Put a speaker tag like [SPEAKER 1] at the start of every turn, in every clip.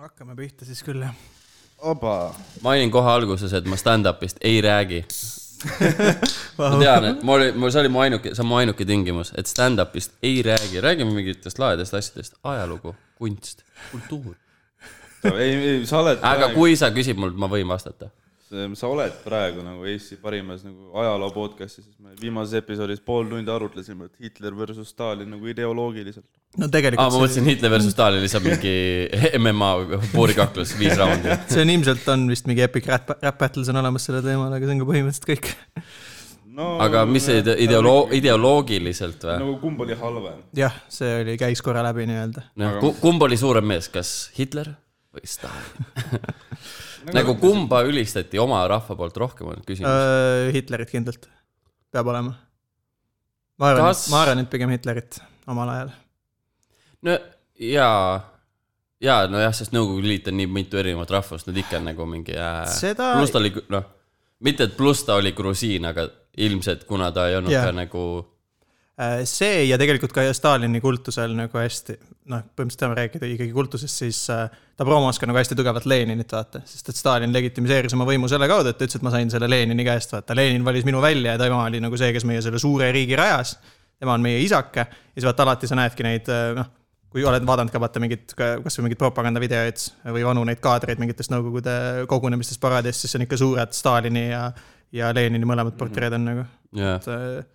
[SPEAKER 1] hakkame pihta siis küll jah .
[SPEAKER 2] oba .
[SPEAKER 3] mainin kohe alguses , et ma stand-up'ist ei räägi . ma tean , et mul oli , mul , see oli mu ainuke , see on mu ainuke tingimus , et stand-up'ist ei räägi , räägime mingitest lahedast asjadest , ajalugu , kunst , kultuur .
[SPEAKER 2] ei , ei , sa oled
[SPEAKER 3] aga
[SPEAKER 2] praegu ,
[SPEAKER 3] kui sa küsid mult , ma võin vastata .
[SPEAKER 2] sa oled praegu nagu Eesti parimas nagu ajaloo podcast'is , siis me viimases episoodis pool tundi arutlesime , et Hitler versus Stalin nagu ideoloogiliselt .
[SPEAKER 1] no
[SPEAKER 3] aa ,
[SPEAKER 1] tegelikult
[SPEAKER 3] ma mõtlesin Hitler versus Stalin lihtsalt mingi MMA puurikaklus , viis raundi .
[SPEAKER 1] see on ilmselt on vist mingi epic rap , rap battles on olemas sellel teemal , aga see on ka põhimõtteliselt kõik .
[SPEAKER 2] no
[SPEAKER 3] aga mis see ide- ideoloo- , ideoloogiliselt või ?
[SPEAKER 2] nagu kumb oli halvem ?
[SPEAKER 1] jah , see oli , käis korra läbi nii-öelda .
[SPEAKER 3] noh , kumb oli suurem mees , kas Hitler või Stalin ? nagu kumba ülistati oma rahva poolt rohkem , on küsimus .
[SPEAKER 1] Äh, Hitlerit kindlalt peab olema . ma arvan
[SPEAKER 3] Kas-
[SPEAKER 1] Kas... , ma arvan , et pigem Hitlerit omal ajal .
[SPEAKER 3] no jaa , jaa , nojah , sest Nõukogude Liit on nii mitu erinevat rahvust , nad ikka on nagu mingi äh,
[SPEAKER 1] Seda-
[SPEAKER 3] pluss ta oli , noh , mitte et pluss ta oli grusiin , aga ilmselt kuna ta ei olnud
[SPEAKER 1] Jah.
[SPEAKER 3] yeah. ka nagu
[SPEAKER 1] Äh, see ja tegelikult ka Stalini kultusel nagu hästi , noh , põhimõtteliselt tahame rääkida ikkagi kultusest , siis äh, ta promos ka nagu hästi tugevalt Leninit , vaata , sest et Stalin legitimiseeris oma võimu selle kaudu , et ta ütles , et ma sain selle Lenini käest , vaata , Lenin valis minu välja ja tema oli nagu see , kes meie selle suure riigi rajas . tema on meie isake ja siis vaata alati sa näedki neid , noh , kui oled vaadanud ka vaata mingit , kasvõi mingeid propagandavideoid või vanu neid kaadreid mingitest Nõukogude kogunemistest paraadist , siis on ikka suured Stalini ja , ja Lenini mõlemad portreed on nagu
[SPEAKER 3] jah ,
[SPEAKER 1] et ,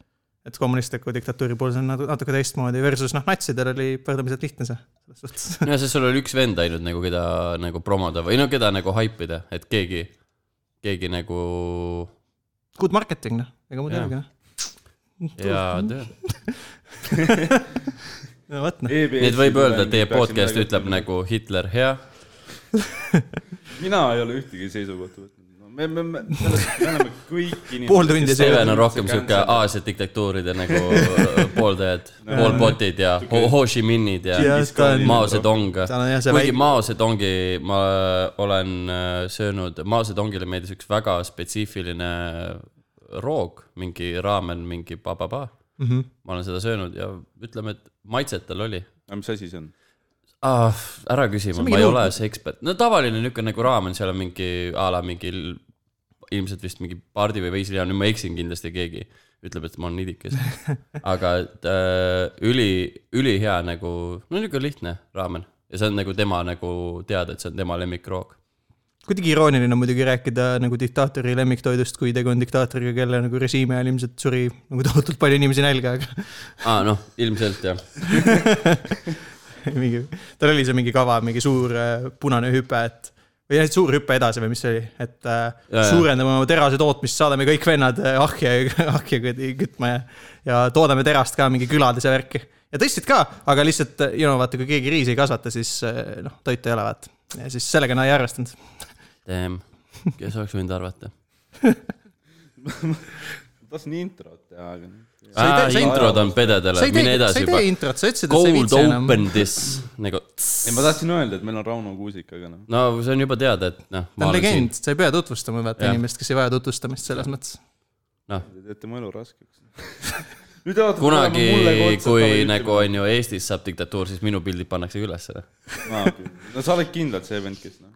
[SPEAKER 1] et kommunistliku diktatuuri puhul see on natu- natuke teistmoodi versus noh , natsidel oli võrdlemisi lihtne see , selles suhtes .
[SPEAKER 3] nojah , sest sul oli üks vend ainult nagu , keda nagu promoda või no keda nagu haipida , et keegi , keegi nagu
[SPEAKER 1] Good marketing noh , ega muud ei
[SPEAKER 3] Jaa.
[SPEAKER 1] olegi noh .
[SPEAKER 3] ja töö .
[SPEAKER 1] no vot noh ,
[SPEAKER 2] E
[SPEAKER 3] nii et võib öelda , et teie podcast ütleb . nagu Hitler hea ,
[SPEAKER 2] mina ei ole ühtegi seisukohta võtnud no, . me , me , me , me oleme kõik inimesed .
[SPEAKER 1] Pool tundi see-
[SPEAKER 3] Steven on rohkem sihuke Aasia diktatuuride nagu pooldajad , poolpotid ja Ho- Ho Chi Minhid ja
[SPEAKER 1] Jah, ta on-
[SPEAKER 3] Mao Zedong .
[SPEAKER 1] Tal on jah, see
[SPEAKER 3] kuigi
[SPEAKER 1] väike-
[SPEAKER 3] Mao Zedongi ma olen äh, söönud , Mao Zedongile meeldis üks väga spetsiifiline roog , mingi raamen , mingi ba-ba-ba mm .
[SPEAKER 1] Mhm.
[SPEAKER 3] -hmm. ma olen seda söönud ja ütleme , et maitset tal oli .
[SPEAKER 2] aga mis asi see on ?
[SPEAKER 3] Ah, ära küsi , ma
[SPEAKER 1] mingi
[SPEAKER 3] ei
[SPEAKER 1] nõud-
[SPEAKER 3] ole see ekspert , no tavaline niuke nagu raamen , seal on mingi a la mingi l- ilmselt vist mingi pardi või veisiliha , nüüd ma eksin kindlasti keegi ütleb , et ma olen idikas . aga et, äh, üli , ülihea nagu , no niuke lihtne raamen ja see on nagu tema nagu teada , et see on tema lemmikroog .
[SPEAKER 1] kuidagi irooniline on muidugi rääkida nagu diktaatori lemmiktoidust , kui tegu on diktaatoriga , kelle nagu režiimi ajal ilmselt suri nagu tohutult palju inimesi nälga , aga
[SPEAKER 3] aa ah, noh , ilmselt jah ,
[SPEAKER 1] mingi , tal oli see mingi kava , mingi suur äh, punane hüpe , et või jah, et suur hüpe edasi või mis see oli , et äh,
[SPEAKER 3] Jaa, jaa.
[SPEAKER 1] suurendame oma terase tootmist , saadame kõik vennad äh, ahja , ahja kü- kütma ja , ja toodame terast ka mingi külades ja värki . ja tõstsid ka , aga lihtsalt , you know , vaata , kui keegi riisi ei kasvata , siis äh, noh , toitu ei ole , vaata . ja siis sellega nad ei arvestanud .
[SPEAKER 3] damn , kes oleks võinud arvata .
[SPEAKER 2] ma tahtsin introt teha , aga .
[SPEAKER 1] Sa ei tee-
[SPEAKER 3] aa ,
[SPEAKER 1] sa ei-
[SPEAKER 3] Ah, introd on
[SPEAKER 1] sa
[SPEAKER 3] pededele ,
[SPEAKER 1] ei
[SPEAKER 3] mine
[SPEAKER 1] tee , sa
[SPEAKER 3] edasi
[SPEAKER 1] ei tee
[SPEAKER 3] juba .
[SPEAKER 1] introt , sa ütlesid , et sa ei
[SPEAKER 3] Cold
[SPEAKER 1] viitsi enam .
[SPEAKER 3] open this nagu ,
[SPEAKER 2] ei , ma tahtsin öelda , et meil on Rauno Kuusik , aga noh .
[SPEAKER 3] no see on juba teada , et noh .
[SPEAKER 1] ta on legend , sa ei pea tutvustama , vaata
[SPEAKER 3] Jah.
[SPEAKER 1] inimest , kes ei vaja tutvustamist selles mõttes .
[SPEAKER 3] noh ,
[SPEAKER 2] Te teete mu elu raskeks . nüüd te hakkate
[SPEAKER 3] kunagi
[SPEAKER 2] tulema mulle , kohta
[SPEAKER 3] kui
[SPEAKER 2] ütlema-
[SPEAKER 3] nagu on ju Eestis saab diktatuur , siis minu pildid pannakse noh. ülesse .
[SPEAKER 2] Aa, okei. no sa oled kindlalt see vend , kes noh ,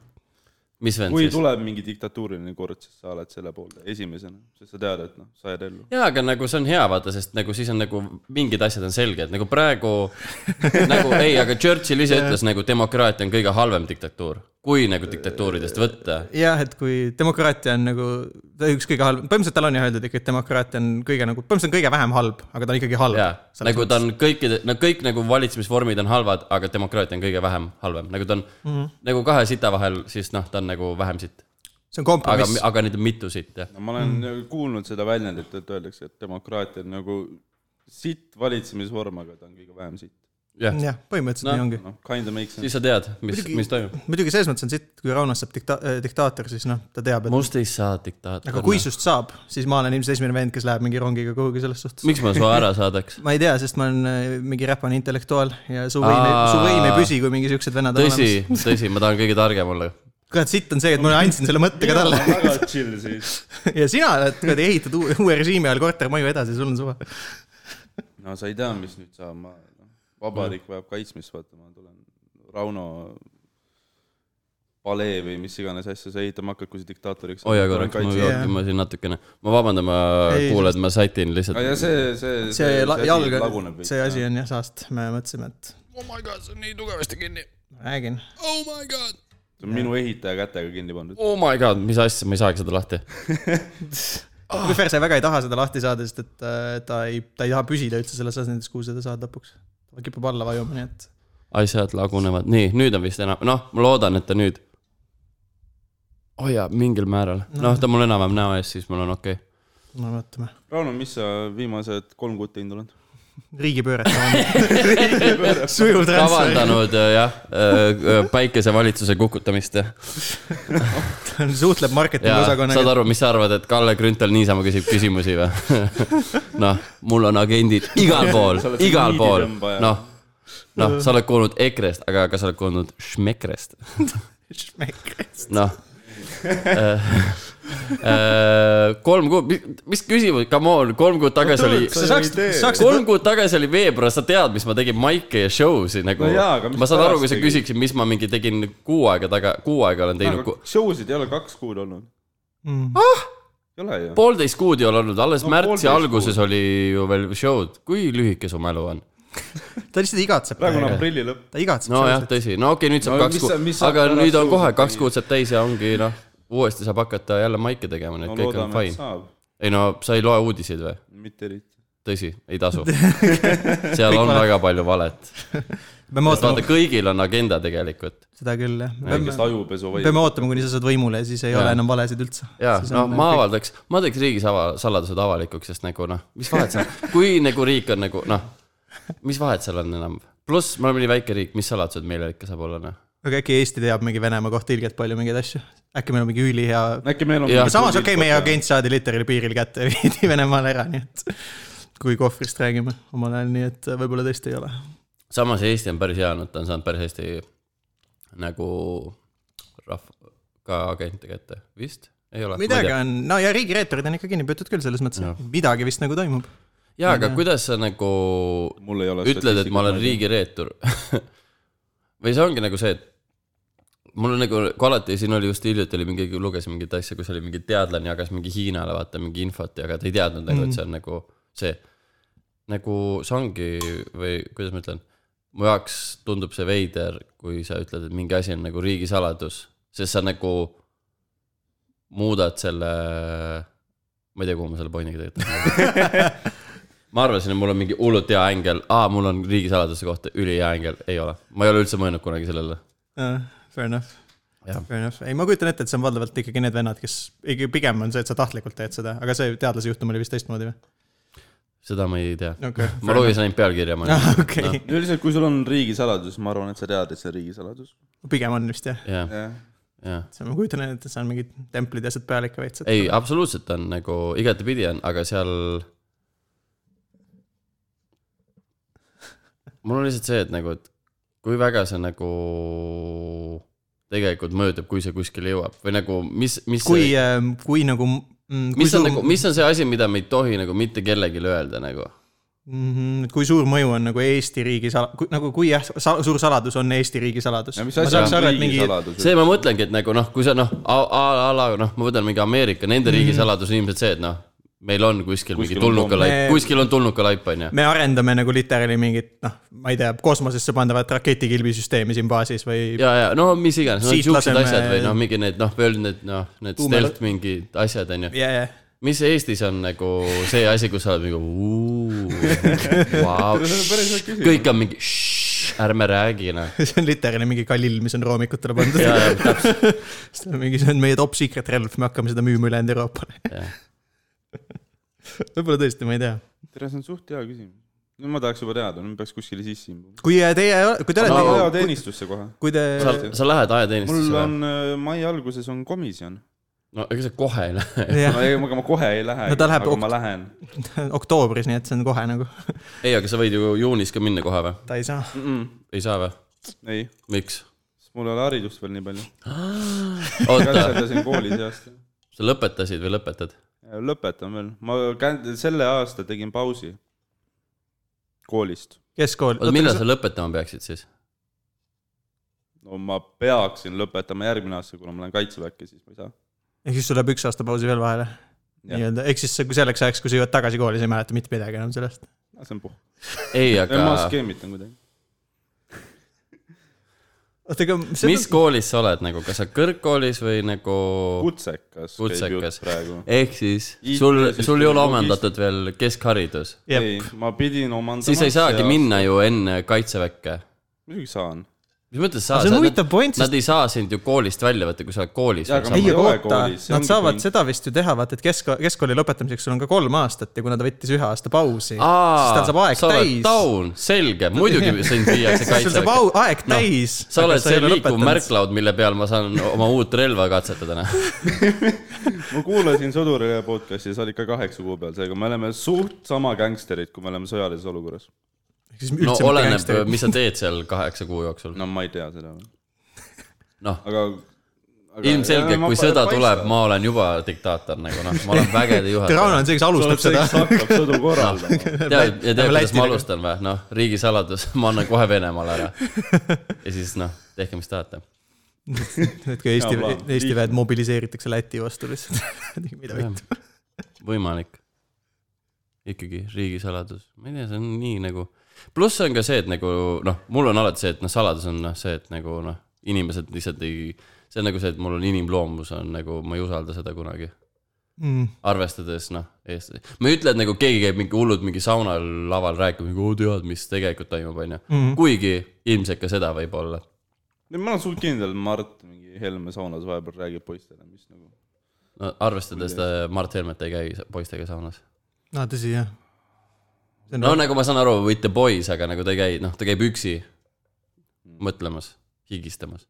[SPEAKER 3] mis vend
[SPEAKER 2] kui
[SPEAKER 3] siis ?
[SPEAKER 2] tuleb mingi diktatuuriline kord , siis sa oled selle poole esimesena , sest sa tead , et noh , sa jääd ellu .
[SPEAKER 3] jaa , aga nagu see on hea vaata , sest nagu siis on nagu mingid asjad on selged , nagu praegu nagu ei , aga Churchill ise ütles nagu demokraatia on kõige halvem diktatuur , kui nagu diktatuuridest võtta .
[SPEAKER 1] jah , et kui demokraatia on nagu ta üks kõige halb , põhimõtteliselt tal on ju öeldud ikka , et demokraatia on kõige nagu , põhimõtteliselt on kõige vähem halb , aga ta on ikkagi halb
[SPEAKER 3] jaa , nagu ta on kõikide , no kõik nagu valitsemisvormid on halvad , aga demokraatia on kõige vähem halvem , nagu ta on mm
[SPEAKER 2] Mhm.
[SPEAKER 3] -hmm. nagu kahe sita vahel , siis noh , ta on nagu vähem sitt .
[SPEAKER 1] see on
[SPEAKER 3] aga
[SPEAKER 1] kompromiss ,,
[SPEAKER 3] aga neid on mitu sitt , jah .
[SPEAKER 2] no ma olen mm. kuulnud seda väljendit , et öeldakse , et demokraatia on nagu sitt valitsemisvorm , aga ta on kõige vähem sitt .
[SPEAKER 3] jah ,
[SPEAKER 1] jah , põhimõtteliselt
[SPEAKER 3] No.
[SPEAKER 1] nii ongi .
[SPEAKER 2] noh , kind of makes sense .
[SPEAKER 3] siis sa tead , mis , mis toimub .
[SPEAKER 1] muidugi selles mõttes on siit , kui Raunas saab dikta- , diktaator , siis noh , ta teab , et
[SPEAKER 3] must ei saa diktaator .
[SPEAKER 1] aga kui sinust saab , siis ma olen ilmselt esimene vend , kes läheb mingi rongiga kuhugi selles suhtes .
[SPEAKER 3] miks ma su ära saadaks ?
[SPEAKER 1] ma ei tea , sest ma olen äh, mingi räpane intellektuaal ja su võim ,
[SPEAKER 3] Aa.
[SPEAKER 1] su võim ei püsi , kui mingi siuksed vennad on olemas .
[SPEAKER 3] tõsi , tõsi , ma tahan kõige targem olla .
[SPEAKER 1] kurat , sitt on see , et ma andsin selle mõtte ka talle
[SPEAKER 2] väga chill siis .
[SPEAKER 1] ja sina oled , kuradi , ehitad uue, uue režiimi ajal kortermaju edasi , sul on suva .
[SPEAKER 2] no sa ei tea , mis nüüd saab ,
[SPEAKER 3] Mm.
[SPEAKER 2] ma , noh , vabariik vajab kaitsmist , vaata , ma tulen Rauno palee või mis iganes asja sa ehitama hakkad , kui sa diktaatoriks
[SPEAKER 3] hoia korraks , ma
[SPEAKER 1] Kaitse-
[SPEAKER 3] jooksin , ma siin natukene , ma vabandan , ma
[SPEAKER 1] Ei,
[SPEAKER 3] kuulan , ma sätin lihtsalt
[SPEAKER 2] ja . see , see ,
[SPEAKER 1] see la-
[SPEAKER 2] asi
[SPEAKER 1] jalg
[SPEAKER 2] laguneb , veits,
[SPEAKER 1] see
[SPEAKER 2] jah.
[SPEAKER 1] asi on jah saast , me mõtlesime , et
[SPEAKER 4] Oh my god, see on nii tugevasti kinni .
[SPEAKER 1] ma räägin .
[SPEAKER 4] Oh my god .
[SPEAKER 2] see on minu ehitaja kätega kinni pandud .
[SPEAKER 3] oh my god , mis asja , ma ei saagi seda lahti .
[SPEAKER 2] Ah.
[SPEAKER 1] Kühver sai väga ei taha seda lahti saada , sest et äh, ta ei , ta ei taha püsida üldse selles asendis , kuhu seda saad lõpuks . ta kipub alla vajuma , nii et
[SPEAKER 3] asjad lagunevad , nii , nüüd on vist enam , noh , ma loodan , et ta nüüd . oh jaa , mingil määral , noh , ta on mul enam-vähem näo ees , siis mul on okei okay. .
[SPEAKER 1] no vaatame .
[SPEAKER 2] Rauno , mis sa viimased kolm kuud teinud oled ?
[SPEAKER 1] riigipööret on . sujuv transfer ,
[SPEAKER 3] kavandanud äh, jah äh, päikesevalitsuse kukutamist ja
[SPEAKER 1] suhtleb marketingi
[SPEAKER 3] saad
[SPEAKER 1] osakonnaga .
[SPEAKER 3] aru , mis sa arvad , et Kalle Grünthal niisama küsib küsimusi või ? noh , mul on agendid igal pool
[SPEAKER 2] Sa oled ,
[SPEAKER 3] igal pool ,
[SPEAKER 2] niiditõmbaja.
[SPEAKER 3] noh , noh , sa oled kuulnud EKRE-st , aga kas sa oled kuulnud Schmekrest ? noh äh, . kolm kuud , mis küsimus , come on , kolm kuud tagasi oli ,
[SPEAKER 1] sa saaksid , saaksid
[SPEAKER 3] kolm kuud tagasi oli veebruar , sa tead , mis ma tegin Maike ja show'si nagu
[SPEAKER 2] No jaa, aga mis
[SPEAKER 3] ma saan aru , kui sa
[SPEAKER 2] pärast
[SPEAKER 3] küsiksid , mis ma mingi tegin kuu aega taga , kuu aega olen teinud
[SPEAKER 2] aga
[SPEAKER 3] no, , Ah!
[SPEAKER 2] show sid ei ole kaks kuud olnud .
[SPEAKER 1] mm. .
[SPEAKER 2] ei ole ju .
[SPEAKER 3] poolteist kuud ei ole olnud , alles
[SPEAKER 2] No
[SPEAKER 3] no, märtsi
[SPEAKER 2] poolteist
[SPEAKER 3] alguses kuud. oli ju veel show'd , kui lühike su mälu on ?
[SPEAKER 1] ta lihtsalt igatseb
[SPEAKER 2] praegu on
[SPEAKER 1] praegu ,
[SPEAKER 2] aprilli lõpp .
[SPEAKER 1] ta igatseb
[SPEAKER 3] nojah ,
[SPEAKER 1] no, .
[SPEAKER 3] tõsi , no okei okay, , nüüd saab
[SPEAKER 2] No
[SPEAKER 3] no, kaks
[SPEAKER 2] mis sa- mis
[SPEAKER 3] kuud ,
[SPEAKER 2] sa
[SPEAKER 3] aga
[SPEAKER 2] pärast
[SPEAKER 3] nüüd on
[SPEAKER 2] show'd
[SPEAKER 3] kohe
[SPEAKER 2] tegid?
[SPEAKER 3] kaks kuud saab täis ja ongi noh , uuesti saab hakata jälle Maike tegema , nii
[SPEAKER 2] no
[SPEAKER 3] et kõik on
[SPEAKER 2] loodame , et
[SPEAKER 3] fine .
[SPEAKER 2] saab .
[SPEAKER 3] ei no sa ei loe uudiseid või ?
[SPEAKER 2] mitte eriti .
[SPEAKER 3] tõsi , ei tasu . seal on
[SPEAKER 1] valet.
[SPEAKER 3] väga palju valet .
[SPEAKER 1] peame
[SPEAKER 3] vaata
[SPEAKER 1] ootama ,
[SPEAKER 3] kõigil on agenda tegelikult .
[SPEAKER 1] seda küll jah .
[SPEAKER 2] väikest ajupesu
[SPEAKER 1] peame
[SPEAKER 2] vaid .
[SPEAKER 1] ootama , kuni sa saad võimule ja siis ei
[SPEAKER 3] Jaa.
[SPEAKER 1] ole enam valesid üldse .
[SPEAKER 3] ja noh , ma avaldaks , ma teeks riigis ava- , saladused avalikuks , sest nagu noh , mis vahet seal , kui nagu riik on nagu noh , mis vahet seal on enam . pluss me oleme nii väike riik , mis saladused meil ikka saab olla noh .
[SPEAKER 1] aga äkki Eesti teab mingi Venemaa kohta ilgelt palju mingeid asju ? äkki meil on mingi ülihea .
[SPEAKER 2] äkki meil on
[SPEAKER 3] Jah.
[SPEAKER 1] aga . samas okei okay, , meie agent saadi literaali piiril kätte ja viidi Venemaale ära , nii et kui kohvrist räägime omal ajal , nii et võib-olla tõesti ei ole .
[SPEAKER 3] samas Eesti on päris hea olnud , ta on saanud päris hästi nagu rahva , ka agente kätte , vist ? ei ole .
[SPEAKER 1] midagi on , no ja riigireeturid on ikka kinni peetud küll selles mõttes , et midagi vist nagu toimub .
[SPEAKER 3] jaa , aga kuidas sa nagu
[SPEAKER 2] mul ei ole .
[SPEAKER 3] ütled , et ma olen . riigireetur . või see ongi nagu see , et mul on nagu , kui alati siin oli just hiljuti oli mingi , lugesin mingit asja , kus oli mingi teadlane jagas mingi Hiinale vaata mingi infot ja aga ta ei teadnud nagu , et see on nagu see . nagu see ongi või kuidas ma ütlen , mu jaoks tundub see veider , kui sa ütled , et mingi asi on nagu riigisaladus , sest sa nagu muudad selle , ma ei tea , kuhu ma selle pointiga tegelikult tahan jõuda. ma arvasin , et mul on mingi hullult hea ängel , aa , mul on riigisaladuse kohta ülihea ängel , ei ole , ma ei ole üldse mõelnud kunagi sellele .
[SPEAKER 1] Fair enough .
[SPEAKER 3] Jah.
[SPEAKER 1] Fair enough , ei ma kujutan ette , et see on valdavalt ikkagi need vennad , kes , pigem on see , et sa tahtlikult teed seda , aga see teadlase juhtum oli vist teistmoodi või ?
[SPEAKER 3] seda ma ei tea ,
[SPEAKER 1] okei ,
[SPEAKER 3] ma lugesin ainult pealkirja , ma olin ,
[SPEAKER 1] okei ,
[SPEAKER 2] üldiselt , kui sul on riigisaladus , ma arvan , et sa tead , et see on riigisaladus .
[SPEAKER 1] pigem on vist jah ,
[SPEAKER 3] jah ,
[SPEAKER 2] jah .
[SPEAKER 3] jah .
[SPEAKER 1] see ma kujutan ette , et seal on mingid templid ja asjad peal ikka veits , et
[SPEAKER 3] ei , absoluutselt on nagu igatepidi on , aga seal . mul on lihtsalt see , et nagu , et kui väga see nagu tegelikult mõjutab , kui see kuskile jõuab või nagu mis , mis .
[SPEAKER 1] kui , kui nagu mm, kui
[SPEAKER 3] mis on
[SPEAKER 1] suur-
[SPEAKER 3] nagu , mis on see asi , mida me ei tohi nagu mitte kellelegi öelda nagu ?
[SPEAKER 1] Mhm, et kui suur mõju on nagu Eesti riigi sal- , nagu kui jah , suur saladus on Eesti riigi saladus .
[SPEAKER 2] ja
[SPEAKER 1] ma
[SPEAKER 2] mis asi
[SPEAKER 1] saaks
[SPEAKER 2] on
[SPEAKER 1] aru , et mingi ,
[SPEAKER 2] riigisaladus ?
[SPEAKER 3] see ma mõtlengi , et nagu noh , kui sa noh , a a- a la noh , ma võtan mingi Ameerika , nende riigisaladus on ilmselt see , et noh , meil on kuskil,
[SPEAKER 2] Mm. Kuskil
[SPEAKER 3] kuskil mingi
[SPEAKER 2] on
[SPEAKER 1] pomm.
[SPEAKER 3] tulnukalaip , kuskil on tulnukalaip , on ju .
[SPEAKER 1] me arendame nagu literaali mingit , noh , ma ei tea , kosmosesse pandavat raketikilbisüsteemi siin baasis või
[SPEAKER 3] ja , ja no mis iganes , no
[SPEAKER 1] Siit
[SPEAKER 3] siuksed
[SPEAKER 1] laseme-
[SPEAKER 3] asjad või noh , mingi need noh , veel need noh , need
[SPEAKER 1] Tuume-
[SPEAKER 3] stealth mingid asjad onju .
[SPEAKER 1] ja , ja ,
[SPEAKER 3] mis Eestis on nagu see asi , kus sa oled nagu vau
[SPEAKER 2] päris hea küsimus.
[SPEAKER 3] kõik on mingi "Shh, ärme räägi noh .
[SPEAKER 1] see on literaali mingi kalill , mis on roomikutele pandud .
[SPEAKER 3] ja , ja
[SPEAKER 1] see on mingi , see on meie top secret relv , me hakkame seda müüma ülejäänud Euroopale .
[SPEAKER 3] Jah.
[SPEAKER 1] võib-olla tõesti , ma ei tea .
[SPEAKER 2] tere , see on suht hea küsimus . nüüd ma tahaks juba teada , nüüd peaks kuskile sisse imbuma .
[SPEAKER 1] kui äh, teie , kui te
[SPEAKER 2] ma lähen
[SPEAKER 1] olete ,
[SPEAKER 2] ajateenistusse kohe .
[SPEAKER 1] kui te ,
[SPEAKER 3] sa , sa lähed
[SPEAKER 2] mul
[SPEAKER 3] ajateenistusse või ?
[SPEAKER 2] on äh, mai alguses on komisjon .
[SPEAKER 3] no ega sa kohe ei lähe .
[SPEAKER 1] jah ,
[SPEAKER 2] no ei , aga ma kohe ei lähe
[SPEAKER 1] No , ta läheb
[SPEAKER 2] aga
[SPEAKER 1] okt-
[SPEAKER 2] ma lähen .
[SPEAKER 1] oktoobris , nii et see on kohe nagu ,
[SPEAKER 3] ei , aga sa võid ju juunis ka minna kohe või ?
[SPEAKER 1] ta ei saa .
[SPEAKER 3] ei saa või ?
[SPEAKER 2] ei ,
[SPEAKER 3] miks ?
[SPEAKER 2] sest mul ei ole haridust veel nii palju .
[SPEAKER 3] oota ,
[SPEAKER 2] katsetasin kooli see aasta .
[SPEAKER 3] sa lõpetasid või lõpetad ?
[SPEAKER 2] lõpetan veel , ma kä- selle aasta tegin pausi koolist .
[SPEAKER 1] keskkool .
[SPEAKER 3] oota , millal sa lõpetama peaksid siis ?
[SPEAKER 2] no ma peaksin lõpetama järgmine aasta , kuna ma lähen kaitseväkke , siis ma ei saa .
[SPEAKER 1] ehk siis sul läheb üks aasta pausi veel vahele .
[SPEAKER 2] Jah.
[SPEAKER 1] nii-öelda , ehk siis sa- kui selleks ajaks , kui sa jõuad tagasi kooli , sa ei mäleta mitte midagi enam sellest .
[SPEAKER 2] see on puh- .
[SPEAKER 3] ei , aga
[SPEAKER 2] ma skeemitan kuidagi .
[SPEAKER 1] oota , aga
[SPEAKER 3] mis koolis sa oled nagu , kas sa kõrgkoolis või nagu
[SPEAKER 2] kutsekas käib
[SPEAKER 3] kutsekas
[SPEAKER 2] jutt praegu ?,
[SPEAKER 3] ehk siis
[SPEAKER 2] IT
[SPEAKER 3] sul , sul ei ole
[SPEAKER 2] süsteemi
[SPEAKER 3] omandatud veel keskharidus ,
[SPEAKER 2] ei , ma pidin omandama .
[SPEAKER 3] siis sa ei saagi . minna ju enne kaitseväkke .
[SPEAKER 2] muidugi saan .
[SPEAKER 3] mis mõttes sa
[SPEAKER 1] Aga see on huvitav point, sest-
[SPEAKER 3] Nad ei saa sind ju koolist välja võtta , kui sa oled koolis
[SPEAKER 2] Jaa,
[SPEAKER 3] veel
[SPEAKER 2] aga
[SPEAKER 1] ei ,
[SPEAKER 2] ma-
[SPEAKER 3] samas
[SPEAKER 2] ei
[SPEAKER 1] aga
[SPEAKER 2] ole
[SPEAKER 1] oota
[SPEAKER 2] koolis, , see
[SPEAKER 1] nad
[SPEAKER 2] ongi
[SPEAKER 1] saavad
[SPEAKER 2] point.
[SPEAKER 1] seda vist ju teha , vaata , et kesk , keskkooli lõpetamiseks sul on ka kolm aastat ja kuna ta võttis ühe aasta pausi , siis tal saab aeg
[SPEAKER 3] sa oled
[SPEAKER 1] täis .
[SPEAKER 3] taun , selge , muidugi sind viiakse
[SPEAKER 1] sul saab
[SPEAKER 3] kaitseväkke .
[SPEAKER 1] au- aeg täis .
[SPEAKER 3] Noh, sa oled see liikuv . märklaud , mille peal ma saan oma uut relva katsetada , noh .
[SPEAKER 2] ma kuulasin sõdurile podcast'i , sa olid ka kaheksa kuu peal , seega me oleme suht sama gängsterid , kui me oleme sõjalises olukorras .
[SPEAKER 3] no oleneb , mis sa teed seal kaheksa kuu jooksul .
[SPEAKER 2] no ma ei tea seda .
[SPEAKER 3] Noh.
[SPEAKER 2] aga, aga .
[SPEAKER 3] ilmselgelt , kui sõda tuleb ,. ma olen juba diktaator nagu noh , ma olen vägede
[SPEAKER 1] Rauno
[SPEAKER 3] juhataja .
[SPEAKER 1] on see , kes alustab
[SPEAKER 2] tuleb see ,
[SPEAKER 1] seda
[SPEAKER 2] kes . hakkab
[SPEAKER 3] Noh.
[SPEAKER 2] sõdu korraldama .
[SPEAKER 3] tead , ja tead ,
[SPEAKER 1] Lähme
[SPEAKER 3] kuidas
[SPEAKER 1] Lätti
[SPEAKER 3] ma
[SPEAKER 1] nagu.
[SPEAKER 3] alustan või ? noh , riigisaladus , ma annan kohe Venemaale ära . ja siis noh , tehke , mis tahate .
[SPEAKER 1] et kui Eesti
[SPEAKER 2] Hea plaan. ,
[SPEAKER 1] Eesti väed mobiliseeritakse Läti vastu lihtsalt . mida võid .
[SPEAKER 3] võimalik . ikkagi riigisaladus , ma ei tea , see on nii nagu , pluss on ka see , et nagu noh , mul on alati see , et noh , saladus on noh , see , et nagu noh , inimesed lihtsalt ei , see on nagu see , et mul on inimloomus on nagu , ma ei usalda seda kunagi . arvestades noh , eestlasi , ma ei ütle , et nagu keegi käib mingi hullult mingi saunal laval rääkima , nagu oo tead , mis tegelikult toimub , onju . kuigi ilmselt ka seda võib olla .
[SPEAKER 2] ma olen suht kindel , Mart mingi Helme saunas vahepeal räägib poistele , mis nagu .
[SPEAKER 3] no arvestades , et Mart Helmet ei käi poistega saunas .
[SPEAKER 1] aa , tõsi jah .
[SPEAKER 3] no nagu ma saan aru , with the boys , aga nagu ta ei käi , noh , ta käib üksi mõtlemas , higistamas .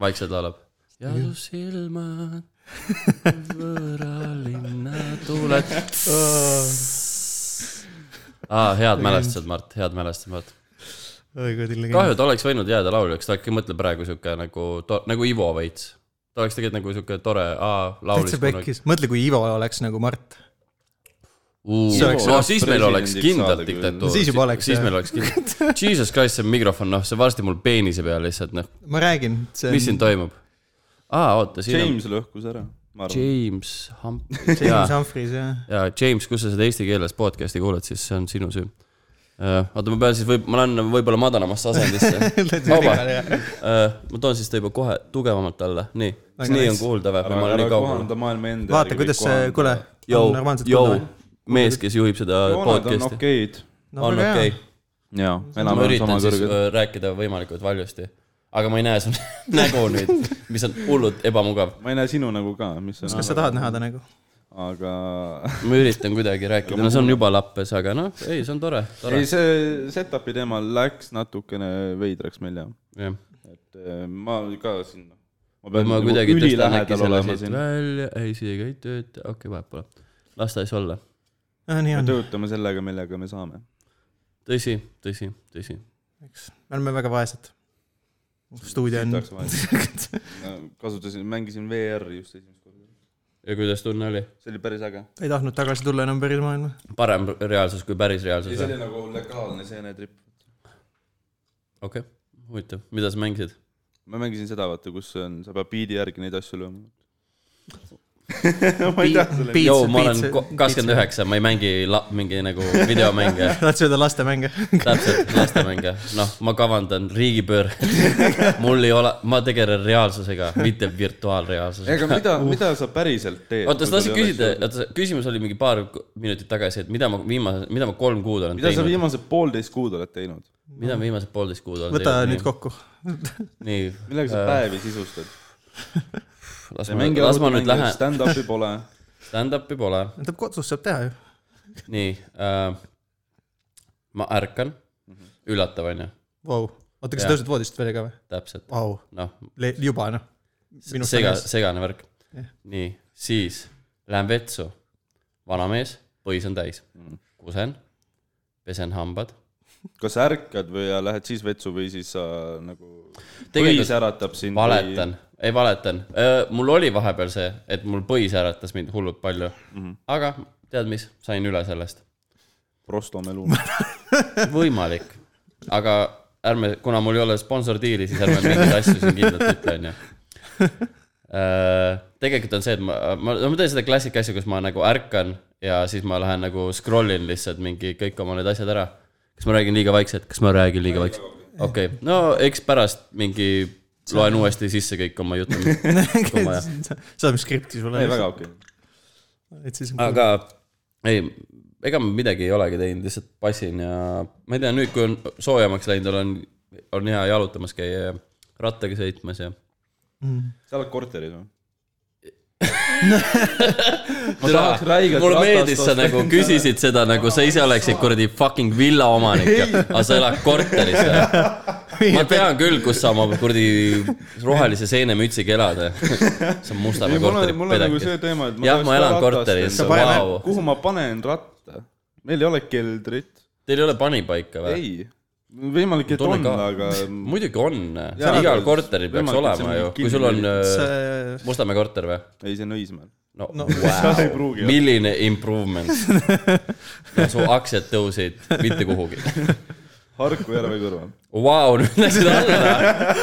[SPEAKER 3] vaikselt laulab . ja su silmad , võõra linna tuuled . aa , head mälestused , Mart , head mälestused , Mart . kahju , ta oleks võinud jääda lauljaks , ta äkki mõtleb praegu sihuke nagu , nagu Ivo veits . ta oleks tegelikult nagu sihuke tore , aa , laulis
[SPEAKER 1] täitsa . pekkis , mõtle , kui Ivo oleks nagu Mart . See oleks
[SPEAKER 3] no
[SPEAKER 2] hea
[SPEAKER 3] siis meil oleks
[SPEAKER 2] presidendiks
[SPEAKER 3] kindlalt
[SPEAKER 2] saada küll.
[SPEAKER 3] diktatuur .
[SPEAKER 1] Siis juba oleks,
[SPEAKER 3] siis
[SPEAKER 1] jah.
[SPEAKER 3] meil oleks kindlalt . Jesus Christ , see mikrofon , noh , see varsti mul peenise peal lihtsalt , noh ,
[SPEAKER 1] ma räägin , see
[SPEAKER 3] mis siin
[SPEAKER 1] on
[SPEAKER 3] toimub ? aa , oota , siin
[SPEAKER 2] James lõhkus ära , ma
[SPEAKER 3] on
[SPEAKER 2] arvan .
[SPEAKER 3] James Hump- , jaa
[SPEAKER 1] James , Humphreys jah .
[SPEAKER 3] jaa , James , kui sa seda eesti keeles podcast'i kuulad , siis see on sinu süü . oota , ma pean siis võib- , ma lähen võib-olla madalamasse asendisse . ma toon siis ta juba kohe tugevamalt alla , nii . kas
[SPEAKER 1] Väga
[SPEAKER 3] nii on
[SPEAKER 1] nice.
[SPEAKER 3] kuulda või , või ma olen
[SPEAKER 2] ära
[SPEAKER 3] nii kaugel ?
[SPEAKER 2] kohanda maailma enda .
[SPEAKER 1] vaata , kuidas see , kuule ,
[SPEAKER 3] Jou ,
[SPEAKER 1] normaalselt
[SPEAKER 3] jou , mees , kes juhib seda
[SPEAKER 2] jooned on
[SPEAKER 3] podcast'i ,
[SPEAKER 2] okeid .
[SPEAKER 3] on okei .
[SPEAKER 2] jaa ,
[SPEAKER 3] ma
[SPEAKER 2] enam-vähem
[SPEAKER 3] üritan
[SPEAKER 2] sama
[SPEAKER 3] siis
[SPEAKER 2] kõrged .
[SPEAKER 3] äh, rääkida võimalikult valjusti . aga ma ei näe su nägu nüüd , mis on hullult ebamugav .
[SPEAKER 2] ma ei näe sinu nägu ka , mis on .
[SPEAKER 1] kas sa tahad näha ta nagu ?
[SPEAKER 2] aga
[SPEAKER 3] ma üritan kuidagi rääkida , no see on juba lappes , aga noh , ei , see on tore , tore
[SPEAKER 2] ei , see setup'i teema läks natukene veidraks meil jah ,
[SPEAKER 3] jah .
[SPEAKER 2] et eh, ma ka siin . ma
[SPEAKER 3] või
[SPEAKER 2] pean
[SPEAKER 3] ma
[SPEAKER 2] nagu
[SPEAKER 3] kuidagi tõstan äkki
[SPEAKER 2] ülilähedal
[SPEAKER 3] selle
[SPEAKER 2] olema
[SPEAKER 3] siit
[SPEAKER 2] siin .
[SPEAKER 3] välja , ei siia ei tööta , okei okay, , vahet pole . las ta siis olla .
[SPEAKER 1] Ah, nii
[SPEAKER 2] me
[SPEAKER 1] on ,
[SPEAKER 2] töötame sellega , millega me saame .
[SPEAKER 3] tõsi , tõsi , tõsi .
[SPEAKER 1] eks , me oleme väga vaesed . stuudio on ,
[SPEAKER 2] kasutasin , mängisin VR-i just esimest korda .
[SPEAKER 3] ja kuidas tunne oli ?
[SPEAKER 2] see oli päris äge .
[SPEAKER 1] ei tahtnud tagasi tulla enam päris maailma .
[SPEAKER 3] parem reaalsus kui päris reaalsus
[SPEAKER 2] ei , see
[SPEAKER 3] või ?
[SPEAKER 2] oli nagu legaalne seenetripp .
[SPEAKER 3] okei okay. , huvitav , mida sa mängisid ?
[SPEAKER 2] ma mängisin seda , vaata , kus on , sa pead biidi järgi neid asju lööma . ma ei tea selle .
[SPEAKER 1] Piitsa-
[SPEAKER 3] joo , ma olen
[SPEAKER 1] piitsa-
[SPEAKER 3] kakskümmend üheksa , ma ei mängi la- , mingi nagu videomänge .
[SPEAKER 1] tahad sööda lastemänge ?
[SPEAKER 3] täpselt , lastemänge , noh , ma kavandan riigipööret . mul ei ole , ma tegelen reaalsusega , mitte virtuaalreaalsusega .
[SPEAKER 2] ega mida , mida sa päriselt teed ?
[SPEAKER 3] oota , sa tahtsid küsida , oota , küsimus oli mingi paar ku- minutit tagasi , et mida ma viimase , mida ma kolm kuud olen
[SPEAKER 2] mida sa
[SPEAKER 3] teinud ,
[SPEAKER 2] viimased poolteist kuud oled teinud ?
[SPEAKER 3] mida ma viimased poolteist kuud olen
[SPEAKER 1] võta nüüd
[SPEAKER 3] teinud .
[SPEAKER 1] kokku .
[SPEAKER 3] nii ,
[SPEAKER 2] millega sa päevi sisustad ?
[SPEAKER 3] Äh. las ma , las ma nüüd lähen ,
[SPEAKER 2] stand-up'i pole .
[SPEAKER 3] stand-up'i pole ,
[SPEAKER 1] tähendab , kodus saab teha ju .
[SPEAKER 3] nii äh, . ma ärkan ,
[SPEAKER 2] Mhm.
[SPEAKER 3] üllatav on ju ,
[SPEAKER 1] Vau , oota , kas sa
[SPEAKER 3] Jah.
[SPEAKER 1] tõused voodist välja ka või ?
[SPEAKER 3] täpselt ,
[SPEAKER 1] Vau ,
[SPEAKER 3] noh
[SPEAKER 1] juba noh .
[SPEAKER 3] sega , segane värk
[SPEAKER 1] Jah. .
[SPEAKER 3] nii , siis lähen vetsu , vanamees , põis on täis , kusen , pesen hambad .
[SPEAKER 2] kas sa ärkad või lähed siis vetsu või siis sa nagu , põis
[SPEAKER 3] tegelikult
[SPEAKER 2] äratab sind ?
[SPEAKER 3] valetan , ei valetan , mul oli vahepeal see , et mul põis äratas mind hullult palju mm , -hmm. aga tead mis , sain üle sellest ,
[SPEAKER 2] Rostomelu .
[SPEAKER 3] võimalik , aga ärme , kuna mul ei ole sponsordiili , siis ärme mingeid asju siin kindlalt ütle , onju . tegelikult on see , et ma , ma , no ma teen seda klassika asja , kus ma nagu ärkan ja siis ma lähen nagu scroll in lihtsalt mingi kõik oma need asjad ära . kas ma räägin liiga vaikselt , kas ma räägin liiga vaikselt ? okei okay. , no eks pärast mingi loen uuesti sisse kõik oma jutud . kui ma
[SPEAKER 1] saadame skripti sulle
[SPEAKER 2] ei , väga . okei okay. .
[SPEAKER 1] et siis .
[SPEAKER 2] Mhm.
[SPEAKER 3] aga ei , ega ma midagi ei olegi teinud , lihtsalt passin ja ma ei tea , nüüd , kui on soojemaks läinud , olen , on hea jalutamas käia ja rattaga sõitmas ja .
[SPEAKER 2] sa oled korteris noh. või ? ma tahaks räigelt .
[SPEAKER 3] mulle meeldis , sa nagu . küsisid seda , nagu sa ise oleksid kuradi fucking villa omanik ja aga sa elad korteris ja . ma tean küll , kus sa oma kuradi rohelise seenemütsiga elad . see on Mustamäe
[SPEAKER 2] ei , mul on ,
[SPEAKER 3] korteri
[SPEAKER 2] mul on nagu see
[SPEAKER 3] pedekil .
[SPEAKER 2] teema , et
[SPEAKER 3] Jah,
[SPEAKER 2] tahaks
[SPEAKER 3] ma
[SPEAKER 2] ka
[SPEAKER 3] elan
[SPEAKER 2] ratast
[SPEAKER 3] korteris,
[SPEAKER 2] endale.
[SPEAKER 1] vau.
[SPEAKER 2] Paneme- kuhu ma panen ratta ? meil ei ole keldrit .
[SPEAKER 3] Teil ei ole panipaika või ?
[SPEAKER 2] ei , võimalik , et
[SPEAKER 3] Tunne
[SPEAKER 2] on ,
[SPEAKER 3] ka.
[SPEAKER 2] aga .
[SPEAKER 3] muidugi on ,
[SPEAKER 2] Jaa,
[SPEAKER 3] igal
[SPEAKER 2] aga
[SPEAKER 3] korteril peaks
[SPEAKER 2] võimalik, et see
[SPEAKER 3] olema
[SPEAKER 2] on
[SPEAKER 3] ju ,
[SPEAKER 2] mingi
[SPEAKER 3] kui sul on äh,
[SPEAKER 2] kinni-
[SPEAKER 3] öö,
[SPEAKER 1] see ,
[SPEAKER 3] Mustamäe korter või ?
[SPEAKER 2] ei , see on Õismäel .
[SPEAKER 3] no, no
[SPEAKER 1] No
[SPEAKER 3] wow.
[SPEAKER 2] ei pruugi olla.
[SPEAKER 3] milline improvement no, . su aktsiad tõusid mitte kuhugi .
[SPEAKER 2] Harku järve kõrval .
[SPEAKER 3] Vau , nüüd läksid alla .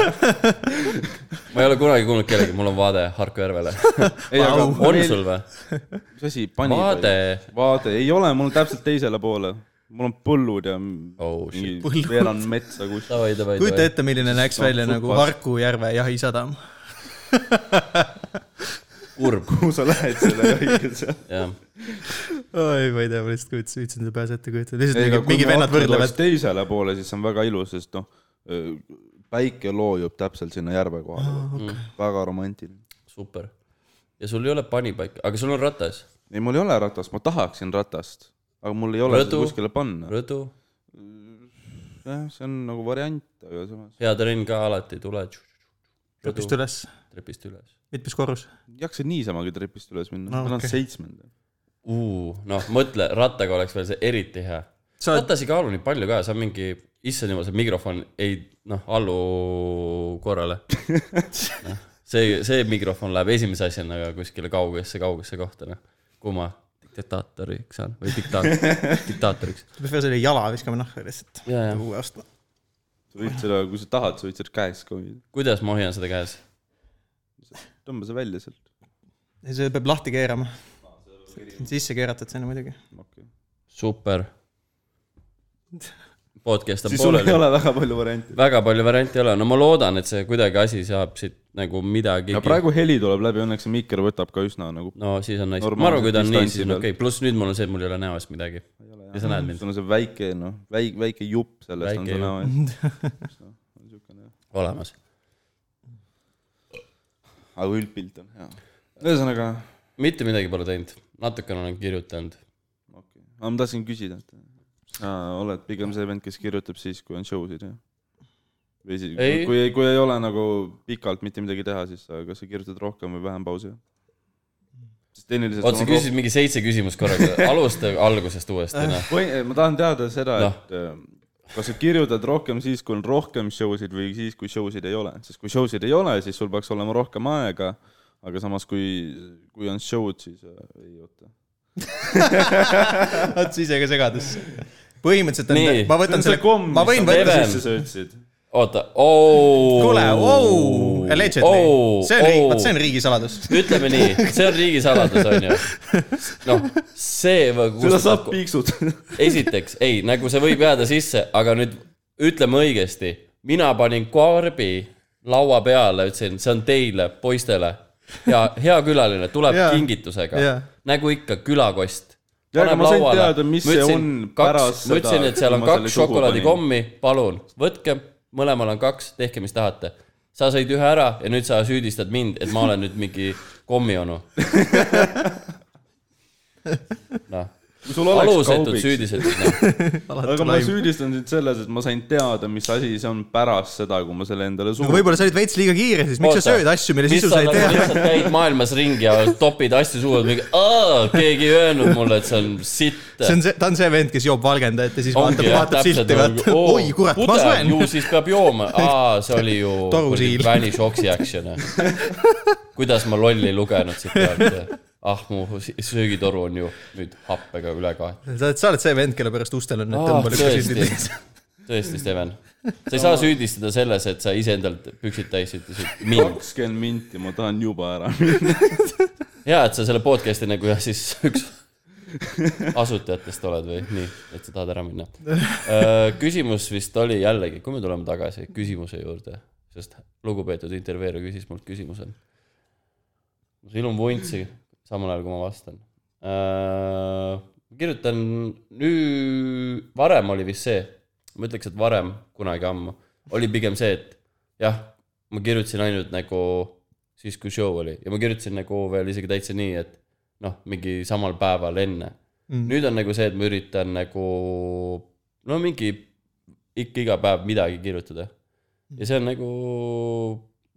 [SPEAKER 3] ma ei ole kunagi kuulnud kellegi , mul on vaade Harku järvele .
[SPEAKER 2] ei , aga
[SPEAKER 3] on sul või ?
[SPEAKER 2] mis asi , pani ?
[SPEAKER 3] vaade ,
[SPEAKER 2] vaade , ei ole , mul on täpselt teisele poole . mul on põllud ja
[SPEAKER 3] Oh, shit.
[SPEAKER 2] mingi veeran metsa kuskil .
[SPEAKER 3] davai , davai ,
[SPEAKER 1] kujuta
[SPEAKER 3] davai .
[SPEAKER 1] ette , milline näeks
[SPEAKER 2] No,
[SPEAKER 1] välja nagu
[SPEAKER 2] fuck.
[SPEAKER 1] Harku järve jahisadam .
[SPEAKER 3] kurb ,
[SPEAKER 2] kuhu sa lähed selle jahiga seal ?
[SPEAKER 3] jah .
[SPEAKER 1] oi , ma ei tea , ma lihtsalt kujutasin , viitsin seda peas ette kujutada ,
[SPEAKER 2] Ei,
[SPEAKER 1] lihtsalt
[SPEAKER 2] aga
[SPEAKER 1] mingi-
[SPEAKER 2] kui
[SPEAKER 1] mingi
[SPEAKER 2] me
[SPEAKER 1] vennad
[SPEAKER 2] aknad
[SPEAKER 1] võrdlevad
[SPEAKER 2] oleks . teisele poole , siis on väga ilus , sest noh , päike loojub täpselt sinna järve kohale oh, . Okay. väga romantiline .
[SPEAKER 3] super . ja sul ei ole panipaika , aga sul on ratas ,
[SPEAKER 2] ei , mul ei ole ratast , ma tahaksin ratast , aga mul ei ole
[SPEAKER 3] Rõdu.
[SPEAKER 2] seda kuskile panna .
[SPEAKER 3] rõdu ,
[SPEAKER 2] jah , see on nagu variant , aga samas
[SPEAKER 3] hea trenn ka alati , tule .
[SPEAKER 1] trepist üles ,
[SPEAKER 3] trepist üles .
[SPEAKER 1] mitmes korrus ?
[SPEAKER 2] ei jaksa niisamagi trepist üles minna
[SPEAKER 1] No
[SPEAKER 2] no, , ma elan
[SPEAKER 1] okei.
[SPEAKER 2] okay. seitsmenda .
[SPEAKER 3] noh , mõtle , rattaga oleks veel see eriti hea
[SPEAKER 1] sa oled ,
[SPEAKER 3] ratas ei kaalu nii palju ka , see on mingi , issand jumal , see mikrofon ei noh , allu korrale no, . see , see mikrofon läheb esimese asjana kuskile kaugesse , kaugesse kohta , noh . kumma diktaatoriks on või diktaat- , diktaatoriks .
[SPEAKER 1] sa pead selle jala viskama nahka lihtsalt ,
[SPEAKER 3] ja , ja
[SPEAKER 1] uue ostma .
[SPEAKER 2] sa võid seda , kui sa tahad , sa võid seda käes ka hoida .
[SPEAKER 3] kuidas ma hoian seda käes ?
[SPEAKER 2] tõmba see välja sealt .
[SPEAKER 1] ei , see peab lahti keerama . sisse keeratud sinna muidugi .
[SPEAKER 2] Okay.
[SPEAKER 3] super . podcast on
[SPEAKER 2] siis sul ei
[SPEAKER 3] pooleli ,
[SPEAKER 2] ole väga palju variante .
[SPEAKER 3] väga palju variante ei ole , no ma loodan , et see kuidagi asi saab siit nagu midagi .
[SPEAKER 2] ja praegu heli tuleb läbi , õnneks see mikker võtab ka üsna nagu ,
[SPEAKER 3] no siis on nice , ma
[SPEAKER 2] Normaalse
[SPEAKER 3] arvan , kui ta on nii , siis
[SPEAKER 2] distantsi
[SPEAKER 3] on
[SPEAKER 2] peal.
[SPEAKER 3] okei okay. , pluss nüüd mul on see , et mul ei ole näos midagi . ja sa näed mind ,
[SPEAKER 2] sul on see väike noh , väike , väike jupp sellest
[SPEAKER 3] Väike
[SPEAKER 2] väike on
[SPEAKER 3] jupp.
[SPEAKER 2] su näo noh, ees .
[SPEAKER 3] olemas .
[SPEAKER 2] aga üldpilt on hea . ühesõnaga ,
[SPEAKER 3] mitte midagi pole teinud , natukene olen kirjutanud .
[SPEAKER 2] okei okay. , aga ma tahtsin küsida , et sa oled pigem see vend , kes kirjutab siis , kui on show sid jah ? või siis ,
[SPEAKER 3] Ei.
[SPEAKER 2] kui , kui ei ole nagu pikalt mitte midagi teha , siis sa- kas sa kirjutad rohkem või vähem pausi ? sest tehniliselt
[SPEAKER 3] oota , sa küsisid mingi seitse küsimust korraga , alusta algusest
[SPEAKER 1] Äh.
[SPEAKER 3] uuesti , noh .
[SPEAKER 2] küsisid eh, ma tahan teada seda
[SPEAKER 3] Noh.
[SPEAKER 2] no. , et äh, kas sa kirjutad rohkem siis , kui on rohkem show sid või siis , kui show sid ei ole , sest kui show sid ei ole , siis sul peaks olema rohkem aega , aga samas , kui , kui on show'd , siis äh, ei oota .
[SPEAKER 1] vaat siis jäi ka segadusse . põhimõtteliselt on
[SPEAKER 3] Nii. ,
[SPEAKER 1] ma võtan selle , ma võin võtta
[SPEAKER 3] Leven.
[SPEAKER 1] siis .
[SPEAKER 2] sisse sõitsid .
[SPEAKER 3] oota , oo .
[SPEAKER 1] kuule , oo , allegedly , see on riigi , vaat see on riigisaladus .
[SPEAKER 3] ütleme nii , see on riigisaladus , onju . noh , see või
[SPEAKER 2] seda
[SPEAKER 3] kus ,
[SPEAKER 2] saab piiksutada .
[SPEAKER 3] esiteks , ei , nagu see võib jääda sisse , aga nüüd ütleme õigesti , mina panin korbi laua peale , ütlesin , see on teile , poistele ja hea külaline tuleb
[SPEAKER 1] Jaa.
[SPEAKER 3] kingitusega
[SPEAKER 1] Jaa. ,
[SPEAKER 3] nagu ikka külakost .
[SPEAKER 2] Jaa, aga ma sain teada, mis see on pärast seda,
[SPEAKER 3] ma ütlesin , et seal
[SPEAKER 2] kui
[SPEAKER 3] on
[SPEAKER 2] ma selle
[SPEAKER 3] kaks
[SPEAKER 2] suhu
[SPEAKER 3] šokolaadikommi , palun , võtke , mõlemal on kaks , tehke , mis tahate sa sõid ühe ära ja nüüd sa süüdistad mind , et ma olen nüüd mingi kommionu . noh ,
[SPEAKER 2] kui sul oleks
[SPEAKER 3] alusetud
[SPEAKER 2] kaubiks ,
[SPEAKER 3] süüdised noh. no. .
[SPEAKER 2] aga ma süüdistan sind selles , et ma sain teada , mis asi see on pärast seda , kui ma selle endale suhu
[SPEAKER 1] võib-olla sa olid veits liiga kiire siis , miks sa sööd asju , mille sisu sa ei tea ?
[SPEAKER 3] lihtsalt käid maailmas ringi ja topid asju suhu , mingi "Aa, keegi ei öelnud mulle , et see on sitt .
[SPEAKER 1] see on see , ta on see vend , kes joob valgendajat ja siis vaatab , vaatab silti , vaatab , oi kurat , ma söön .
[SPEAKER 3] nagu, ju siis peab jooma , aa , see oli ju
[SPEAKER 1] Torusiil.
[SPEAKER 3] kuradi Vanish Oxy Action . kuidas ma lolli ei lugenud siit pealt . ah , mu si- söögitoru on ju nüüd happega üle kaetud .
[SPEAKER 1] sa oled , sa oled see vend , kelle pärast ustel on need
[SPEAKER 3] Aa,
[SPEAKER 1] tõmbalikud
[SPEAKER 3] tõesti.
[SPEAKER 1] sildid .
[SPEAKER 3] tõesti , Steven . sa ei saa süüdistada selles , et sa iseendalt püksid täis ütlesid mind .
[SPEAKER 2] kakskümmend minti , ma tahan juba ära minna .
[SPEAKER 3] hea , et sa selle podcast'i nagu jah , siis üks asutajatest oled või nii , et sa tahad ära minna . küsimus vist oli jällegi , kui me tuleme tagasi küsimuse juurde , sest lugupeetud intervjueerija küsis mult küsimuse . ma silun vuntsi samal ajal , kui ma vastan . kirjutan nüüd , varem oli vist see , ma ütleks , et varem , kunagi ammu , oli pigem see , et jah , ma kirjutasin ainult nagu siis , kui show oli ja ma kirjutasin nagu veel isegi täitsa nii , et noh , mingi samal päeval enne mm. . nüüd on nagu see , et ma üritan nagu no mingi ikka iga päev midagi kirjutada . ja see on nagu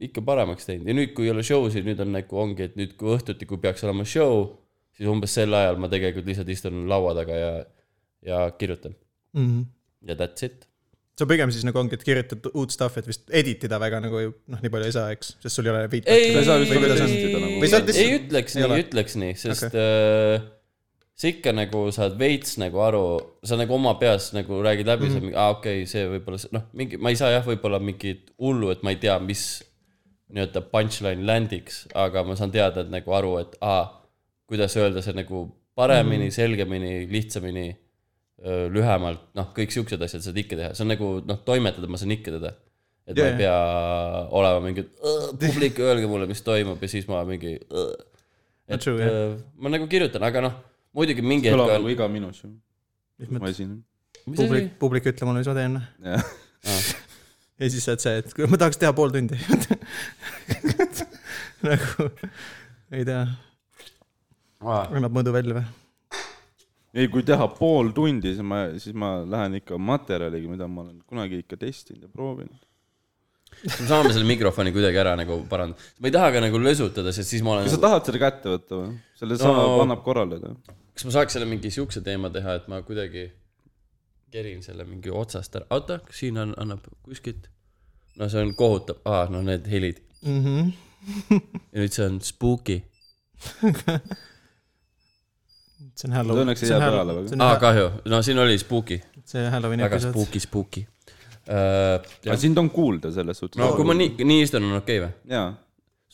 [SPEAKER 3] ikka paremaks teinud ja nüüd , kui ei ole show siin , nüüd on nagu ongi , et nüüd , kui õhtuti , kui peaks olema show , siis umbes sel ajal ma tegelikult lihtsalt istun laua taga ja , ja kirjutan
[SPEAKER 1] -hmm.
[SPEAKER 3] ja that's it .
[SPEAKER 1] sa pigem siis nagu ongi , et kirjutad uut stuff'i , et vist edit ida väga nagu noh , nii palju ei saa , eks , sest sul ei ole
[SPEAKER 3] ei ,
[SPEAKER 1] feedback'i .
[SPEAKER 2] sa ei saa vist
[SPEAKER 1] nagu edasi
[SPEAKER 2] editida nagu-
[SPEAKER 1] Või sa oled
[SPEAKER 3] ei
[SPEAKER 1] lihtsalt-
[SPEAKER 3] ütleks
[SPEAKER 1] ei
[SPEAKER 3] nii ,
[SPEAKER 1] ole?
[SPEAKER 3] ei ütleks nii , sest okay. sa ikka nagu saad veits nagu aru , sa nagu oma peas nagu räägid läbi mm , -hmm. aa okei okay, , see võib-olla see- noh , mingi , ma ei saa jah , võib-olla mingit hullu , et ma ei tea , mis nii-öelda punchline landiks , aga ma saan teada , et nagu aru , et aa , kuidas öelda see nagu paremini mm , -hmm. selgemini , lihtsamini , lühemalt , noh , kõik siuksed asjad saad ikka teha , see on nagu noh , toimetada ma saan ikka teda et yeah. ma
[SPEAKER 1] Jajah.
[SPEAKER 3] ei pea olema mingi "Õh, publik , öelge mulle , mis toimub ja siis ma mingi .
[SPEAKER 1] No
[SPEAKER 3] et
[SPEAKER 1] true, jah.
[SPEAKER 3] öö, ma nagu kirjutan , aga noh , muidugi mingi
[SPEAKER 2] kõlab
[SPEAKER 3] hetk
[SPEAKER 2] nagu
[SPEAKER 3] on .
[SPEAKER 2] iga minu show , ma esinen .
[SPEAKER 1] publik , publik ütle mulle , mis ma teen .
[SPEAKER 2] jah ,
[SPEAKER 1] ja siis sa oled see , et kui ma tahaks teha pool tundi . nagu , ei tea , annab mõõdu välja või ?
[SPEAKER 2] ei kui teha pool tundi , siis ma , siis ma lähen ikka materjaliga , mida ma olen kunagi ikka testinud ja proovinud .
[SPEAKER 3] me saame selle mikrofoni kuidagi ära nagu parandada , ma ei taha ka nagu lösutada , sest siis ma olen
[SPEAKER 2] kas sa . tahad selle kätte võtta või ? selle sama
[SPEAKER 3] No.
[SPEAKER 2] no. annab korraldada .
[SPEAKER 3] nagu, kas ma saaks selle mingi siukse teema teha , et ma kuidagi kerin selle mingi otsast ära , oota , siin on , annab kuskilt . no see on kohutav , aa , no need helid
[SPEAKER 1] Mhm.
[SPEAKER 3] ja nüüd see on spooky ,
[SPEAKER 1] see on Halloween .
[SPEAKER 2] Õnneks ei jää peale väga.
[SPEAKER 3] aa kahju , no siin oli spooky ,
[SPEAKER 1] see Halloweeni
[SPEAKER 3] väga
[SPEAKER 1] episood .
[SPEAKER 3] spooky , spooky . Äh,
[SPEAKER 2] aga sind on kuulda selles suhtes
[SPEAKER 3] no kui ma nii , nii istun , on okei okay, või ?
[SPEAKER 2] jaa ,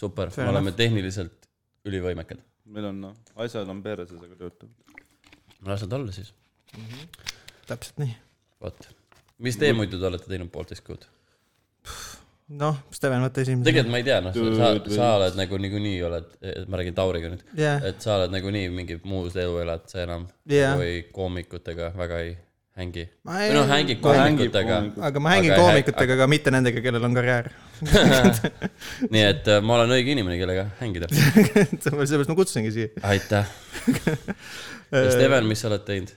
[SPEAKER 3] super ,
[SPEAKER 1] Fair
[SPEAKER 3] me oleme tehniliselt ülivõimekad .
[SPEAKER 2] meil on noh , asjad on perses , aga töötab .
[SPEAKER 3] las nad olla siis ,
[SPEAKER 1] täpselt nii .
[SPEAKER 3] vot . mis te muidu te olete teinud poolteist kuud ?
[SPEAKER 1] noh , Steven , võta esimese .
[SPEAKER 3] tegelikult ma ei tea , noh , sa , sa oled nagu niikuinii oled , ma räägin Tauriga nüüd ,
[SPEAKER 1] jah ,
[SPEAKER 3] et sa oled nagunii mingi muus elu elad sa enam
[SPEAKER 1] Jah.
[SPEAKER 3] või koomikutega väga ei hängi .
[SPEAKER 1] Ma
[SPEAKER 3] või
[SPEAKER 1] ei-
[SPEAKER 3] noh , hängid
[SPEAKER 1] ma hängin
[SPEAKER 3] koomikutega ,
[SPEAKER 1] aga ma hängin
[SPEAKER 3] aga-
[SPEAKER 1] koomikutega , aga mitte nendega , kellel on karjäär .
[SPEAKER 3] nii et äh, ma olen õige inimene , kellega hängida .
[SPEAKER 1] sellepärast ma kutsusingi siia .
[SPEAKER 3] aitäh . Steven , mis sa oled teinud ?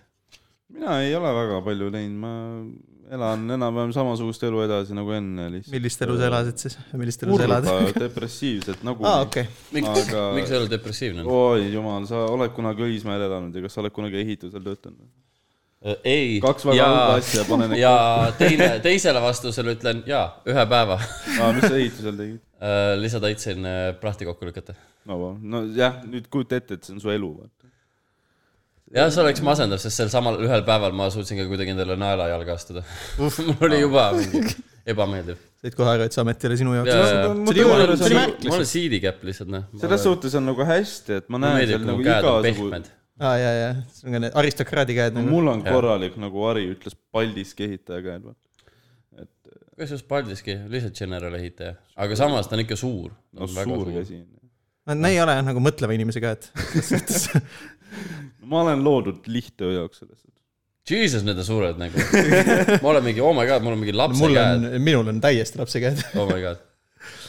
[SPEAKER 2] mina ei ole väga palju teinud , ma elan enam-vähem samasugust elu edasi nagu enne lihtsalt .
[SPEAKER 1] millist elu sa elasid siis , millist elu sa elad ?
[SPEAKER 2] kurba depressiivset nagu .
[SPEAKER 1] aa , okei .
[SPEAKER 3] miks aga...
[SPEAKER 2] Aga- ,
[SPEAKER 3] miks sa oled depressiivne ?
[SPEAKER 2] oi jumal , sa oled kunagi Õismäel elanud ja kas sa oled kunagi ehitusel töötanud ?
[SPEAKER 3] Äh, ei .
[SPEAKER 2] Kaks väga halba asja, pane need
[SPEAKER 3] ja teine , teisele vastusele ütlen jaa , ühe päeva .
[SPEAKER 2] aa , Ah, mis sa ehitusel tegid ?
[SPEAKER 3] lihtsalt aitasin äh, prahti kokku lükata .
[SPEAKER 2] no vau , nojah , nüüd kujuta ette , et see on su elu , vaata .
[SPEAKER 3] jah , see oleks masendav , sest sel samal ühel päeval ma suutsin ka kuidagi endale naela jalga astuda . mul oli juba mingi ebameeldiv .
[SPEAKER 1] said kohe aru , et see amet ei ole sinu jaoks .
[SPEAKER 2] See oli jumala- see oli märk
[SPEAKER 3] mul on siidikäpp lihtsalt noh .
[SPEAKER 2] selles suhtes on nagu hästi , et ma
[SPEAKER 3] mulle
[SPEAKER 2] näen seal
[SPEAKER 3] meeldib , kui mu
[SPEAKER 2] nagu
[SPEAKER 3] käed on
[SPEAKER 2] igasugu
[SPEAKER 3] pehmed ..
[SPEAKER 1] aa , jaa , jaa , see on ka need aristokraadi käed nagu .
[SPEAKER 2] mul on korralik , nagu Ari ütles , Paldiski ehitaja käed , vaata .
[SPEAKER 3] kusjuures Paldiski , lihtsalt general ehitaja , aga samas ta on ikka suur .
[SPEAKER 2] no suur . käsi on ju .
[SPEAKER 1] no need ei ole jah nagu mõtleva inimese käed .
[SPEAKER 2] ma olen loodud lihttöö jaoks selles suhtes .
[SPEAKER 3] Jesus , need on suured nagu . ma olen mingi , oh my god , mul on mingi lapse
[SPEAKER 1] mul
[SPEAKER 3] käed
[SPEAKER 1] on , minul on täiesti lapse käed .
[SPEAKER 3] oh my god .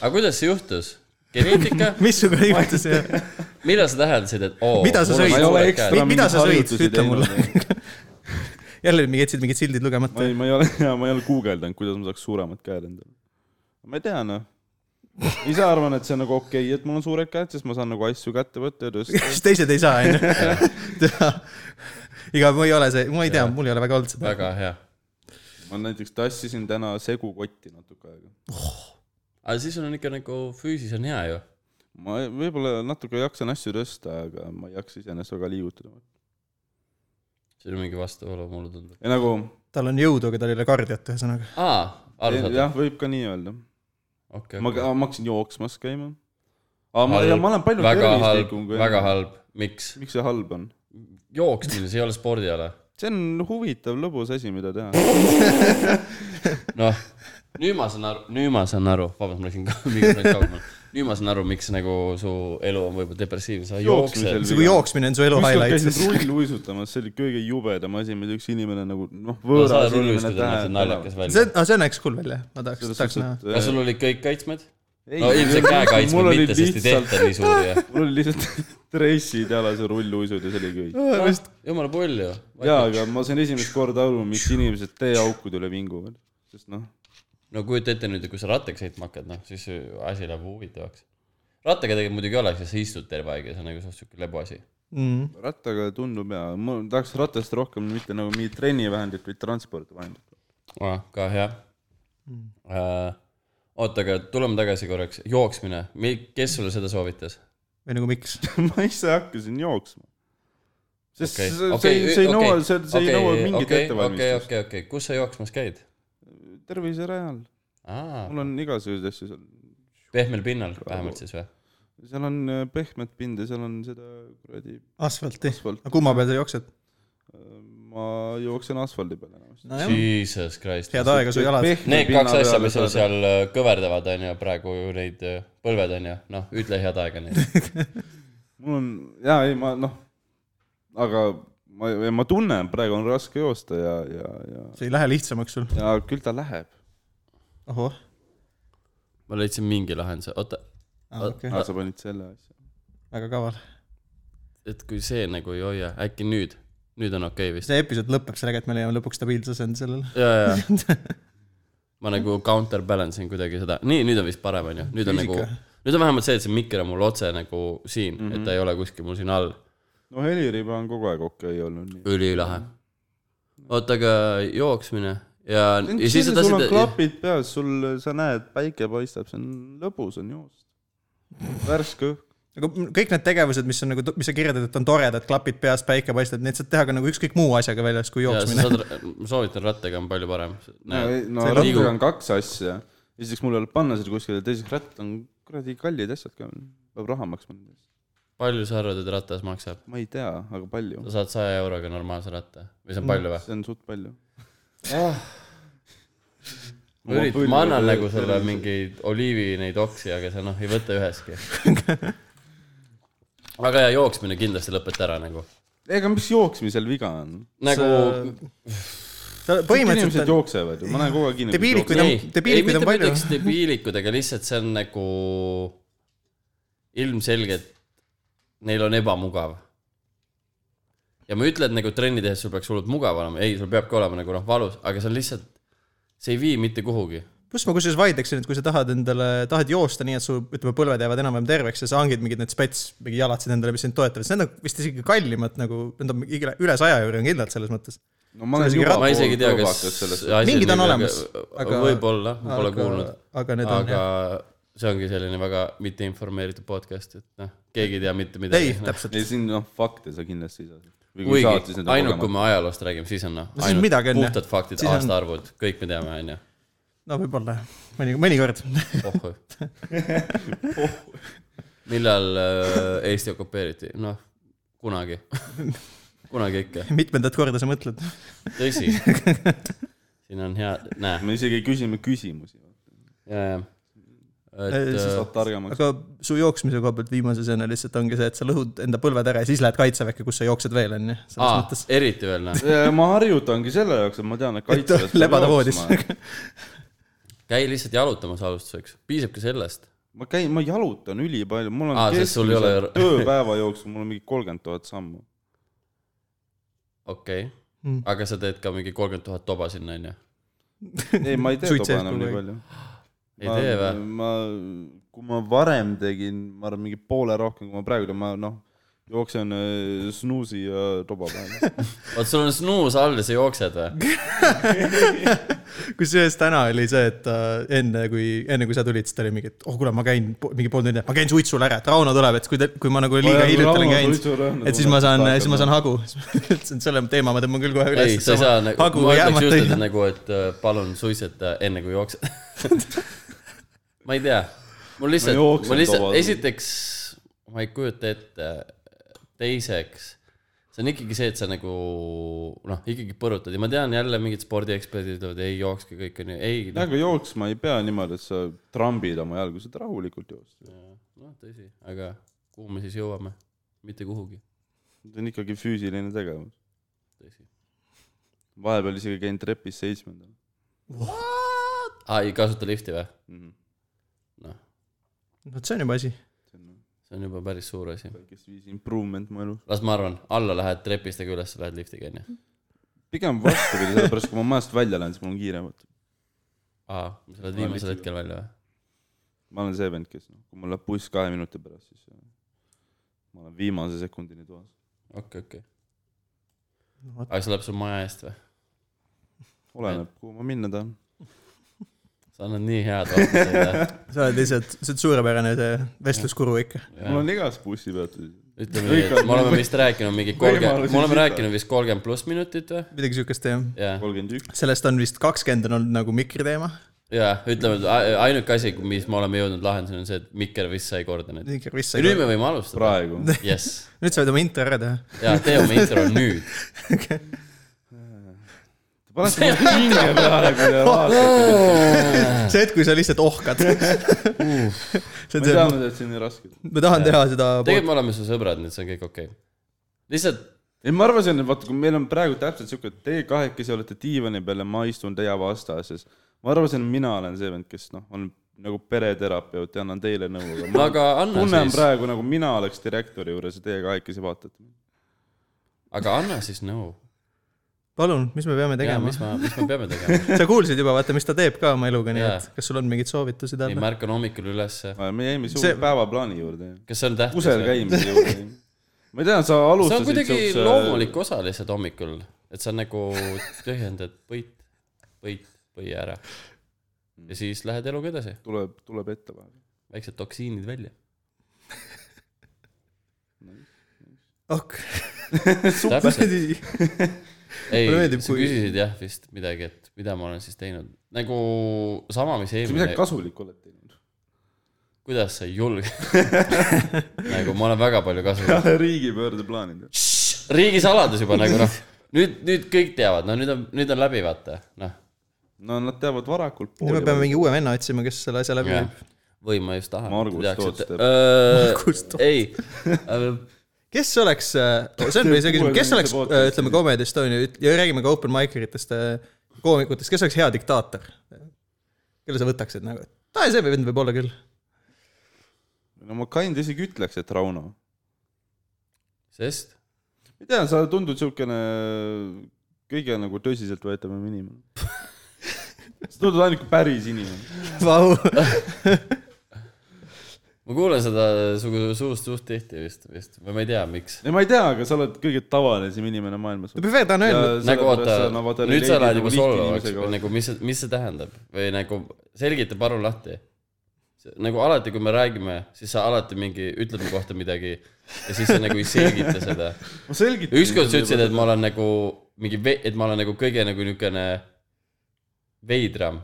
[SPEAKER 3] aga kuidas see juhtus ? geneetika ,
[SPEAKER 1] missugune juhtus jah ?
[SPEAKER 3] millal sa täheldasid , et oh, oo ,
[SPEAKER 1] Mida sa sõid?
[SPEAKER 2] ma ei ole
[SPEAKER 1] Mi-
[SPEAKER 2] ekstra
[SPEAKER 1] mida
[SPEAKER 2] mingeid
[SPEAKER 1] sa sõid?
[SPEAKER 2] harjutusi
[SPEAKER 1] Ütle mulle.
[SPEAKER 2] teinud .
[SPEAKER 1] jälle mingi etsid mingid sildid
[SPEAKER 2] ma
[SPEAKER 1] lugemata .
[SPEAKER 2] ei , ma ei ole , ma ei ole guugeldanud , kuidas ma saaks suuremad käed endale . ma ei tea , noh . ise arvan , et see on nagu okei okay, , et mul on suured käed , sest ma saan nagu asju kätte võtta ja tõsta .
[SPEAKER 1] siis teised ei saa , onju . iga , ma ei ole see , ma ei tea , mul ei ole väga olnud seda .
[SPEAKER 3] väga hea .
[SPEAKER 2] ma näiteks tassisin täna segukotti natuke aega .
[SPEAKER 3] aga siis sul on ikka nagu füüsis on hea ju .
[SPEAKER 2] ma ei- võib-olla natuke jaksan asju tõsta , aga ma ei jaksa iseenesest väga liigutada .
[SPEAKER 3] see on mingi vastuolu , mulle tundub .
[SPEAKER 2] ja nagu
[SPEAKER 1] tal on jõudu , aga tal ei ole kardiot , ühesõnaga .
[SPEAKER 3] aa , arusaadav ,
[SPEAKER 2] jah , võib ka nii öelda .
[SPEAKER 3] okei .
[SPEAKER 2] ma , ma hakkasin jooksmas käima . aga ma ,
[SPEAKER 3] Halb.
[SPEAKER 2] ja ma olen palju
[SPEAKER 3] väga halb
[SPEAKER 2] tervislikum , kui
[SPEAKER 3] väga . halb , miks ?
[SPEAKER 2] miks see halb on ?
[SPEAKER 3] jooksmine , see ei ole spordiala .
[SPEAKER 2] see on huvitav lõbus asi , mida teha .
[SPEAKER 3] noh , nüüd ma saan aru , nüüd ma saan aru , vabandust , ma läksin ka mikrofonist kaugemale . nüüd ma saan aru , miks nagu su elu on võib-olla depressiivne , sa
[SPEAKER 2] Jooksmisel.
[SPEAKER 3] jooksed .
[SPEAKER 1] see , kui jooksmine on su elu
[SPEAKER 2] ükskord
[SPEAKER 1] highlight ,
[SPEAKER 2] käisin
[SPEAKER 1] siis
[SPEAKER 2] rulluisutamas , see oli kõige jubedam asi , mida üks inimene nagu noh ,
[SPEAKER 3] no sa
[SPEAKER 2] võõras
[SPEAKER 3] oled
[SPEAKER 2] inimene
[SPEAKER 3] rulluistuja , näed , see on naljakas
[SPEAKER 1] see
[SPEAKER 3] välja .
[SPEAKER 1] on , see näeks cool välja , ma tahaks ,
[SPEAKER 2] selles
[SPEAKER 1] tahaks
[SPEAKER 2] suhtes ,
[SPEAKER 1] näha .
[SPEAKER 2] et
[SPEAKER 3] kas sul olid kõik kaitsmed ?
[SPEAKER 2] Ei,
[SPEAKER 3] no ilmselt
[SPEAKER 2] mul
[SPEAKER 3] käekaitsmed
[SPEAKER 2] olid
[SPEAKER 3] mitte , sest ei
[SPEAKER 2] lihtsalt-
[SPEAKER 3] tehta nii suuri ja .
[SPEAKER 2] mul oli lihtsalt dressid jalas ja rulluisud ja see oli kõik .
[SPEAKER 3] jumala pull ju .
[SPEAKER 2] jaa , aga ma sain esimest korda aru , miks inimesed teeaukude üle vinguvad , sest noh ,
[SPEAKER 3] no kujuta ette nüüd , kui sa rattaga sõitma hakkad , noh siis ju asi läheb huvitavaks . rattaga tegelikult muidugi ei ole , sest sa istud terve aeg ja see on nagu suht siuke lebu asi .
[SPEAKER 1] Mm.
[SPEAKER 2] rattaga tundub hea , ma tahaks ratast rohkem mitte nagu mingit trennivahendit , vaid transpordivahendit .
[SPEAKER 3] ka hea
[SPEAKER 2] Mm.
[SPEAKER 3] uh, . oota , aga tuleme tagasi korraks , jooksmine , kes sulle seda soovitas ?
[SPEAKER 1] või nagu miks ?
[SPEAKER 2] ma ise hakkasin jooksma . sest
[SPEAKER 3] Okei,
[SPEAKER 2] okay. see , see , see ei
[SPEAKER 3] okei, okei,
[SPEAKER 2] nõua , see , see ei
[SPEAKER 3] okei,
[SPEAKER 2] nõua mingit
[SPEAKER 3] okei, okei ,
[SPEAKER 2] ettevalmistust okay,
[SPEAKER 3] okei , okei , kus sa jooksmas käid ?
[SPEAKER 2] okay. . terviserajal , mul on igasuguseid asju seal ,
[SPEAKER 3] pehmel pinnal vähemalt siis või ?
[SPEAKER 2] seal on äh, pehmet pinda , seal on seda kuradi ,
[SPEAKER 1] asfalti .
[SPEAKER 2] Asfalt.
[SPEAKER 1] aga kumma peal sa jooksed ?
[SPEAKER 2] ma jooksen asfaldi peal enamasti .
[SPEAKER 1] nojah ,
[SPEAKER 3] Jesus Christ .
[SPEAKER 1] head aega su jalad .
[SPEAKER 3] Need kaks asja , mis sul . seal äh, kõverdavad , on ju , praegu ju neid äh, põlved , on ju , noh , ütle head aega neile .
[SPEAKER 2] mul on , jaa , ei ma noh , aga ma , ma tunnen , praegu on raske joosta ja , ja , ja ,
[SPEAKER 1] see ei lähe lihtsamaks sul ?
[SPEAKER 2] ja küll ta läheb .
[SPEAKER 1] ohoh ,
[SPEAKER 3] ma leidsin mingi lahenduse , oota ,
[SPEAKER 1] Ah, okei ,
[SPEAKER 2] aga sa panid selle asja .
[SPEAKER 1] väga kaval .
[SPEAKER 3] et kui see nagu ei hoia , äkki nüüd , nüüd on okei okay vist .
[SPEAKER 1] see episood lõpeb sellega , et me leiame lõpuks stabiilse asend sellele .
[SPEAKER 3] ja , ja ma nagu counter balance in kuidagi seda , nii , nüüd on vist parem , on ju , nüüd on nagu
[SPEAKER 1] Füüsika. ,
[SPEAKER 3] nüüd on vähemalt see , et see mikker on mul otse nagu siin mm , -hmm. et ta ei ole kuskil mul siin all ,
[SPEAKER 2] no heliriba on kogu aeg okei okay olnud nii .
[SPEAKER 3] üliülahe . oota , aga jooksmine ja , ja siis sa
[SPEAKER 2] sul on
[SPEAKER 3] tahtsid ,
[SPEAKER 2] klapid peas , sul , sa näed , päike paistab , see on lõbus on joost . värske õhk .
[SPEAKER 1] aga m- kõik need tegevused , mis on nagu , mis sa kirjeldad , et on toredad , klapid peas , päike paistab , neid saad teha ka nagu ükskõik muu asjaga väljas kui
[SPEAKER 3] ja sa
[SPEAKER 1] jooksmine .
[SPEAKER 3] saad , ma soovitan rattaga on palju parem .
[SPEAKER 2] no, ei- no
[SPEAKER 1] see
[SPEAKER 2] rattaga
[SPEAKER 3] liigub.
[SPEAKER 2] on kaks asja . esiteks mul ei ole panna seda kuskile , teiseks ratt on kuradi kallid asjad ka , peab raha maksma .
[SPEAKER 3] palju sa arvad , et ratas maksab ?
[SPEAKER 2] ma ei tea , aga palju
[SPEAKER 3] sa . saad saja euroga normaalse ratta või see on palju või ?
[SPEAKER 2] see on suht palju .
[SPEAKER 3] ma üritan , ma annan nagu sulle . mingeid oliivi neid oksi , aga sa noh , ei võta üheski . aga ja jooksmine kindlasti lõpeta ära nagu ,
[SPEAKER 2] ega mis jooksmisel viga on ?
[SPEAKER 3] nagu
[SPEAKER 1] põhimõtteliselt
[SPEAKER 2] inimesed
[SPEAKER 1] on ,
[SPEAKER 2] jooksevad ju , ma näen kogu aeg
[SPEAKER 1] Debiilikud on-
[SPEAKER 2] inimesi .
[SPEAKER 3] ei , ei
[SPEAKER 1] debiilikuid
[SPEAKER 3] mitte
[SPEAKER 1] on
[SPEAKER 3] ma
[SPEAKER 1] palju.
[SPEAKER 3] ütleks debiilikud , aga lihtsalt see on nagu ilmselgelt , neil on ebamugav . ja ma ei ütle , et nagu trenni tehes sul peaks hullult mugav olema , ei , sul peab ka olema nagu noh , valus , aga see on lihtsalt , see ei vii mitte kuhugi
[SPEAKER 1] pluss ma kusjuures vaidleksin , et kui sa tahad endale , tahad joosta nii , et su , ütleme , põlved jäävad enam-vähem terveks ja sa hangid mingid need spets , mingi jalatsid endale , mis sind toetavad , siis need on vist isegi kallimad nagu , need on mingi üle , üle saja euri on kindlalt selles mõttes .
[SPEAKER 2] no ma olen
[SPEAKER 1] isegi
[SPEAKER 2] juba
[SPEAKER 1] raha-
[SPEAKER 3] ma isegi ei tea , kas
[SPEAKER 2] kõvakas sellest .
[SPEAKER 3] asi
[SPEAKER 1] Mingid on
[SPEAKER 3] nii,
[SPEAKER 1] olemas,
[SPEAKER 3] aga
[SPEAKER 1] aga-
[SPEAKER 3] võib-olla , ma pole kuulnud .
[SPEAKER 1] aga need on
[SPEAKER 3] aga
[SPEAKER 1] jah .
[SPEAKER 3] see ongi selline väga mitteinformeeritud podcast , et noh , keegi ei tea mitte
[SPEAKER 1] ei ,
[SPEAKER 3] midagi .
[SPEAKER 1] täpselt .
[SPEAKER 2] ei , siin noh , fakte sa kindlasti ei saa .
[SPEAKER 3] kuigi ainult kui me ajaloost räägime , siis on noh ,
[SPEAKER 1] siis
[SPEAKER 3] ainult
[SPEAKER 1] midagi on, jah.
[SPEAKER 3] puhtad faktid ,
[SPEAKER 1] Siis on-
[SPEAKER 3] aastaarvud , kõik me teame , onju .
[SPEAKER 1] no võib-olla jah , mõni , mõnikord .
[SPEAKER 3] pohhu . millal äh, Eesti okupeeriti ? noh , kunagi . kunagi ikka ,
[SPEAKER 1] mitmendat korda sa mõtled ?
[SPEAKER 3] tõsi . siin on hea , näe ,
[SPEAKER 2] me isegi küsime küsimusi .
[SPEAKER 3] ja , ja .
[SPEAKER 1] Ei,
[SPEAKER 3] et
[SPEAKER 1] siis
[SPEAKER 3] äh,
[SPEAKER 2] saad targemaks .
[SPEAKER 1] aga su jooksmise koha pealt viimase sõna lihtsalt ongi see , et sa lõhud enda põlved ära ja siis lähed kaitseväkke , kus sa jooksed veel , on ju , selles
[SPEAKER 3] aa
[SPEAKER 1] mõttes .,
[SPEAKER 3] eriti veel , noh .
[SPEAKER 2] ma harjutangi selle jaoks , et ma tean , et
[SPEAKER 1] et
[SPEAKER 2] kaitseväes
[SPEAKER 1] lebada voodis .
[SPEAKER 3] käi lihtsalt jalutamas alustuseks , piisab ka sellest .
[SPEAKER 2] ma käin , ma jalutan ülipalju , mul on
[SPEAKER 3] Aa, sest sul ei ole-
[SPEAKER 2] keskmiselt tööpäeva jooksul , mul on mingi kolmkümmend tuhat sammu .
[SPEAKER 3] okei okay.
[SPEAKER 1] Mm.
[SPEAKER 3] mm. , aga sa teed ka mingi kolmkümmend tuhat toba sinna , onju .
[SPEAKER 2] ei , ma ei tee
[SPEAKER 1] Suitsu
[SPEAKER 2] toba
[SPEAKER 1] ees
[SPEAKER 2] enam
[SPEAKER 1] kogu
[SPEAKER 2] nii
[SPEAKER 1] aeg.
[SPEAKER 2] palju .
[SPEAKER 3] ei ma, tee või ??
[SPEAKER 2] ma , kui ma varem tegin , ma arvan , mingi poole rohkem , kui ma praegu teen , ma noh , jooksen äh, snuusi ja toba peale .
[SPEAKER 3] oot , sul on snuus all ja sa jooksed või ?
[SPEAKER 1] kusjuures täna oli see , et äh, enne kui , enne kui sa tulid , siis ta oli mingi , et oh kuule , ma käin po- mingi pool tundi , ma käin suitsul ära , et Rauno tuleb , et kui ta , kui ma nagu liiga
[SPEAKER 2] jaa, kui
[SPEAKER 1] hiljuti
[SPEAKER 2] Rauno
[SPEAKER 1] olen käinud
[SPEAKER 2] suitsul ära, ,
[SPEAKER 1] et siis ma
[SPEAKER 2] nagu
[SPEAKER 1] saan ,
[SPEAKER 2] hakkab
[SPEAKER 1] siis ma saan
[SPEAKER 2] olema.
[SPEAKER 1] hagu . selle teema ma tõmban küll kohe
[SPEAKER 3] ei , sa ei saa
[SPEAKER 1] üles .
[SPEAKER 3] nagu , ma
[SPEAKER 1] jäämata
[SPEAKER 3] ütleks
[SPEAKER 1] ei
[SPEAKER 3] just , et
[SPEAKER 1] saa.
[SPEAKER 3] nagu , et äh, palun suitseta enne kui jooksed . ma ei tea , mul lihtsalt ,
[SPEAKER 2] jooksen
[SPEAKER 3] mul lihtsalt ,
[SPEAKER 2] tavaliselt.
[SPEAKER 3] esiteks ma ei kujuta ette , teiseks see on ikkagi see , et sa nagu noh , ikkagi põrutad ja ma tean jälle mingid spordieksperdid ütlevad , ei jookske kõik onju , ei
[SPEAKER 2] jah , aga jooksma ei pea niimoodi , et sa trambid oma jalgu , saad rahulikult joosta .
[SPEAKER 3] noh , tõsi , aga kuhu me siis jõuame ? mitte kuhugi ,
[SPEAKER 2] see on ikkagi füüsiline tegevus .
[SPEAKER 3] tõsi .
[SPEAKER 2] vahepeal isegi käin trepis seitsmendal
[SPEAKER 3] aa , Ah, ei kasuta lifti või ?
[SPEAKER 2] mm . -hmm.
[SPEAKER 3] noh ,
[SPEAKER 1] vot see on juba asi .
[SPEAKER 2] see on nagu
[SPEAKER 3] see on juba päris suur asi .
[SPEAKER 2] väikest viisi improvement mu elus .
[SPEAKER 3] las ma arvan , alla lähed trepist , aga üles lähed liftiga onju .
[SPEAKER 2] pigem vastupidi , sellepärast kui ma majast välja lähen , siis mul on kiirem , et
[SPEAKER 3] aa , Ah, sa lähed viimasel hetkel välja või ?
[SPEAKER 2] ma olen see vend , kes noh , kui mul läheb buss kahe minuti pärast , siis äh, ma olen viimase sekundini toas .
[SPEAKER 3] okei , okei . aga see läheb sul maja eest või ?
[SPEAKER 2] oleneb , kuhu ma minna tahan .
[SPEAKER 3] sa annad nii head vastuseid ,
[SPEAKER 1] sa oled lihtsalt , sa oled suurepärane see vestluskuru ikka .
[SPEAKER 2] mul on igas bussipeatuses .
[SPEAKER 3] ütleme nii , et me oleme vist rääkinud mingi kolmkümmend ,
[SPEAKER 2] Võimalusi
[SPEAKER 3] me oleme
[SPEAKER 2] sita.
[SPEAKER 3] rääkinud vist kolmkümmend pluss minutit või ?
[SPEAKER 1] midagi siukest jah .
[SPEAKER 3] jah ,
[SPEAKER 2] kolmkümmend üks .
[SPEAKER 1] sellest on vist kakskümmend on olnud nagu mikriteema .
[SPEAKER 3] jah , ütleme , et a- ainuke asi , mis me oleme jõudnud lahenduseni , on see , et Mikker vist sai korda nüüd .
[SPEAKER 1] Mikker vist sai
[SPEAKER 3] nüüd
[SPEAKER 1] korda.
[SPEAKER 3] me võime alustada .
[SPEAKER 2] praegu .
[SPEAKER 3] jess
[SPEAKER 1] nüüd sa võid oma intro ära teha .
[SPEAKER 3] ja tee oma intro nüüd .
[SPEAKER 2] panete mu hinge peale , kui te vaatate .
[SPEAKER 1] see hetk , kui sa lihtsalt ohkad . see on
[SPEAKER 2] ma ei
[SPEAKER 1] see ,
[SPEAKER 2] teadnud , et see on nii raske .
[SPEAKER 1] ma tahan teha seda .
[SPEAKER 3] tegelikult me oleme su sõbrad , nii et see on kõik okei okay. . lihtsalt
[SPEAKER 2] ei , ma arvasin , et vaata , kui meil on praegu täpselt siuke , et teie kahekesi olete diivani peal ja ma istun teie vastas ja siis ma arvasin , et mina olen see vend , kes noh , on nagu pereterapeut ja annan teile nõu , aga ma
[SPEAKER 3] Aga anna
[SPEAKER 2] tunnen
[SPEAKER 3] siis.
[SPEAKER 2] praegu nagu mina oleks direktori juures ja teie kahekesi vaatate .
[SPEAKER 3] aga anna siis nõu no. .
[SPEAKER 1] palun , mis me peame
[SPEAKER 3] ja
[SPEAKER 1] tegema
[SPEAKER 3] mis ? ma , mis me peame tegema ?
[SPEAKER 1] sa kuulsid juba , vaata , mis ta teeb ka oma eluga , nii
[SPEAKER 3] Jaa.
[SPEAKER 1] et kas sul on mingid soovitused
[SPEAKER 3] ei ,
[SPEAKER 1] jälle ?
[SPEAKER 3] ma ärkan hommikul ülesse .
[SPEAKER 2] me jäime suure
[SPEAKER 1] See-
[SPEAKER 2] see... päevaplaani juurde ,
[SPEAKER 3] kas see on tähtis ?
[SPEAKER 2] kusel . käimise juurde . ma ei tea , sa
[SPEAKER 3] see on
[SPEAKER 2] alustasid
[SPEAKER 3] kuidagi siukse... loomulik osa lihtsalt hommikul , et sa nagu tühjendad põit , põit , põi ära . ja siis lähed eluga edasi ,
[SPEAKER 2] tuleb , tuleb ette vahel .
[SPEAKER 3] väiksed toksiinid välja .
[SPEAKER 1] ok ,
[SPEAKER 3] täpselt ,
[SPEAKER 1] Mulle
[SPEAKER 3] ei , sa
[SPEAKER 1] meeldib, kui-
[SPEAKER 3] küsisid jah vist midagi , et mida ma olen siis teinud . nagu sama , mis
[SPEAKER 2] kas midagi
[SPEAKER 3] eelmine ,
[SPEAKER 2] kasulikku oled teinud ?
[SPEAKER 3] kuidas sa ei julge ? nagu ma olen väga palju kasulik .
[SPEAKER 2] riigipöördeplaanid .
[SPEAKER 3] riigisaladus juba nagu noh , nüüd , nüüd kõik teavad , no nüüd on , nüüd on läbi , vaata , noh .
[SPEAKER 2] no nad teavad varakult .
[SPEAKER 1] nüüd me peame mingi uue venna otsima , kes selle asja läbi viib .
[SPEAKER 3] või ma just tahan .
[SPEAKER 2] Margus Toots teeb.
[SPEAKER 3] teeb . ei , äh,
[SPEAKER 1] kes oleks , see on meil see küsimus , kes oleks ,
[SPEAKER 2] Podcasti.
[SPEAKER 1] ütleme , Comedy Estonia üt- ja räägime ka open mic eritest äh, koomikutest , kes oleks hea diktaator ? kelle sa võtaksid nagu , et aa , see vend võib olla küll .
[SPEAKER 2] no ma kind isegi ütleks , et Rauno .
[SPEAKER 3] sest
[SPEAKER 2] ma ei tea , sa tundud siukene kõige nagu tõsiseltvõetavam inimene . sa tundud ainult kui päris inimene .
[SPEAKER 1] Vau ,
[SPEAKER 3] ma kuulen seda su suust suht tihti vist , vist , või ma ei tea , miks .
[SPEAKER 2] ei , ma ei tea , aga sa oled kõige tavalisem inimene maailmas .
[SPEAKER 1] Püfer , ta on öelnud ,
[SPEAKER 3] nagu oota , nüüd sa lähed juba solvavaks või nagu mis , mis see tähendab või nagu selgita palun lahti . nagu alati , kui me räägime , siis sa alati mingi ütled mu kohta midagi ja siis sa nagu ei selgita seda
[SPEAKER 2] ma selgitan .
[SPEAKER 3] ükskord sa ütlesid , et ma olen nagu mingi , et ma olen nagu kõige nagu niukene veidram .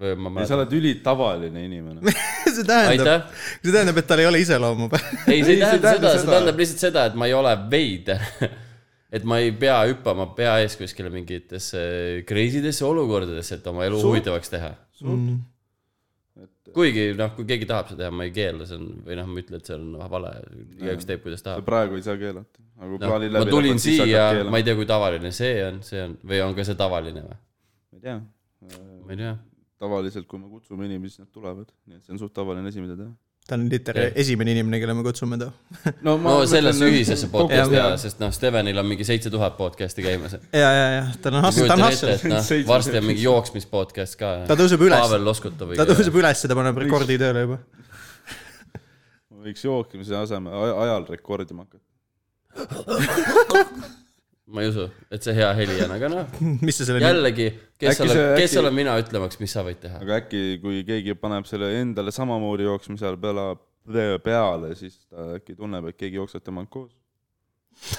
[SPEAKER 3] või
[SPEAKER 2] ei , sa
[SPEAKER 3] ma mäletan .
[SPEAKER 2] oled ülitavaline inimene .
[SPEAKER 1] see tähendab ,
[SPEAKER 3] aitäh .
[SPEAKER 1] see tähendab , et tal ei ole iseloomu .
[SPEAKER 3] ei , see ei tähenda seda , see
[SPEAKER 2] seda.
[SPEAKER 3] tähendab lihtsalt seda , et ma ei ole veider . et ma ei pea hüppama pea ees kuskile mingitesse crazy desse olukordadesse , et oma elu
[SPEAKER 2] Suht-
[SPEAKER 3] huvitavaks teha .
[SPEAKER 2] Mm.
[SPEAKER 1] Mm.
[SPEAKER 3] kuigi noh , kui keegi tahab seda teha , ma ei keela , see on või noh , ma ei ütle , et see on vale , igaüks teeb , kuidas tahab .
[SPEAKER 2] praegu ei saa keelata . aga kui
[SPEAKER 3] noh ,
[SPEAKER 2] plaanid
[SPEAKER 3] ma
[SPEAKER 2] läbi
[SPEAKER 3] tulin
[SPEAKER 2] siis hakkad
[SPEAKER 3] siia ,
[SPEAKER 2] keelama.
[SPEAKER 3] ma ei tea , kui tavaline see on , see on või on ka see tavaline või ?
[SPEAKER 2] ma ei tea .
[SPEAKER 3] ma ei tea .
[SPEAKER 2] tavaliselt , kui me kutsume inimesi , siis nad tulevad . nii et see on suht tavaline asi , mida teha .
[SPEAKER 1] ta on literaal esimene inimene , kelle me kutsume ta .
[SPEAKER 3] no sellesse ühisesse podcast'i
[SPEAKER 1] Jah.
[SPEAKER 3] jaa , sest noh , Stevenil on mingi seitse tuhat podcast'i käimas .
[SPEAKER 1] ja , ja , ja tal on hustle , ta on
[SPEAKER 3] kujutan ette ,
[SPEAKER 1] hustle .
[SPEAKER 3] et noh ,
[SPEAKER 2] Seitse-
[SPEAKER 3] varsti on mingi jooksmispodcast ka .
[SPEAKER 1] Ta tõuseb üles.
[SPEAKER 3] Pavel Loskuta või
[SPEAKER 1] ta . tõuseb üles ja ta paneb rekordi tööle juba .
[SPEAKER 2] ma võiks jookimise asemel aj- ajal rekordima hakata .
[SPEAKER 3] ma ei usu , et see hea heli on , aga noh ,
[SPEAKER 1] mis sa selle nimi ,
[SPEAKER 3] jällegi , kes
[SPEAKER 2] Äkki
[SPEAKER 3] olen
[SPEAKER 2] see- ,
[SPEAKER 3] kes
[SPEAKER 2] äkki-
[SPEAKER 3] olen mina ütlemaks , mis sa võid teha .
[SPEAKER 2] aga äkki , kui keegi paneb selle endale samamoodi jooksmise ajal peale , peale , siis ta äkki tunneb , et keegi jookseb temaga koos .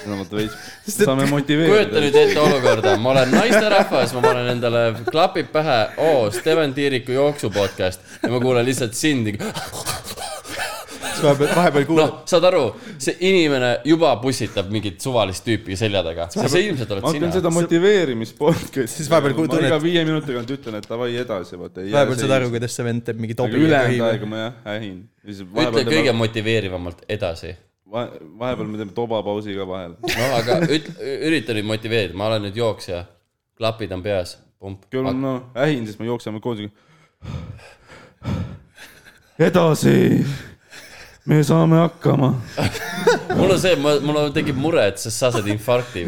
[SPEAKER 2] vähemalt veits , saame
[SPEAKER 3] kujuta nüüd
[SPEAKER 2] motiveerida .
[SPEAKER 3] ette olukorda , ma olen naisterahvas , ma panen endale klapid pähe , oo , Steven Tiiriku jooksu podcast ja ma kuulen lihtsalt sind .
[SPEAKER 1] vahepeal , vahepeal kuulad
[SPEAKER 3] noh , saad aru , see inimene juba pussitab mingit suvalist tüüpi selja taga , see ilmselt
[SPEAKER 2] ma
[SPEAKER 3] oled
[SPEAKER 2] hakkan
[SPEAKER 3] sina .
[SPEAKER 2] seda motiveerimispodcast'i
[SPEAKER 1] Siis vahepeal
[SPEAKER 2] ma
[SPEAKER 1] tunned-
[SPEAKER 2] iga viie minuti tagant ütlen , et davai edasi , vaata .
[SPEAKER 1] vahepeal saad aru , kuidas see vend teeb mingi
[SPEAKER 2] aga
[SPEAKER 1] tobi .
[SPEAKER 2] ülejäänud aega ma jah , ähin .
[SPEAKER 3] ütle kõige motiveerivamalt edasi
[SPEAKER 2] vahepeal me teeme tobapausi ka vahele .
[SPEAKER 3] noh , aga üt- , ürita nüüd motiveerida , ma olen nüüd jooksja , klapid on peas , pump .
[SPEAKER 2] küll ma no, ähin , siis me jookseme koos . edasi , me saame hakkama .
[SPEAKER 3] mul on see , ma , mul on- tekib mure , et sa sa saad infarkti .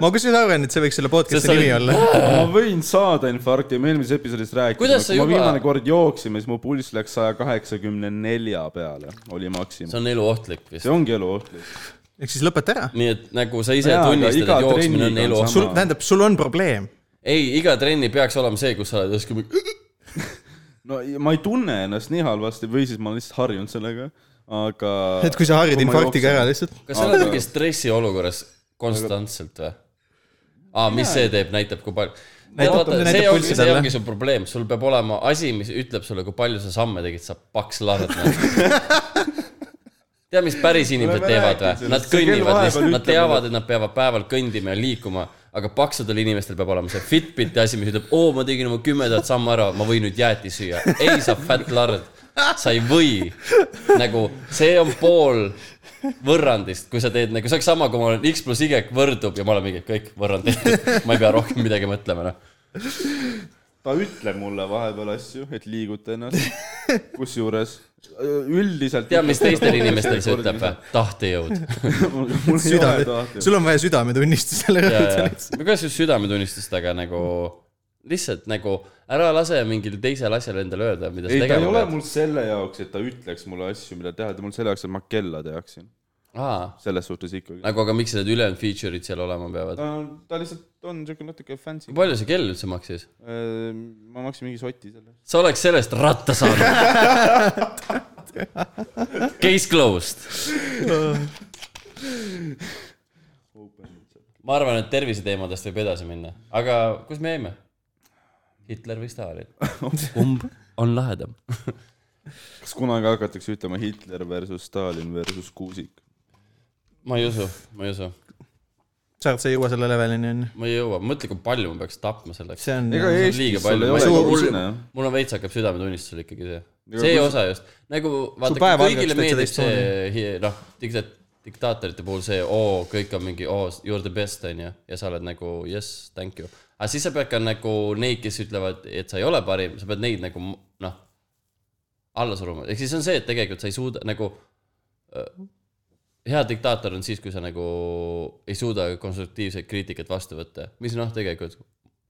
[SPEAKER 1] ma kusjuures arvan , et see võiks selle
[SPEAKER 3] Sest sa
[SPEAKER 1] podcast'i nimi
[SPEAKER 3] olid-
[SPEAKER 1] olla .
[SPEAKER 2] ma võin saada infarkti , me eelmises episoodis rääkisime ,
[SPEAKER 3] Kuidas sa
[SPEAKER 2] kui juba...
[SPEAKER 3] juba-
[SPEAKER 2] ma viimane kord jooksime , siis mu pulss läks saja kaheksakümne nelja peale , oli maksimum .
[SPEAKER 3] see on eluohtlik vist
[SPEAKER 2] see . ongi eluohtlik .
[SPEAKER 1] ehk siis lõpeta ära .
[SPEAKER 3] nii et nagu sa ise
[SPEAKER 2] Jaa, aga
[SPEAKER 3] tunnistad ,
[SPEAKER 2] iga
[SPEAKER 3] et jooksmine on
[SPEAKER 2] trenniga on
[SPEAKER 3] eluohtlik .
[SPEAKER 1] sul , tähendab , sul on probleem .
[SPEAKER 3] ei , iga trenni peaks olema see , kus sa oled justkui ,
[SPEAKER 2] no ja ma ei tunne ennast nii halvasti või siis ma olen lihtsalt harjunud sellega , aga .
[SPEAKER 1] et kui sa harjud infarktiga ära . lihtsalt .
[SPEAKER 3] kas sa oled mingi stressiolukorras konstantselt või ? aa , mis see teeb , näitab kui palju .
[SPEAKER 1] Näitab- näitab
[SPEAKER 3] see ongi ,
[SPEAKER 1] pulssi
[SPEAKER 3] see
[SPEAKER 1] talle.
[SPEAKER 3] ongi su probleem , sul peab olema asi , mis ütleb sulle , kui palju sa samme tegid , sa paks lahvat näed . tea , mis päris inimesed
[SPEAKER 2] oleme
[SPEAKER 3] teevad
[SPEAKER 2] rääkinud
[SPEAKER 3] või ?
[SPEAKER 2] sellest.
[SPEAKER 3] Nad
[SPEAKER 2] See kell
[SPEAKER 3] kõnnivad
[SPEAKER 2] vahepeal
[SPEAKER 3] lihtsalt , nad
[SPEAKER 2] ütleb
[SPEAKER 3] teavad , et nad peavad päeval kõndima ja liikuma , aga paksudel inimestel peab olema see Fitbiti asi , mis ütleb , oo , ma tegin oma kümme tuhat sammu ära , ma võin nüüd jääti süüa . ei , sa fat lard , sa ei või . nagu see on pool võrrandist , kui sa teed nagu , see oleks sama , kui ma olen X pluss Y võrdub ja ma olen mingi kõik võrrand tehtud , ma ei pea rohkem midagi mõtlema , noh .
[SPEAKER 2] ta ütleb mulle vahepeal asju , et liiguta ennast , kusjuures üldiselt .
[SPEAKER 3] tea , mis teistel inimestel see ütleb või ?? tahtejõud
[SPEAKER 2] mul ei ole
[SPEAKER 1] südame ,
[SPEAKER 2] tahtnud .
[SPEAKER 1] sul on vaja südametunnistusele
[SPEAKER 3] ja ,
[SPEAKER 1] rõhutada .
[SPEAKER 3] ja , kasvõi südametunnistust , aga nagu lihtsalt nagu ära lase mingil teisel asjal endale öelda , mida sa
[SPEAKER 2] ei , ta ei
[SPEAKER 3] tegema
[SPEAKER 2] ole
[SPEAKER 3] pead .
[SPEAKER 2] mul selle jaoks , et ta ütleks mulle asju , mida teha , ta on mul selle jaoks , et ma kella teaksin .
[SPEAKER 3] aa ,
[SPEAKER 2] selles suhtes ikkagi .
[SPEAKER 3] nagu aga miks need ülejäänud feature'id seal olema peavad ?
[SPEAKER 2] ta , ta lihtsalt on siuke natuke fancy Äh,
[SPEAKER 3] kui . palju see kell üldse maksis ?
[SPEAKER 2] ma maksin mingi soti selle eest .
[SPEAKER 3] sa oleks sellest ratta saanud . Case closed .
[SPEAKER 1] Oh.
[SPEAKER 3] ma arvan , et terviseteemadest võib edasi minna , aga kus me jäime ? Hitler või Stalin ? kumb on lahedam ?
[SPEAKER 2] kas kunagi hakatakse ütlema Hitler versus Stalin versus Kuusik ?
[SPEAKER 3] ma ei usu , ma ei usu ,
[SPEAKER 1] Charles ei jõua selle levelini , onju .
[SPEAKER 3] ma ei jõua , mõtle , kui palju ma peaks tapma selleks .
[SPEAKER 1] see on ,
[SPEAKER 2] ega
[SPEAKER 3] see on liiga
[SPEAKER 2] Eestis
[SPEAKER 3] palju.
[SPEAKER 2] sul ei ole
[SPEAKER 3] Ma ei
[SPEAKER 2] ju
[SPEAKER 3] suuda-
[SPEAKER 2] usune .
[SPEAKER 3] mul on veits hakkab südametunnistusel ikkagi see ,
[SPEAKER 2] Ega
[SPEAKER 3] see
[SPEAKER 2] kui-
[SPEAKER 3] osa just , nagu
[SPEAKER 1] Su
[SPEAKER 3] vaata
[SPEAKER 1] päev , algaks täitsa
[SPEAKER 3] kõigile meeldib see
[SPEAKER 1] teistmoodi.
[SPEAKER 3] hi- noh , dikta- , diktaatorite puhul see , oo , kõik on mingi , oo , you are the best , onju , ja sa oled nagu yes , thank you . aga siis sa pead ka nagu neid , kes ütlevad , et sa ei ole parim , sa pead neid nagu noh , alla suruma , ehk siis on see , et tegelikult sa ei suuda nagu äh, hea diktaator on siis , kui sa nagu ei suuda konstruktiivset kriitikat vastu võtta , mis noh , tegelikult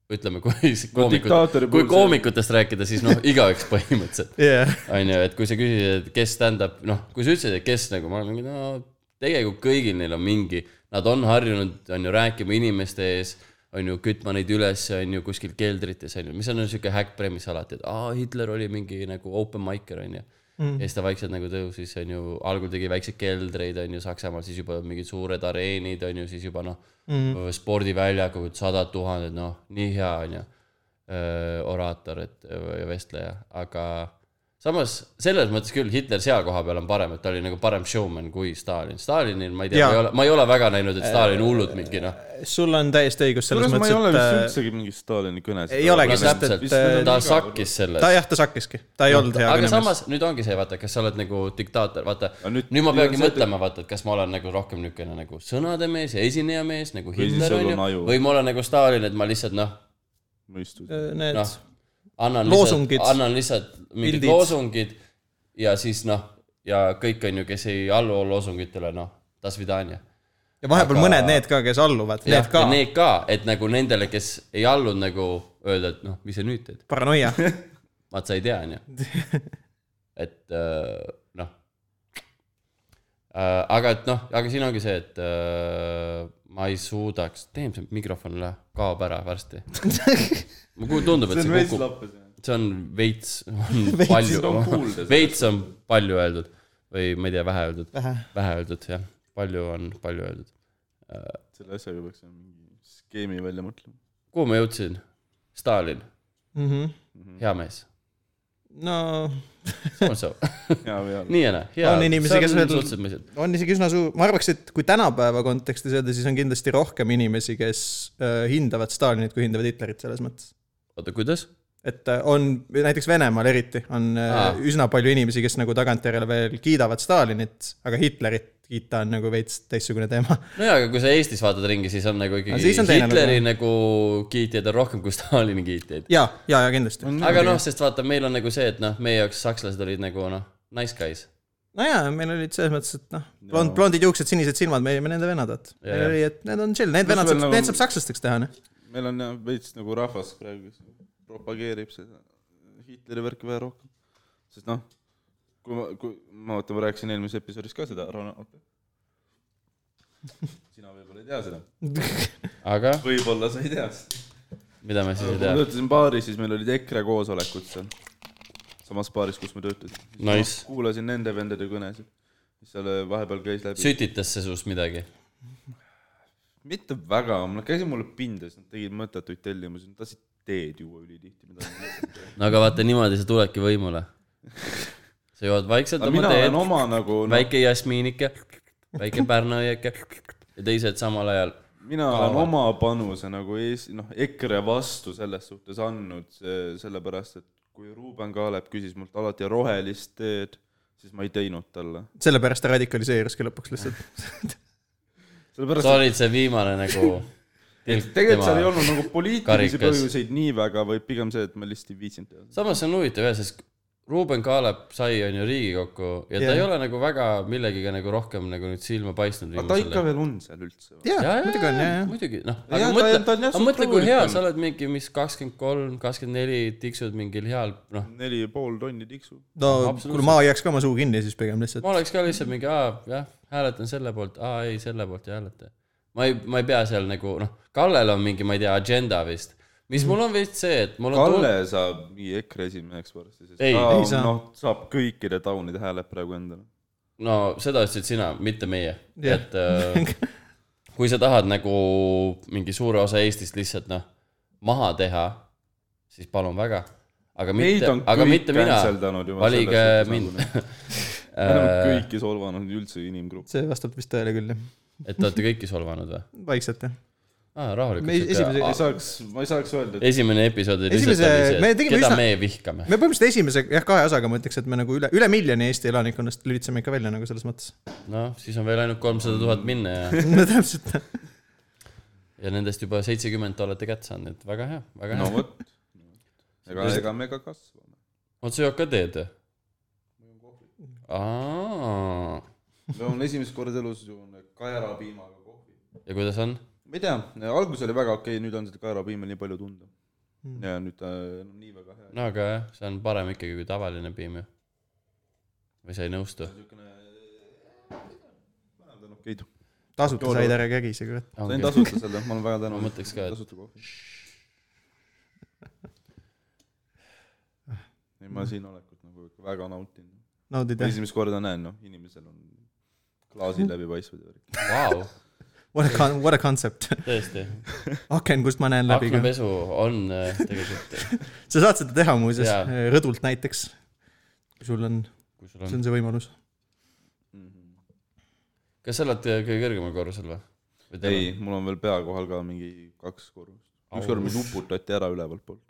[SPEAKER 3] ütleme , kui koomikud
[SPEAKER 2] diktaatori , puhul
[SPEAKER 3] kui
[SPEAKER 2] see-
[SPEAKER 3] koomikutest rääkida , siis noh , igaüks põhimõtteliselt
[SPEAKER 1] jah .
[SPEAKER 3] on ju , et kui sa küsisid , et kes stand-up , noh , kui sa ütlesid , et kes nagu , ma olen mingi , no tegelikult kõigil neil on mingi , nad on harjunud , on ju , rääkima inimeste ees , on ju , kütma neid üles , on ju , kuskil keldrites , on ju , mis on niisugune häkk premise alati , et aa , Hitler oli mingi nagu open micer , on ju . ja siis ta vaikselt nagu tõusis , on ju , algul tegi väikseid keldreid , on ju , Saksamaal , siis juba mingid suured areenid , on ju , siis juba noh mm. , spordiväljakud , sadad tuhanded , noh , nii hea , on ju , oraator , et öö, ja vestleja , aga samas selles mõttes küll Hitler seal koha peal on parem , et ta oli nagu parem showman kui Stalin . Stalinil ma ei tea ,
[SPEAKER 1] Jaa.
[SPEAKER 3] ma ei ole , ma ei ole väga näinud , et Stalin hullult mingi noh ,
[SPEAKER 1] sul on täiesti õigus selles
[SPEAKER 2] kuidas ma ei ole
[SPEAKER 1] mõttes ,
[SPEAKER 2] vist
[SPEAKER 1] et äh,
[SPEAKER 2] üldsegi mingi Stalini kõnes .
[SPEAKER 1] ei olegi , sest
[SPEAKER 3] täpselt
[SPEAKER 1] et , äh,
[SPEAKER 3] ta sakkis selle
[SPEAKER 1] ta . jah , ta sakkiski , ta ei olnud hea
[SPEAKER 3] aga
[SPEAKER 1] kõnemees .
[SPEAKER 3] samas nüüd ongi see , vaata , kas sa oled nagu diktaator , vaata .
[SPEAKER 2] Aga
[SPEAKER 3] nüüd
[SPEAKER 2] nüüd-
[SPEAKER 3] ma
[SPEAKER 2] nüüd
[SPEAKER 3] peangi
[SPEAKER 2] on see, et-
[SPEAKER 3] mõtlema , vaata , et kas ma olen nagu rohkem niisugune nagu sõnade mees ja esineja mees nagu
[SPEAKER 2] siis
[SPEAKER 3] Hitler
[SPEAKER 2] sul
[SPEAKER 3] on
[SPEAKER 2] on
[SPEAKER 3] ju
[SPEAKER 2] aju. ,
[SPEAKER 3] või ma olen nagu Stalin , et ma lihtsalt noh ,
[SPEAKER 2] mõistus .
[SPEAKER 1] Need
[SPEAKER 3] noh , annan lihtsalt
[SPEAKER 1] Loosungid. ,
[SPEAKER 3] annan lihtsalt mingid
[SPEAKER 1] Pildid.
[SPEAKER 3] loosungid ja siis noh , ja kõik on ju , kes ei allu loosungitele , noh , das vidanja
[SPEAKER 1] ja vahepeal
[SPEAKER 3] aga-
[SPEAKER 1] mõned need ka , kes alluvad ,
[SPEAKER 3] jah
[SPEAKER 1] need , ka ,
[SPEAKER 3] need ka , et nagu nendele , kes ei allunud nagu öelda , et noh , mis sa nüüd teed ,
[SPEAKER 1] paranoia .
[SPEAKER 3] vaat sa ei tea , onju . et äh, noh , aga et noh , aga siin ongi see , et äh, ma ei suudaks , teen see mikrofon üle , kaob ära varsti . ma kuul- , tundub , et
[SPEAKER 2] see on
[SPEAKER 3] see
[SPEAKER 2] veits
[SPEAKER 3] kukub ,
[SPEAKER 2] lappes .
[SPEAKER 3] see on veits , on
[SPEAKER 1] Veits
[SPEAKER 2] on kuulda
[SPEAKER 3] palju ,
[SPEAKER 2] seda.
[SPEAKER 3] veits on palju öeldud või ma ei tea , vähe öeldud ,
[SPEAKER 1] vähe .
[SPEAKER 3] vähe öeldud jah , palju on palju öeldud .
[SPEAKER 2] selle asjaga peaks mingi skeemi välja mõtlema .
[SPEAKER 3] kuhu ma jõudsin ? Stalin , hea mees ,
[SPEAKER 1] Mhm. no
[SPEAKER 3] on see
[SPEAKER 2] hea peal .
[SPEAKER 3] nii ja naa , hea .
[SPEAKER 1] On inimesi, kes veel-
[SPEAKER 3] suhteliselt mõistlik .
[SPEAKER 1] on isegi üsna suur , ma arvaks , et kui tänapäeva kontekstis öelda , siis on kindlasti rohkem inimesi , kes äh, hindavad Stalinit , kui hindavad Hitlerit selles mõttes .
[SPEAKER 3] oota , kuidas ?
[SPEAKER 1] et äh, on , näiteks Venemaal eriti on
[SPEAKER 3] Aa.
[SPEAKER 1] Aa. üsna palju inimesi , kes nagu tagantjärele veel kiidavad Stalinit , aga Hitlerit kiita on nagu veits teistsugune teema .
[SPEAKER 3] nojaa , aga kui sa Eestis vaatad ringi , siis on nagu
[SPEAKER 1] Aga
[SPEAKER 3] ikkagi
[SPEAKER 1] siis on teine
[SPEAKER 3] Hitleri
[SPEAKER 1] lugu.
[SPEAKER 3] nagu kiitjaid on rohkem kui Stalini kiitjaid .
[SPEAKER 1] ja , ja , ja kindlasti .
[SPEAKER 3] aga noh , sest vaata , meil on nagu see , et noh , meie jaoks sakslased olid nagu noh , nice guys .
[SPEAKER 1] no jaa , meil olid selles mõttes , et noh , blond , blondid juuksed , sinised silmad , me olime nende vennad , et meil
[SPEAKER 3] Jaa.
[SPEAKER 1] oli , et need on chill , need vennad
[SPEAKER 2] veel
[SPEAKER 1] saab ,
[SPEAKER 2] nagu-
[SPEAKER 1] need saab sakslasteks teha , noh .
[SPEAKER 2] meil on jah veits nagu rahvas praegu , kes propageerib seda Hitleri värki vähe rohkem . sest noh , kui ma , kui ma vaata , ma rääkisin eelmises episoodis ka seda , Rauno , oota . sina võib-olla ei tea seda .
[SPEAKER 3] aga
[SPEAKER 2] võib-olla sa ei tea seda .
[SPEAKER 3] mida me siis
[SPEAKER 2] kui
[SPEAKER 3] ei
[SPEAKER 2] ma
[SPEAKER 3] tea .
[SPEAKER 2] töötasin baaris , siis meil olid EKRE koosolekud seal , samas baaris , kus ma töötasin .
[SPEAKER 3] Nice.
[SPEAKER 2] kuulasin nende vendade kõnesid , mis seal äh, vahepeal käis läbi .
[SPEAKER 3] sütitas see sinust midagi ?
[SPEAKER 2] mitte väga , ma käisin mulle pindas , nad tegid mõttetuid tellimusi , nad tahtsid teed juua ülitihti , mida ma ei tea .
[SPEAKER 3] no aga vaata , niimoodi sa tuledki võimule . sa jood vaikselt
[SPEAKER 2] aga
[SPEAKER 3] oma
[SPEAKER 2] mina
[SPEAKER 3] teed
[SPEAKER 2] olen , oma nagu no, ,
[SPEAKER 3] väike jasmiinike , väike pärnaõieke ja teised samal ajal .
[SPEAKER 2] mina olen oma panuse nagu Eesti , noh , EKRE vastu selles suhtes andnud , sellepärast et kui Ruuben Kaalep küsis mult alati rohelist teed , siis ma ei teinud talle .
[SPEAKER 1] sellepärast ta radikaliseeruski lõpuks lihtsalt .
[SPEAKER 2] sellepärast ,
[SPEAKER 3] sa olid see viimane nagu .
[SPEAKER 2] et tegelikult seal ei olnud nagu poliitilisi
[SPEAKER 3] karikas.
[SPEAKER 2] põhjuseid nii väga , vaid pigem see , et ma lihtsalt ei viitsinud teada .
[SPEAKER 3] samas see on huvitav jah , sest Ruuben Kaalep sai , on ju , Riigikokku ja yeah. ta
[SPEAKER 1] Jah.
[SPEAKER 3] ei ole nagu väga millegagi nagu rohkem nagu nüüd silma paistnud
[SPEAKER 2] aga ta ikka . veel on seal üldse .
[SPEAKER 1] jaa , muidugi on , jaa , jaa .
[SPEAKER 3] muidugi , noh ,
[SPEAKER 2] Jaa,
[SPEAKER 3] aga
[SPEAKER 2] ta-
[SPEAKER 3] mõtle ,
[SPEAKER 2] ta on jah
[SPEAKER 3] aga mõtle , kui
[SPEAKER 2] suht
[SPEAKER 3] hea
[SPEAKER 2] ruulik
[SPEAKER 3] sa oled mingi , mis kakskümmend kolm , kakskümmend neli tiksud mingil heal , noh ,
[SPEAKER 2] neli ja pool tonni tiksu .
[SPEAKER 1] no
[SPEAKER 3] Absoluutselt.
[SPEAKER 1] kuule , ma jääks ka oma suu kinni siis pigem lihtsalt .
[SPEAKER 3] ma oleks ka lihtsalt mingi , aa , jah , hääletan selle poolt , aa , ei , selle poolt ei hääleta . ma ei , ma ei pea seal nagu , noh , Kallel on mingi , ma ei tea , agenda vist , mis mul on vist see , et mul on
[SPEAKER 2] Kalle saab mingi EKRE esimeheks varsti , sest
[SPEAKER 3] Ei,
[SPEAKER 2] ta
[SPEAKER 1] ei
[SPEAKER 2] on-
[SPEAKER 1] saa.
[SPEAKER 2] noh , saab kõikide taunide hääled praegu endale .
[SPEAKER 3] no seda ütlesid sina , mitte meie
[SPEAKER 1] Jah.
[SPEAKER 3] yeah. , et äh, kui sa tahad nagu mingi suure osa Eestist lihtsalt noh , maha teha , siis palun väga , aga
[SPEAKER 2] Meid
[SPEAKER 3] mitte
[SPEAKER 2] on ,
[SPEAKER 3] aga
[SPEAKER 2] kõik
[SPEAKER 3] mitte mina Äh,
[SPEAKER 2] canceldanud juba ,
[SPEAKER 3] valige
[SPEAKER 2] selles suhtes nagu.
[SPEAKER 3] mind . et
[SPEAKER 2] kõiki solvanud üldse inimgrupp .
[SPEAKER 1] see vastab vist tõele küll , jah .
[SPEAKER 3] te olete kõiki solvanud või
[SPEAKER 1] vaikselt , jah .
[SPEAKER 3] ah, ?
[SPEAKER 1] Me es- esimese-
[SPEAKER 3] rahulikult .
[SPEAKER 2] ei saaks , ma ei saaks öelda , et
[SPEAKER 3] esimene episood oli
[SPEAKER 1] Esimese-
[SPEAKER 3] lihtsalt oli see ,
[SPEAKER 1] me
[SPEAKER 3] et
[SPEAKER 1] tegime
[SPEAKER 3] keda
[SPEAKER 1] üsna-
[SPEAKER 3] me vihkame .
[SPEAKER 1] me põhimõtteliselt esimese , jah , kahe osaga ma ütleks , et me nagu üle , üle miljoni Eesti elanikkonnast lülitseme ikka välja nagu selles mõttes .
[SPEAKER 3] noh , siis on veel ainult kolmsada tuhat minna ja ,
[SPEAKER 1] no täpselt .
[SPEAKER 3] ja nendest juba seitsekümmend olete kätte saanud , et väga hea , väga
[SPEAKER 2] no
[SPEAKER 3] hea .
[SPEAKER 2] vot , ega , ega me ka kasvame .
[SPEAKER 3] oot , sa jood ka teed või ? aa
[SPEAKER 2] me oleme esimest korda elus joonud kaerapiimaga kohvi .
[SPEAKER 3] ja kuidas on ?
[SPEAKER 2] ma ei tea , algus oli väga okei , nüüd on seda kaerapiima nii palju tunda .
[SPEAKER 3] Hmm.
[SPEAKER 2] ja nüüd ta enam nii väga hea ei
[SPEAKER 3] no aga jah , see on parem ikkagi kui tavaline piim ju . või sa ei nõustu ?
[SPEAKER 2] niisugune , vähem tänu Keidu .
[SPEAKER 1] tasuta said ära kägise , kurat .
[SPEAKER 2] sain tasuta selle , ma olen väga tänulik .
[SPEAKER 3] Ma mõtleks ka, et-
[SPEAKER 2] tasuta kohvi . ei , ma siin olekut nagu ikka väga nautin .
[SPEAKER 1] naudid , jah ?
[SPEAKER 2] esimest korda näen , noh , inimesel on klaasid läbipaistvad ja värk .
[SPEAKER 3] Vau ,
[SPEAKER 1] What a con- , what a concept .
[SPEAKER 3] tõesti .
[SPEAKER 1] aken , kust ma näen läbi ka .
[SPEAKER 3] aknapesu on äh, tegelikult ,
[SPEAKER 1] sa saad seda teha muuseas eh,
[SPEAKER 3] Jaa. ,
[SPEAKER 1] rõdult näiteks . kui sul on ,
[SPEAKER 3] kui sul
[SPEAKER 1] see
[SPEAKER 3] on .
[SPEAKER 1] on see võimalus .
[SPEAKER 3] Mhm. kas sa oled äh, kõige kõrgemal korrusel või ?
[SPEAKER 2] ei , mul on veel pea kohal ka mingi kaks korrust . ükskord mind uputati ära ülevalt poolt .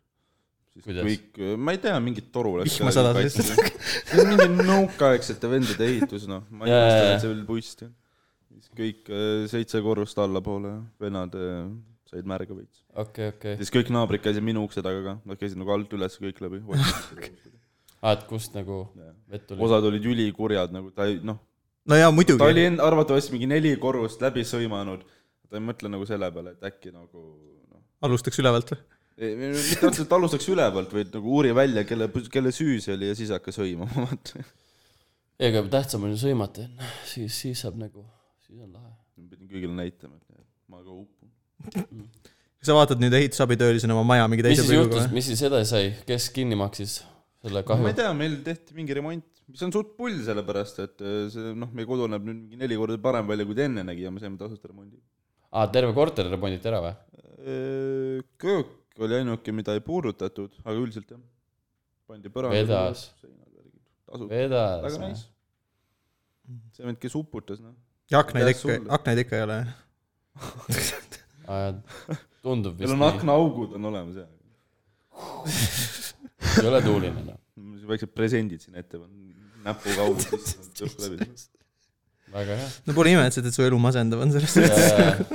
[SPEAKER 2] siis
[SPEAKER 3] Kuidas?
[SPEAKER 2] kõik , ma ei tea , mingit toru läks .
[SPEAKER 1] Vihma sadas lihtsalt. .
[SPEAKER 2] see on mingi nõukaaegsete vendade ehitus , noh , ma ei
[SPEAKER 3] Jaa, jaa,
[SPEAKER 2] mõista ,
[SPEAKER 3] jaa.
[SPEAKER 2] et see veel puist on . siis kõik äh, seitse korrust allapoole , vennad äh, said märga veits .
[SPEAKER 3] okei , okei .
[SPEAKER 2] siis kõik naabrid käisid minu ukse taga ka , nad käisid nagu alt üles kõik läbi .
[SPEAKER 3] aa , et kust nagu vett tuli ?
[SPEAKER 2] osad olid ülikurjad , nagu ta ei , noh ,
[SPEAKER 1] no jaa ,
[SPEAKER 2] ta oli
[SPEAKER 1] muidugi .
[SPEAKER 2] end- arvatavasti mingi neli korrust läbi sõimanud , ta ei mõtle nagu selle peale , et äkki nagu noh ,
[SPEAKER 1] alustaks ülevalt või ?
[SPEAKER 2] ei , mitte otseselt alustaks ülevalt , vaid nagu uuri välja , kelle , kelle süü see oli ja siis hakka sõimama , vaata .
[SPEAKER 3] ega tähtsam on ju sõimata enne , siis , siis saab nagu , siis on lahe .
[SPEAKER 2] ma pidin kõigile näitama , et ma ka upun .
[SPEAKER 1] sa vaatad nüüd ehitusabitöölisena oma maja mingi
[SPEAKER 3] mis
[SPEAKER 1] teise
[SPEAKER 3] siis juhtus , mis siis edasi sai , kes kinni maksis selle
[SPEAKER 2] ma
[SPEAKER 3] kahju
[SPEAKER 2] ei ? tea , meil tehti mingi remont , mis on suht pull , sellepärast et äh, see noh , meie kodu näeb nüüd mingi neli korda parem välja , kui ta enne nägi ja me saime tasuta remondi .
[SPEAKER 3] aa , Ah, terve korter remonditi ära või ?
[SPEAKER 2] Äh, köök oli ainuke , mida ei puudutatud , aga üldiselt jah , pandi põrand .
[SPEAKER 3] Vedas. .
[SPEAKER 2] tasub ,
[SPEAKER 3] vedas
[SPEAKER 2] väga . nice . Mhm. see vend , kes uputas , noh .
[SPEAKER 1] ja aknaid
[SPEAKER 2] Aitäh
[SPEAKER 1] ikka
[SPEAKER 2] sulle. ,
[SPEAKER 1] aknaid ikka ei ole .
[SPEAKER 3] Ah, tundub
[SPEAKER 2] meil
[SPEAKER 3] vist
[SPEAKER 2] on
[SPEAKER 3] nii ,
[SPEAKER 2] aknaaugud on olemas , jah .
[SPEAKER 3] ei ole tuuline noh. enam .
[SPEAKER 2] mul siin väiksed presendid siin ette pannud , näpuga augud lihtsalt tõpp läbi .
[SPEAKER 3] väga hea .
[SPEAKER 1] no pole ime , et sa teed su elu masendav on sellest .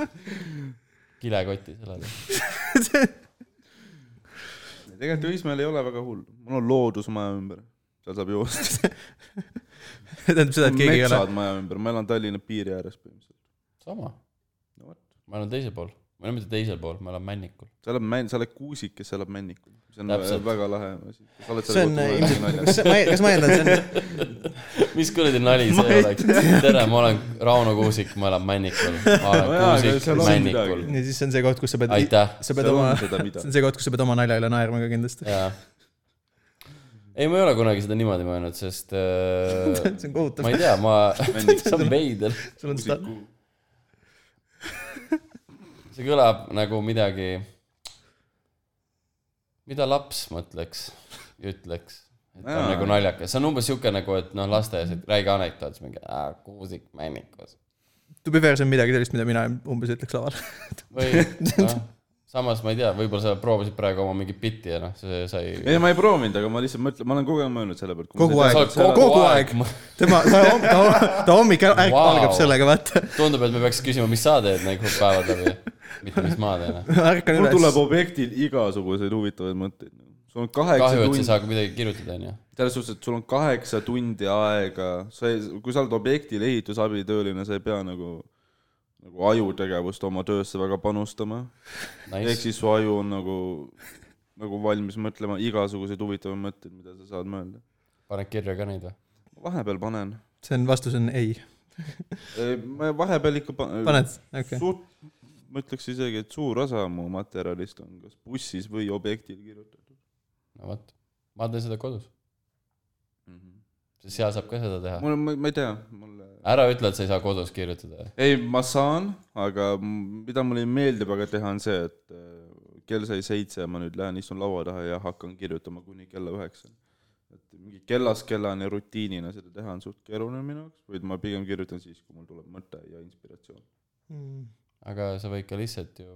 [SPEAKER 3] kilekoti sellele .
[SPEAKER 2] tegelikult Õismäel ei ole väga hull , mul on loodus maja ümber , seal saab joosta .
[SPEAKER 1] tähendab seda , et keegi ei ole .
[SPEAKER 2] metsad maja ümber , ma elan Tallinna piiri ääres põhimõtteliselt .
[SPEAKER 3] sama .
[SPEAKER 2] No vot.
[SPEAKER 3] ma olen teisel pool , ma ei ole mitte teisel pool , ma olen Männikul .
[SPEAKER 2] sa oled männ- , sa oled kuusik , kes elab männikul . see on
[SPEAKER 3] Täpselt.
[SPEAKER 2] väga lahe asi . sa oled
[SPEAKER 1] see on eh, äh, ilmselt , kas ma eeldan , see on ,
[SPEAKER 3] mis kuradi nali see oleks ? tere , ma olen Rauno Kuusik , ma elan Männikul . ma olen
[SPEAKER 2] No jaa, aga
[SPEAKER 3] Kuusik
[SPEAKER 2] seal on
[SPEAKER 3] Männikul
[SPEAKER 2] midagi. .
[SPEAKER 1] ja siis see on see koht , kus sa pead ,
[SPEAKER 3] aitäh ,
[SPEAKER 1] sa pead oma , see
[SPEAKER 2] ilmselt .
[SPEAKER 1] on see koht , kus sa pead oma nalja üle naerma ka kindlasti .
[SPEAKER 3] jaa . ei , ma ei ole kunagi seda niimoodi mõelnud , sest äh,
[SPEAKER 1] see on kohutav
[SPEAKER 3] ma , ei tea , ma , see on veider .
[SPEAKER 1] sul on seda ,
[SPEAKER 3] see kõlab nagu midagi , mida laps mõtleks ja ütleks . et ta on
[SPEAKER 2] Jaa.
[SPEAKER 3] nagu naljakas , see on umbes siuke nagu , et noh , lasteaias , et räägi anekdoot , siis mingi "Aa, kuusik männikus
[SPEAKER 1] to be fair , see on midagi sellist , mida mina umbes ütleks laval .
[SPEAKER 3] või noh , samas ma ei tea , võib-olla sa proovisid praegu oma mingit bitti ja noh , see sai .
[SPEAKER 2] ei , ma ei proovinud , aga ma lihtsalt mõtlen , ma olen kogu aeg mõelnud selle pealt .
[SPEAKER 1] Kogu aeg. Kogu aeg.
[SPEAKER 3] aeg .
[SPEAKER 1] tema , ta , ta, ta hommik ä- ärk-
[SPEAKER 3] Vau.
[SPEAKER 1] algab sellega , vaata .
[SPEAKER 3] tundub , et me peaks küsima , mis sa teed nagu päevad läbi , mitte mis ma teen .
[SPEAKER 1] ärkan
[SPEAKER 2] mul tuleb
[SPEAKER 1] üles .
[SPEAKER 2] objektil igasuguseid huvitavaid mõtteid . sul on kaheksa
[SPEAKER 3] kahju , et sa ei
[SPEAKER 2] tundi ,
[SPEAKER 3] saa ka midagi kirjutada , onju .
[SPEAKER 2] selles suhtes , et sul on kaheksa tundi aega , sa ei , kui sa oled objektil ehitusabitööline , sa ei pea nagu , nagu ajutegevust oma töösse väga panustama . ehk
[SPEAKER 3] Nice .
[SPEAKER 2] siis su aju on nagu , nagu valmis mõtlema igasuguseid huvitavaid mõtteid , mida sa saad mõelda .
[SPEAKER 3] paned kirja ka neid või ?
[SPEAKER 2] vahepeal panen ,
[SPEAKER 1] see on , vastus on ei .
[SPEAKER 2] ma vahepeal ikka panen .
[SPEAKER 1] paned , okei .
[SPEAKER 2] suht , ma ütleks isegi , et suur osa mu materjalist on kas bussis või objektil kirjutatud
[SPEAKER 3] no vot , ma teen seda kodus ,
[SPEAKER 2] mm .
[SPEAKER 3] Mhm.
[SPEAKER 2] -hmm.
[SPEAKER 3] sest seal saab ka seda teha .
[SPEAKER 2] mul on , ma ei tea , mulle ,
[SPEAKER 3] ära ütle , et sa ei saa kodus kirjutada .
[SPEAKER 2] ei , ma saan , aga m- mida mulle meeldib väga teha , on see , et äh, kell sai seitse , ma nüüd lähen istun laua taha ja hakkan kirjutama kuni kella üheksani . et mingi kellast kellani rutiinina seda teha on suht keeruline minu jaoks , vaid ma pigem kirjutan siis , kui mul tuleb mõte ja inspiratsioon .
[SPEAKER 3] aga sa võid ka lihtsalt ju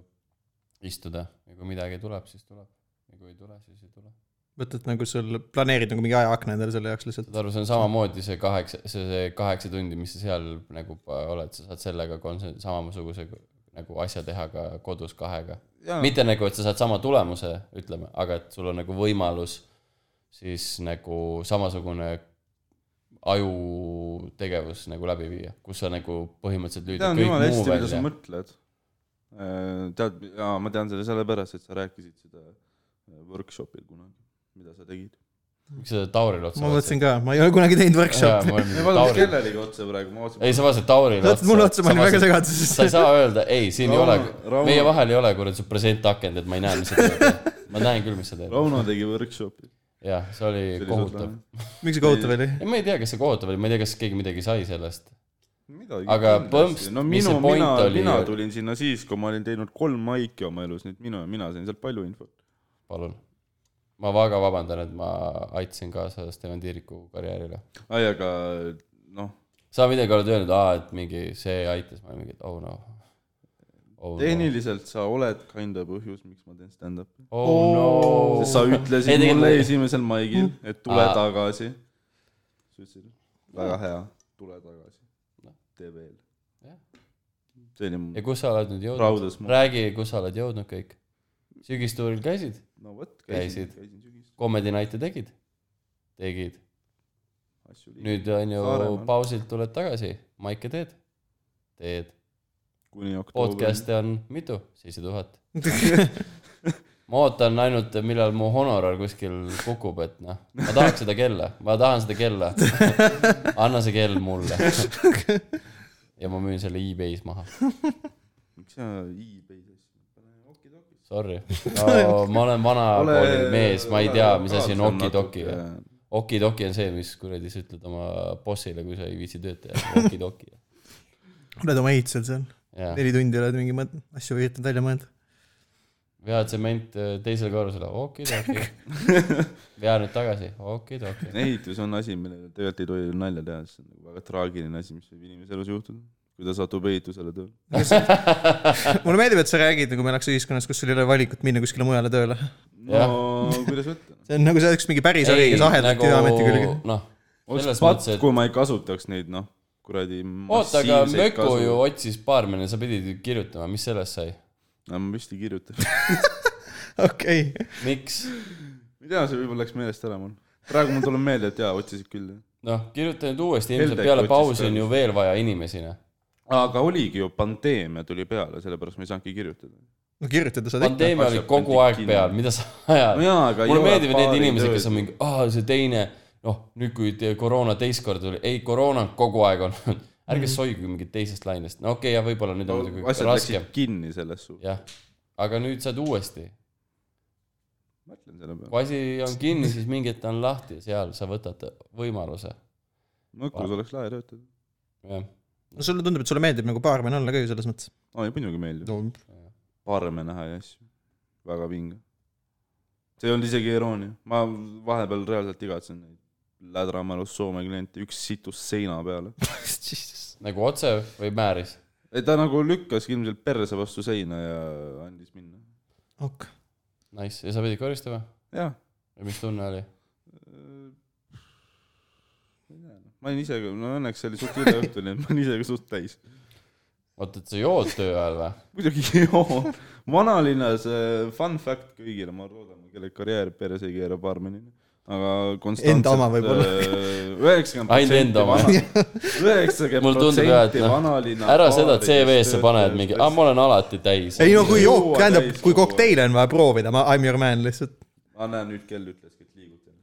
[SPEAKER 3] istuda ja kui midagi tuleb , siis tuleb . ja kui ei tule , siis ei tule .
[SPEAKER 1] mõtled nagu sul , planeerid nagu mingi ajaakna endale selle jaoks lihtsalt .
[SPEAKER 3] saad aru , see on samamoodi see kaheksa , see , see kaheksa tundi , mis sa seal nagu pa- oled , sa saad sellega konsen- , samasuguse nagu asja teha ka kodus kahega . mitte nagu , et sa saad sama tulemuse , ütleme , aga et sul on nagu võimalus siis nagu samasugune ajutegevus nagu läbi viia , kus sa nagu põhimõtteliselt lüüdad
[SPEAKER 2] tean jumala
[SPEAKER 3] kõik muu
[SPEAKER 2] hästi , mida sa
[SPEAKER 3] välja .
[SPEAKER 2] mõtled . tead , jaa , ma tean seda sellepärast , et sa rääkisid seda äh, workshop'il kunagi , mida sa tegid .
[SPEAKER 3] miks sa Taurile otsa
[SPEAKER 1] ma mõtlesin ka , ma ei ole kunagi teinud workshop'i .
[SPEAKER 2] me vaatame
[SPEAKER 3] vaatasid ?
[SPEAKER 2] kellelegi otsa praegu , ma vaatasin .
[SPEAKER 3] ei , sa vaatasid Taurile
[SPEAKER 1] vaatad mulle otsa , ma olin väga segaduses .
[SPEAKER 3] sa ei saa öelda , ei , siin ei
[SPEAKER 2] Rauno-
[SPEAKER 3] ole ,
[SPEAKER 2] Rauno-
[SPEAKER 3] meie vahel ei ole kuradi su presentakend , et ma ei näe , mis sa teed . ma näen küll , mis sa teed .
[SPEAKER 2] Rauno tegi workshop'i .
[SPEAKER 3] jah , see oli kohutav .
[SPEAKER 1] miks see kohutav oli ?
[SPEAKER 3] ei , ma ei tea , kas see kohutav oli , ma ei tea , kas keegi midagi sai sellest .
[SPEAKER 2] midagi .
[SPEAKER 3] Aga põmps-
[SPEAKER 2] no
[SPEAKER 3] mis
[SPEAKER 2] minu
[SPEAKER 3] see , point
[SPEAKER 2] mina ,
[SPEAKER 3] oli?
[SPEAKER 2] mina tulin sinna siis , kui ma olin teinud kolm maiki oma elus , nii et minu , mina sain sealt palju infot .
[SPEAKER 3] palun . ma väga vabandan , et ma aitasin kaasa Steven Tiiriku karjäärile .
[SPEAKER 2] ai , aga noh ,
[SPEAKER 3] sa midagi oled öelnud , aa , et mingi see aitas , ma olin mingi , et oh no . Oh no.
[SPEAKER 2] tehniliselt sa oled kinda põhjus , miks ma teen stand-up'i .
[SPEAKER 3] Oh no.
[SPEAKER 2] sest sa
[SPEAKER 3] Ei,
[SPEAKER 2] ütlesid
[SPEAKER 3] tegelikult
[SPEAKER 2] mulle
[SPEAKER 3] ma- Ah.
[SPEAKER 2] esimesel maigil , et tule
[SPEAKER 3] Aa.
[SPEAKER 2] tagasi . sa ütlesid , väga hea , tule tagasi
[SPEAKER 3] Noh. .
[SPEAKER 2] tee veel
[SPEAKER 3] Jah. .
[SPEAKER 2] see oli mu
[SPEAKER 3] ja kus sa oled nüüd jõudnud ?
[SPEAKER 2] raudas mu ,
[SPEAKER 3] räägi , kus sa oled jõudnud kõik . sügistuuril käisid ,
[SPEAKER 2] no vot , käisin ,
[SPEAKER 3] käisid.
[SPEAKER 2] käisin sügisel ,
[SPEAKER 3] Comedy Night'i tegid , tegid .
[SPEAKER 2] asju liikus ,
[SPEAKER 3] nüüd on ju
[SPEAKER 2] Saaremaal.
[SPEAKER 3] pausilt tuled tagasi , maike teed , teed ,
[SPEAKER 2] kuni oktoobrini .
[SPEAKER 3] podcast'e on mitu , seitse tuhat . ma ootan ainult , millal mu honorar kuskil kukub , et noh , ma tahaks seda kella , ma tahan seda kella . anna see kell mulle . ja ma müün selle e-base maha ,
[SPEAKER 2] miks sina e-Bay'd asju , pane okidokid .
[SPEAKER 3] sorry no, . ma olen vana kooli mees , ma ei tea , mis asi on okidoki . okidoki on see , mis kuradi sa ütled oma bossile , kui sa ei viitsi tööd teha , okidoki .
[SPEAKER 1] oled oma ehitusel seal ,
[SPEAKER 3] jah ,
[SPEAKER 1] neli tundi oled mingi mõt- asju üritanud välja mõelda .
[SPEAKER 3] vea tsement eh, teisele korrusele , okidoki . vea nüüd tagasi , okidoki .
[SPEAKER 2] ehitus on asi , millele tegelikult ei tohi nalja teha , see on nagu väga traagiline asi , mis võib inimese elus juhtuda , kui ta satub ehitusele tööle .
[SPEAKER 1] mulle meeldib , et sa räägid nagu me elaks ühiskonnas , kus sul ei ole valikut minna kuskile mujale tööle .
[SPEAKER 3] Jah.
[SPEAKER 2] no kuidas võtta ? noh?
[SPEAKER 1] see on nagu see oleks mingi päris äri , kes ahedat Tööameti külge .
[SPEAKER 3] nagu, noh , selles
[SPEAKER 2] oleks
[SPEAKER 3] mõttes ,
[SPEAKER 2] patt ,
[SPEAKER 3] et
[SPEAKER 2] kui ma ei kasutaks neid , noh , kuradi
[SPEAKER 3] oota , aga
[SPEAKER 2] massiivseid
[SPEAKER 3] Möku
[SPEAKER 2] kasu-
[SPEAKER 3] ju otsis baarmeni , sa pidid ju kirjutama , mis sellest sai ?
[SPEAKER 2] no ma vist ei kirjuta .
[SPEAKER 1] okei ,
[SPEAKER 3] miks ?
[SPEAKER 2] ma ei tea , see võib-olla läks meelest ära mul . praegu mul tuleb meelde , et jaa , otsisid küll .
[SPEAKER 3] noh , kirjuta nüüd uuesti , ilmselt
[SPEAKER 2] Heldek
[SPEAKER 3] peale
[SPEAKER 2] otsis
[SPEAKER 3] pausi on
[SPEAKER 2] ka.
[SPEAKER 3] ju veel vaja inimesi , noh .
[SPEAKER 2] aga oligi ju , pandeemia tuli peale , sellepärast ma ei saanudki kirjutada .
[SPEAKER 1] no kirjutada saad ikka .
[SPEAKER 3] pandeemia oli
[SPEAKER 2] asjad
[SPEAKER 3] kogu
[SPEAKER 2] pandi
[SPEAKER 3] aeg
[SPEAKER 2] kinni.
[SPEAKER 3] peal , mida sa ajad
[SPEAKER 2] No jaa, aga ei
[SPEAKER 3] mulle
[SPEAKER 2] ole
[SPEAKER 3] meeldivad need
[SPEAKER 2] baari
[SPEAKER 3] inimesed ,
[SPEAKER 2] tööd.
[SPEAKER 3] kes on mingi , aa , see teine , noh , nüüd kui te- koroona teist korda tuli , ei , koroona on kogu aeg olnud . ärge soige mingit teisest lainest , no okei okay, , ja võib-olla nüüd on muidugi
[SPEAKER 2] Mhm. asjad
[SPEAKER 3] raskem
[SPEAKER 2] läksid , kinni selles suhtes .
[SPEAKER 3] jah . aga nüüd saad uuesti
[SPEAKER 2] mõtlen selle peale .
[SPEAKER 3] kui asi on kinni , siis mingi hetk ta on lahti ja seal sa võtad võimaluse .
[SPEAKER 2] Mõkus oleks lahe töötada .
[SPEAKER 3] jah ,
[SPEAKER 1] no sulle tundub , et sulle meeldib nagu baarmen olla ka ju selles mõttes .
[SPEAKER 2] aa , ei muidugi meeldib . parme näha ja asju . väga vinge . see ei olnud isegi iroonia , ma vahepeal reaalselt igatsen neid lädramalus Soome kliente , üks situs seina peale .
[SPEAKER 3] nagu otse või määris .
[SPEAKER 2] ei ta nagu lükkas ilmselt perse vastu seina ja andis minna .
[SPEAKER 1] ok ,
[SPEAKER 3] Nice , ja sa pidid koristama ?
[SPEAKER 2] jah ,
[SPEAKER 3] ja mis tunne oli ?
[SPEAKER 2] ma olin ise ka , no õnneks see oli suht hilja õhtul , nii et ma olin ise ka suht täis .
[SPEAKER 3] oota , et sa jood töö ajal või ?
[SPEAKER 2] muidugi joo , vanalinnas äh, fun fact kõigile , ma loodan , kelle karjäär peres ei keera baarmenina , aga eh,
[SPEAKER 1] Enda oma võib-olla.
[SPEAKER 2] üheksakümmend
[SPEAKER 3] Ainult enda oma. Mulle
[SPEAKER 2] üheksakümmend
[SPEAKER 3] tundub jah, et
[SPEAKER 2] protsenti
[SPEAKER 3] noh,
[SPEAKER 2] vanalinna .
[SPEAKER 3] ära seda CV-sse pane , et mingi , aa , ma olen alati täis .
[SPEAKER 1] ei no kui
[SPEAKER 2] Ei
[SPEAKER 1] jook ,
[SPEAKER 2] jõua
[SPEAKER 1] tähendab ,
[SPEAKER 2] täis
[SPEAKER 1] kui
[SPEAKER 2] kogu aeg.
[SPEAKER 1] kokteile on vaja proovida , ma , I m your man lihtsalt .
[SPEAKER 2] ma näen nüüd kell ütleski , et liigutan ,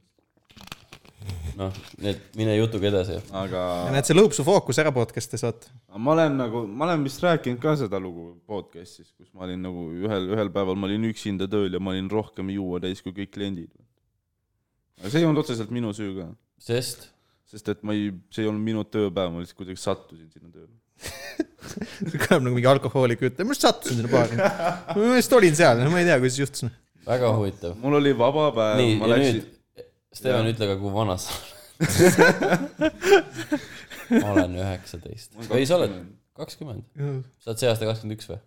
[SPEAKER 3] noh , nii et mine jutuga edasi .
[SPEAKER 2] aga
[SPEAKER 1] näed , see lõõb su fookus ära podcast'i saate .
[SPEAKER 2] aga ma olen nagu , ma olen vist rääkinud ka seda lugu podcast'is , kus ma olin nagu ühel , ühel päeval ma olin üksinda tööl ja ma olin rohkem juua täis kui kõik kliendid . aga see ei olnud otseselt minu süü ka ,
[SPEAKER 3] sest
[SPEAKER 2] sest et ma ei , see ei olnud minu tööpäev , ma lihtsalt kuidagi sattusin sinna tööle .
[SPEAKER 1] see kõlab nagu mingi alkohoolik jutt , ma just sattusin sinna baari . ma lihtsalt olin seal , ma ei tea , kuidas juhtus .
[SPEAKER 3] väga huvitav .
[SPEAKER 2] mul oli vaba päev ,
[SPEAKER 3] nii ,
[SPEAKER 2] ma
[SPEAKER 3] ja
[SPEAKER 2] läksin
[SPEAKER 3] nüüd , Steven , ütle ka , kui vana sa oled . ma olen üheksateist .
[SPEAKER 2] olen
[SPEAKER 3] või sa oled
[SPEAKER 2] 20.
[SPEAKER 3] kakskümmend ? sa oled see aasta kakskümmend üks või ?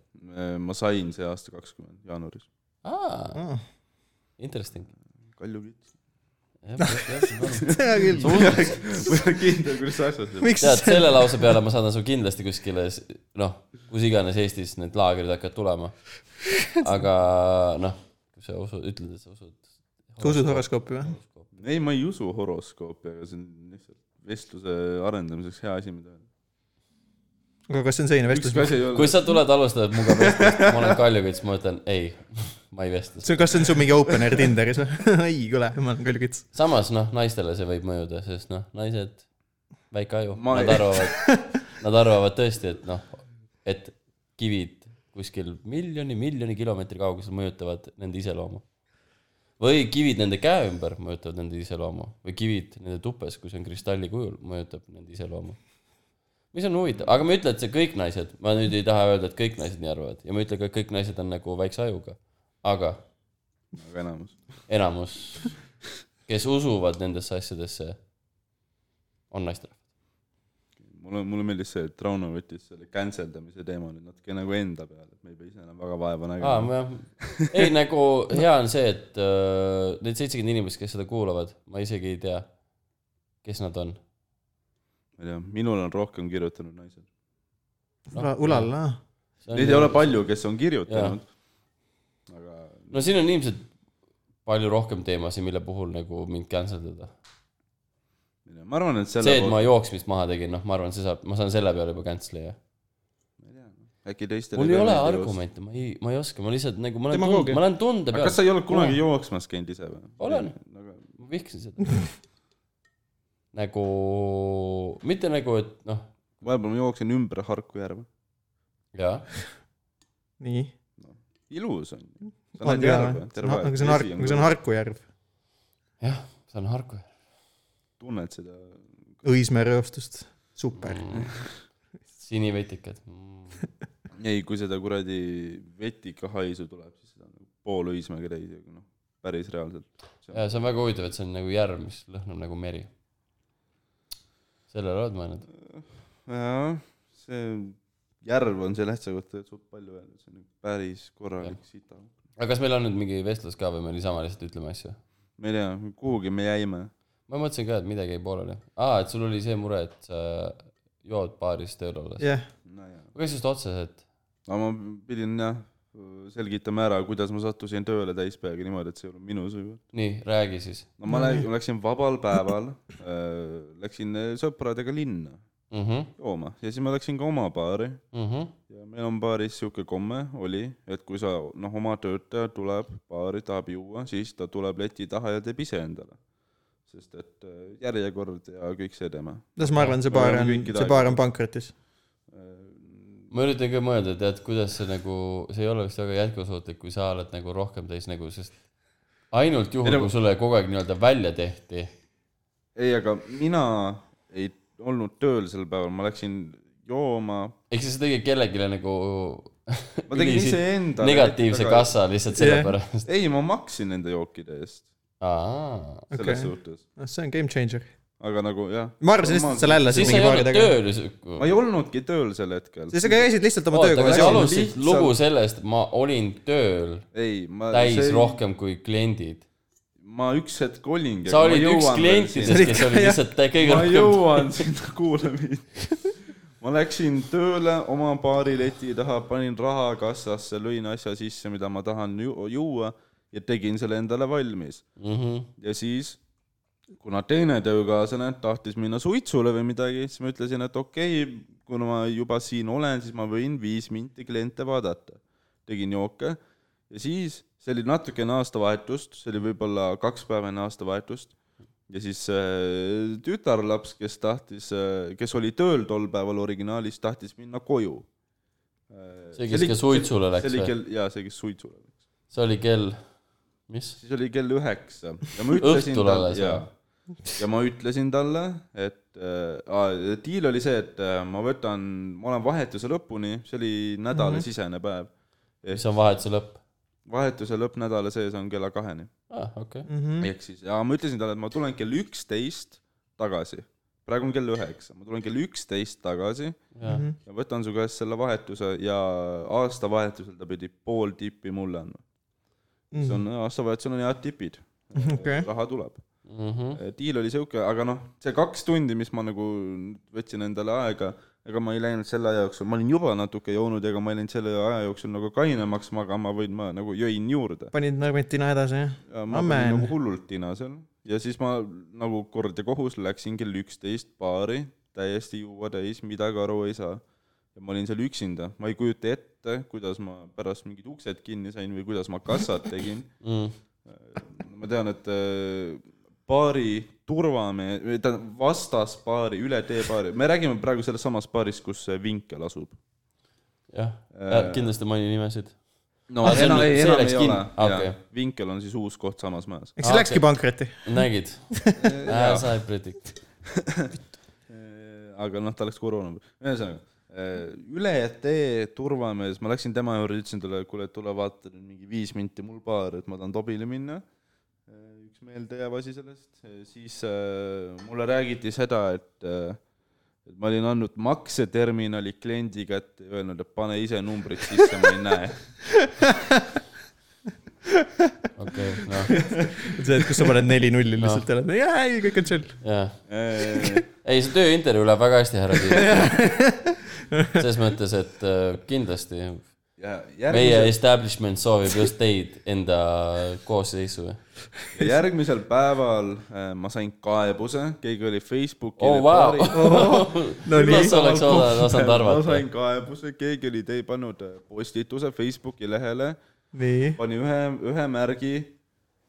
[SPEAKER 2] ma sain see aasta kakskümmend jaanuaris .
[SPEAKER 3] aa , interesting .
[SPEAKER 2] Kalju Kits .
[SPEAKER 3] tead ,
[SPEAKER 1] hea küll .
[SPEAKER 2] ma ei ole kindel , kuidas see asjad on .
[SPEAKER 1] miks see ,
[SPEAKER 3] selle lause peale ma saadan su kindlasti kuskile , noh , kus iganes Eestis need laagrid hakkavad tulema . aga noh , kui sa usud , ütled , et sa usud .
[SPEAKER 1] sa usud ? horoskoopi või ?
[SPEAKER 2] ei , ma ei usu horoskoopi , aga see on lihtsalt vestluse arendamiseks hea asi , mida .
[SPEAKER 1] aga kas see on selline vestlus
[SPEAKER 2] ükski ? asi ei ole
[SPEAKER 3] kui . sa tuled , alustad muga vestlust , ma olen Kalju Kits , ma ütlen ei , ma ei vestle .
[SPEAKER 1] see , kas see on sul mingi open air Tinderis või ? ei , kõle , ma olen küll kits .
[SPEAKER 3] samas noh , naistele see võib mõjuda , sest noh , naised , väike aju ,
[SPEAKER 2] Ma
[SPEAKER 3] nad
[SPEAKER 2] ei-
[SPEAKER 3] arvavad , nad arvavad tõesti , et noh , et kivid kuskil miljoni , miljoni kilomeetri kaugusel mõjutavad nende iseloomu . või kivid nende käe ümber mõjutavad nende iseloomu või kivid nende tupes , kui see on kristalli kujul , mõjutab nende iseloomu . mis on huvitav , aga ma ei ütle , et see kõik naised , ma nüüd ei taha öelda , et kõik naised nii arvavad ja ma ei ütle ka , et kõik naised on nagu väikse ajuga ,
[SPEAKER 2] aga
[SPEAKER 3] aga
[SPEAKER 2] nagu enamus .
[SPEAKER 3] enamus , kes usuvad nendesse asjadesse , on naisterahvad .
[SPEAKER 2] mulle , mulle meeldis see , et Rauno võttis selle cancel damise teema nüüd natuke nagu enda peale , et me ei pea ise enam väga vaeva
[SPEAKER 3] aa
[SPEAKER 2] nägema ,.
[SPEAKER 3] jah , ei nagu hea on see , et uh, need seitsekümmend inimest , kes seda kuulavad , ma isegi ei tea , kes nad on .
[SPEAKER 2] ma ei tea , minul on rohkem kirjutanud naised .
[SPEAKER 1] Ulal , aa .
[SPEAKER 2] Neid ei ole palju , kes on kirjutanud . aga
[SPEAKER 3] no siin on ilmselt palju rohkem teemasid , mille puhul nagu mind cancel dada .
[SPEAKER 2] ma ei tea, ma arvan , et selle
[SPEAKER 3] see , et ma jooksmist maha tegin , noh , ma arvan , see saab , ma saan selle peale juba cancel'i , jah .
[SPEAKER 2] ma... , äkki teistele
[SPEAKER 3] mul ei
[SPEAKER 2] ka
[SPEAKER 3] ole
[SPEAKER 2] meeldiv ost-
[SPEAKER 3] argumente , ma ei , ma ei oska , ma lihtsalt nagu , ma olen
[SPEAKER 2] Demagoogia.
[SPEAKER 3] tund- , ma olen tunde
[SPEAKER 2] aga
[SPEAKER 3] peal
[SPEAKER 2] kas , sa ei olnud kunagi jooksmas käinud ise või ?
[SPEAKER 3] Olen. . ma vihkasin seda . nagu , mitte nagu , et noh ,
[SPEAKER 2] vahepeal ma jooksin ümber Harku järve .
[SPEAKER 3] jaa ,
[SPEAKER 1] nii .
[SPEAKER 2] ilus on . sa
[SPEAKER 1] on
[SPEAKER 2] näed
[SPEAKER 1] ka ,
[SPEAKER 2] järve terve aeg .
[SPEAKER 1] aga see on Harku , aga see on . Harku järv .
[SPEAKER 3] jah , see on Harku .
[SPEAKER 2] tunned seda
[SPEAKER 1] Õismäe rööstust , super .
[SPEAKER 3] Mm. sinivetikad mm. .
[SPEAKER 2] ei , kui seda kuradi vetika haisu tuleb , siis seda on nagu pool Õismäge täis , aga noh , päris reaalselt .
[SPEAKER 3] ja see on väga huvitav , et see on nagu järv , mis lõhnab nagu meri . sellele oled mõelnud ?
[SPEAKER 2] jah , see järv on selle asja kohta suht palju öelnud , see on nagu päris korralik sita .
[SPEAKER 3] aga kas meil on nüüd mingi vestlus ka või me niisama lihtsalt ütleme asju ?
[SPEAKER 2] ma ei tea , kuhugi me jäime .
[SPEAKER 3] ma mõtlesin ka , et midagi jäi pooleli . aa , et sul oli see mure , et sa jood baaris tööl olles yeah. .
[SPEAKER 1] jah ,
[SPEAKER 2] nojah ,
[SPEAKER 3] aga siis just otseselt ,
[SPEAKER 2] aga ma pidin jah selgitama ära , kuidas ma sattusin tööle täispeaga niimoodi , et see ei olnud minu süü .
[SPEAKER 3] nii , räägi siis
[SPEAKER 2] no ma
[SPEAKER 1] No
[SPEAKER 2] läksin,
[SPEAKER 1] nii.
[SPEAKER 2] läksin vabal päeval , läksin äh, sõpradega linna
[SPEAKER 3] mm . -hmm.
[SPEAKER 2] jooma ja siis ma läksin ka oma baari
[SPEAKER 3] Mm -hmm.
[SPEAKER 2] ja meil on baaris sihuke komme oli , et kui sa noh , oma töötaja tuleb baari , tahab juua , siis ta tuleb leti taha ja teeb ise endale . sest et äh, järjekord ja kõik see tema .
[SPEAKER 1] las ma arvan , see baar
[SPEAKER 3] nagu
[SPEAKER 1] on ,
[SPEAKER 2] Kõikide
[SPEAKER 1] see baar on pankrotis .
[SPEAKER 3] ma üritan ka mõelda , tead , kuidas see nagu , see ei ole vist väga jätkusuutlik , kui sa oled nagu rohkem täis nagu , sest ainult
[SPEAKER 2] Ei,
[SPEAKER 3] juhul ,
[SPEAKER 2] nagu-
[SPEAKER 3] kui sulle kogu aeg nii-öelda välja tehti .
[SPEAKER 2] ei , aga mina ei olnud tööl sel päeval , ma läksin jooma ,
[SPEAKER 3] ehk siis sa tegid kellelegi nagu
[SPEAKER 2] ma tegin
[SPEAKER 3] ülisid-
[SPEAKER 2] iseendale
[SPEAKER 3] negatiivse
[SPEAKER 2] aga-
[SPEAKER 3] kassa lihtsalt
[SPEAKER 1] Jah.
[SPEAKER 3] sellepärast .
[SPEAKER 2] ei , ma maksin nende jookide eest
[SPEAKER 3] aa ,
[SPEAKER 2] selles
[SPEAKER 1] Okei.
[SPEAKER 2] okay. suhtes ,
[SPEAKER 1] noh , see on game changer .
[SPEAKER 2] aga nagu jah .
[SPEAKER 1] ma arvasin lihtsalt , et sa lällasid
[SPEAKER 3] siis sa
[SPEAKER 1] mingi
[SPEAKER 3] ei
[SPEAKER 1] baari
[SPEAKER 3] olnud
[SPEAKER 1] taga .
[SPEAKER 3] tööl ju
[SPEAKER 2] ma
[SPEAKER 3] siuke .
[SPEAKER 2] ei olnudki tööl sel hetkel .
[SPEAKER 1] siis sa käisid lihtsalt oma
[SPEAKER 3] oota , aga
[SPEAKER 1] töökohas
[SPEAKER 3] sa
[SPEAKER 1] joomas .
[SPEAKER 3] alustasid
[SPEAKER 2] lihtsalt-
[SPEAKER 3] lugu sellest , ma olin tööl
[SPEAKER 2] ei , ma .
[SPEAKER 3] täis rohkem kui kliendid .
[SPEAKER 2] ma üks hetk olingi .
[SPEAKER 3] sa olid üks klientidest , kes oli lihtsalt tä- kõige
[SPEAKER 2] ma
[SPEAKER 3] rohkem .
[SPEAKER 2] jõuan sinna kuulamist . ma läksin tööle oma baarileti taha , panin raha kassasse , lõin asja sisse , mida ma tahan ju- juua ja tegin selle endale valmis .
[SPEAKER 3] Mhm.
[SPEAKER 2] ja siis , kuna teine töökaaslane tahtis minna suitsule või midagi , siis ma ütlesin , et okei okay, , kuna ma juba siin olen , siis ma võin viis minti kliente vaadata . tegin jooke ja siis , see oli natukene aastavahetust , see oli võib-olla kaks päeva enne aastavahetust , ja siis äh, tütarlaps , kes tahtis , kes oli tööl tol päeval originaalis , tahtis minna koju .
[SPEAKER 3] see , kes ka suitsule
[SPEAKER 2] see
[SPEAKER 3] läks
[SPEAKER 2] oli
[SPEAKER 3] või ?
[SPEAKER 2] kell , jaa , see , kes suitsule läks .
[SPEAKER 3] see oli kell , mis ?
[SPEAKER 2] siis oli kell üheksa ja ma ütlesin
[SPEAKER 3] Õhtul
[SPEAKER 2] talle ,
[SPEAKER 3] alles,
[SPEAKER 2] jaa . ja ma ütlesin talle , et äh, diil oli see , et äh, ma võtan , ma olen vahetuse lõpuni , see oli nädalasisene päev .
[SPEAKER 3] mis on vahetuse lõpp ?
[SPEAKER 2] vahetuse lõpp nädala sees on kella kaheni .
[SPEAKER 3] aa , Ah, okei .
[SPEAKER 1] Mm. Mhm,
[SPEAKER 2] ehk siis , ja ma ütlesin talle , et ma tulen kell üksteist tagasi . praegu on kell üheksa , ma tulen kell üksteist tagasi ja võtan su käest selle vahetuse ja aastavahetusel ta pidi pool tippi mulle andma . see on , aastavahetusel on head tipid .
[SPEAKER 1] Okei.
[SPEAKER 2] raha tuleb . diil oli sihuke , aga noh , see kaks tundi , mis ma nagu võtsin endale aega , ega ma ei läinud selle aja jooksul , ma olin juba natuke joonud , ega ma ei läinud selle aja jooksul nagu kainemaks magama , vaid ma nagu jõin juurde .
[SPEAKER 1] panid narmitina edasi , jah ?
[SPEAKER 2] ma
[SPEAKER 1] Amen.
[SPEAKER 2] olin nagu hullult tina seal ja siis ma nagu kord ja kohus läksin kell üksteist baari , täiesti juua täis , midagi aru ei saa . ja ma olin seal üksinda , ma ei kujuta ette , kuidas ma pärast mingid uksed kinni sain või kuidas ma kassat tegin ma tean , et äh, baari turvamees , või tähendab vastas baari , üle tee baari , me räägime praegu selles samas baaris , kus see vinkel asub .
[SPEAKER 3] jah , kindlasti maini nimesid .
[SPEAKER 2] no
[SPEAKER 3] Aa, see
[SPEAKER 2] Ah,
[SPEAKER 3] on
[SPEAKER 2] enam
[SPEAKER 3] nüüd-
[SPEAKER 2] ei ,
[SPEAKER 3] see
[SPEAKER 2] enam
[SPEAKER 3] läks
[SPEAKER 2] ei
[SPEAKER 3] kinni.
[SPEAKER 2] ole ,
[SPEAKER 3] Aa,
[SPEAKER 2] jaa
[SPEAKER 3] okei. ,
[SPEAKER 2] vinkel on siis uus koht samas majas .
[SPEAKER 1] eks see
[SPEAKER 3] Aa,
[SPEAKER 1] läkski
[SPEAKER 3] okei.
[SPEAKER 1] pankrotti .
[SPEAKER 3] nägid ? sa ei predikt .
[SPEAKER 2] aga noh , ta läks koroona , ühesõnaga , üle tee turvamees , ma läksin tema juurde , ütlesin talle , et kuule , tule vaata nüüd mingi viis minti mul baar , et ma tahan Tobile minna . üks meeldejääv asi sellest , siis äh, mulle räägiti seda , et äh, et ma olin andnud makseterminali kliendi kätte ja öelnud , et pane ise numbrid sisse , ma ei näe .
[SPEAKER 3] okei , noh ,
[SPEAKER 1] see , et kus sa paned neli nulli lihtsalt ja oled , jaa , ei , kõik on chill .
[SPEAKER 3] jah .
[SPEAKER 2] ei ,
[SPEAKER 3] ei , see tööintervjuu läheb väga hästi , härra Tiit . selles mõttes , et äh, kindlasti
[SPEAKER 2] ja
[SPEAKER 3] meie
[SPEAKER 2] järgmisel ,
[SPEAKER 3] establishment soovib just teid enda koosseisu .
[SPEAKER 2] järgmisel päeval äh, ma sain kaebuse , keegi oli Facebooki
[SPEAKER 3] oo , vau .
[SPEAKER 1] no nii
[SPEAKER 3] kas . Oh, oleks osanud , osanud
[SPEAKER 2] ma
[SPEAKER 3] arvata ?
[SPEAKER 2] sain kaebuse , keegi oli tei- , pannud äh, postituse Facebooki lehele ,
[SPEAKER 1] nii ,
[SPEAKER 2] pani ühe , ühe märgi ,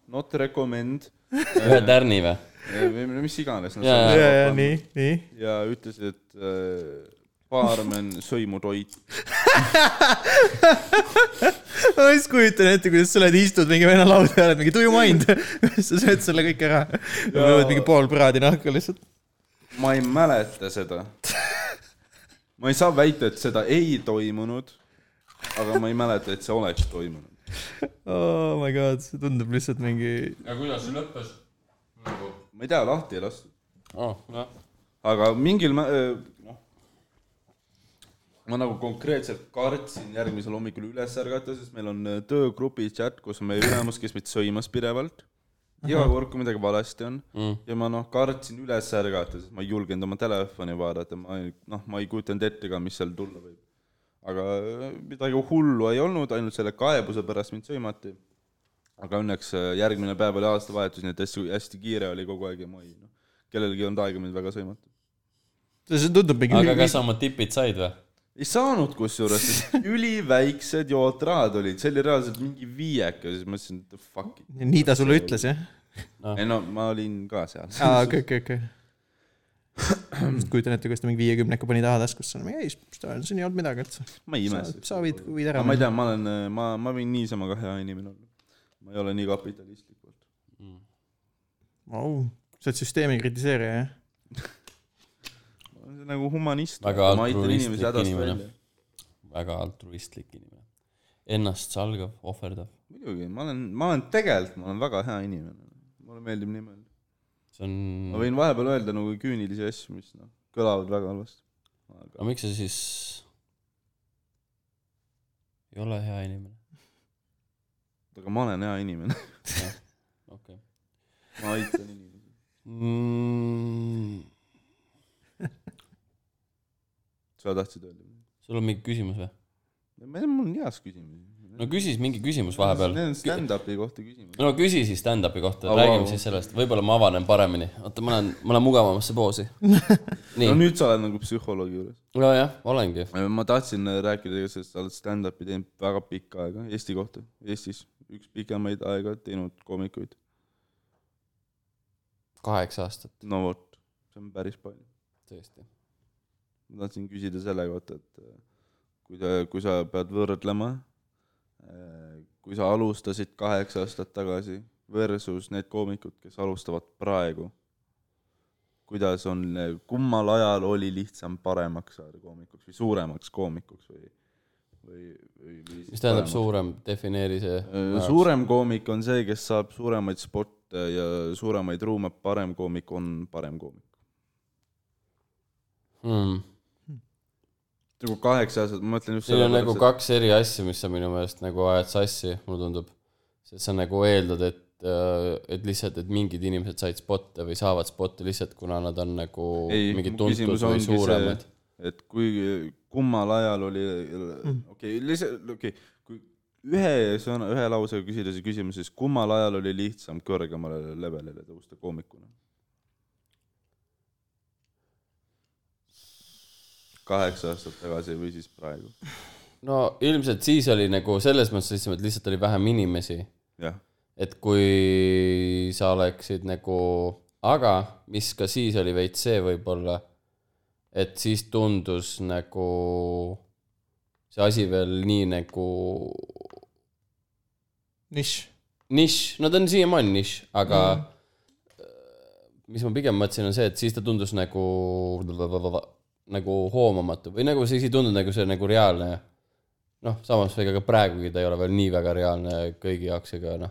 [SPEAKER 2] not recommend
[SPEAKER 3] ühe tärni või ?
[SPEAKER 2] eh, või no mis iganes .
[SPEAKER 3] Jaa,
[SPEAKER 1] ja , ja nii , nii .
[SPEAKER 2] ja ütles , et äh, baarmen sõi mu toit .
[SPEAKER 1] ma just kujutan ette , kuidas sa oled , istud mingi vene laua peal , et mingi do you mind ? sa sööd selle kõik ära . võtad mingi pool praadi nahka lihtsalt .
[SPEAKER 2] ma ei mäleta seda . ma ei saa väita , et seda ei toimunud , aga ma ei mäleta , et see oleks toimunud .
[SPEAKER 1] Oh my god , see tundub lihtsalt mingi ,
[SPEAKER 3] aga kuidas see lõppes ?
[SPEAKER 2] ma ei tea , lahti ei lastud .
[SPEAKER 3] Oh, aa ,
[SPEAKER 2] aga mingil mä- , noh , ma nagu konkreetselt kartsin järgmisel hommikul üles ärgata , sest meil on äh, töögrupi chat , kus on meie ülemus , kes meid sõimas pidevalt . iga kord , kui midagi valesti on mm. ja ma noh , kartsin üles ärgata , sest ma ei julgenud oma telefoni vaadata , ma ei , noh , ma ei kujutanud ette ka , mis seal tulla võib . aga äh, midagi hullu ei olnud , ainult selle kaebuse pärast mind sõimati . aga õnneks äh, järgmine päev oli aastavahetus , nii et hästi , hästi kiire oli kogu aeg ja ma ei noh , kellelgi ei olnud aega mind väga sõimata .
[SPEAKER 1] see tundub mingi .
[SPEAKER 3] aga kas sa oma tipid said või ?
[SPEAKER 2] ei saanud kusjuures , sest üliväiksed jootrahad olid , see oli reaalselt mingi viieka , siis ma mõtlesin , et the fuck it .
[SPEAKER 1] nii ta sulle ütles , jah ?
[SPEAKER 3] Ah.
[SPEAKER 2] ei no ma olin ka seal .
[SPEAKER 1] aa , okei , okei , okei . just kujutan ette , kuidas ta mingi viiekümneka pani taha taskusse , mingi ei , siin ei olnud midagi üldse .
[SPEAKER 2] ma ei
[SPEAKER 1] sa
[SPEAKER 2] imesta .
[SPEAKER 1] sa viid , viid ära
[SPEAKER 2] aga . ma ei tea , ma olen , ma , ma võin niisama ka hea inimene olla . ma ei ole nii kapitalistlik olnud .
[SPEAKER 1] Vau , sa oled süsteemi kritiseerija , jah ?
[SPEAKER 2] ma olen nagu humanist .
[SPEAKER 3] Väga
[SPEAKER 2] ma aitan
[SPEAKER 3] altruistlik
[SPEAKER 2] inimesi hädast
[SPEAKER 3] inimene.
[SPEAKER 2] välja .
[SPEAKER 3] väga altruistlik inimene . ennast salgav , ohverdav .
[SPEAKER 2] muidugi , ma olen , ma olen tegelikult , ma olen väga hea inimene . mulle meeldib nii mõelda .
[SPEAKER 3] see on ,
[SPEAKER 2] ma võin vahepeal öelda nagu küünilisi asju , mis noh , kõlavad väga halvasti . aga
[SPEAKER 3] aga miks sa siis ei ole hea inimene ?
[SPEAKER 2] aga ma olen hea inimene .
[SPEAKER 3] okei okay.
[SPEAKER 2] ma aitan inimesi .
[SPEAKER 3] mm, .
[SPEAKER 2] sa tahtsid öelda ?
[SPEAKER 3] sul on mingi küsimus või ?
[SPEAKER 2] ma ei tea , mul on heas küsimus .
[SPEAKER 3] no küsi siis mingi küsimus vahepeal .
[SPEAKER 2] Need on stand-up'i kohta küsimused .
[SPEAKER 3] no küsi siis stand-up'i kohta ,
[SPEAKER 2] Au,
[SPEAKER 3] räägime
[SPEAKER 2] au.
[SPEAKER 3] siis sellest , võib-olla ma avanen paremini . oota , ma lähen , ma lähen mugavamasse poosi .
[SPEAKER 2] no
[SPEAKER 3] nii ,
[SPEAKER 2] nüüd sa oled nagu psühholoogi juures .
[SPEAKER 3] nojah , olengi .
[SPEAKER 2] ma tahtsin äh, rääkida tegelikult sellest , sa oled stand-up'i teinud väga pikka aega Eesti kohta , Eestis üks pikemaid aega teinud koomikuid .
[SPEAKER 3] kaheksa aastat ,
[SPEAKER 2] no vot , see on päris palju .
[SPEAKER 3] tõesti .
[SPEAKER 2] ma tahtsin küsida selle kohta , et äh, kui ta , kui sa pead võrdlema , kui sa alustasid kaheksa aastat tagasi versus need koomikud , kes alustavad praegu , kuidas on , kummal ajal oli lihtsam paremaks saada koomikuks või suuremaks koomikuks või , või , või Äh,
[SPEAKER 3] mis tähendab ? suurem , defineeri see .
[SPEAKER 2] suurem koomik on see , kes saab suuremaid spotte ja suuremaid ruume , parem koomik on parem koomik .
[SPEAKER 3] hmm. .
[SPEAKER 2] nagu kaheksa aastat , ma mõtlen just
[SPEAKER 3] siin on nagu
[SPEAKER 2] pärast, et-
[SPEAKER 3] kaks eri asja , mis sa minu meelest nagu ajad sassi , mulle tundub . sest sa nagu eeldad , et , et lihtsalt , et mingid inimesed said spotte või saavad spotte lihtsalt , kuna nad on nagu
[SPEAKER 2] ei ,
[SPEAKER 3] mingid
[SPEAKER 2] mu
[SPEAKER 3] tuntud
[SPEAKER 2] küsimus
[SPEAKER 3] või
[SPEAKER 2] ongi see
[SPEAKER 3] suuremad .,
[SPEAKER 2] et kui , kummal ajal oli , okei , lihtsalt , okei , kui ühe sõna , ühe lausega küsida see küsimus , siis kummal ajal oli lihtsam kõrgemale levelile tõusta koomikuna ? kaheksa aastat tagasi või siis praegu ,
[SPEAKER 3] no ilmselt siis oli nagu selles mõttes lihtsalt , et lihtsalt oli vähem inimesi
[SPEAKER 2] jah .
[SPEAKER 3] et kui sa oleksid nagu , aga mis ka siis oli veits see võib-olla , et siis tundus nagu see asi veel nii nagu
[SPEAKER 1] nišš .
[SPEAKER 3] nišš , no ta on siiamaani nišš , aga mm. mis ma pigem mõtlesin , on see , et siis ta tundus nagu nagu hoomamatu või nagu siis ei tundunud nagu see nagu reaalne . noh , samas ega ka praegugi ta ei ole veel nii väga reaalne kõigi jaoks , ega noh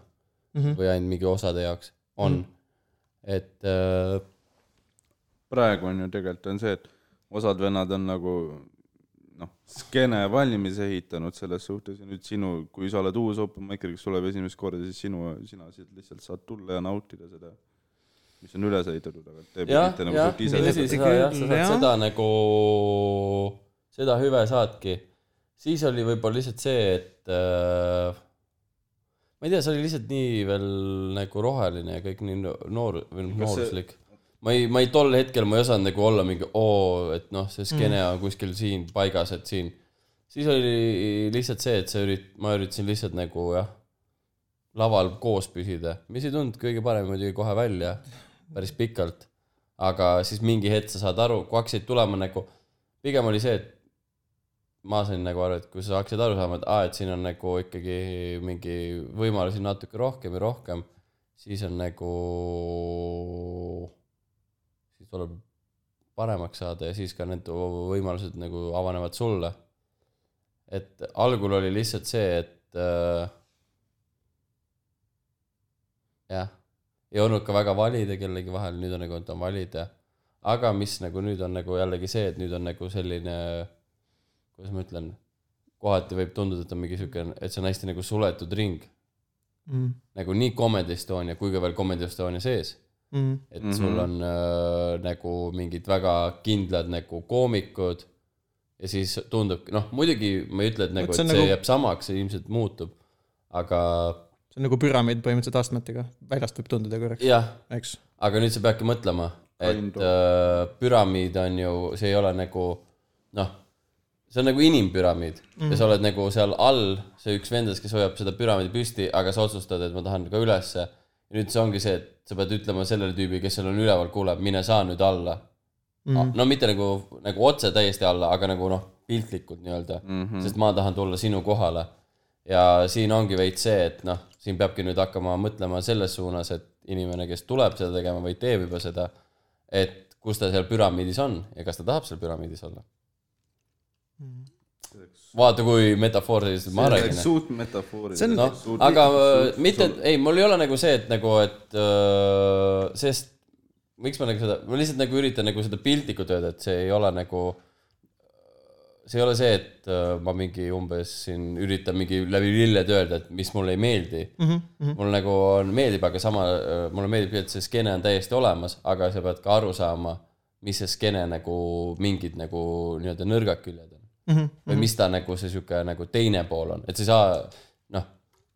[SPEAKER 3] mm -hmm. , või ainult mingi osade jaoks on mm . -hmm. et äh,
[SPEAKER 2] praegu on ju tegelikult on see , et osad vennad on nagu noh , skeene valmis ehitanud selles suhtes ja nüüd sinu , kui sa oled uus open maker , kes tuleb esimest korda , siis sinu , sina siit lihtsalt saad tulla ja nautida seda , mis on üles ehitatud , aga te
[SPEAKER 3] jah ,
[SPEAKER 2] pidite nagu
[SPEAKER 3] jah ,
[SPEAKER 2] suht ise Mm,
[SPEAKER 3] tõsi ,
[SPEAKER 1] tõsi,
[SPEAKER 2] teha .
[SPEAKER 3] seda jah , sa
[SPEAKER 1] küll,
[SPEAKER 3] saad
[SPEAKER 1] jah.
[SPEAKER 3] seda nagu , seda hüve saadki , siis oli võib-olla lihtsalt see , et äh, ma ei tea , see oli lihtsalt nii veel nagu roheline ja kõik nii no- noor , või noh ,
[SPEAKER 2] Kas see-
[SPEAKER 3] nooruslik . ma ei , ma ei tol hetkel , ma ei osanud nagu olla mingi oo , et noh , see skeene on kuskil siin paigas , et siin . siis oli lihtsalt see , et sa ürit- , ma üritasin lihtsalt nagu jah , laval koos püsida , mis ei tulnud kõige parem muidugi kohe välja , päris pikalt . aga siis mingi hetk sa saad aru , kui hakkasid tulema nagu , pigem oli see , et ma sain nagu aru , et kui sa hakkasid aru saama , et aa , et siin on nagu ikkagi mingi võimalusi natuke rohkem ja rohkem , siis on nagu , siis tuleb paremaks saada ja siis ka need võimalused nagu avanevad sulle . et algul oli lihtsalt see , et äh, jah , ei olnud ka väga valida kellegi vahel , nüüd on nagu , et on valida . aga mis nagu nüüd on nagu jällegi see , et nüüd on nagu selline , kuidas ma ütlen , kohati võib tunduda , et on mingi sihuke , et see on hästi nagu suletud ring ,
[SPEAKER 1] mm. .
[SPEAKER 3] nagu nii Comedy Estonia kui ka veel Comedy Estonia sees
[SPEAKER 1] Mm.
[SPEAKER 3] et mm
[SPEAKER 2] Mhm.
[SPEAKER 3] -hmm. sul on äh, nagu mingid väga kindlad nagu koomikud ja siis tundub , noh muidugi ma ei ütle , et nagu ,
[SPEAKER 1] Vot
[SPEAKER 3] et
[SPEAKER 1] see
[SPEAKER 3] see
[SPEAKER 1] on
[SPEAKER 3] nagu...
[SPEAKER 1] nagu-
[SPEAKER 3] jääb samaks , see ilmselt muutub , aga
[SPEAKER 1] see on nagu püramiid põhimõtteliselt astmetega , väljast võib tunduda korraks ,
[SPEAKER 3] jah ,
[SPEAKER 1] eks .
[SPEAKER 3] aga nüüd sa peadki mõtlema ,
[SPEAKER 2] Kind
[SPEAKER 3] et
[SPEAKER 2] of.
[SPEAKER 3] äh, püramiid on ju , see ei ole nagu noh , see on nagu inimpüramiid mm -hmm. ja sa oled nagu seal all , see üks vendas , kes hoiab seda püramiidi püsti , aga sa otsustad , et ma tahan ka ülesse . nüüd see ongi see , et sa pead ütlema sellele tüübile , kes seal on üleval , kuule , mine sa nüüd alla mm. . no mitte nagu , nagu otse täiesti alla , aga nagu noh , piltlikult nii-öelda mm , -hmm. sest ma tahan tulla sinu kohale . ja siin ongi veits see , et noh , siin peabki nüüd hakkama mõtlema selles suunas , et inimene , kes tuleb seda tegema või teeb juba seda , et kus ta seal püramiidis on ja kas ta tahab seal püramiidis olla . vaata , kui metafooriliselt ma räägin .
[SPEAKER 2] nagu suht metafooriline .
[SPEAKER 1] See on-
[SPEAKER 3] noh , aga äh, mitte , ei , mul ei ole nagu see , et nagu , et öö, sest miks ma nagu seda , ma lihtsalt nagu üritan nagu seda piltlikult öelda , et see ei ole nagu , see ei ole see , et öö, ma mingi umbes siin üritan mingi läbi lilled öelda , et mis mulle ei meeldi mm . -hmm. mul nagu on , meeldib , aga sama , mulle meeldib , et see skeene on täiesti olemas , aga sa pead ka aru saama , mis see skeene nagu mingid nagu nii-öelda nõrgad küljed on või mis ta nagu see sihuke nagu teine pool on , et sa ei saa noh ,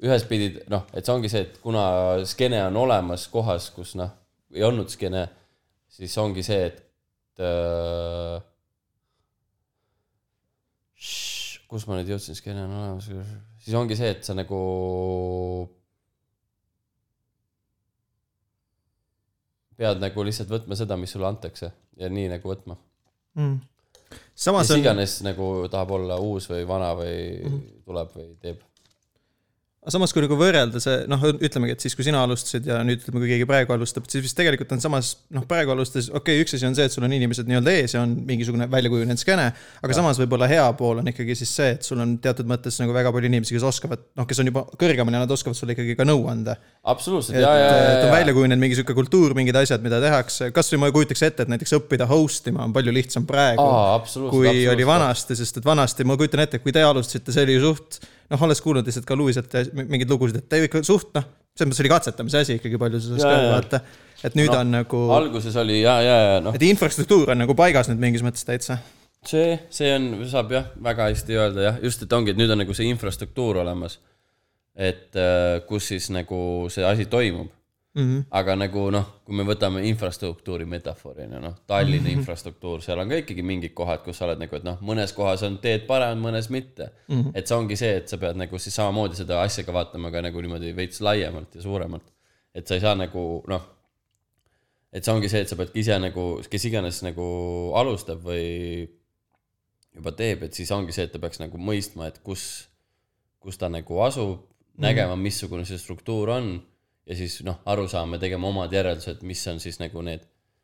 [SPEAKER 3] ühes pidi noh , et see ongi see , et kuna skeene on olemas kohas , kus noh , ei olnud skeene , siis ongi see , et äh, kus ma nüüd jõudsin , skeene on olemas , siis ongi see , et sa nagu pead nagu lihtsalt võtma seda , mis sulle antakse ja nii nagu võtma .
[SPEAKER 1] Mm. samas
[SPEAKER 3] kes
[SPEAKER 1] on ,
[SPEAKER 3] iganes nagu tahab olla uus või vana või
[SPEAKER 1] Mhm.
[SPEAKER 3] tuleb või teeb .
[SPEAKER 1] samas kui nagu võrrelda see , noh , ütlemegi , et siis kui sina alustasid ja nüüd ütleme , kui keegi praegu alustab , siis vist tegelikult on samas , noh , praegu alustades , okei okay, , üks asi on see , et sul on inimesed nii-öelda ees ja on mingisugune väljakujunenud skeene , aga samas võib-olla hea pool on ikkagi siis see , et sul on teatud mõttes nagu väga palju inimesi , kes oskavad , noh , kes on juba kõrgemal ja nad oskavad sulle ikkagi ka nõu anda
[SPEAKER 3] absoluutselt ,
[SPEAKER 1] et,
[SPEAKER 3] ja , ja ,
[SPEAKER 1] et on
[SPEAKER 3] ja ,
[SPEAKER 1] välja
[SPEAKER 3] ja ,
[SPEAKER 1] kujunenud mingi sihuke kultuur , mingid asjad , mida tehakse , kasvõi ma kujutaks ette , et näiteks õppida host ima on palju lihtsam praegu
[SPEAKER 3] Aa, absoluutselt,
[SPEAKER 1] kui
[SPEAKER 3] absoluutselt.
[SPEAKER 1] oli vanasti , sest et vanasti ma kujutan ette , et kui te alustasite , see oli ju suht noh , olles kuulnud lihtsalt ka Luiselt ja mingeid lugusid , et te ikka suht noh , selles mõttes oli katsetamise asi ikkagi palju selles
[SPEAKER 3] Jaa,
[SPEAKER 1] ka
[SPEAKER 3] jaa.
[SPEAKER 1] vaata , et nüüd
[SPEAKER 3] Noh,
[SPEAKER 1] on nagu ,
[SPEAKER 3] alguses oli ja , ja , ja noh ,
[SPEAKER 1] et infrastruktuur on nagu paigas nüüd mingis mõttes täitsa .
[SPEAKER 3] see , see on , saab jah , väga hästi öelda jah , just et ongi , et nüüd on nagu see infrastruktuur olemas . et äh, kus siis nagu see asi toimub mm . -hmm. aga nagu noh , kui me võtame infrastruktuuri metafoorina , noh , Tallinna mm -hmm. infrastruktuur , seal on ka ikkagi mingid kohad , kus sa oled nagu , et noh , mõnes kohas on teed paremad , mõnes mitte mm . -hmm. et see ongi see , et sa pead nagu siis samamoodi seda asja ka vaatama ka nagu niimoodi veits laiemalt ja suuremalt . et sa ei saa nagu noh et see ongi see , et sa peadki ise nagu , kes iganes nagu alustab või juba teeb , et siis ongi see , et ta peaks nagu mõistma , et kus , kus ta nagu asub , nägema , missugune see struktuur on ja siis noh , aru saama ja tegema omad järeldused , mis on siis nagu need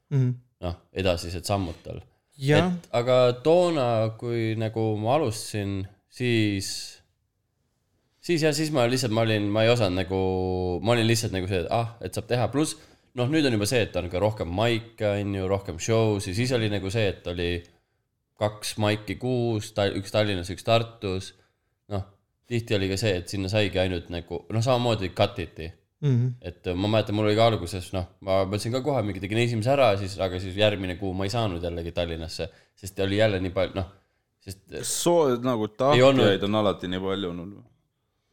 [SPEAKER 3] noh , edasised sammud tal .
[SPEAKER 1] jah ,
[SPEAKER 3] et aga toona , kui nagu ma alustasin , siis , siis jah , siis ma lihtsalt , ma olin , ma ei osanud nagu , ma olin lihtsalt nagu see , et ah , et saab teha , pluss noh , nüüd on juba see , et on ka rohkem maike , on ju , rohkem show'si , siis oli nagu see , et oli kaks maiki kuus , üks Tallinnas , üks Tartus , noh , tihti oli ka see , et sinna saigi ainult nagu , noh , samamoodi cut iti et äh, ma mäletan , mul oli ka alguses noh , ma mõtlesin ka kohe mingi tegin esimese ära , siis , aga siis järgmine kuu ma ei saanud jällegi Tallinnasse , sest oli jälle nii palju , noh , sest
[SPEAKER 2] soojad nagu tahtjaid on alati nii palju olnud .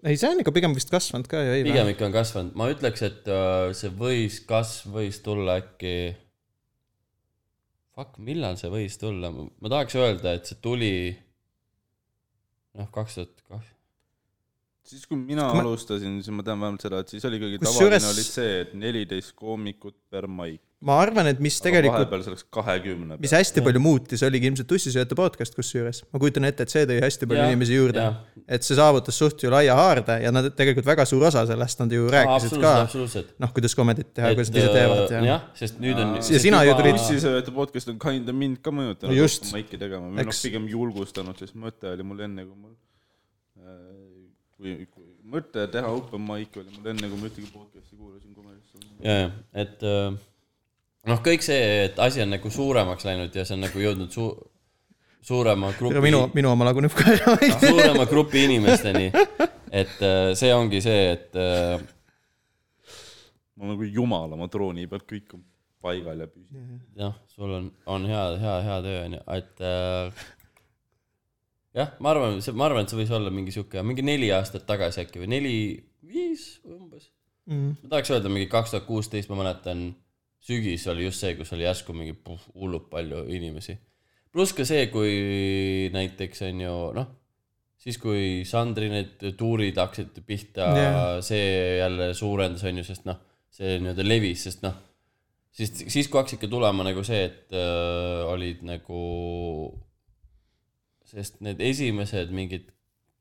[SPEAKER 1] ei , see on ikka pigem vist kasvanud ka ju , ei
[SPEAKER 3] pigem ikka on kasvanud , ma ütleks , et äh, see võis , kasv võis tulla äkki . Fuck , millal see võis tulla , ma tahaks öelda , et see tuli . noh , kaks tuhat kaks ,
[SPEAKER 2] siis , kui mina
[SPEAKER 1] Kui
[SPEAKER 2] kui
[SPEAKER 1] ma-
[SPEAKER 2] alustasin , siis ma tean vähemalt seda , et siis oli ikkagi
[SPEAKER 1] Kusjuures-
[SPEAKER 2] tavaline oli see , et neliteist koomikut per maik .
[SPEAKER 1] ma arvan , et mis tegelikult ,
[SPEAKER 2] vahepeal see läks kahekümne
[SPEAKER 1] mis . hästi palju muutis , oligi ilmselt ussisööjate podcast kusjuures . ma kujutan ette , et see tõi hästi palju
[SPEAKER 3] Jah,
[SPEAKER 1] inimesi juurde
[SPEAKER 3] jah. .
[SPEAKER 1] et see saavutas suht ju laia haarde ja nad tegelikult väga suur osa sellest nad ju rääkisid
[SPEAKER 3] absoluutselt ,
[SPEAKER 1] ka ,
[SPEAKER 3] absoluutselt .
[SPEAKER 1] noh , kuidas komedit teha , kuidas nad ise teevad
[SPEAKER 3] ja. .
[SPEAKER 1] ja
[SPEAKER 3] jah , sest nüüd on .
[SPEAKER 1] Ja sina ju tulid-
[SPEAKER 2] ussisööjate podcast on kinda mind ka mõjutanud
[SPEAKER 1] No just.
[SPEAKER 2] maiki tegema või noh
[SPEAKER 1] Eks- ,
[SPEAKER 2] pigem julgustanud , sest mõte oli mul enne , kui mul äh, kui, kui mõte teha open mic'i oli mul enne , kui ma ühtegi podcast'i kuulasin , kui ma just
[SPEAKER 3] ja , ja , et äh, noh , kõik see , et asi on nagu suuremaks läinud ja see on nagu jõudnud suu- , suurema
[SPEAKER 1] Ega
[SPEAKER 3] grupi ,
[SPEAKER 1] minu , minu oma laguneb ka ära .
[SPEAKER 3] suurema grupi inimesteni . et äh, see ongi see , et äh,
[SPEAKER 2] ma olen nagu jumala , ma trooni peal , kõik on paigal ja püsib .
[SPEAKER 3] jah , sul on , on hea , hea , hea töö on ju , et äh, jah , ma arvan , see , ma arvan , et see võis olla mingi sihuke , mingi neli aastat tagasi äkki või neli , viis umbes . ma tahaks öelda mingi kaks tuhat kuusteist , ma mäletan , sügis oli just see , kus oli järsku mingi puh, hullult palju inimesi . pluss ka see , kui näiteks on ju noh , siis kui Sandri need tuurid hakkasid pihta yeah.
[SPEAKER 1] Jah. ,
[SPEAKER 3] see jälle suurendas on ju , sest noh , see nii-öelda levis , sest noh , siis , siis kui hakkas ikka tulema nagu see , et öö, olid nagu , sest need esimesed mingid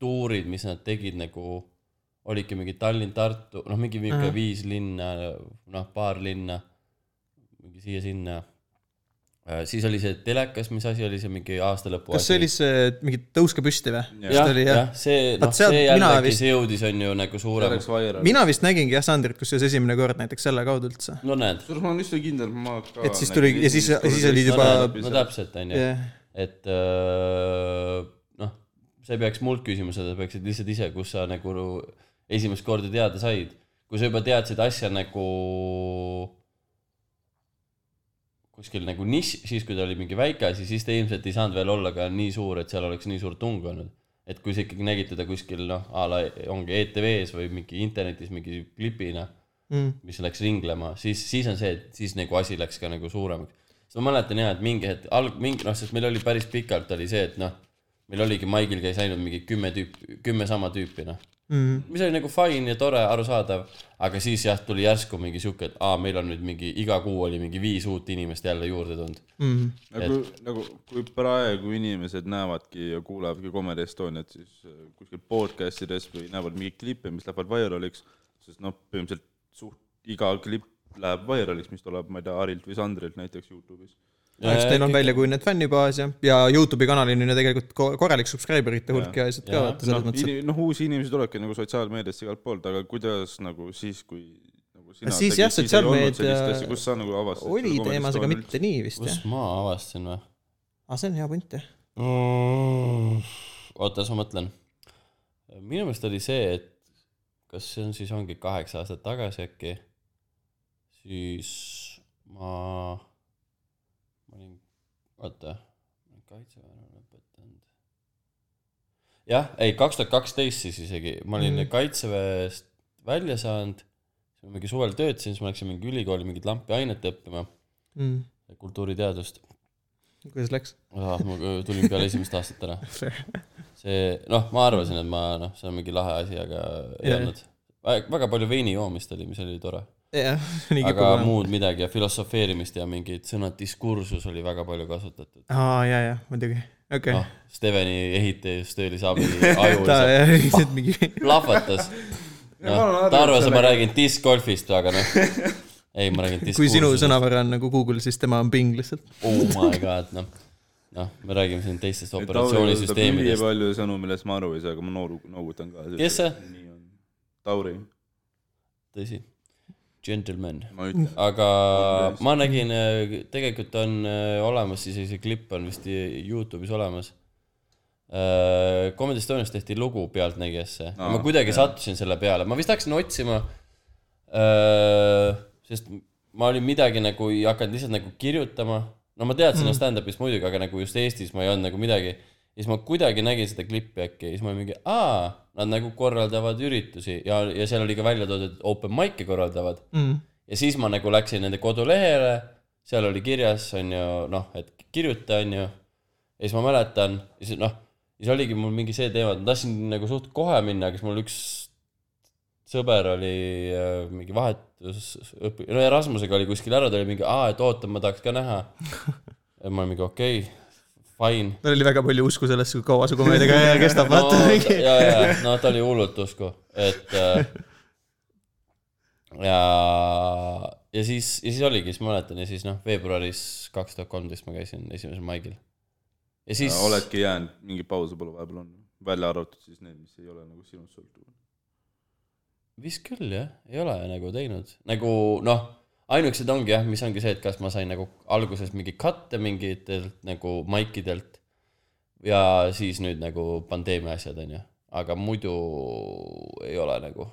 [SPEAKER 3] tuurid , mis nad tegid nagu olidki mingi Tallinn , Tartu , noh , mingi niisugune viis linna , noh , paar linna , mingi siia-sinna . siis oli see telekas , mis asi oli see mingi aasta lõpu
[SPEAKER 1] kas see oli see mingi Tõuske püsti või ?
[SPEAKER 3] jah ,
[SPEAKER 1] oli jah
[SPEAKER 3] jah , see ,
[SPEAKER 1] Vaat
[SPEAKER 3] noh ,
[SPEAKER 1] sealt
[SPEAKER 3] see
[SPEAKER 1] mina
[SPEAKER 3] jällegi
[SPEAKER 1] vist-
[SPEAKER 3] see jõudis , on ju nagu
[SPEAKER 2] see
[SPEAKER 3] suurem
[SPEAKER 2] läks . vairal .
[SPEAKER 1] mina vist nägingi jah Sandrit , kusjuures esimene kord näiteks selle kaudu üldse .
[SPEAKER 3] no näed ,
[SPEAKER 2] kusjuures ma olen üsna kindel , ma ka
[SPEAKER 1] Et siis tuli- ja siis- siis olid
[SPEAKER 3] no
[SPEAKER 1] juba-
[SPEAKER 3] näed , no täpselt , on ju
[SPEAKER 1] jah ,
[SPEAKER 3] et öö, noh , sa ei peaks mult küsima seda , sa peaksid lihtsalt ise , kus sa nagu esimest korda teada said . kui sa juba teadsid asja nagu kuskil nagu nišš , siis kui ta oli mingi väike asi , siis ta ilmselt ei saanud veel olla ka nii suur , et seal oleks nii suur tung olnud . et kui sa ikkagi nägid teda kuskil noh , a la ongi ETV-s või mingi internetis mingi klipina
[SPEAKER 1] Mm.
[SPEAKER 3] mis läks ringlema , siis , siis on see , et siis nagu asi läks ka nagu suuremaks . sest ma mäletan jaa , et mingi hetk , alg- , mingi noh , sest meil oli päris pikalt oli see , et noh , meil oligi , Maigil käis ainult mingi kümme tüüpi , kümme sama tüüpi noh mm. . mis oli nagu fine ja tore , arusaadav , aga siis jah , tuli järsku mingi sihuke , et aa , meil on nüüd mingi iga kuu oli mingi viis uut inimest jälle juurde tulnud mm. .
[SPEAKER 2] nagu , nagu kui praegu inimesed näevadki ja kuulavadki Comedy Estoniat , siis äh, kuskil podcast ides või näevad mingeid klippe , mis lähevad vairaliks , sest noh , põhimõtteliselt suht iga klipp läheb vairaliks , mis tuleb , ma ei tea , Harilt või Sandrilt näiteks Youtube'is .
[SPEAKER 1] eks neil on
[SPEAKER 3] Äh,
[SPEAKER 1] välja kujunenud fännibaas ja , ja Youtube'i kanalil on ju tegelikult ko- korralik subscriber'ite hulk ja asjad ka
[SPEAKER 3] Jaa.
[SPEAKER 1] vaata selles mõttes ,
[SPEAKER 2] Ini- noh , uusi inimesi tulebki nagu sotsiaalmeediasse igalt poolt , aga kuidas nagu siis , kui nagu sina
[SPEAKER 1] Siis jah,
[SPEAKER 2] siis ei olnud
[SPEAKER 1] sotsiaalmeedia
[SPEAKER 2] sellist asja, kus sa nagu
[SPEAKER 1] et
[SPEAKER 2] avastasid
[SPEAKER 1] oli
[SPEAKER 2] selle Comedy
[SPEAKER 1] teemas , aga
[SPEAKER 2] Estonia üldse?
[SPEAKER 1] mitte nii vist jah
[SPEAKER 3] kus . ma avastasin või
[SPEAKER 1] aga see on hea punt jah .
[SPEAKER 3] mm. ? oota , las ma mõtlen . minu meelest oli see , et kas see on siis ongi kaheksa aastat tagasi äkki , siis ma , ma olin , oota , ma olin kaitseväelane lõpetanud . jah , ei kaks tuhat kaksteist siis isegi , ma olin mm. kaitseväest välja saanud , siis ma mingi suvel töötasin , siis ma läksin mingi ülikooli mingit lampiainet õppima , kultuuriteadust .
[SPEAKER 1] Mm. kuidas läks ?
[SPEAKER 3] ah, . ma tulin peale esimest aastat ära . see , noh , ma arvasin , et ma noh , see on mingi lahe asi , aga ei
[SPEAKER 1] Jah.
[SPEAKER 3] olnud . väga palju veini joomist oli , mis oli tore .
[SPEAKER 1] jah , nii
[SPEAKER 3] aga
[SPEAKER 1] kipub olema .
[SPEAKER 3] muud midagi ja filosofeerimist ja mingid sõnad diskursus oli väga palju kasutatud .
[SPEAKER 1] aa ja , ja muidugi , okei .
[SPEAKER 3] noh , Steveni ehitustöölise abi aju
[SPEAKER 1] ta jah , lihtsalt mingi
[SPEAKER 3] plahvatas . noh , ta arvas , et ma räägin discgolfist , aga noh , ei , ma räägin
[SPEAKER 1] kui sinu
[SPEAKER 3] diskursusest .
[SPEAKER 1] sõnavara on nagu Google , siis tema on ping lihtsalt .
[SPEAKER 3] oh my god , noh , noh , me räägime siin teistest
[SPEAKER 2] Et Tauri kasutab
[SPEAKER 3] operatsioonisüsteemidest .
[SPEAKER 2] ülipalju sõnu , millest ma aru ei saa , aga ma nooru- , noogutan ka .
[SPEAKER 3] Kes see ?
[SPEAKER 2] Tauri ,
[SPEAKER 3] tõsi , džentelmen .
[SPEAKER 2] ma ütlen .
[SPEAKER 3] aga ma nägin , tegelikult on äh, olemas siis , see klipp on vist Youtube'is olemas . Comedy Estonias tehti lugu Pealtnägijasse no, ,
[SPEAKER 2] Aa,
[SPEAKER 3] ma kuidagi
[SPEAKER 2] jah.
[SPEAKER 3] sattusin selle peale , ma vist hakkasin otsima . sest ma olin midagi nagu ei hakanud lihtsalt nagu kirjutama , no ma teadsin mm. stand-up'ist muidugi , aga nagu just Eestis ma ei olnud nagu midagi . ja siis ma kuidagi nägin seda klippi äkki ja siis ma olin mingi , aa , nad nagu korraldavad üritusi ja , ja seal oli ka välja toodud , et open mic'e korraldavad .
[SPEAKER 1] mm. .
[SPEAKER 3] ja siis ma nagu läksin nende kodulehele , seal oli kirjas , on ju , noh , et kirjuta , on ju . ja siis ma mäletan , siis noh , siis oligi mul mingi see teema , et ma tahtsin nagu suht kohe minna , aga siis mul üks sõber oli äh, mingi vahetus , õpi- , no Erasmusega oli kuskil ära , ta oli mingi , aa , et oota , ma tahaks ka näha . ja ma olin mingi okei okay, , fine .
[SPEAKER 1] tal oli väga palju usku sellesse , kui kaua see komöödia kestab , vaata
[SPEAKER 3] no,
[SPEAKER 1] mingi .
[SPEAKER 3] ja , ja , no ta oli hullult usku , et äh, . ja , ja siis , ja siis oligi , siis ma mäletan ja siis noh , veebruaris kaks tuhat kolmteist ma käisin esimesel maigil . ja siis .
[SPEAKER 2] oledki jäänud , mingi pause pole vahepeal olnud , välja arvatud siis need , mis ei ole nagu sinust sõltuvad .
[SPEAKER 3] vist küll jah , ei ole nagu teinud , nagu noh , ainukesed ongi jah , mis ongi see , et kas ma sain nagu alguses mingi katte mingitelt nagu maikidelt ja siis nüüd nagu pandeemia asjad on ju , aga muidu ei ole nagu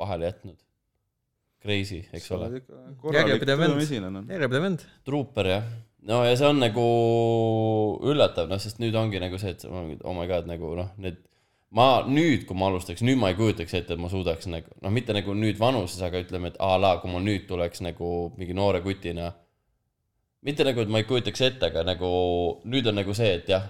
[SPEAKER 3] vahele jätnud . Crazy , eks ole ,
[SPEAKER 2] korralik
[SPEAKER 1] Järjepidev vend.
[SPEAKER 2] töömesilane on .
[SPEAKER 1] järjepidev vend .
[SPEAKER 3] truuper jah , no ja see on nagu üllatav , noh , sest nüüd ongi nagu see , et ma- oh my god , nagu noh , need ma nüüd , kui ma alustaks , nüüd ma ei kujutaks ette , et ma suudaks nagu noh , mitte nagu nüüd vanuses , aga ütleme , et a la , kui ma nüüd tuleks nagu mingi noore kutina . mitte nagu , et ma ei kujutaks ette , aga nagu nüüd on nagu see , et jah .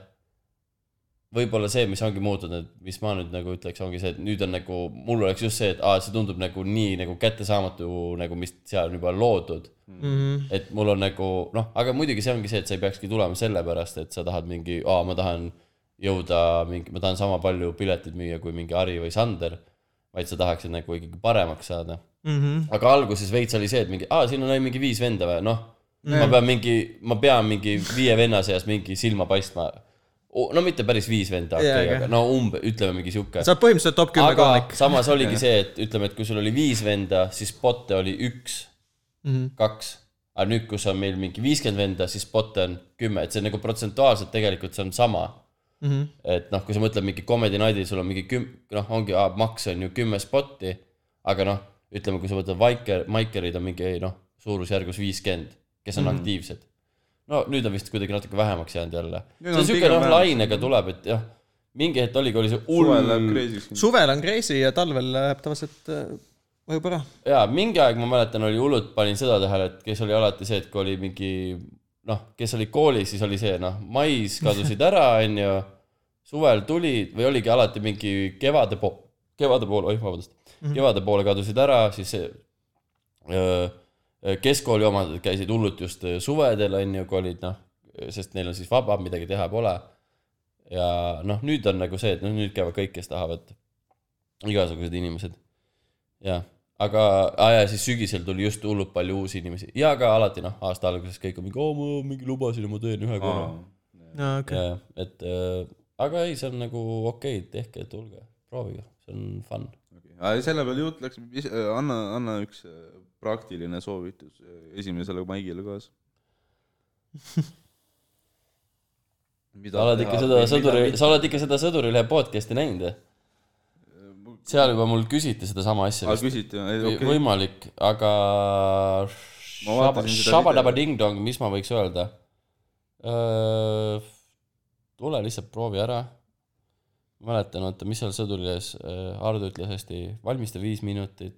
[SPEAKER 3] võib-olla see , mis ongi muutunud , mis ma nüüd nagu ütleks , ongi see , et nüüd on nagu , mul oleks just see , et aa , see tundub nagu nii nagu kättesaamatu nagu , mis seal on juba loodud .
[SPEAKER 1] Mhm,
[SPEAKER 3] et mul on nagu noh , aga muidugi see ongi see , et sa ei peakski tulema sellepärast , et sa tahad mingi , aa , ma tahan jõuda mingi , ma tahan sama palju pileteid müüa kui mingi Harri või Sander , vaid sa tahaksid nagu ikkagi paremaks saada .
[SPEAKER 1] mhm.
[SPEAKER 3] aga alguses veits oli see , et mingi , aa , siin on ainult mingi viis venda või , noh , ma pean mingi , ma pean mingi viie venna seas mingi silma paistma . no mitte päris viis venda , okei
[SPEAKER 1] Jaa,
[SPEAKER 3] okay, ,
[SPEAKER 1] aga-
[SPEAKER 3] aga no umbe- , ütleme mingi sihuke .
[SPEAKER 1] sa oled põhimõtteliselt top kümme
[SPEAKER 3] aga
[SPEAKER 1] komik .
[SPEAKER 3] samas oligi see , et ütleme , et kui sul oli viis venda , siis bot'e oli üks
[SPEAKER 1] Mhm. ,
[SPEAKER 3] kaks . aga nüüd , kus on meil mingi viiskümmend venda , siis bot'e on kümme , et see nagu protsentuaalselt tegelikult see on sama . et noh , kui sa mõtled mingi Comedy Nightil , sul on mingi küm- , noh , ongi ah, maks on ju kümme spotti , aga noh , ütleme , kui sa võtad Viker , Mikerid on mingi noh , suurusjärgus viiskümmend , kes on mm. aktiivsed . no nüüd on vist kuidagi natuke vähemaks jäänud jälle .
[SPEAKER 2] Nüüd
[SPEAKER 3] see on
[SPEAKER 2] on
[SPEAKER 3] siuke
[SPEAKER 2] pigem
[SPEAKER 3] noh ,
[SPEAKER 2] vähemaks.
[SPEAKER 3] lainega tuleb , et jah , mingi hetk oligi , oli see
[SPEAKER 2] suvel
[SPEAKER 3] hull
[SPEAKER 2] läheb crazy'ks .
[SPEAKER 1] suvel on crazy ja talvel läheb tavaliselt , vajub ära .
[SPEAKER 3] jaa , mingi aeg ma mäletan , oli hullult , panin seda tähele , et kes oli alati see , et kui oli mingi noh , kes oli koolis , siis oli see noh , mais kadusid ära , onju , suvel tulid või oligi alati mingi kevade po- , kevade poole , oih , vabandust mm , -hmm. kevade poole kadusid ära , siis see, öö, keskkooli omad käisid hullult just öö, suvedel , onju , kui olid noh , sest neil on siis vaba , midagi teha pole . ja noh , nüüd on nagu see , et noh , nüüd käivad kõik , kes tahavad , igasugused inimesed jah , aga ah, , ja siis sügisel tuli just hullult palju uusi inimesi ja ka alati noh , aasta alguses kõik on mingi , oo ma mingi lubasin ja ma teen ühe korra .
[SPEAKER 1] no okei okay. ,
[SPEAKER 3] ja , et äh, aga ei , see on nagu okei okay, , tehke , tulge , proovige , see on fun .
[SPEAKER 2] aga selle peale jutt läks , anna , anna üks äh, praktiline soovitus äh, esimesele maigile kaasa
[SPEAKER 3] sa oled ikka seda sõduri , sa oled ikka seda Sõdurilehe podcast'i näinud või ? seal juba mul küsiti sedasama asja
[SPEAKER 2] aa ,
[SPEAKER 3] vist .
[SPEAKER 2] küsiti , okei
[SPEAKER 3] Okay. . võimalik , aga
[SPEAKER 2] Ma vaatasin seda
[SPEAKER 3] Shabadaba
[SPEAKER 2] videot.
[SPEAKER 3] ding-dong , mis ma võiks öelda ? tule lihtsalt proovi ära . mäletan , oota , mis seal sõduriles , Hardo ütles hästi , valmista viis minutit .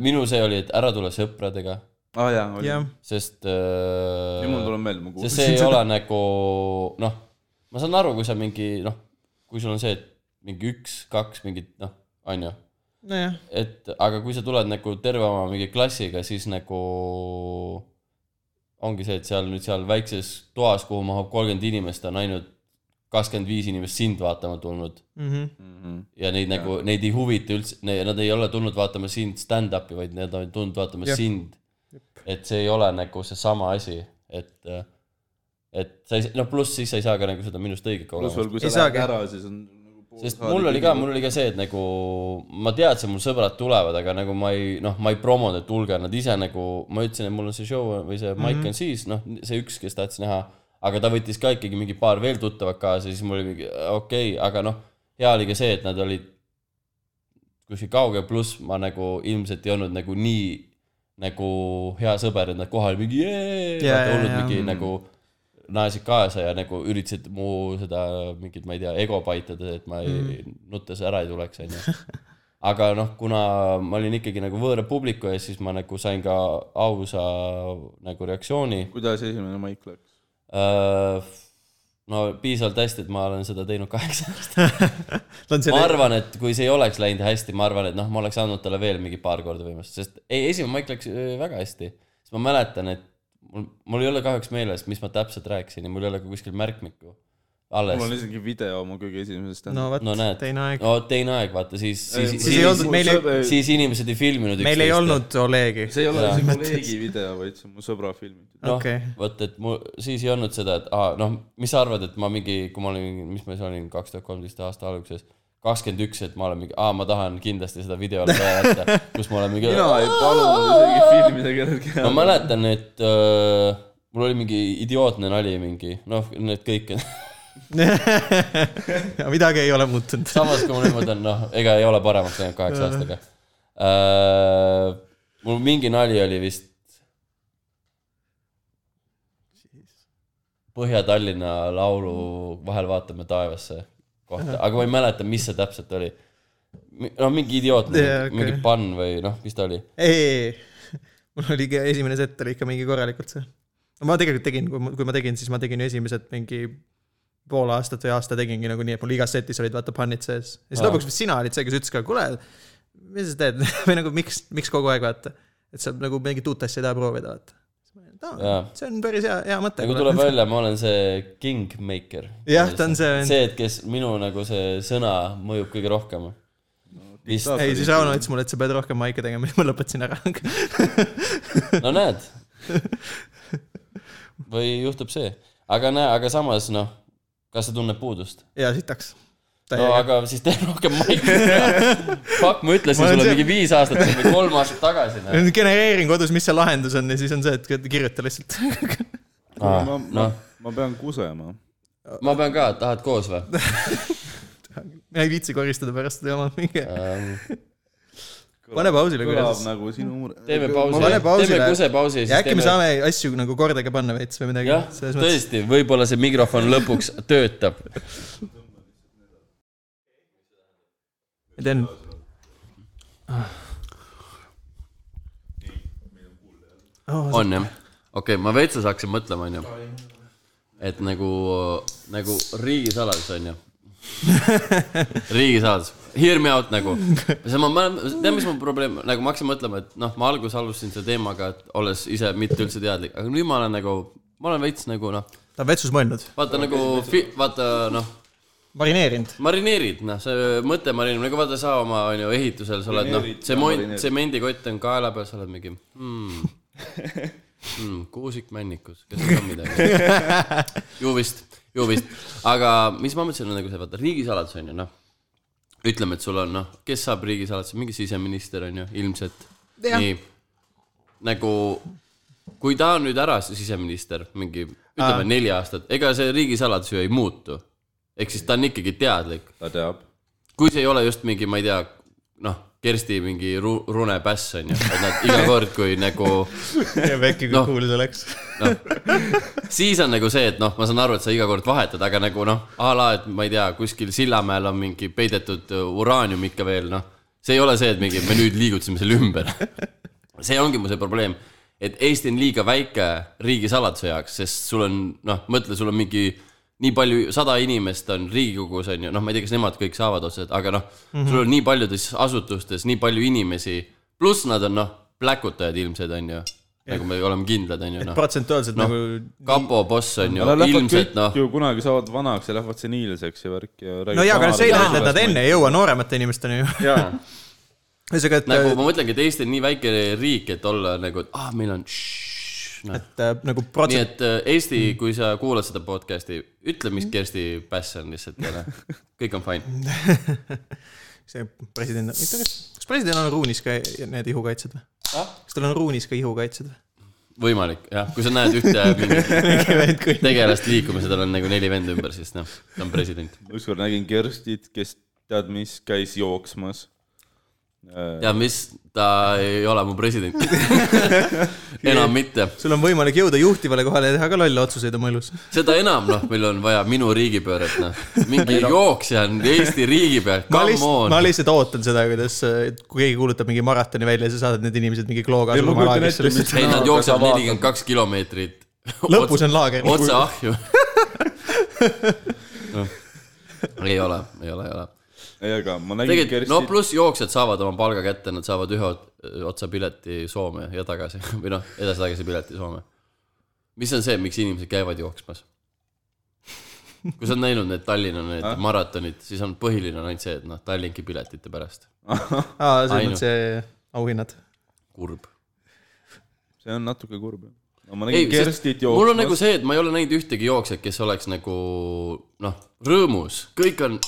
[SPEAKER 3] minu see oli , et ära tule sõpradega ,
[SPEAKER 2] aa jaa , oli .
[SPEAKER 1] jah ,
[SPEAKER 3] sest
[SPEAKER 2] nüüd mul tuleb meelde , ma
[SPEAKER 3] sest
[SPEAKER 2] kuulsin
[SPEAKER 3] see ei ole nagu noh , ma saan aru , kui sa mingi noh , kui sul on see , et mingi üks , kaks mingit noh , on ju
[SPEAKER 1] nojah ,
[SPEAKER 3] et aga kui sa tuled nagu terve oma mingi klassiga , siis nagu ongi see , et seal nüüd seal väikses toas , kuhu mahub kolmkümmend inimest , on ainult kakskümmend viis inimest sind vaatama tulnud
[SPEAKER 1] Mhm.
[SPEAKER 3] Mm.
[SPEAKER 2] Mhm.
[SPEAKER 3] ja neid ja. nagu , neid ei huvita üldse , nad ei ole tulnud vaatama sind stand-up'i , vaid nad on tulnud vaatama ja.
[SPEAKER 1] Jah.
[SPEAKER 3] sind . et see ei ole nagu seesama asi , et , et sa ei , noh , pluss siis sa ei saa ka nagu seda minust õiget
[SPEAKER 2] pluss
[SPEAKER 3] kogemust .
[SPEAKER 2] veel , kui
[SPEAKER 1] Ei
[SPEAKER 2] sa lähed
[SPEAKER 1] saagi.
[SPEAKER 2] ära , siis on nagu pool
[SPEAKER 3] sest
[SPEAKER 2] saali
[SPEAKER 3] mul oli ka ,
[SPEAKER 2] kinni.
[SPEAKER 3] mul oli ka see , et nagu ma teadsin , mul sõbrad tulevad , aga nagu ma ei , noh , ma ei promonud , et tulge , nad ise nagu , ma ütlesin , et mul on see show või see maik
[SPEAKER 1] Mhm.
[SPEAKER 3] mm -hmm. on siis , noh , see üks , kes tahtis näha , aga ta võttis ka ikkagi mingi paar veel tuttavat kaasa , siis mul oli mingi äh, okei okay, , aga noh , hea oli ka see , et nad olid kuskil kaugel , pluss ma nagu ilmselt ei olnud nagu nii nagu hea sõber , et nad kohal mingi jee ,
[SPEAKER 1] Jaa,
[SPEAKER 3] vaata
[SPEAKER 1] jaa, Mm.
[SPEAKER 3] hullult
[SPEAKER 1] jaa.
[SPEAKER 3] mingi nagu naersid kaasa ja nagu üritasid mu seda mingit , ma ei tea , ego paitada , et ma ei mm. , nuttes ära ei tuleks , onju . aga noh , kuna ma olin ikkagi nagu võõra publiku ees , siis ma nagu sain ka ausa nagu reaktsiooni
[SPEAKER 2] kuidas esimene maik läks ?
[SPEAKER 3] Öö, no piisavalt hästi , et ma olen seda teinud kaheksa aastat .
[SPEAKER 1] ta on
[SPEAKER 3] ma
[SPEAKER 1] selle ,
[SPEAKER 3] arvan , et kui see ei oleks läinud hästi , ma arvan , et noh , ma oleks andnud talle veel mingi paar korda võimalust , sest ei , esimene maik läks öö, väga hästi . sest ma mäletan , et mul , mul ei ole kahjuks meeles , mis ma täpselt rääkisin ja mul ei ole ka kuskil märkmikku alles
[SPEAKER 2] mul . on isegi video oma kõige esimesest .
[SPEAKER 1] no vot
[SPEAKER 3] no näed ,
[SPEAKER 1] teine aeg .
[SPEAKER 3] no teine aeg , vaata siis , siis ,
[SPEAKER 1] siis ei olnud- meil ei-
[SPEAKER 3] siis, siis inimesed ei filminud
[SPEAKER 1] meil ei olnud Olegi .
[SPEAKER 2] see ei ole
[SPEAKER 3] Jaa.
[SPEAKER 2] isegi kolleegi video , vaid see on mu sõbra filmitud .
[SPEAKER 3] noh
[SPEAKER 1] Okei.
[SPEAKER 3] okay. , vot et mu siis ei olnud seda , et aa , noh , mis sa arvad , et ma mingi , kui ma olin , mis ma siis olin , kaks tuhat kolmteist aasta alguses , kakskümmend üks , et ma olen mingi , aa , ma tahan kindlasti seda videole ka jätta , kus ma olen mingi ,
[SPEAKER 2] mina ei palunud isegi filmida kellelgi .
[SPEAKER 3] ma mäletan , et äh, mul oli mingi idiootne nali mingi , noh , need kõik ,
[SPEAKER 1] midagi ei ole muutunud .
[SPEAKER 3] samas kui ma nüüd mõtlen , noh , ega ei ole paremaks läinud kaheksa aastaga äh, . mul mingi nali oli vist Põhja-Tallinna laulu Vahel vaatame taevasse kohta , aga ma ei mäleta , mis see täpselt oli . no mingi idiootne
[SPEAKER 1] Jaa,
[SPEAKER 3] yeah, , okay. mingi
[SPEAKER 1] okei.
[SPEAKER 3] pann või noh , mis ta oli .
[SPEAKER 1] ei , mul oli ikka esimene sett oli ikka mingi korralikult see . ma tegelikult tegin , kui ma , kui ma tegin , siis ma tegin ju esimesed mingi pool aastat või aasta tegingi nagu nii , et mul igas setis olid vaata pannid sees . ja siis
[SPEAKER 3] Aa.
[SPEAKER 1] lõpuks vist sina olid see , kes ütles ka , kuule , mis sa teed või nagu miks , miks kogu aeg vaata , et sa nagu mingit uut asja ei taha proovida vaata . No,
[SPEAKER 3] Jaa.
[SPEAKER 1] see on päris hea , hea mõte
[SPEAKER 3] ja . kui tuleb välja , ma olen see kingmaker .
[SPEAKER 1] Jah, ta on see-
[SPEAKER 3] see , et kes minu nagu see sõna mõjub kõige rohkem . vist ,
[SPEAKER 1] ei , siis Rauno ütles mulle , et sa pead rohkem maike tegema , siis ma lõpetasin ära .
[SPEAKER 3] no näed . või juhtub see , aga näe , aga samas noh , kas sa tunned puudust ?
[SPEAKER 1] ja sitaks .
[SPEAKER 3] no aga siis tee rohkem maiki . Fuck , ma ütlesin
[SPEAKER 1] Ma olen
[SPEAKER 3] sulle
[SPEAKER 1] see-
[SPEAKER 3] mingi viis aastat või kolm aastat tagasi .
[SPEAKER 1] genereerin kodus , mis see lahendus on ja siis on see , et kirjuta lihtsalt . Ah,
[SPEAKER 2] ma , ma
[SPEAKER 3] noh ,
[SPEAKER 2] ma pean kusema .
[SPEAKER 3] ma pean ka , tahad koos või ?
[SPEAKER 1] mina ei viitsi koristada pärast seda jama , minge .
[SPEAKER 3] Ähm,
[SPEAKER 1] pane pausile
[SPEAKER 2] kõlab
[SPEAKER 1] kuradi .
[SPEAKER 2] nagu sinu mure .
[SPEAKER 3] teeme
[SPEAKER 1] Ma panen
[SPEAKER 3] pausi ,
[SPEAKER 1] pausile.
[SPEAKER 3] teeme kusepausi ja
[SPEAKER 1] ja
[SPEAKER 3] siis
[SPEAKER 1] äkki me
[SPEAKER 3] teeme .
[SPEAKER 1] saame asju nagu kordagi panna veits või midagi
[SPEAKER 3] nagu jah ,. tõesti , võib-olla see mikrofon lõpuks töötab .
[SPEAKER 1] ma teen , Ah.
[SPEAKER 3] on jah , okei okay, , ma veitsa hakkasin mõtlema , onju . et nagu , nagu riigisaladus , onju . riigisaladus , hear me out nagu . ma mäletan , tead , mis mu probleem , nagu ma hakkasin mõtlema , et noh , ma alguses alustasin selle teemaga , et olles ise mitte üldse teadlik , aga nüüd ma olen nagu , ma olen veits nagu noh ,
[SPEAKER 1] ta on vetsus mõelnud ,
[SPEAKER 3] vaata nagu , vaata noh ,
[SPEAKER 1] marineerinud .
[SPEAKER 3] marineerid , noh , see mõte marineb , nagu vaata sa oma , onju , ehitusel , sa oled , noh
[SPEAKER 2] Marineerid, ,
[SPEAKER 3] tsement ,
[SPEAKER 2] marineerid.
[SPEAKER 3] tsemendikott on kaela peal , sa oled mingi hmm, , hmm, kuusik männikus , kes teab midagi . ju vist , ju vist , aga mis ma mõtlesin , on nagu see , vaata , riigisaladus on ju , noh , ütleme , et sul on , noh , kes saab riigisaladuse , mingi siseminister on ju , ilmselt ,
[SPEAKER 1] Jah.
[SPEAKER 3] nii , nagu kui ta on nüüd ära , see siseminister , mingi ütleme neli aastat , ega see riigisaladus ju ei muutu . ehk siis ta on ikkagi teadlik ,
[SPEAKER 2] ta teab .
[SPEAKER 3] kui see ei ole just mingi , ma ei tea , noh , Kersti mingi ru- , runepäss on ju , et nad iga kord , kui nagu
[SPEAKER 1] äkki kui
[SPEAKER 3] Noh.
[SPEAKER 1] kuulus oleks .
[SPEAKER 3] siis on nagu see , et noh , ma saan aru , et sa iga kord vahetad , aga nagu noh , a la , et ma ei tea , kuskil Sillamäel on mingi peidetud äh, uraanium ikka veel , noh . see ei ole see , et mingi me nüüd liigutasime selle ümber . see ongi mu see probleem , et Eesti on liiga väike riigisaladuse jaoks , sest sul on noh , mõtle , sul on mingi nii palju , sada inimest on Riigikogus on ju , noh , ma ei tea , kas nemad kõik saavad otseselt , aga noh mm , -hmm. sul on nii paljudes asutustes nii palju inimesi , pluss nad on noh , pläkutajad ilmsed on ju , nagu me oleme kindlad on ju noh .
[SPEAKER 1] protsentuaalselt
[SPEAKER 3] noh
[SPEAKER 1] nagu ,
[SPEAKER 3] kapo boss on ju
[SPEAKER 2] Nad , lähevad
[SPEAKER 3] ilmselt
[SPEAKER 2] kõik
[SPEAKER 3] noh ,
[SPEAKER 2] ju kunagi saavad vanaks ja lähevad seniilseks ja värk ja .
[SPEAKER 1] no jaa , aga see ei tähenda , et nad enne ei jõua nooremate inimesteni ju .
[SPEAKER 2] jaa ,
[SPEAKER 1] ühesõnaga , et
[SPEAKER 3] nagu
[SPEAKER 1] nagu, ,
[SPEAKER 3] ma mõtlengi , et Eesti on nii väike riik , et olla nagu , et aa , meil on ššš, noh.
[SPEAKER 1] et äh, nagu
[SPEAKER 3] nii
[SPEAKER 1] protsent ,
[SPEAKER 3] et äh, Eesti , kui sa kuulad seda podcast'i , ütle , mis Kersti Päss on lihtsalt ja noh, kõik on fine .
[SPEAKER 1] see president , kas presidendil on ruunis ka need ihukaitsed või ? kas tal on ruunis ka ihukaitsed või ?
[SPEAKER 3] võimalik jah , kui sa näed ühte mingit
[SPEAKER 1] mingi vend kui
[SPEAKER 3] tegelast liikumas ja tal on nagu neli venda ümber , siis noh , ta on president .
[SPEAKER 2] ükskord nägin Kerstit , kes tead mis , käis jooksmas .
[SPEAKER 3] ja mis , ta ei ole mu president . enam mitte .
[SPEAKER 1] sul on võimalik jõuda juhtivale kohale ja teha ka lolle otsuseid oma elus .
[SPEAKER 3] seda enam , noh , meil on vaja minu riigipööret , noh . mingi jooksja on Eesti riigipea ,
[SPEAKER 1] ma
[SPEAKER 3] come
[SPEAKER 1] lihtsalt , ma
[SPEAKER 3] on .
[SPEAKER 1] lihtsalt ootan seda , kuidas , kui keegi kuulutab mingi maratoni välja , sa saadad need inimesed mingi klooga
[SPEAKER 2] Ei, ma kujutan ette, mis-
[SPEAKER 3] ei , nad
[SPEAKER 2] No,
[SPEAKER 3] jooksevad
[SPEAKER 2] aga vaatad.
[SPEAKER 3] nelikümmend kaks kilomeetrit .
[SPEAKER 1] lõpus on laager .
[SPEAKER 3] otse ahju . ei ole , ei ole , ei ole .
[SPEAKER 2] ei , aga ma nägin
[SPEAKER 3] tegelikult , no
[SPEAKER 2] Kersti ,
[SPEAKER 3] pluss jooksjad saavad oma palga kätte , nad saavad ühe ot- otsa pileti Soome ja tagasi või noh , edasi-tagasi pileti Soome . mis on see , miks inimesed käivad jooksmas ? kui sa oled näinud need Tallinna need maratonid , siis on põhiline on ainult see , et noh , Tallinki piletite pärast ,
[SPEAKER 1] aa , see on
[SPEAKER 3] Ainult.
[SPEAKER 1] see auhinnad .
[SPEAKER 3] kurb .
[SPEAKER 2] see on natuke kurb . no ma
[SPEAKER 3] ei
[SPEAKER 2] nägin , Kerstit
[SPEAKER 3] sest mul on nagu
[SPEAKER 2] jooksmas ,
[SPEAKER 3] see , et ma ei ole näinud ühtegi jooksjat , kes oleks nagu noh , rõõmus , kõik on ,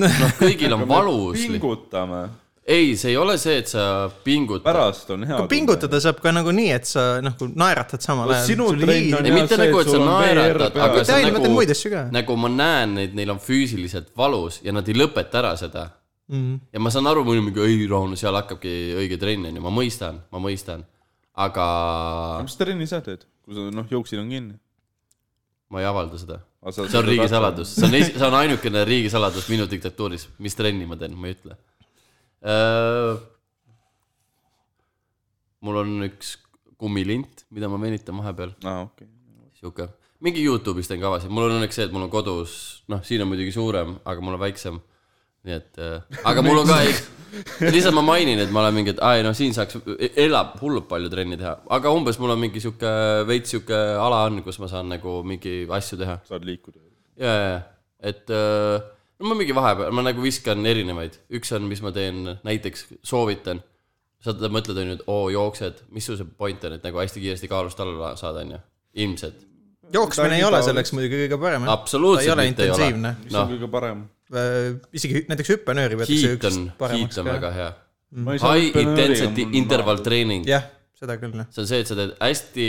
[SPEAKER 3] noh , kõigil on valus .
[SPEAKER 2] pingutame ,
[SPEAKER 3] ei , see ei ole see , et sa pingutad .
[SPEAKER 2] pärast on hea .
[SPEAKER 1] pingutada saab ka nagu nii , et sa noh , kui naeratad samal
[SPEAKER 2] No
[SPEAKER 1] ajal .
[SPEAKER 2] sinu trend on jah
[SPEAKER 3] ei ,
[SPEAKER 2] see,
[SPEAKER 3] mitte nagu ,
[SPEAKER 2] et
[SPEAKER 3] et sa
[SPEAKER 2] sul on
[SPEAKER 3] naeratad ,
[SPEAKER 2] VR
[SPEAKER 3] aga
[SPEAKER 2] peal.
[SPEAKER 3] see
[SPEAKER 1] Ei,
[SPEAKER 3] on
[SPEAKER 1] ma mõtlen muid asju
[SPEAKER 3] nagu
[SPEAKER 1] ka. ,
[SPEAKER 3] nagu ma näen neid , neil on füüsiliselt valus ja nad ei lõpeta ära seda mm .
[SPEAKER 1] Mhm.
[SPEAKER 3] -hmm. ja ma saan aru , mul on mingi õi Rauno , seal hakkabki õige trenn onju , ma mõistan , ma mõistan . aga
[SPEAKER 2] mis trenni sa teed , kui sa noh , jooksid on kinni ?
[SPEAKER 3] ma ei avalda seda . see on . riigisaladus , see on , see on ainukene riigisaladus minu diktatuuris , mis trenni ma teen , ma ei ütle . mul on üks kummilint , mida ma venitan vahepeal .
[SPEAKER 2] aa , Ah, okei .
[SPEAKER 3] sihuke , mingi Youtube'is teen kavasid , mul on õnneks see , et mul on kodus , noh , siin on muidugi suurem , aga mul on väiksem . nii et , aga mul on ka , lihtsalt ma mainin , et ma olen mingi , et aa ei noh , siin saaks , elab hullult palju trenni teha , aga umbes mul on mingi sihuke veits sihuke ala on , kus ma saan nagu mingi asju teha .
[SPEAKER 2] saad liikuda .
[SPEAKER 3] ja , ja , ja , et öö, no ma mingi vahepeal , ma nagu viskan erinevaid , üks on , mis ma teen , näiteks soovitan , sa t- mõtled , on ju , et oo , jooksed , mis sul see point on , et nagu hästi kiiresti kaalust alla saada , on ju , ilmselt .
[SPEAKER 1] jooksmine ei ole selleks muidugi kõige parem . Noh, ta ei
[SPEAKER 3] absoluutselt
[SPEAKER 1] ole
[SPEAKER 3] mitte ei ole .
[SPEAKER 1] intensiivne.
[SPEAKER 2] mis on
[SPEAKER 3] noh ,
[SPEAKER 2] kõige parem ?
[SPEAKER 1] Äh, isegi näiteks hüppenööri võetakse
[SPEAKER 3] hiit
[SPEAKER 1] üks
[SPEAKER 3] on , hiit
[SPEAKER 1] paremaks
[SPEAKER 3] on väga . hea . High intensity interval
[SPEAKER 2] ma
[SPEAKER 3] training ,
[SPEAKER 1] jah , seda küll , noh. jah .
[SPEAKER 3] see on see , et sa teed hästi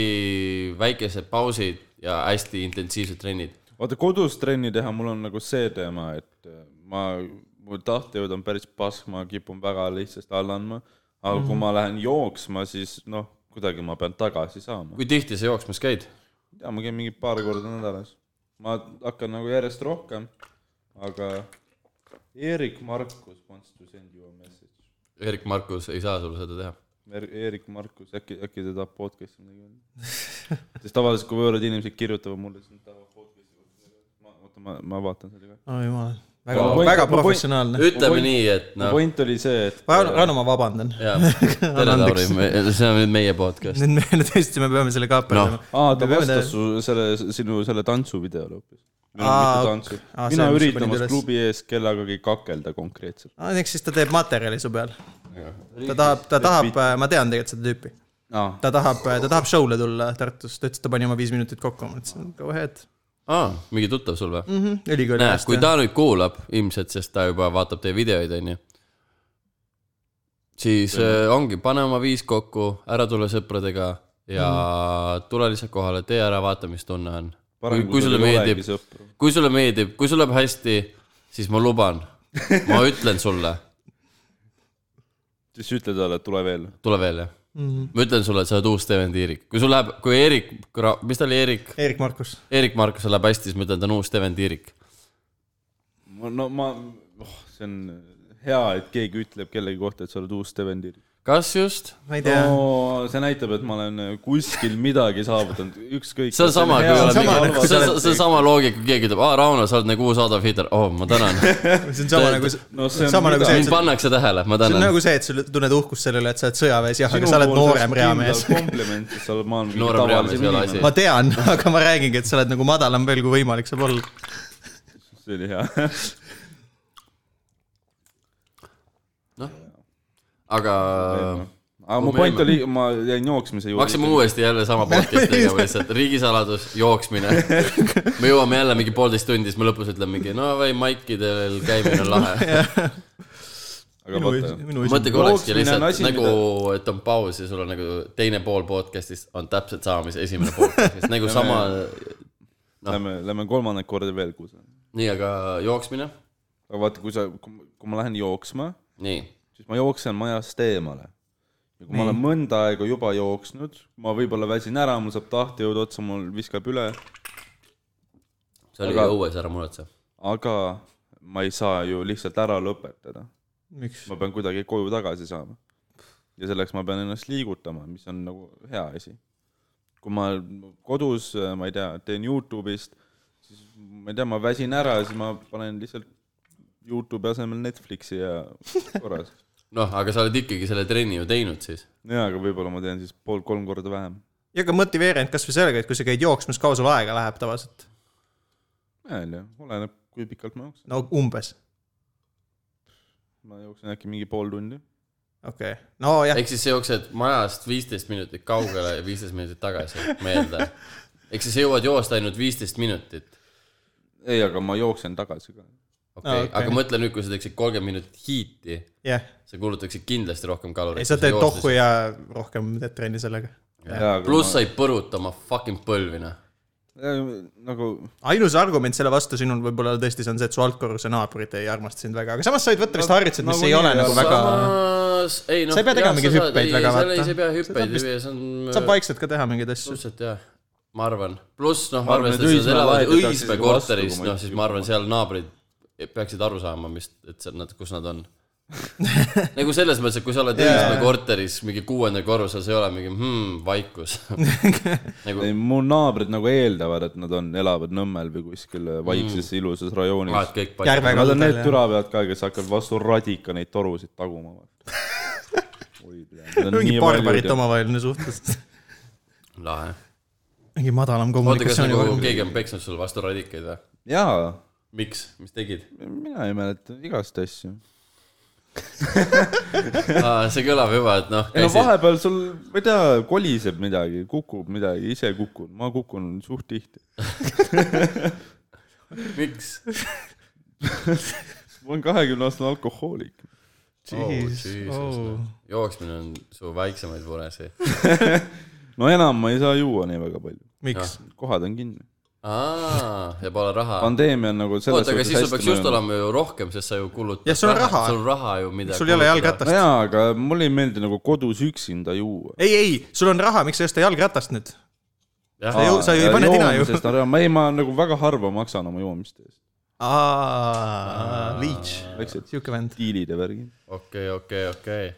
[SPEAKER 3] väikesed pausid ja hästi intensiivsed trennid .
[SPEAKER 2] vaata kodus trenni teha , mul on nagu see teema , et äh, ma , mu tahtejõud on päris pask , ma kipun väga lihtsasti alla andma , aga
[SPEAKER 3] Mhm.
[SPEAKER 2] mm. kui ma lähen jooksma , siis noh , kuidagi ma pean tagasi saama .
[SPEAKER 3] kui tihti sa jooksmas käid ?
[SPEAKER 2] ja ma käin mingi paar korda nädalas . ma hakkan nagu järjest rohkem , aga Erik Markus wants to send you a message .
[SPEAKER 3] Erik Markus ei saa sulle seda teha .
[SPEAKER 2] Er- Erik Markus , äkki , äkki ta tahab podcast'i midagi öelda ? sest tavaliselt , kui võõrad inimesed kirjutavad mulle , siis nad tahavad podcast'i ma , oota , ma , ma vaatan selle ka .
[SPEAKER 1] oi jumal , väga
[SPEAKER 2] Ma point- ,
[SPEAKER 1] väga
[SPEAKER 2] ma point-
[SPEAKER 1] professionaalne .
[SPEAKER 3] ütleme nii , et
[SPEAKER 2] no. .
[SPEAKER 3] noh ,
[SPEAKER 2] point oli see , et
[SPEAKER 1] Rauno , ma vabandan .
[SPEAKER 3] jaa , tere Lauri
[SPEAKER 1] andeks. ,
[SPEAKER 3] see on nüüd meie podcast .
[SPEAKER 1] nüüd me tõesti , me peame selle kaaperdama
[SPEAKER 3] Noh. .
[SPEAKER 2] aa , ta
[SPEAKER 1] Me peame
[SPEAKER 2] vastas
[SPEAKER 1] te-
[SPEAKER 2] su selle , sinu selle tantsuvideole hoopis .
[SPEAKER 1] Aa,
[SPEAKER 2] mitu tantsu
[SPEAKER 1] ok- . aa,
[SPEAKER 2] mina
[SPEAKER 1] see, mis sa
[SPEAKER 2] üritan
[SPEAKER 1] panid
[SPEAKER 2] oma
[SPEAKER 1] üles.
[SPEAKER 2] klubi ees kellegagi kakelda konkreetselt .
[SPEAKER 1] eks siis ta teeb materjali su peal . ta tahab , ta tahab , ma tean tegelikult seda tüüpi .
[SPEAKER 2] aa ,
[SPEAKER 1] ta tahab , ta tahab show'le tulla Tartus , ta ütles , et ta pani oma viis minutit kokku , ma ütlesin , go ahead .
[SPEAKER 3] aa , mingi tuttav sul
[SPEAKER 2] Mm,
[SPEAKER 3] või ?
[SPEAKER 1] ülikooli
[SPEAKER 3] näe , kui . ta nüüd kuulab ilmselt , sest ta juba vaatab teie videoid , onju . siis äh, ongi , pane oma viis kokku , ära tule sõpradega ja tule lihtsalt kohale , tee ära , vaata , mis tunne on .
[SPEAKER 2] Mhm. parem
[SPEAKER 3] kui
[SPEAKER 2] kui
[SPEAKER 3] sulle
[SPEAKER 2] sul ei
[SPEAKER 3] meeldib
[SPEAKER 2] olegi , sõpru .
[SPEAKER 3] kui sulle meeldib , kui sul läheb hästi , siis ma luban , ma ütlen sulle ,
[SPEAKER 2] siis ütle talle , et tule veel .
[SPEAKER 3] tule veel , jah .
[SPEAKER 2] Mhm.
[SPEAKER 3] ma ütlen sulle , et sa oled uus Steven Tiirik , kui sul läheb , kui Erik , mis ta oli , Erik ,
[SPEAKER 1] Erik Markus ,
[SPEAKER 3] Erik Markusel läheb hästi , siis ma ütlen , ta on uus Steven Tiirik .
[SPEAKER 2] no ma , oh , see on hea , et keegi ütleb kellegi kohta , et sa oled uus Steven Tiir .
[SPEAKER 3] kas just ?
[SPEAKER 1] ma ei tea no. .
[SPEAKER 2] no see näitab , et ma olen eh, kuskil midagi saavutanud , ükskõik .
[SPEAKER 3] see on sama , kui
[SPEAKER 1] on sama,
[SPEAKER 3] oled ,
[SPEAKER 1] kui
[SPEAKER 3] see on , see on sama loogika , kui keegi ütleb , aa , Rauno , sa oled nagu uus Adolf Hitler , oo , ma tänan .
[SPEAKER 1] see on sama nagu ,
[SPEAKER 2] no see on
[SPEAKER 1] sama nagu
[SPEAKER 2] mida-
[SPEAKER 1] see , et
[SPEAKER 3] mind
[SPEAKER 1] sa ,
[SPEAKER 3] pannakse tähele , ma
[SPEAKER 1] see on
[SPEAKER 3] tänan .
[SPEAKER 1] nagu see , et sa tunned uhkust selle üle , et sa oled sõjaväes , jah , aga sa oled noorem reamees .
[SPEAKER 2] kompliment , et sa oled maailma kõige
[SPEAKER 3] Noorem reamees
[SPEAKER 2] tavalisem
[SPEAKER 3] ei ole
[SPEAKER 2] inimene .
[SPEAKER 1] ma tean , aga ma räägingi , et sa oled nagu madalam veel , kui võimalik saab olla .
[SPEAKER 2] see oli hea .
[SPEAKER 3] aga
[SPEAKER 2] aga mu point oli , ma jäin jooksmise
[SPEAKER 3] me
[SPEAKER 2] juurde .
[SPEAKER 3] hakkasime uuesti jälle sama podcast'i tegema lihtsalt , riigisaladus , jooksmine . me jõuame jälle mingi poolteist tundi , siis me lõpus ütleme mingi , no või maikidel käimine on lahe .
[SPEAKER 2] aga
[SPEAKER 1] minu ,
[SPEAKER 2] vaata ,
[SPEAKER 1] minu
[SPEAKER 3] mõtle , kui
[SPEAKER 1] isiklik .
[SPEAKER 3] olekski
[SPEAKER 2] Jooksmine on
[SPEAKER 3] lihtsalt
[SPEAKER 2] asi,
[SPEAKER 3] nagu , et on paus ja sul on nagu teine pool podcast'ist on täpselt sama , mis esimene pool podcast'ist , nagu sama ,
[SPEAKER 2] lähme , lähme kolmandat korda veel kuus .
[SPEAKER 3] nii , aga jooksmine ,
[SPEAKER 2] aga vaata , kui sa , kui ma lähen jooksma ,
[SPEAKER 3] nii
[SPEAKER 2] siis ma jooksen majast eemale . ja kui ma olen mõnda aega juba jooksnud , ma võib-olla väsin ära , mul saab tahtejõud otsa , mul viskab üle ,
[SPEAKER 3] see oli
[SPEAKER 2] Aga-
[SPEAKER 3] õues , ära muretse .
[SPEAKER 2] aga ma ei saa ju lihtsalt ära lõpetada .
[SPEAKER 1] miks ?
[SPEAKER 2] ma pean kuidagi koju tagasi saama . ja selleks ma pean ennast liigutama , mis on nagu hea asi . kui ma kodus , ma ei tea , teen Youtube'ist , siis ma ei tea , ma väsin ära ja siis ma panen lihtsalt Youtube'i asemel Netflixi ja korras .
[SPEAKER 3] noh , aga sa oled ikkagi selle trenni ju teinud siis .
[SPEAKER 2] jaa , aga võib-olla ma teen siis pool-kolm korda vähem .
[SPEAKER 1] ja ka motiveerinud kasvõi sellega , et kui sa käid jooksmas , kaua sul aega läheb tavaliselt ?
[SPEAKER 2] näen jah , oleneb , kui pikalt ma jooksen .
[SPEAKER 1] no umbes ,
[SPEAKER 2] ma jooksen äkki mingi pool tundi .
[SPEAKER 1] okei okay. , nojah ,
[SPEAKER 3] ehk siis sa jooksed majast viisteist minutit kaugele ja viisteist minutit tagasi , meelde . ehk siis sa jõuad joosta ainult viisteist minutit .
[SPEAKER 2] ei , aga ma jooksen tagasi ka .
[SPEAKER 3] okei okay.
[SPEAKER 1] Aa,
[SPEAKER 3] no, ,
[SPEAKER 1] okei.
[SPEAKER 3] okay. aga mõtle nüüd , kui sa teeksid kolmkümmend minutit hiiti ,
[SPEAKER 1] jah .
[SPEAKER 3] sa kulutaksid kindlasti rohkem kaloreid .
[SPEAKER 1] ei , sa teed tohku ja rohkem teed trenni sellega .
[SPEAKER 3] pluss sa ei põruta oma fucking põlvi , noh .
[SPEAKER 2] nagu
[SPEAKER 1] ainus argument selle vastu sinul võib-olla tõesti see on see , et su altkorruse naabrid ei armasta sind väga , aga samas sa võid võtta vist harjutused , mis
[SPEAKER 2] nagu
[SPEAKER 1] ei ole
[SPEAKER 2] nii,
[SPEAKER 1] nagu
[SPEAKER 2] jah.
[SPEAKER 1] väga ,
[SPEAKER 3] samas , ei noh .
[SPEAKER 1] Sa ei pea tegema mingeid hüppeid väga,
[SPEAKER 3] vaata .
[SPEAKER 1] vaata.
[SPEAKER 3] sa ei pea hüppeid
[SPEAKER 1] vist-
[SPEAKER 3] tegema , see on .
[SPEAKER 1] saab vaikselt ka teha mingeid asju .
[SPEAKER 3] suhteliselt jah , ma arvan , pluss noh ,
[SPEAKER 2] Ma arvan, et
[SPEAKER 3] arvestades , et
[SPEAKER 2] Õismäe
[SPEAKER 3] nad elavad
[SPEAKER 2] laed jätaks
[SPEAKER 3] Õismäe
[SPEAKER 2] isegi
[SPEAKER 3] korteris
[SPEAKER 2] vastu, , kui ma
[SPEAKER 3] noh siis ma arvan , seal naabrid peaksid aru saama , mis , et seal nad , kus nad on . nagu selles mõttes , et kui sa oled yeah. Õismäe korteris mingi kuuendal korrusel , sa ei ole mingi hmm, vaikus . nagu
[SPEAKER 2] ei , mu naabrid nagu eeldavad , et nad on , elavad Nõmmel või kuskil vaikses mm. ilusas rajoonis
[SPEAKER 3] vahet .
[SPEAKER 1] Järve-
[SPEAKER 3] kõik palju .
[SPEAKER 2] Nad on need
[SPEAKER 1] kaldal, jah.
[SPEAKER 2] türapead ka , kes hakkavad vastu radika neid torusid taguma .
[SPEAKER 1] mingi barbarite . omavaheline suhtlus .
[SPEAKER 3] lahe .
[SPEAKER 1] mingi madalam
[SPEAKER 3] oota , kas
[SPEAKER 1] kommunikatsiooni
[SPEAKER 3] nagu
[SPEAKER 1] vorm .
[SPEAKER 3] keegi on peksnud sulle vastu radikaid või ?
[SPEAKER 2] jaa ,
[SPEAKER 3] miks , mis tegid ?
[SPEAKER 2] mina ei mäleta igast asju .
[SPEAKER 3] see kõlab juba , et noh .
[SPEAKER 2] ei no vahepeal sul , ma ei tea , koliseb midagi , kukub midagi , ise kukun , ma kukun suht tihti .
[SPEAKER 3] miks ?
[SPEAKER 2] ma olen kahekümne aastane alkohoolik .
[SPEAKER 3] Oh, noh. jooksmine on su väiksemaid muresid .
[SPEAKER 2] no enam ma ei saa juua nii väga palju ,
[SPEAKER 1] miks ?
[SPEAKER 2] kohad on kinni .
[SPEAKER 3] aa , ja pole raha .
[SPEAKER 2] pandeemia on nagu selles
[SPEAKER 3] oota , aga siis sul peaks just . olema ju rohkem , sest sa ju kulutad .
[SPEAKER 1] Jah, sul on raha.
[SPEAKER 3] sul on raha ju , mida .
[SPEAKER 1] sul ei ole . jalgratast .
[SPEAKER 2] nojaa , aga mulle ei meeldi nagu kodus üksinda juua .
[SPEAKER 1] ei , ei , sul on raha , miks sa ei osta jalgratast nüüd ?
[SPEAKER 3] jah
[SPEAKER 1] Sa ei- ju- sa ju ei pane tina ju.
[SPEAKER 2] ju . ma ei , ma nagu väga harva maksan oma joomiste eest .
[SPEAKER 1] aa , Leach ,
[SPEAKER 2] väiksed
[SPEAKER 1] siuke vend .
[SPEAKER 2] diilid ja värgid .
[SPEAKER 3] okei , okei , okei .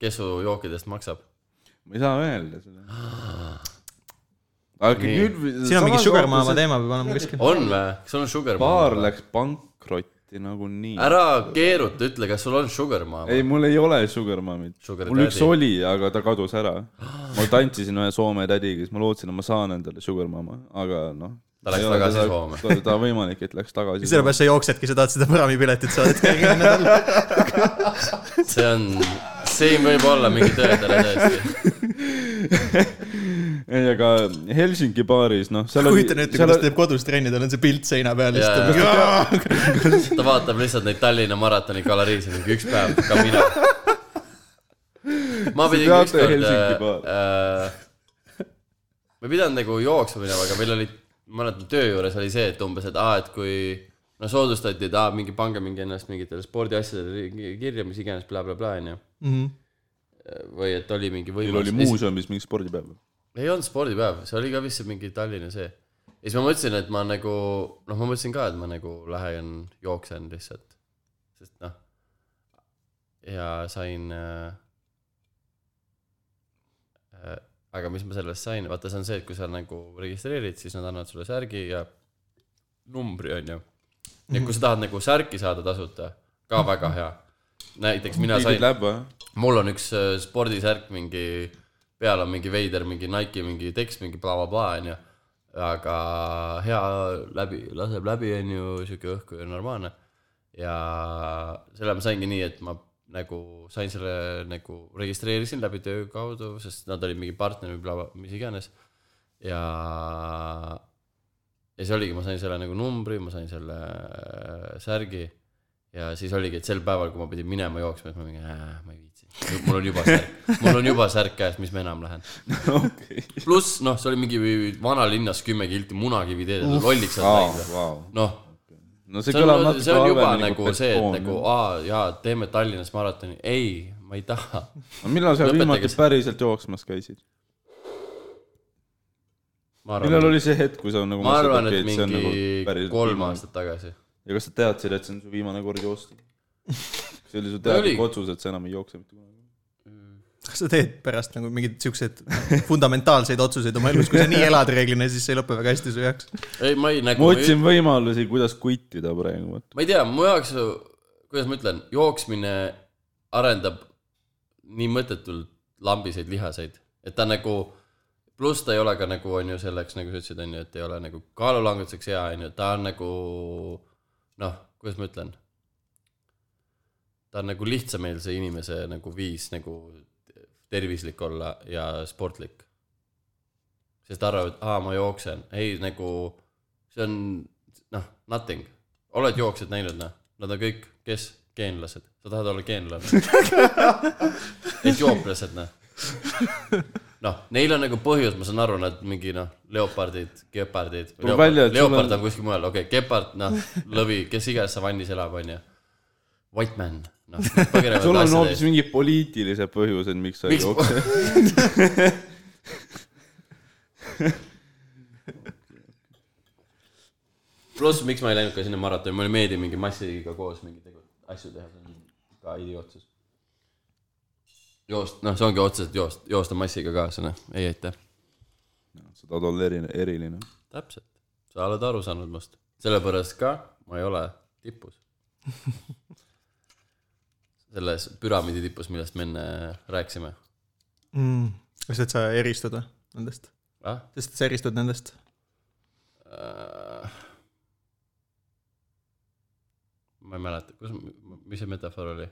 [SPEAKER 3] kes su jookidest maksab ?
[SPEAKER 2] ma ei saa öelda seda . aga nüüd .
[SPEAKER 1] siin on mingi Sugar Mama . teema , peab olema kuskil .
[SPEAKER 3] on või ? kas sul on sugar
[SPEAKER 2] paar
[SPEAKER 3] mama ?
[SPEAKER 2] läks pankrotti nagu nagunii .
[SPEAKER 3] ära keeruta , ütle , kas sul on sugar mama ?
[SPEAKER 2] ei , mul ei ole Sugar Mamit .
[SPEAKER 3] Sugar
[SPEAKER 2] mul üks
[SPEAKER 3] Daddy.
[SPEAKER 2] oli , aga ta kadus ära . ma tantsisin ühe Soome tädiga , siis ma lootsin , et ma saan endale Sugar Mama , aga noh .
[SPEAKER 3] Ta läks tagasi Soome.
[SPEAKER 2] ta võimalik , et läks tagasi .
[SPEAKER 1] sellepärast sa jooksedki , sa tahad seda praamipiletit saada , et kerge enne tulla .
[SPEAKER 3] see on , siin võib olla mingi tõetera tõesti .
[SPEAKER 2] ei , aga Helsingi baaris , noh , seal oli ,
[SPEAKER 1] kujuta nüüd ,
[SPEAKER 2] seal
[SPEAKER 1] kuidas ta
[SPEAKER 2] oli ,
[SPEAKER 1] teeb kodus trenni , tal on see pilt seina peal ja
[SPEAKER 3] Jaa,
[SPEAKER 1] siis ta mingi .
[SPEAKER 3] ta vaatab lihtsalt neid Tallinna maratoni galeriisid mingi üks päev , ka mina . ma pidin
[SPEAKER 2] teate
[SPEAKER 3] ükskord
[SPEAKER 2] Helsingi baari?
[SPEAKER 3] äh, , ma ei pidanud nagu jooksma minema , aga meil oli , ma mäletan töö juures oli see , et umbes , et aa , et kui no soodustati , et aa , mingi pange mingi ennast mingitele spordiasjadele ri- kirja , mis iganes bla, , blablabla , onju .
[SPEAKER 1] Mhm.
[SPEAKER 3] või et oli mingi
[SPEAKER 2] neil
[SPEAKER 3] võimalus
[SPEAKER 2] oli . muuseumis mingi spordipäev .
[SPEAKER 3] ei olnud spordipäev , see oli ka vist see mingi Tallinna see . ja siis ma mõtlesin , et ma nagu , noh , ma mõtlesin ka , et ma nagu lähen jooksen lihtsalt , sest noh . ja sain äh, . Äh, aga mis ma sellest sain , vaata , see on see , et kui sa nagu registreerid , siis nad annavad sulle särgi ja numbri , onju . ja kui sa tahad nagu särki saada tasuta , ka väga hea . näiteks mina sain
[SPEAKER 2] tegid . läba ,
[SPEAKER 3] mul on üks äh, spordisärk mingi , peal on mingi veider , mingi Nike mingi tekst , mingi blablabla , onju . aga hea läbi , laseb läbi , onju , sihuke õhku ja normaalne . ja selle ma saingi nii , et ma nagu sain selle nagu registreerisin läbi töö kaudu , sest nad olid mingi partner või bla- , mis iganes . ja , ja see oligi , ma sain selle nagu numbri , ma sain selle äh, särgi ja siis oligi , et sel päeval , kui ma pidin minema jooksma , siis ma mingi äh, , ma ei viitsi . mul on juba särk , mul on juba särk käes , mis ma enam lähen .
[SPEAKER 2] okei .
[SPEAKER 3] pluss noh , see oli mingi vanalinnas kümme kilti munakivi teed , lolliks saad
[SPEAKER 2] aa ,
[SPEAKER 3] läinud .
[SPEAKER 2] vau .
[SPEAKER 3] noh ,
[SPEAKER 2] no see,
[SPEAKER 3] see
[SPEAKER 2] kõlab
[SPEAKER 3] on ,
[SPEAKER 2] natuke
[SPEAKER 3] see on juba
[SPEAKER 2] halvemini
[SPEAKER 3] nagu
[SPEAKER 2] kui
[SPEAKER 3] see , et
[SPEAKER 2] betoon.
[SPEAKER 3] nagu aa , jaa , teeme Tallinnas maratoni , ei , ma ei taha .
[SPEAKER 2] no millal sa
[SPEAKER 3] lõpetage
[SPEAKER 2] viimati
[SPEAKER 3] see.
[SPEAKER 2] päriselt jooksmas käisid ?
[SPEAKER 3] ma
[SPEAKER 2] millal
[SPEAKER 3] arvan ,
[SPEAKER 2] oli see hetk , kui sa nagu
[SPEAKER 3] ma arvan ,
[SPEAKER 2] mõtlesid,
[SPEAKER 3] et
[SPEAKER 2] okei, see on
[SPEAKER 3] mingi
[SPEAKER 2] nagu päriselt
[SPEAKER 3] kolm
[SPEAKER 2] viimane?
[SPEAKER 3] aastat tagasi .
[SPEAKER 2] ja kas sa teadsid , et see on su viimane kord joosta ? see oli su
[SPEAKER 3] oli.
[SPEAKER 2] teadlik otsus , et sa enam ei jookse mitte kunagi .
[SPEAKER 1] kas sa teed pärast nagu mingeid siukseid fundamentaalseid otsuseid oma elus , kui sa nii elad reeglina , siis see ei lõpe väga hästi su jaoks .
[SPEAKER 3] ei , ma ei nagu
[SPEAKER 2] ma , otsin võimalusi , kuidas kuitida praegu , vot .
[SPEAKER 3] ma ei tea , mu jaoks , kuidas ma ütlen , jooksmine arendab nii mõttetult lambiseid lihaseid , et ta nagu , pluss ta ei ole ka nagu on ju selleks , nagu sa ütlesid , on ju , et ei ole nagu kaalulangetuseks hea , on ju , ta on nagu noh , kuidas ma ütlen , ta on nagu lihtsameelse inimese nagu viis nagu tervislik olla ja sportlik . sest arvavad , aa , ma jooksen , ei nagu see on noh , nothing , oled jooksjad näinud noh , nad on kõik , kes , geenlased , sa tahad olla geenlane . et jooplased noh . noh , neil on nagu põhjus , ma saan aru , nad mingi noh , leopardid , gepardid .
[SPEAKER 2] Tuleb välja, et sul
[SPEAKER 3] leopard
[SPEAKER 2] on-
[SPEAKER 3] on kuskil mujal , okei okay, , gepard , noh , lõvi , kes iganes savannis elab , onju . White man , noh , põgenevad
[SPEAKER 2] sul on
[SPEAKER 3] asjade
[SPEAKER 2] hoopis
[SPEAKER 3] eest .
[SPEAKER 2] mingid poliitilised põhjused , miks sa ei
[SPEAKER 3] Miks-
[SPEAKER 2] jookse .
[SPEAKER 3] pluss , miks ma ei läinud ka sinna maratoni , mulle ei meeldi mingi massiga koos mingeid tegu- asju teha , see on ka idiootsus . joost , noh , see ongi otseselt joost , joosta massiga kaasa , noh , ei aitäh .
[SPEAKER 2] sa tahad olla eriline , eriline .
[SPEAKER 3] täpselt , sa oled aru saanud must , sellepärast ka ma ei ole tipus . selles püramiidi tipus , millest me enne rääkisime
[SPEAKER 1] Mhm. kas , et sa eristud või nendest ?
[SPEAKER 3] ah? .
[SPEAKER 1] sest sa eristud nendest ?
[SPEAKER 3] Äh, ma ei mäleta , kus , mis see metafoor oli ?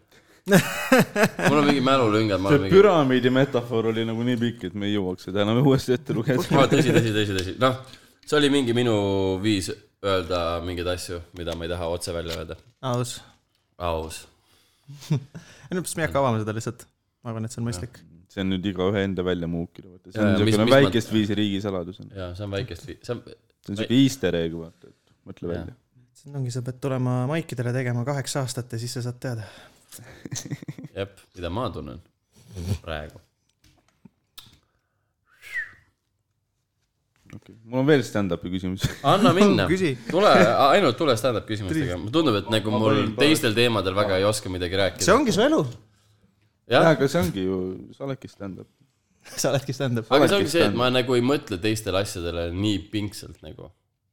[SPEAKER 3] mul on mingi mälulüngad , ma olen
[SPEAKER 2] see
[SPEAKER 3] mingi
[SPEAKER 2] püramiidi metafoor oli nagu nii pikk , et me ei jõuaks seda enam uuesti ette
[SPEAKER 3] aa ,
[SPEAKER 2] lugeda .
[SPEAKER 3] tõsi , tõsi , tõsi , tõsi , noh , see oli mingi minu viis öelda mingeid asju , mida ma ei taha otse välja öelda .
[SPEAKER 1] aus .
[SPEAKER 3] aus .
[SPEAKER 1] ei no , me ei hakka avama seda lihtsalt . ma arvan , et see on mõistlik .
[SPEAKER 2] see on nüüd igaühe enda välja muukida , vaata . see
[SPEAKER 3] Jaa,
[SPEAKER 2] on
[SPEAKER 3] mis-
[SPEAKER 2] niisugune
[SPEAKER 3] mis ma-
[SPEAKER 2] väikest viisi riigisaladus on .
[SPEAKER 3] jaa , see on väikest vi- , see on ,
[SPEAKER 2] see on siuke easter egg , vaata , et mõtle
[SPEAKER 3] Jaa.
[SPEAKER 2] välja .
[SPEAKER 1] see ongi , sa pead tulema maikidele tegema kaheksa aastat ja siis sa saad teada .
[SPEAKER 3] jep , mida ma tunnen praegu .
[SPEAKER 2] okei , mul on veel stand-up'i küsimus .
[SPEAKER 3] anna minna ,
[SPEAKER 1] Küsi.
[SPEAKER 3] tule , ainult tule stand-up küsimustega , mulle tundub , et nagu mul teistel teemadel väga ei oska midagi
[SPEAKER 1] see
[SPEAKER 3] rääkida .
[SPEAKER 1] ongi su elu .
[SPEAKER 3] jah
[SPEAKER 2] jaa ,, aga see ongi ju , sa oledki stand-up .
[SPEAKER 1] sa oledki stand-up .
[SPEAKER 3] aga see
[SPEAKER 2] oledki
[SPEAKER 3] ongi see , et
[SPEAKER 2] stand-up.
[SPEAKER 3] ma nagu ei mõtle teistele asjadele nii pingsalt nagu .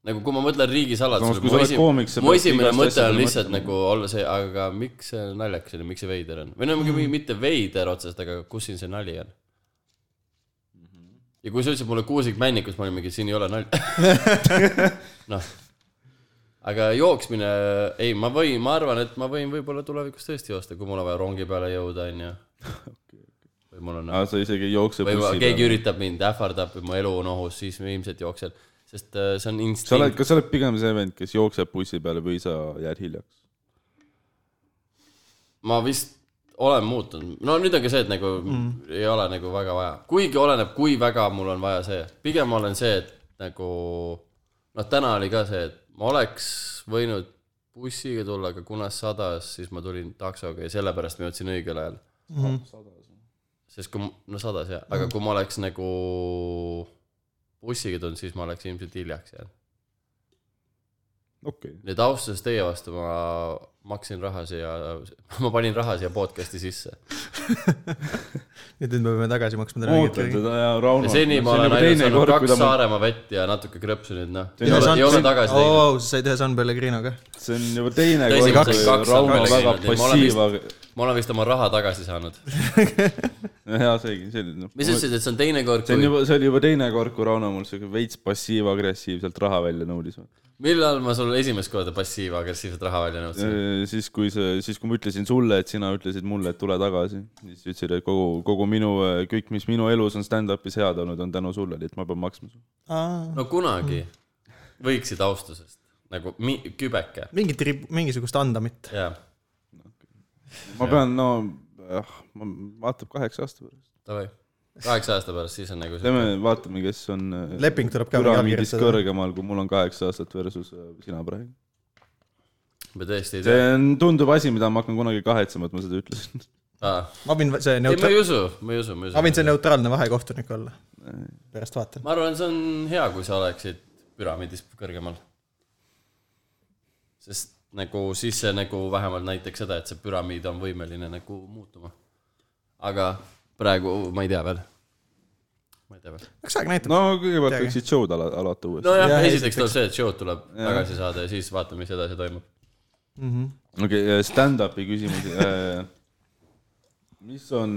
[SPEAKER 3] nagu kui ma mõtlen
[SPEAKER 2] Samas,
[SPEAKER 3] riigisaladusele ,
[SPEAKER 2] kui
[SPEAKER 3] mu
[SPEAKER 2] sa oled koomik,
[SPEAKER 3] esimene
[SPEAKER 2] sa ,
[SPEAKER 3] mu
[SPEAKER 2] pead
[SPEAKER 3] esimene
[SPEAKER 2] igast
[SPEAKER 3] mõte on
[SPEAKER 2] asjadele
[SPEAKER 3] lihtsalt
[SPEAKER 2] mõtlema.
[SPEAKER 3] nagu olla see , aga miks see naljakas oli , miks see veider on ? või no mingi
[SPEAKER 2] Mhm.
[SPEAKER 3] mitte veider otseselt , aga kus siin see nali on ? ja kui sa ütlesid mulle Kuusik männikus , ma olin mingi , siin ei ole nalja . noh , aga jooksmine , ei , ma võin , ma arvan , et ma võin võib-olla tulevikus tõesti joosta , kui mul on vaja rongi peale jõuda , onju . või mul on
[SPEAKER 2] aa , sa isegi ei jookse
[SPEAKER 3] või ma-
[SPEAKER 2] bussi
[SPEAKER 3] keegi
[SPEAKER 2] peale .
[SPEAKER 3] üritab mind , ähvardab või mu elu on ohus , siis ma ilmselt jooksen , sest äh, see on
[SPEAKER 2] sa oled ,
[SPEAKER 3] instinkt .
[SPEAKER 2] kas sa oled pigem see vend , kes jookseb bussi peale või sa jääd hiljaks ?
[SPEAKER 3] ma vist olen muutunud , no nüüd on ka see , et nagu mm. ei ole nagu väga vaja , kuigi oleneb , kui väga mul on vaja see , pigem olen see , et nagu noh , täna oli ka see , et ma oleks võinud bussiga tulla , aga kuna sadas , siis ma tulin taksoga ja sellepärast ma jõudsin õigel ajal . sest kui , no sadas jah ,
[SPEAKER 2] Mm.
[SPEAKER 3] aga kui ma oleks nagu bussiga tulnud , siis ma oleks ilmselt hiljaks jäänud .
[SPEAKER 2] okei okay. ,
[SPEAKER 3] nüüd austuses teie vastu ma maksin raha siia , ma panin raha siia podcast'i sisse .
[SPEAKER 1] ja nüüd me peame tagasi maksma talle
[SPEAKER 2] ootan
[SPEAKER 1] mingit .
[SPEAKER 2] seda ja Rauno .
[SPEAKER 3] seni ma olen ainult saanud kaks Saaremaa vett ja natuke krõpsu nüüd noh , ei ole , ei ole tagasi läinud .
[SPEAKER 1] oo , sa said ühe San Pellegrino ka .
[SPEAKER 2] see on juba teine
[SPEAKER 3] Teised
[SPEAKER 2] kord ,
[SPEAKER 3] kaks-
[SPEAKER 2] kui
[SPEAKER 3] kaks on
[SPEAKER 2] Rauno
[SPEAKER 3] välja
[SPEAKER 2] väga
[SPEAKER 3] käinud, nii et
[SPEAKER 2] passiiv ,
[SPEAKER 3] ma olen
[SPEAKER 2] aga
[SPEAKER 3] ma olen vist oma raha tagasi saanud .
[SPEAKER 2] hea seegi , see oli noh .
[SPEAKER 3] mis sa ütlesid , et see on teine kord ,
[SPEAKER 2] see on
[SPEAKER 3] kui ,
[SPEAKER 2] juba , see oli juba teine kord , kui Rauno mul siuke veits passiiv-agressiivselt raha välja nõudis .
[SPEAKER 3] millal ma sulle esimest korda passiivagressiivset raha välja nõudsin ?
[SPEAKER 2] Äh, siis kui see , siis kui ma ütlesin sulle , et sina ütlesid mulle , et tule tagasi , siis sa ütlesid , et kogu , kogu minu , kõik , mis minu elus on stand-up'is head olnud , on tänu sulle , nii et ma pean maksma sulle .
[SPEAKER 3] no kunagi võiksid austusest nagu mi- , kübeke ,
[SPEAKER 1] mingit rib- , mingisugust andamit .
[SPEAKER 3] jaa ,
[SPEAKER 2] ma pean , no , ma , vaatab kaheksa aasta pärast .
[SPEAKER 3] davai . kaheksa aasta pärast , siis on nagu see ,
[SPEAKER 2] teeme , vaatame , kes on äh,
[SPEAKER 1] Leping tuleb ka
[SPEAKER 2] püramiidis
[SPEAKER 1] allkirjastada.
[SPEAKER 2] kõrgemal , kui mul on kaheksa aastat versus äh, sina praegu .
[SPEAKER 3] ma tõesti ei
[SPEAKER 2] see
[SPEAKER 3] tea .
[SPEAKER 2] on , tundub asi , mida ma hakkan kunagi kahetsema , et ma seda ütlesin .
[SPEAKER 3] ei ,
[SPEAKER 1] ma võin see
[SPEAKER 3] ma
[SPEAKER 1] neutra- ,
[SPEAKER 3] ei usu , ma ei usu , ma ei
[SPEAKER 1] ma võin
[SPEAKER 3] usu .
[SPEAKER 1] see neutraalne vahekohtunik olla . pärast vaatan .
[SPEAKER 3] ma arvan , see on hea , kui sa oleksid püramiidis kõrgemal . sest nagu siis see nagu vähemalt näitaks seda , et see püramiid on võimeline nagu muutuma . aga praegu ma ei tea veel . ma ei tea veel .
[SPEAKER 1] eks aeg näitab no. .
[SPEAKER 2] no kõigepealt
[SPEAKER 1] Teagi.
[SPEAKER 2] võiksid show'd ala , alata uuesti .
[SPEAKER 3] nojah
[SPEAKER 1] Jah, ,
[SPEAKER 3] esiteks tuleb see , et show'd tuleb tagasi saada ja siis vaatame , mis edasi toimub .
[SPEAKER 1] Mhm.
[SPEAKER 2] okei okay, , stand-up'i küsimus . mis on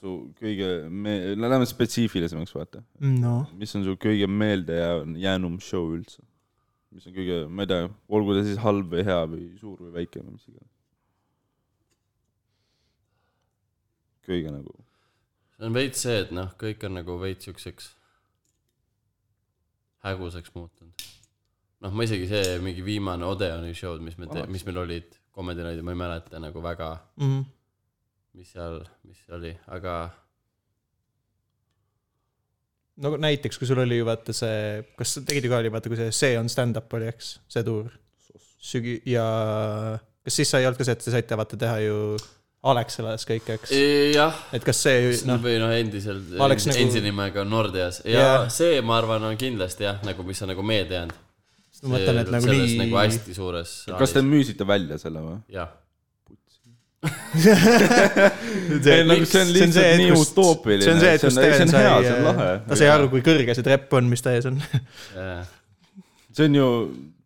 [SPEAKER 2] su kõige me- , läheme spetsiifilisemaks , vaata .
[SPEAKER 1] no
[SPEAKER 2] mis on su kõige meeldejäänum show üldse ? mis on kõige , ma ei tea , olgu ta siis halb või hea või suur või väike või mis iganes . kõige nagu ,
[SPEAKER 3] see on veits see , et noh , kõik on nagu veits siukseks häguseks muutunud . noh , ma isegi see mingi viimane Odeoni show'd , mis me te- , mis meil olid , Comedy Night , ma ei mäleta nagu väga ,
[SPEAKER 1] mm. .
[SPEAKER 3] mis seal , mis see oli , aga
[SPEAKER 1] no näiteks , kui sul oli ju vaata see , kas sa tegid ju ka oli vaata , kui see , see on stand-up oli , eks , see tuur . sügi- ja kas siis sa ei olnud ka see , et te saite vaata teha ju Alexelas kõike , eks ?
[SPEAKER 3] E- jah ,
[SPEAKER 1] et kas see noh ,
[SPEAKER 3] või noh , endiselt ,
[SPEAKER 1] Ma oleks
[SPEAKER 3] endise
[SPEAKER 1] nagu-
[SPEAKER 3] nagu... nimega Nordeas ja yeah.
[SPEAKER 1] Jah.
[SPEAKER 3] see , ma arvan , on kindlasti jah , nagu mis on nagu meelde jäänud .
[SPEAKER 1] ma mõtlen , et nagu
[SPEAKER 3] selles
[SPEAKER 1] nii
[SPEAKER 3] nagu hästi suures
[SPEAKER 2] kas te müüsite välja selle või ?
[SPEAKER 3] jah ,
[SPEAKER 2] Ei, nagu see on
[SPEAKER 1] miks-
[SPEAKER 2] lihtsalt
[SPEAKER 1] et
[SPEAKER 2] nii
[SPEAKER 1] kus-
[SPEAKER 2] utoopiline,
[SPEAKER 1] see on see , et
[SPEAKER 2] see on-
[SPEAKER 1] kus
[SPEAKER 2] ei, see
[SPEAKER 1] Sten
[SPEAKER 2] on
[SPEAKER 1] sai
[SPEAKER 2] hea, , see on lahe.
[SPEAKER 1] ta sai aru , kui kõrge see trepp on , mis ta ees on .
[SPEAKER 3] eh,
[SPEAKER 2] see on ju ,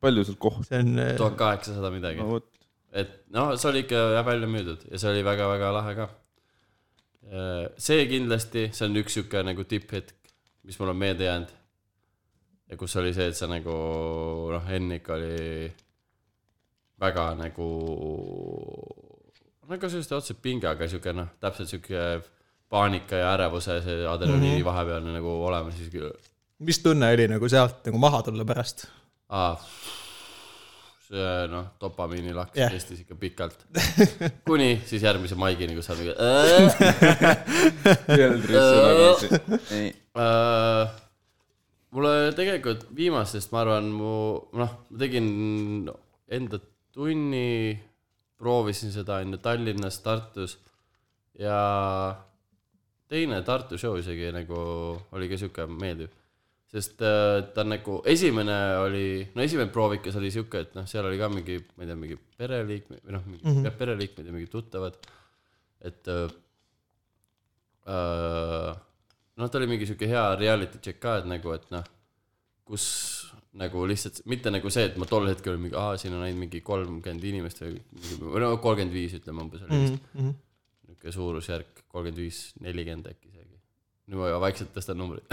[SPEAKER 2] palju sul kohti
[SPEAKER 1] see on , eh,
[SPEAKER 3] tuhat kaheksasada midagi
[SPEAKER 2] no, , vot .
[SPEAKER 3] et noh , see oli ikka jah välja müüdud ja see oli väga-väga lahe ka . see kindlasti , see on üks sihuke nagu tipphetk , mis mul on meelde jäänud . ja kus oli see , et sa nagu noh , Hennik oli väga nagu , no ka selliste otse pingaga sihuke noh , täpselt sihuke paanika ja ärevuse see adrenaliini mm -hmm. vahepealne nagu olemas , siis küll
[SPEAKER 1] mis tunne oli nagu sealt nagu maha tulla pärast ?
[SPEAKER 3] ah, . see noh , dopamiini lakk
[SPEAKER 1] Jah.
[SPEAKER 3] yeah. kestis ikka pikalt . kuni siis järgmise maigini , kus sa mingi äh, .
[SPEAKER 2] nagu
[SPEAKER 3] Äh, mulle tegelikult viimasest , ma arvan , mu noh , ma tegin enda tunni , proovisin seda on ju Tallinnas , Tartus ja teine Tartu show isegi nagu oli ka sihuke meeldiv , sest äh, ta nagu esimene oli , no esimene proovikas oli sihuke , et noh , seal oli ka mingi , ma ei tea , mingi pereliikmed või noh , mingi mm -hmm. pereliikmed ja mingid tuttavad , et äh, Äh, noh , ta oli mingi sihuke hea reality check ka , et nagu , et noh , kus nagu lihtsalt , mitte nagu see , et ma tol hetkel olin mingi , aa , siin on ainult mingi kolmkümmend inimest või mingi- või no kolmkümmend viis , ütleme umbes
[SPEAKER 2] Mhm,
[SPEAKER 1] Mhm.
[SPEAKER 3] oli vist niisugune suurusjärk , kolmkümmend viis , nelikümmend äkki isegi . nüüd ma vaikselt tõstan numbrit .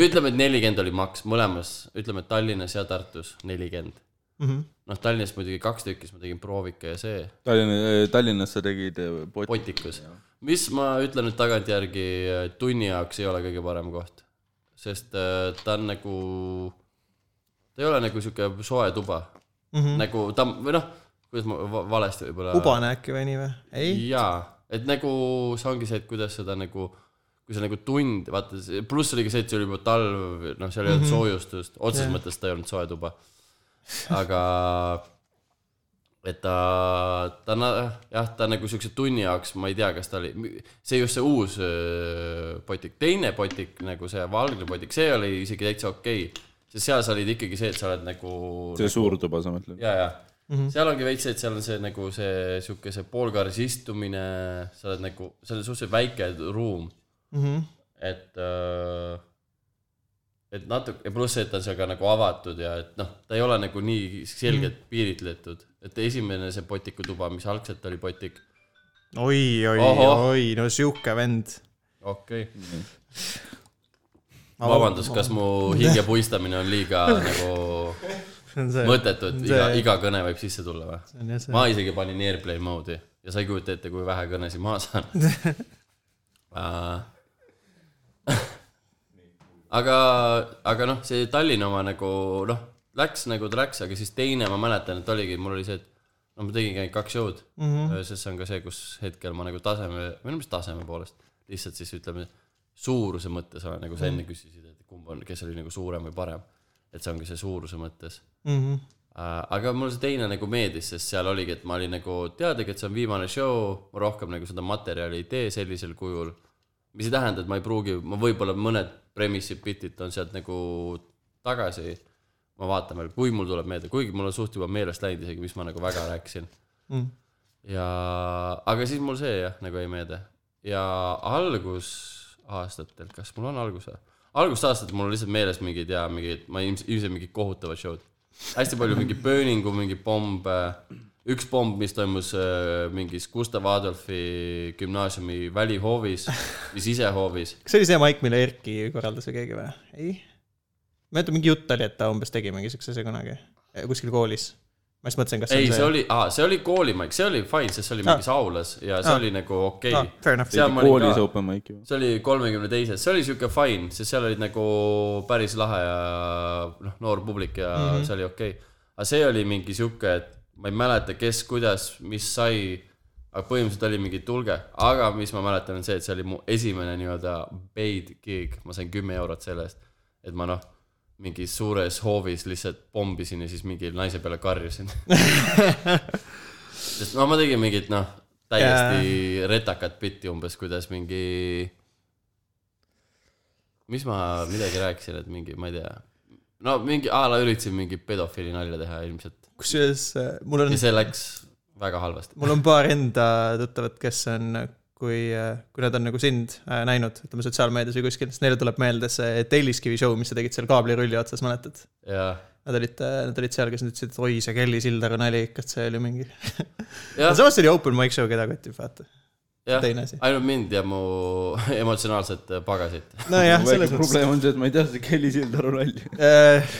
[SPEAKER 3] ütleme , et nelikümmend oli maks mõlemas , ütleme , et Tallinnas ja Tartus nelikümmend .
[SPEAKER 2] mhm.
[SPEAKER 3] noh , Tallinnas muidugi kaks tükki , siis ma tegin proovika ja see
[SPEAKER 2] Tallinna , Tallinnas sa tegid eh, pot- .
[SPEAKER 3] potikus , mis ma ütlen nüüd tagantjärgi äh, tunni jaoks ei ole kõige parem koht , sest äh, ta on nagu , ta ei ole nagu sihuke soe tuba mm , -hmm. nagu ta või noh , kuidas ma va- valesti võib-olla .
[SPEAKER 1] kubane äkki või nii või ? ei ?
[SPEAKER 3] jaa , et nagu see ongi see , et kuidas seda nagu , kui sa nagu tund , vaata , pluss oli ka see , et see oli juba talv , noh , seal ei olnud soojustust , otseses yeah. mõttes ta ei olnud soe tuba . aga et ta , ta na- jah , ta nagu siukse tunni jaoks , ma ei tea , kas ta oli , see just see uus öö, potik , teine potik nagu see valgne potik , see oli isegi täitsa okei okay. , sest seal sa olid ikkagi see , et sa oled nagu .
[SPEAKER 2] see suurtuba , sa mõtled ?
[SPEAKER 3] ja , ja mm , -hmm. seal ongi veits see , et seal on see nagu see sihuke see poolkaaris istumine , sa oled nagu , see on suhteliselt väike ruum ,
[SPEAKER 1] Mhm.
[SPEAKER 3] et äh, . et natuke , pluss see , et ta on seal ka nagu avatud ja et noh , ta ei ole nagu nii selgelt mm -hmm. piiritletud , et esimene see Botiku tuba , mis algselt oli Botik ,
[SPEAKER 1] oi , oi ,
[SPEAKER 3] Ohoh.
[SPEAKER 1] oi , no sihuke vend .
[SPEAKER 3] okei okay. . vabandust , kas mu hinge puistamine on liiga nagu
[SPEAKER 1] see on see ,
[SPEAKER 3] mõttetu , et
[SPEAKER 1] See-
[SPEAKER 3] iga , iga kõne võib sisse tulla või ?
[SPEAKER 1] see on jah see .
[SPEAKER 3] ma isegi panin airplay mode'i ja sa ei kujuta ette , kui vähe kõnesid maha saan uh, . Äh, aga , aga noh , see Tallinna oma nagu noh , läks nagu ta läks , aga siis teine ma mäletan , et oligi , mul oli see , et no ma tegingi ainult kaks show'd mm ,
[SPEAKER 1] Mhm.
[SPEAKER 3] -hmm. sest see on ka see , kus hetkel ma nagu taseme , või no mis taseme poolest , lihtsalt siis ütleme suuruse mõttes olen ,
[SPEAKER 1] Mhm. Mhm.
[SPEAKER 3] nagu sa enne küsisid , et kumb on , kes oli nagu suurem või parem . et see ongi see suuruse mõttes aga mulle see teine nagu meeldis , sest seal oligi , et ma olin nagu teadlik , et see on viimane show , ma rohkem nagu seda materjali ei tee sellisel kujul . mis ei tähenda , et ma ei pruugi , ma võib-olla mõned premise'id , bit'id on sealt nagu tagasi . ma vaatan veel , kui mul tuleb meelde , kuigi mul on suht juba meelest läinud isegi , mis ma nagu väga rääkisin
[SPEAKER 1] Mm.
[SPEAKER 3] ja , aga siis mul see jah , nagu jäi meelde ja algusaastatel , kas mul on algus või ? algusaastatel mul on lihtsalt meeles mingid ja mingid , ma ilmselt , ilmselt mingid kohutavad show'd . hästi palju mingi Burningu mingi pomb , üks pomb , mis toimus äh, mingis Gustav Adolfi gümnaasiumi välihoovis või sisehoovis .
[SPEAKER 1] kas see oli see maik , mille Erki korraldas või keegi või ? ei ? mäleta , mingi jutt oli , et ta umbes tegi mingi siukse asja kunagi eh, kuskil koolis . ma just mõtlesin , kas
[SPEAKER 3] ei , see oli , see oli koolimaik , see oli fine , sest see oli
[SPEAKER 1] Ah.
[SPEAKER 3] mingis aulas ja see
[SPEAKER 1] Ah.
[SPEAKER 3] oli nagu okei
[SPEAKER 1] ah,
[SPEAKER 3] okay. .
[SPEAKER 1] fair enough .
[SPEAKER 3] Seal ma olin
[SPEAKER 2] koolis
[SPEAKER 3] ka.
[SPEAKER 2] open mic'i või ?
[SPEAKER 3] see oli kolmekümne teises , see oli sihuke fine , sest seal olid nagu päris lahe ja noh , noor publik ja mm -hmm. see oli okei okay. . aga see oli mingi sihuke , et ma ei mäleta , kes , kuidas , mis sai . aga põhimõtteliselt oli mingi tulge , aga mis ma mäletan , on see , et see oli mu esimene nii-öelda paid gig , ma sain kümme eurot selle eest . et ma noh , mingis suures hoovis lihtsalt pommisin ja siis mingi naise peale karjusin . sest no ma tegin mingit noh , täiesti yeah. retakat bitti umbes , kuidas mingi mis ma midagi rääkisin , et mingi , ma ei tea , no mingi a la üritasin mingi pedofiili nalja teha ilmselt
[SPEAKER 1] kusjuures eh, mul on
[SPEAKER 3] ja , see läks väga halvasti .
[SPEAKER 1] mul on paar enda tuttavat , kes on , kui , kui nad on nagu sind eh, näinud , ütleme sotsiaalmeedias või kuskil , siis neile tuleb meelde see Telliskivi show , mis sa tegid seal kaablirulli otsas , mäletad ?
[SPEAKER 3] ja ,
[SPEAKER 1] Nad olid , nad olid seal , kes nad ütlesid , et oi , see Kelly Sildaru nali ikka , et see oli mingi .
[SPEAKER 3] jah ,
[SPEAKER 1] samas see oli open mic show , keda kotib , vaata .
[SPEAKER 3] jah ,
[SPEAKER 1] teine asi.
[SPEAKER 3] ainult mind ja mu emotsionaalset pagasit .
[SPEAKER 1] nojah , selles
[SPEAKER 2] väike
[SPEAKER 1] mõttes .
[SPEAKER 2] probleem on see , et ma ei tea seda Kelly Sildaru nalja .
[SPEAKER 1] Äh,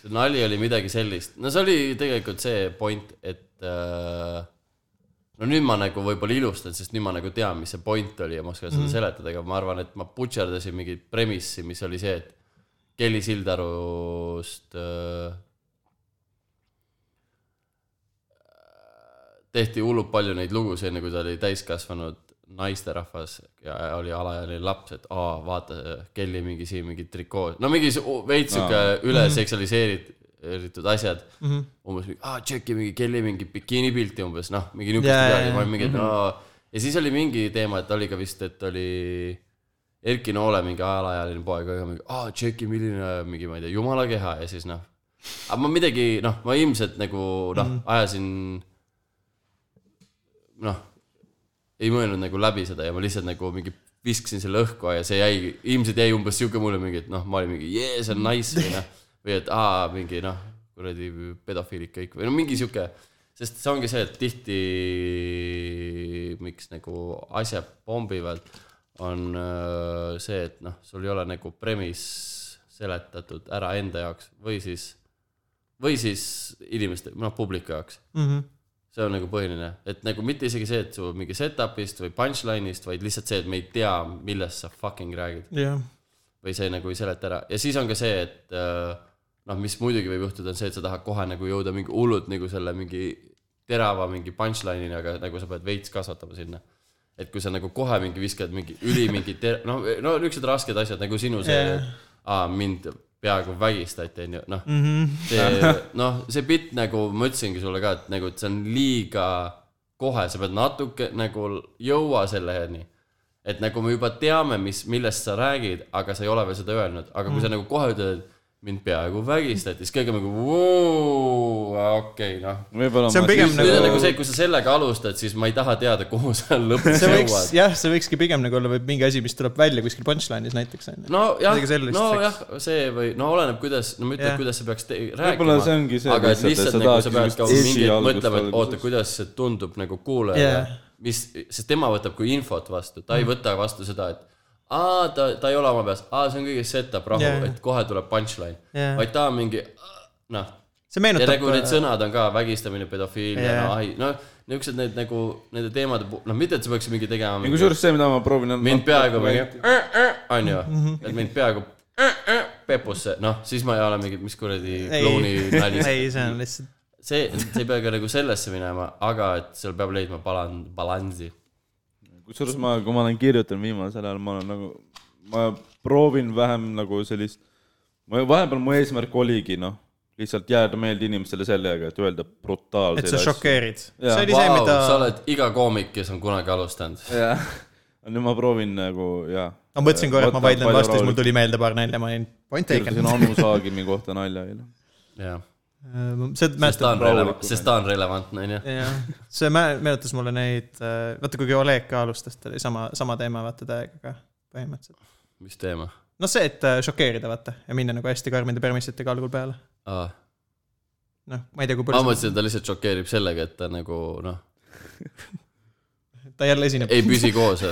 [SPEAKER 3] see nali oli midagi sellist , no see oli tegelikult see point , et äh, no nüüd ma nagu võib-olla ilustan , sest nüüd ma nagu tean , mis see point oli ja ma oskan seda mm. seletada , aga ma arvan , et ma butšerdasin mingit premissi , mis oli see , et Kelly Sildarust äh, tehti hullult palju neid lugusid , enne kui ta oli täiskasvanud naisterahvas ja oli alaealine laps , et aa , vaata , Kelly mingi siin mingi trikoo , no mingi su-
[SPEAKER 2] Aa.
[SPEAKER 3] veits sihuke
[SPEAKER 1] Mhm.
[SPEAKER 3] üle seksualiseeritud asjad mm . -hmm. umbes , aa , tšeki mingi Kelly mingi bikiinipilti umbes , noh , mingi niukest
[SPEAKER 1] Jaa,
[SPEAKER 3] yeah,
[SPEAKER 1] jaa, Mhm. jaa.
[SPEAKER 3] midagi , ma olin mingi , et aa . ja siis oli mingi teema , et oli ka vist , et oli Erki Noole mingi alaealine poeg , aga mingi , aa , tšeki , milline mingi , ma ei tea , jumala keha ja siis noh . aga ma midagi , noh , ma ilmselt nagu noh , ajasin noh , ei mõelnud nagu läbi seda ja ma lihtsalt nagu mingi viskasin selle õhku ja see jäi , ilmselt jäi umbes sihuke mulje mingi , et noh , ma olin mingi jee , see on nice või noh , või et aa , mingi noh , kuradi pedofiilid kõik või no mingi sihuke , sest see ongi see , et tihti miks nagu asjad pommivad , on öö, see , et noh , sul ei ole nagu premise seletatud ära enda jaoks või siis , või siis inimeste , noh , publiku jaoks see on nagu põhiline , et nagu mitte isegi see , et sul mingi setup'ist või punchline'ist , vaid lihtsalt see , et me ei tea , millest sa fucking räägid
[SPEAKER 1] jah ,
[SPEAKER 3] või see nagu ei seleta ära ja siis on ka see , et äh, noh , mis muidugi võib juhtuda , on see , et sa tahad kohe nagu jõuda mingi hullult nagu selle mingi terava mingi punchline'ini , aga nagu sa pead veits kasvatama sinna . et kui sa nagu kohe mingi viskad mingi üli mingi ter- , no , no niisugused rasked asjad nagu sinu see
[SPEAKER 1] Jaa.
[SPEAKER 3] yeah. , aa mind peaaegu vägistati , onju , noh mm -hmm. . see , noh , see bitt nagu ma ütlesingi sulle ka , et nagu , et see on liiga kohe , sa pead natuke nagu jõua selleni et nagu me juba teame , mis , millest sa räägid , aga sa ei ole veel seda öelnud , aga
[SPEAKER 1] Mm.
[SPEAKER 3] kui sa nagu kohe ütled , et mind peaaegu vägistati , siis kõik on nagu voo , okei , noh .
[SPEAKER 2] võib-olla
[SPEAKER 1] See on pigem
[SPEAKER 3] nüüd on
[SPEAKER 1] Nagu-
[SPEAKER 3] nagu see , kui sa sellega alustad , siis ma ei taha teada , kuhu sa lõpuks
[SPEAKER 1] see võiks ,
[SPEAKER 3] jõuad .
[SPEAKER 1] jah , see võikski pigem nagu olla võib- mingi asi , mis tuleb välja kuskil punchline'is näiteks , on ju .
[SPEAKER 3] nojah
[SPEAKER 1] midagi , sellist
[SPEAKER 3] nojah , see või no oleneb , kuidas , no ma ei ütle
[SPEAKER 1] Jah. ,
[SPEAKER 3] kuidas sa peaks te-
[SPEAKER 2] Võib-olla
[SPEAKER 3] rääkima
[SPEAKER 2] see ongi see
[SPEAKER 3] aga et
[SPEAKER 2] lihtsalt, et
[SPEAKER 3] lihtsalt
[SPEAKER 2] sa
[SPEAKER 3] nagu
[SPEAKER 2] tahad
[SPEAKER 3] sa pead
[SPEAKER 2] niisugust
[SPEAKER 3] ka mingi hetk
[SPEAKER 2] esialgust
[SPEAKER 3] mõtlema , et oota ,
[SPEAKER 2] alguses.
[SPEAKER 3] kuidas see tundub nagu kuulajale
[SPEAKER 1] Jah.
[SPEAKER 3] yeah. , mis , sest tema võtab kui infot vastu , ta ei
[SPEAKER 2] Mm.
[SPEAKER 3] võta vastu seda , et aa , ta , ta ei ole oma peas , aa , see on kõige setup rahu
[SPEAKER 1] Jah.
[SPEAKER 3] yeah. , et kohe tuleb punchline
[SPEAKER 1] Jah.
[SPEAKER 3] yeah. , vaid ta on mingi noh ,
[SPEAKER 1] see
[SPEAKER 3] ja
[SPEAKER 1] meenutab
[SPEAKER 3] nagu need sõnad on ka vägistamine , pedofiilia
[SPEAKER 1] Jah.
[SPEAKER 3] yeah. , noh , ai , noh , niisugused need nagu nende teemade , noh , mitte et sa peaksid mingi tegema
[SPEAKER 2] ja
[SPEAKER 3] mingi,
[SPEAKER 2] kusjuures see , mida ma proovin .
[SPEAKER 3] mind peaaegu mingi , "Äh, onju ,
[SPEAKER 1] Mhm.
[SPEAKER 3] et mind peaaegu
[SPEAKER 1] Äh,
[SPEAKER 3] pepusse , noh , siis ma ei ole mingi , mis kuradi klouni nali see
[SPEAKER 1] ei , see on lihtsalt ,
[SPEAKER 3] see , see ei pea ka nagu sellesse minema , aga et seal peab leidma balan- , balansi .
[SPEAKER 2] kusjuures ma , kui ma olen kirjutanud viimasel ajal , ma olen nagu , ma proovin vähem nagu sellist , ma vahepeal mu eesmärk oligi noh , lihtsalt jääda meelde inimestele sellega , et öelda
[SPEAKER 1] et sa
[SPEAKER 2] brutaalseid
[SPEAKER 1] šokeerid .
[SPEAKER 2] Jaa.
[SPEAKER 1] see oli see ,
[SPEAKER 3] Vau ,
[SPEAKER 1] mida
[SPEAKER 3] sa oled iga koomik , kes on kunagi alustanud .
[SPEAKER 2] jah , nüüd ma proovin nagu jah .
[SPEAKER 1] ma mõtlesin korra , et ma vaidlen vastu , siis mul . tuli meelde paar nalja , ma olin point taken .
[SPEAKER 2] kirjutasin Anu Saagimi kohta nalja eile .
[SPEAKER 3] jah ,
[SPEAKER 1] Äh, see
[SPEAKER 3] sest ta on
[SPEAKER 1] mäletab ,
[SPEAKER 3] relevant , sest ta on relevantne , onju .
[SPEAKER 1] jah , see mä- meenutas mulle neid , vaata kuigi Oleg ka alustas , tal oli sama , sama teema vaata täiega ka põhimõtteliselt .
[SPEAKER 3] mis teema
[SPEAKER 1] noh , see , et äh, šokeerida vaata ja minna nagu hästi karmide permissitega algul peale .
[SPEAKER 3] ah, ?
[SPEAKER 1] noh , ma ei tea , kui
[SPEAKER 3] ma
[SPEAKER 1] palju ,
[SPEAKER 3] mõtlesin , et ta lihtsalt šokeerib sellega , et ta nagu noh ,
[SPEAKER 1] ta jälle esineb .
[SPEAKER 3] ei püsi koos .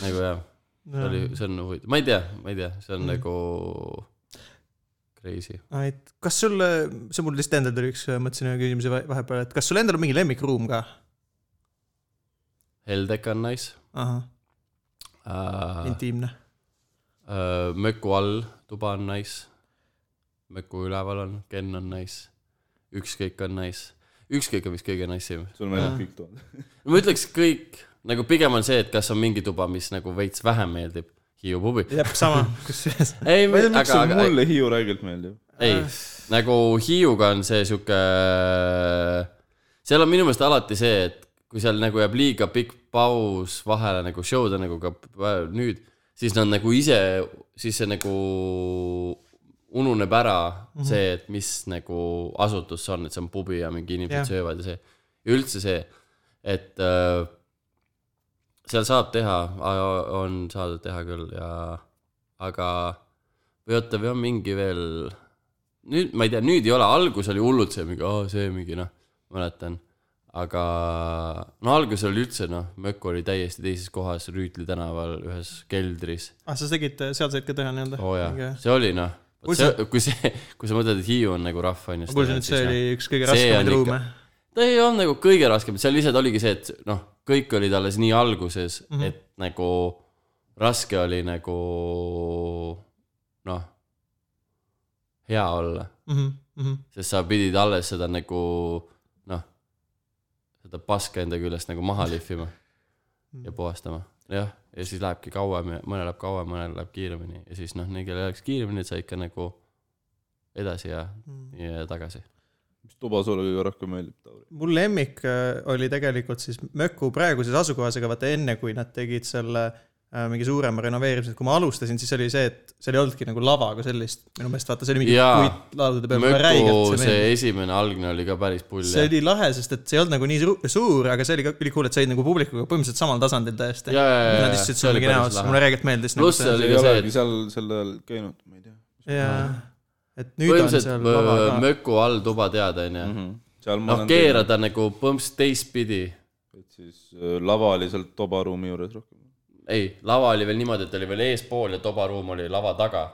[SPEAKER 3] nagu jah , see oli , see on huvitav , ma ei tea , ma ei tea , see on
[SPEAKER 1] Mm.
[SPEAKER 3] nagu crazy .
[SPEAKER 1] et kas sul , see mul lihtsalt endal tuli üks , mõtlesin ühe küsimuse va- vahepeal , et kas sul endal on mingi lemmikruum ka ?
[SPEAKER 3] Heldek on nice
[SPEAKER 1] ahah ,
[SPEAKER 3] uh, .
[SPEAKER 1] intiimne .
[SPEAKER 3] Uh, möku all tuba on nice , möku üleval on , Ken on nice , ükskõik on nice , ükskõik on vist kõige nice im .
[SPEAKER 2] sul meeldib kõik toad .
[SPEAKER 3] ma ütleks kõik , nagu pigem on see , et kas on mingi tuba , mis nagu veits vähem meeldib , Hiiu pubi .
[SPEAKER 1] jah , sama , kusjuures .
[SPEAKER 3] ei ,
[SPEAKER 2] ma ei tea ,
[SPEAKER 3] aga ,
[SPEAKER 2] miks see
[SPEAKER 3] aga ei,
[SPEAKER 2] mulle Hiiu räigelt meeldib .
[SPEAKER 3] ei , nagu Hiiuga on see sihuke , seal on minu meelest alati see , et kui seal nagu jääb liiga pikk paus vahele nagu show'de nagu ka p- nüüd , siis nad nagu ise , siis see nagu ununeb ära mm -hmm. see , et mis nagu asutus see on , et see on pubi ja mingi inimesed
[SPEAKER 1] Jah.
[SPEAKER 3] yeah. söövad ja see , üldse see , et äh, seal saab teha , on saadud teha küll ja aga või oota , või on mingi veel , nüüd ma ei tea , nüüd ei ole , algus oli hullult see mingi , aa see mingi noh , mäletan . aga no algus oli üldse noh , Mökk oli täiesti teises kohas Rüütli tänaval ühes keldris .
[SPEAKER 1] ah , sa tegid sealseid ka teha nii-öelda ?
[SPEAKER 3] oo jaa , see oli noh ,
[SPEAKER 1] Kus
[SPEAKER 3] see , kui see , kui sa mõtled , et Hiiu on nagu rahva on ju .
[SPEAKER 1] ma kuulsin , et see oli üks kõige
[SPEAKER 3] See on
[SPEAKER 1] raskemaid
[SPEAKER 3] ikka-
[SPEAKER 1] ruume .
[SPEAKER 3] ta ei olnud nagu kõige raskem , seal lihtsalt oligi see , et noh , kõik olid alles nii alguses
[SPEAKER 1] Mhm.
[SPEAKER 3] mm , -hmm. et nagu raske oli nagu noh , hea olla ,
[SPEAKER 1] Mhm,
[SPEAKER 3] sest sa pidid alles seda nagu noh , seda paska enda küljest nagu maha lihvima
[SPEAKER 1] Mm.
[SPEAKER 3] ja puhastama , jah , ja siis lähebki kauem ja mõnel läheb kauem , mõnel läheb kiiremini ja siis noh , neil kellel läks kiiremini , sa ikka nagu edasi ja , ja tagasi .
[SPEAKER 2] mis tuba sulle kõige rohkem meeldib , Tauri ?
[SPEAKER 1] mul lemmik äh, oli tegelikult siis Möku praeguses asukohas , aga vaata enne , kui nad tegid selle äh, mingi suurema renoveerimise , kui ma alustasin , siis oli see , et seal ei olnudki nagu lava kui sellist , minu meelest vaata , see oli mingi
[SPEAKER 3] Jaa.
[SPEAKER 1] puitlaudade peal , mulle räigelt
[SPEAKER 3] Möku
[SPEAKER 1] see
[SPEAKER 3] see
[SPEAKER 1] meeldis .
[SPEAKER 3] esimene algne oli ka päris pull
[SPEAKER 1] see oli lahe , sest et see ei olnud nagu nii su- suur , aga see oli ka ülikool , et said nagu publikuga põhimõtteliselt samal tasandil täiesti .
[SPEAKER 3] Jaa, jaa, jaa,
[SPEAKER 1] Nad
[SPEAKER 3] jaa.
[SPEAKER 1] istusid
[SPEAKER 3] See
[SPEAKER 1] sul
[SPEAKER 3] oli
[SPEAKER 1] mingi
[SPEAKER 3] päris
[SPEAKER 1] näos ,
[SPEAKER 3] lahe.
[SPEAKER 1] mulle räigelt meeldis . nagu
[SPEAKER 3] Pluss see oli
[SPEAKER 2] ei
[SPEAKER 3] ka see,
[SPEAKER 2] olegi
[SPEAKER 3] et-
[SPEAKER 2] seal sel ajal käinud , ma ei tea .
[SPEAKER 1] jaa , et nüüd on seal
[SPEAKER 3] põhimõtteliselt äh,
[SPEAKER 1] lava
[SPEAKER 3] öö,
[SPEAKER 1] ka . Mhm.
[SPEAKER 3] möku all tuba tead , onju .
[SPEAKER 2] seal ma
[SPEAKER 3] noh ,
[SPEAKER 2] olen teinud ,
[SPEAKER 3] keerada nagu põmps teistpidi .
[SPEAKER 2] et siis äh, lava oli seal tobaruumi juures rohkem .
[SPEAKER 3] ei , lava oli veel niimoodi , et oli veel eespool ja tobaruum oli lava taga .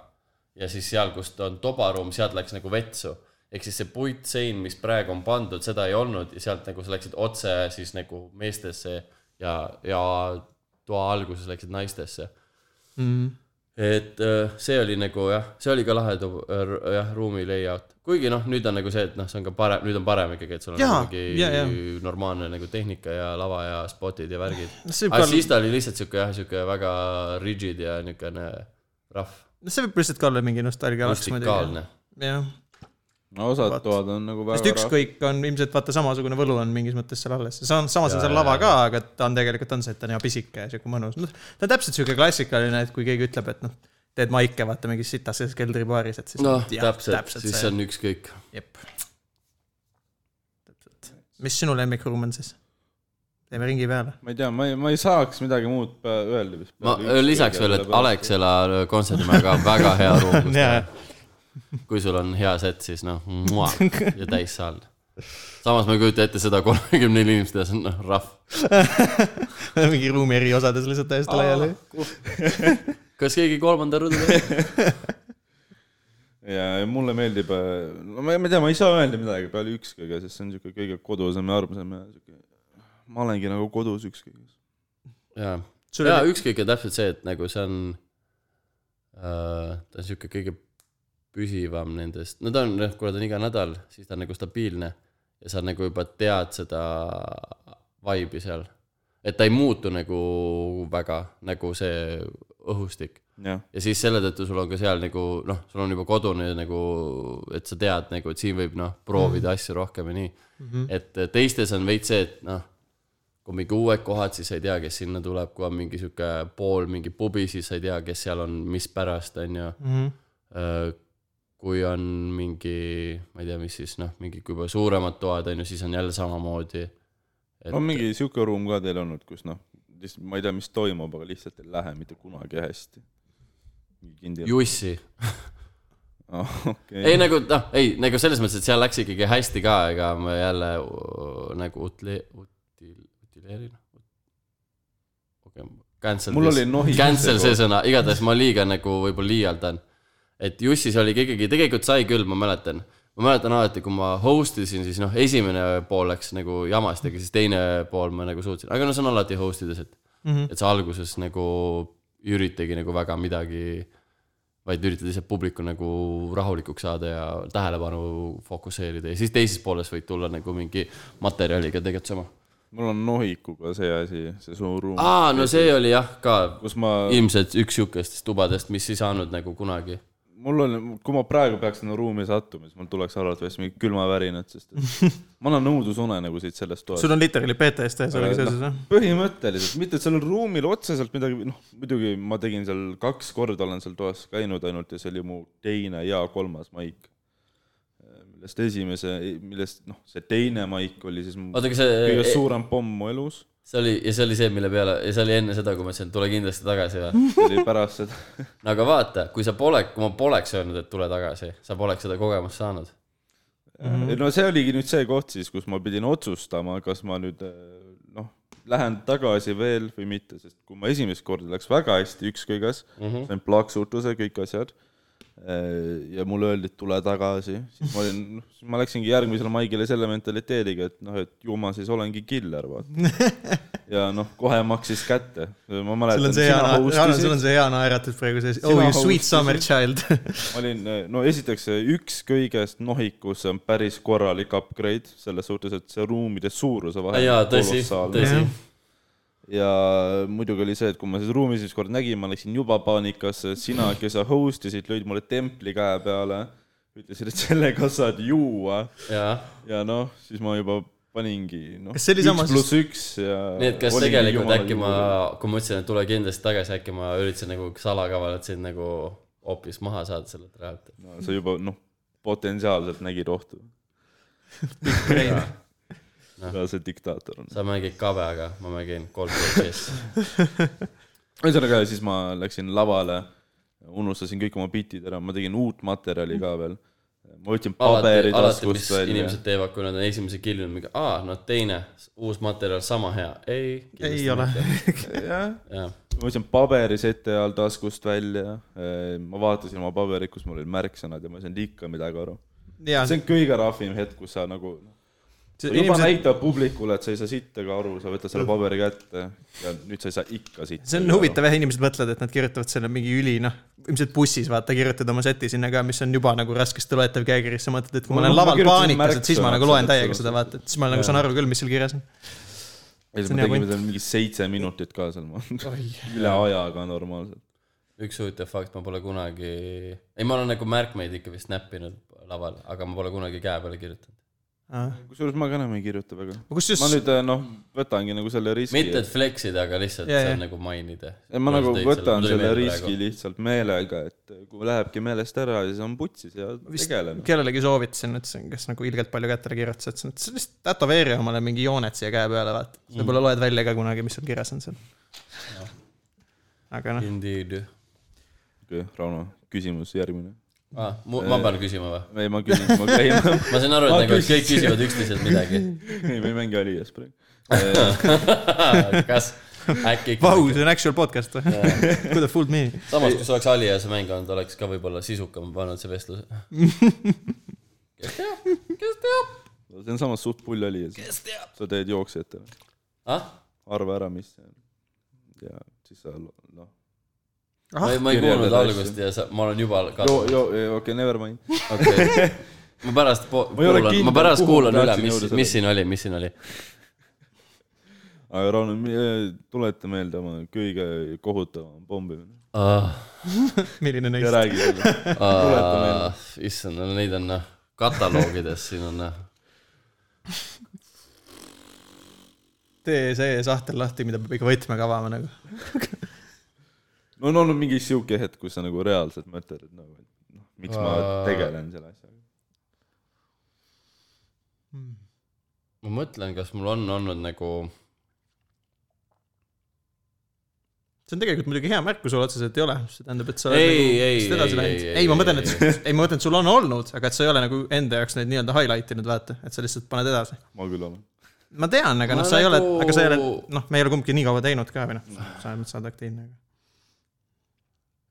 [SPEAKER 3] ja siis seal , kust on tobaruum , sealt läks nagu vetsu . ehk siis see puitsein , mis praegu on pandud , seda ei olnud ja sealt nagu sa läksid otse siis nagu meestesse ja , ja toa alguses läksid naistesse .
[SPEAKER 1] Mm.
[SPEAKER 3] et öö, see oli nagu jah , see oli ka lahe tu- , jah , ruumi layout . kuigi noh , nüüd on nagu see , et noh , see on ka parem , nüüd on parem ikkagi , et sul on
[SPEAKER 1] Jaa,
[SPEAKER 3] nagu mingi
[SPEAKER 1] jaa, jaa.
[SPEAKER 3] normaalne nagu tehnika ja lava ja spotid ja värgid .
[SPEAKER 1] see võib ka
[SPEAKER 3] aga
[SPEAKER 1] olla
[SPEAKER 3] siis ta oli lihtsalt sihuke jah , sihuke väga rigid ja niukene rough ,
[SPEAKER 1] no see võib lihtsalt ka olla mingi nostalgia laps muidugi .
[SPEAKER 3] rustikaalne .
[SPEAKER 1] jah ,
[SPEAKER 2] no osad
[SPEAKER 1] Vaat.
[SPEAKER 2] toad on nagu
[SPEAKER 1] sest
[SPEAKER 2] väga rasked .
[SPEAKER 1] ükskõik on ilmselt vaata samasugune võlu on mingis mõttes seal alles , see on , samas on
[SPEAKER 3] Jaa,
[SPEAKER 1] seal
[SPEAKER 3] jaa,
[SPEAKER 1] lava
[SPEAKER 3] jaa.
[SPEAKER 1] ka , aga ta on tegelikult on see , et ta on hea pisike ja sihuke mõnus , noh . ta on täpselt sihuke klassikaline , et kui keegi ütleb , et noh , teed maike vaata mingis sitases keldribaaris , et siis .
[SPEAKER 3] noh , täpselt , siis see on ükskõik .
[SPEAKER 1] jep . täpselt . mis sinu lemmikruum on siis ? teeme ringi peale .
[SPEAKER 2] ma ei tea , ma ei , ma ei saaks midagi muud pea- öelda vist .
[SPEAKER 3] ma lisaks veel , et . Alexela kontserdimajaga on väga hea ruum . kui sul on hea set , siis noh , ja täissaal . samas ma ei kujuta ette seda kolmekümne nelja inimest , kes on noh , rahv .
[SPEAKER 1] mingi ruumi eri osades lihtsalt täiesti laiali .
[SPEAKER 3] kas keegi kolmanda rõdu teeb ?
[SPEAKER 2] ja ja mulle meeldib , no ma ei ma ei tea , ma ei saa öelda midagi peale ükskõige , sest see on siuke kõige kodusam ja armsam ja siuke , ma olengi nagu kodus ükskõiges .
[SPEAKER 3] jaa ,
[SPEAKER 1] sul
[SPEAKER 3] jaa ,
[SPEAKER 1] oli ,
[SPEAKER 3] ükskõik on täpselt see , et nagu see on äh, , ta on sihuke kõige püsivam nendest , no ta on , noh , kuna ta on iga nädal , siis ta on nagu stabiilne ja sa nagu juba tead seda vibe'i seal . et ta ei muutu nagu väga , nagu see õhustik .
[SPEAKER 2] jah ,
[SPEAKER 3] ja siis selle tõttu sul on ka seal nagu noh , sul on juba kodune nagu , et sa tead nagu , et siin võib noh , proovida mm -hmm. asju rohkem ja nii mm .
[SPEAKER 1] Mhm.
[SPEAKER 3] -hmm. et teistes on veits see , et noh , kui on mingi uued kohad , siis sa ei tea , kes sinna tuleb , kui on mingi sihuke pool mingi pubi , siis sa ei tea , kes seal on , mispärast , on ju mm .
[SPEAKER 1] Mhm.
[SPEAKER 3] -hmm. kui on mingi , ma ei tea , mis siis noh , mingi kui juba suuremad toad on ju , siis on jälle samamoodi .
[SPEAKER 2] on mingi sihuke ruum ka teil olnud , kus noh , lihtsalt ma ei tea , mis toimub , aga lihtsalt ei lähe mitte kunagi hästi . kindel .
[SPEAKER 3] jussi
[SPEAKER 2] okei
[SPEAKER 3] ei . nagu noh , ei nagu selles mõttes , et seal läks ikkagi hästi ka , ega ma jälle uh, nagu utle- , util- , utileerin . okei , cancel .
[SPEAKER 2] Mul oli nohi
[SPEAKER 3] Cancel
[SPEAKER 2] see
[SPEAKER 3] see
[SPEAKER 2] koht.
[SPEAKER 3] sõna , igatahes ma liiga nagu võib-olla liialdan . et Jussis oligi ikkagi , tegelikult sai küll , ma mäletan . ma mäletan alati , kui ma host isin , siis noh , esimene pool läks nagu jamasti , aga siis teine pool ma nagu suutsin , aga no see on alati host ides , et mm ,
[SPEAKER 1] Mhm.
[SPEAKER 3] -hmm. et sa alguses nagu ei üritagi nagu väga midagi vaid üritad lihtsalt publiku nagu rahulikuks saada ja tähelepanu fokusseerida ja siis teises pooles võid tulla nagu mingi materjaliga tegelikult sama .
[SPEAKER 2] mul on nohikuga see asi , see suur ruum ,
[SPEAKER 3] aa , no see oli jah ka
[SPEAKER 2] kus ma ,
[SPEAKER 3] ilmselt üks sihukestest tubadest , mis ei saanud nagu kunagi .
[SPEAKER 2] mul on , kui ma praegu peaks sinna ruumi sattuma , siis mul tuleks arvatavasti mingi külmavärinad , sest et ma annan õudusune nagu siit sellest toast .
[SPEAKER 1] sul on literally PTSD sellega
[SPEAKER 2] noh,
[SPEAKER 1] seoses , jah ?
[SPEAKER 2] põhimõtteliselt , mitte et seal ruumil otseselt midagi , noh muidugi ma tegin seal kaks korda olen seal toas käinud ainult ja see oli mu teine ja kolmas maik . millest esimese , millest noh , see teine maik oli siis mu
[SPEAKER 3] oota , eh, aga
[SPEAKER 2] kõige
[SPEAKER 3] see ,
[SPEAKER 2] suurem pomm mu elus ,
[SPEAKER 3] see oli ja see oli see , mille peale ja see oli enne seda , kui ma ütlesin , et tule kindlasti tagasi või ?
[SPEAKER 2] see oli pärast seda .
[SPEAKER 3] no aga vaata , kui sa pole , kui ma poleks öelnud , et tule tagasi , sa poleks seda kogemust saanud .
[SPEAKER 2] Äh,
[SPEAKER 1] Mhm.
[SPEAKER 2] no see oligi nüüd see koht siis , kus ma pidin otsustama , kas ma nüüd eh, noh , lähen tagasi veel või mitte , sest kui ma esimest korda läks väga hästi , ükskõigas mm ,
[SPEAKER 1] Mhm.
[SPEAKER 2] -hmm. sain plaksutuse , kõik asjad , ja mulle öeldi , et tule tagasi , siis ma olin , noh , siis ma läksingi järgmisele maigile selle mentaliteediga , et noh , et ju ma siis olengi killer , vaata . ja noh , kohe maksis kätte . ma
[SPEAKER 1] sul
[SPEAKER 2] mäletan ,
[SPEAKER 1] on see hea
[SPEAKER 2] sina , host'isid
[SPEAKER 1] sul on see hea naeratus praegu sees .
[SPEAKER 2] Sina
[SPEAKER 1] Oh you sweet
[SPEAKER 2] hostisid.
[SPEAKER 1] summer child .
[SPEAKER 2] ma olin , no esiteks see üks kõigest nohikus on päris korralik upgrade selles suhtes , et see ruumide suuruse vahe .
[SPEAKER 3] jaa , tõsi , tõsi .
[SPEAKER 2] ja muidugi oli see , et kui ma siis ruumi esimest korda nägin , ma läksin juba paanikasse , sina , kes sa host isid , lõid mulle templi käe peale , ütlesid , et sellega saad juua
[SPEAKER 3] jaa
[SPEAKER 2] ja noh , siis ma juba paningi noh ,
[SPEAKER 1] Kas see oli sama
[SPEAKER 2] üks pluss üks ja .
[SPEAKER 3] nii et kas tegelikult äkki ma , kui ma ütlesin , et tule kindlasti tagasi , äkki ma üritasin nagu salakavalalt sind nagu hoopis maha saada sellelt rajalt .
[SPEAKER 2] no, . sa juba noh , potentsiaalselt nägid ohtu . ja see diktaator on .
[SPEAKER 3] sa mängid kabega , ma mängin kolm protsessi .
[SPEAKER 2] ühesõnaga , siis ma läksin lavale , unustasin kõik oma bitid ära , ma tegin uut materjali ka veel . ma võtsin
[SPEAKER 3] alati ,
[SPEAKER 2] paberi
[SPEAKER 3] alati , mis
[SPEAKER 2] taskust välja .
[SPEAKER 3] inimesed teevad , kui nad on esimese killi , mingi aa , no teine , uus materjal , sama hea . ei ,
[SPEAKER 1] ei ole .
[SPEAKER 2] jah ,
[SPEAKER 3] jah ,
[SPEAKER 2] ma võtsin paberi sete all taskust välja . ma vaatasin oma paberit , kus mul olid märksõnad ja ma ei saanud ikka midagi aru .
[SPEAKER 1] jaa ,
[SPEAKER 2] see on kõige rahvim hetk , kus sa nagu sa juba inimesed...
[SPEAKER 1] inimesed ,
[SPEAKER 2] näitad publikule , et sa ei saa sittagi aru , sa võtad selle paberi kätte ja nüüd sa ei saa ikka sitta .
[SPEAKER 1] see on huvitav , jah , inimesed mõtlevad , et nad kirjutavad selle mingi üli , noh , ilmselt bussis , vaata , kirjutad oma seti sinna ka , mis on juba nagu raskesti loetav käekiri , siis sa mõtled , et kui ma
[SPEAKER 2] No,
[SPEAKER 1] olen
[SPEAKER 2] ma
[SPEAKER 1] laval
[SPEAKER 2] kirjutasin
[SPEAKER 1] paanikas , et siis ma
[SPEAKER 2] märksõnad
[SPEAKER 1] nagu loen
[SPEAKER 2] selles
[SPEAKER 1] täiega seda , vaata , et siis ma nagu saan aru küll , mis seal kirjas on .
[SPEAKER 2] ja siis
[SPEAKER 1] See on
[SPEAKER 2] me
[SPEAKER 1] hea
[SPEAKER 2] tegime
[SPEAKER 1] point.
[SPEAKER 2] seal mingi seitse minutit ka seal , üle ajaga normaalselt .
[SPEAKER 3] üks huvitav fakt , ma pole kunagi , ei , ma olen nagu märkmeid ikka vist näppinud laval , aga ma pole kunagi käe peale kirjutanud .
[SPEAKER 2] kusjuures ma ka enam ei kirjuta väga .
[SPEAKER 1] kusjuures
[SPEAKER 2] ma , nüüd eh, noh , võtangi nagu selle riski .
[SPEAKER 3] mitte , et flex ida , aga lihtsalt
[SPEAKER 1] Jaa,
[SPEAKER 3] yeah, see
[SPEAKER 1] jaa.
[SPEAKER 3] on nagu mainida .
[SPEAKER 2] ma nagu võtan selle riski lihtsalt meelega , et eh, kui lähebki meelest ära , siis on putsis ja
[SPEAKER 1] vist
[SPEAKER 2] tegeleme .
[SPEAKER 1] kellelegi soovitasin , ütlesin , kes nagu ilgelt palju kätele kirjutas , ütlesin , et sa lihtsalt tätoveeri omale mingi jooned siia käe peale , vaata .
[SPEAKER 2] Mm.
[SPEAKER 1] võib-olla loed välja ka kunagi , mis seal kirjas on seal . aga noh ,
[SPEAKER 3] Indeed .
[SPEAKER 2] Rauno , küsimus järgmine .
[SPEAKER 3] aa , Ah, ma pean küsima või ?
[SPEAKER 2] ei , ma küsin , ma käin ,
[SPEAKER 3] ma sain aru ,
[SPEAKER 2] Äh. Ma
[SPEAKER 3] et nagu et kõik
[SPEAKER 2] küsisin.
[SPEAKER 3] küsivad üksteiselt midagi .
[SPEAKER 2] ei me ei mängi Alias praegu .
[SPEAKER 3] kas äkki ikka
[SPEAKER 1] vau , see on actual podcast või ? Could have fooled me .
[SPEAKER 3] samas , kui see oleks Alias mäng olnud , oleks ka võib-olla sisukam pannud see vestlus . kes teab , kes teab ?
[SPEAKER 2] see on samas suht pull Alias . sa teed jooksjatele ,
[SPEAKER 3] ah ,
[SPEAKER 2] arva ära , mis see on . ja siis sa lo- noh .
[SPEAKER 3] ma ei , ma ei
[SPEAKER 2] Ah, kirjeldad
[SPEAKER 3] kuulnud
[SPEAKER 2] asju.
[SPEAKER 3] algust ja sa , ma olen juba
[SPEAKER 2] joo ,
[SPEAKER 3] kadunud .
[SPEAKER 2] joo , okei , never mind .
[SPEAKER 3] okei , ma pärast po-
[SPEAKER 2] Ma ei ole
[SPEAKER 3] kuulan ,
[SPEAKER 2] kindel,
[SPEAKER 3] ma pärast
[SPEAKER 2] kuhu ma
[SPEAKER 3] kuulan üle ,
[SPEAKER 2] tahtsin
[SPEAKER 3] mis
[SPEAKER 2] jõuda , sellega.
[SPEAKER 3] mis siin oli , mis siin oli .
[SPEAKER 2] aga Rauno , tuleta meelde oma kõige kohutavam pommimine .
[SPEAKER 3] Ah,
[SPEAKER 1] milline
[SPEAKER 2] ja
[SPEAKER 1] neist ?
[SPEAKER 2] räägi jälle . Tuleta meelde.
[SPEAKER 3] issand , no neid on noh , kataloogides siin on noh ,
[SPEAKER 1] tee see sahtel lahti , mida peab ikka võtmega avama nagu .
[SPEAKER 2] no on olnud mingi sihuke hetk , kus sa nagu reaalselt mõtled , et nagu , et noh , miks ma
[SPEAKER 3] Aa.
[SPEAKER 2] tegelen selle asjaga .
[SPEAKER 3] ma mõtlen , kas mul on olnud nagu
[SPEAKER 1] see on tegelikult muidugi hea märkus , sul otseselt ei ole , see tähendab , et sa oled
[SPEAKER 3] Ei,
[SPEAKER 1] nagu
[SPEAKER 3] ei,
[SPEAKER 1] lihtsalt edasi
[SPEAKER 3] ei,
[SPEAKER 1] läinud
[SPEAKER 3] ei, .
[SPEAKER 1] ei , ma mõtlen ,
[SPEAKER 3] ei,
[SPEAKER 1] et , ei ma mõtlen , et sul on olnud , aga et sa ei ole nagu enda jaoks neid nii-öelda highlight inud , vaata , et sa lihtsalt paned edasi .
[SPEAKER 2] ma küll olen .
[SPEAKER 1] ma tean , aga
[SPEAKER 3] Ma
[SPEAKER 1] noh , sa ei ole
[SPEAKER 3] nagu- ,
[SPEAKER 1] aga sa ei ole , noh , me ei ole kumbki nii kaua teinud ka või noh , sa oled , sa oled aktiivne .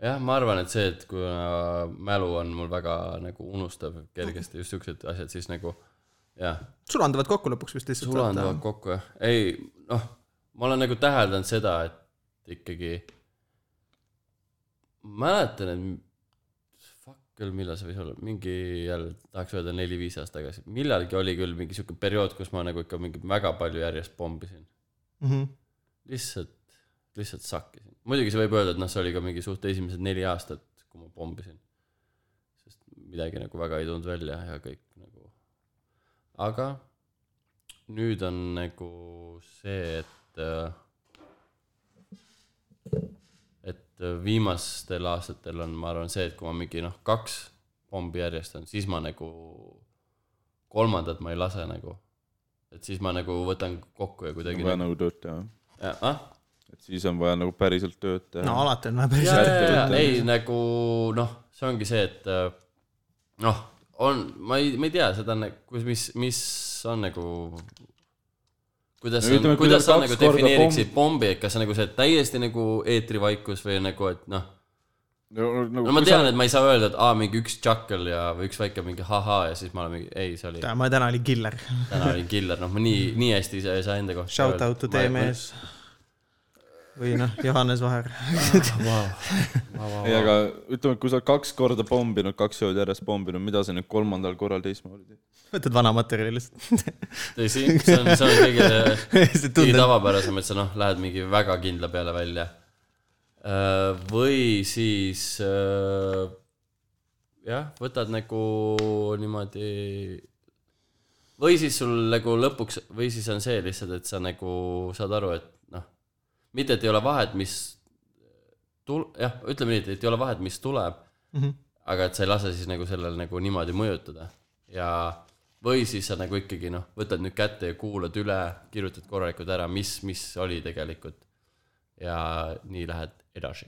[SPEAKER 3] jah , ma arvan , et see , et kuna mälu on mul väga nagu unustav kergesti just siuksed asjad , siis nagu jah ,
[SPEAKER 1] sulanduvad kokku lõpuks vist lihtsalt .
[SPEAKER 3] sulanduvad . kokku jah , ei noh , ma olen nagu täheldanud seda , et ikkagi ma mäletan , et fuck küll , millal see võis olla , mingi jälle tahaks öelda neli-viis aastat tagasi , millalgi oli küll mingi siuke periood , kus ma nagu ikka mingi väga palju järjest pommisin ,
[SPEAKER 1] Mhm.
[SPEAKER 3] lihtsalt , lihtsalt sakkisin , muidugi see võib öelda , et noh , see oli ka mingi suht esimesed neli aastat , kui ma pommisin sest midagi nagu väga ei tulnud välja ja kõik nagu . aga nüüd on nagu see , et äh, et viimastel aastatel on , ma arvan , see , et kui ma mingi noh , kaks pommi järjest on , siis ma nagu kolmandat ma ei lase nagu . et siis ma nagu võtan kokku ja kuidagi
[SPEAKER 2] on vaja
[SPEAKER 3] nagu,
[SPEAKER 2] nagu tööd teha .
[SPEAKER 3] ja, ah?
[SPEAKER 2] et siis on vaja nagu päriselt tööd
[SPEAKER 1] no
[SPEAKER 2] teha .
[SPEAKER 1] alati on vaja päris
[SPEAKER 3] jaa ,
[SPEAKER 1] hästi
[SPEAKER 3] jaa , jaa ,
[SPEAKER 1] töötada.
[SPEAKER 3] ei nagu noh , see ongi see , et äh, noh , on , ma ei , ma ei tea seda , kus , mis , mis on nagu . kuidas
[SPEAKER 2] No
[SPEAKER 3] no, ,
[SPEAKER 2] ütleme,
[SPEAKER 3] kuidas,
[SPEAKER 2] kui
[SPEAKER 3] kuidas
[SPEAKER 2] tal
[SPEAKER 3] sa
[SPEAKER 2] kaks
[SPEAKER 3] nagu
[SPEAKER 2] korda
[SPEAKER 3] defineeriksid pommi , et kas see nagu see täiesti nagu eetrivaikus või nagu , et noh . no nagu ma tean , et ma ei saa öelda , et aa , mingi üks tšakkel ja , või üks väike mingi ha-ha ja siis ma olen mingi , ei , see oli ,
[SPEAKER 1] ma täna olin killer .
[SPEAKER 3] täna oli killer , noh , ma nii , nii hästi ei saa- ei saa enda kohta .
[SPEAKER 1] Shout out to teie . mees . või noh , Johannes Vaher .
[SPEAKER 2] ei , aga ütleme , kui sa oled kaks korda pomminud , kaks ööd järjest pomminud , mida sa nüüd kolmandal korral teistmoodi teed ?
[SPEAKER 1] võtad vana materjali lihtsalt .
[SPEAKER 3] tõsi , see on , see on kõige
[SPEAKER 1] see
[SPEAKER 3] kõige
[SPEAKER 1] tundub ,
[SPEAKER 3] tavapärasem , et sa noh , lähed mingi väga kindla peale välja . või siis äh, jah , võtad nagu niimoodi . või siis sul nagu lõpuks või siis on see lihtsalt , et sa nagu saad aru , et noh , mitte et ei ole vahet , mis tul- , jah , ütleme nii , et et ei ole vahet , mis tuleb mm ,
[SPEAKER 1] Mhm.
[SPEAKER 3] -hmm. aga et sa ei lase siis nagu sellel nagu niimoodi mõjutada ja või siis sa nagu ikkagi noh , võtad nüüd kätte ja kuulad üle , kirjutad korralikult ära , mis , mis oli tegelikult ja nii lähed edasi .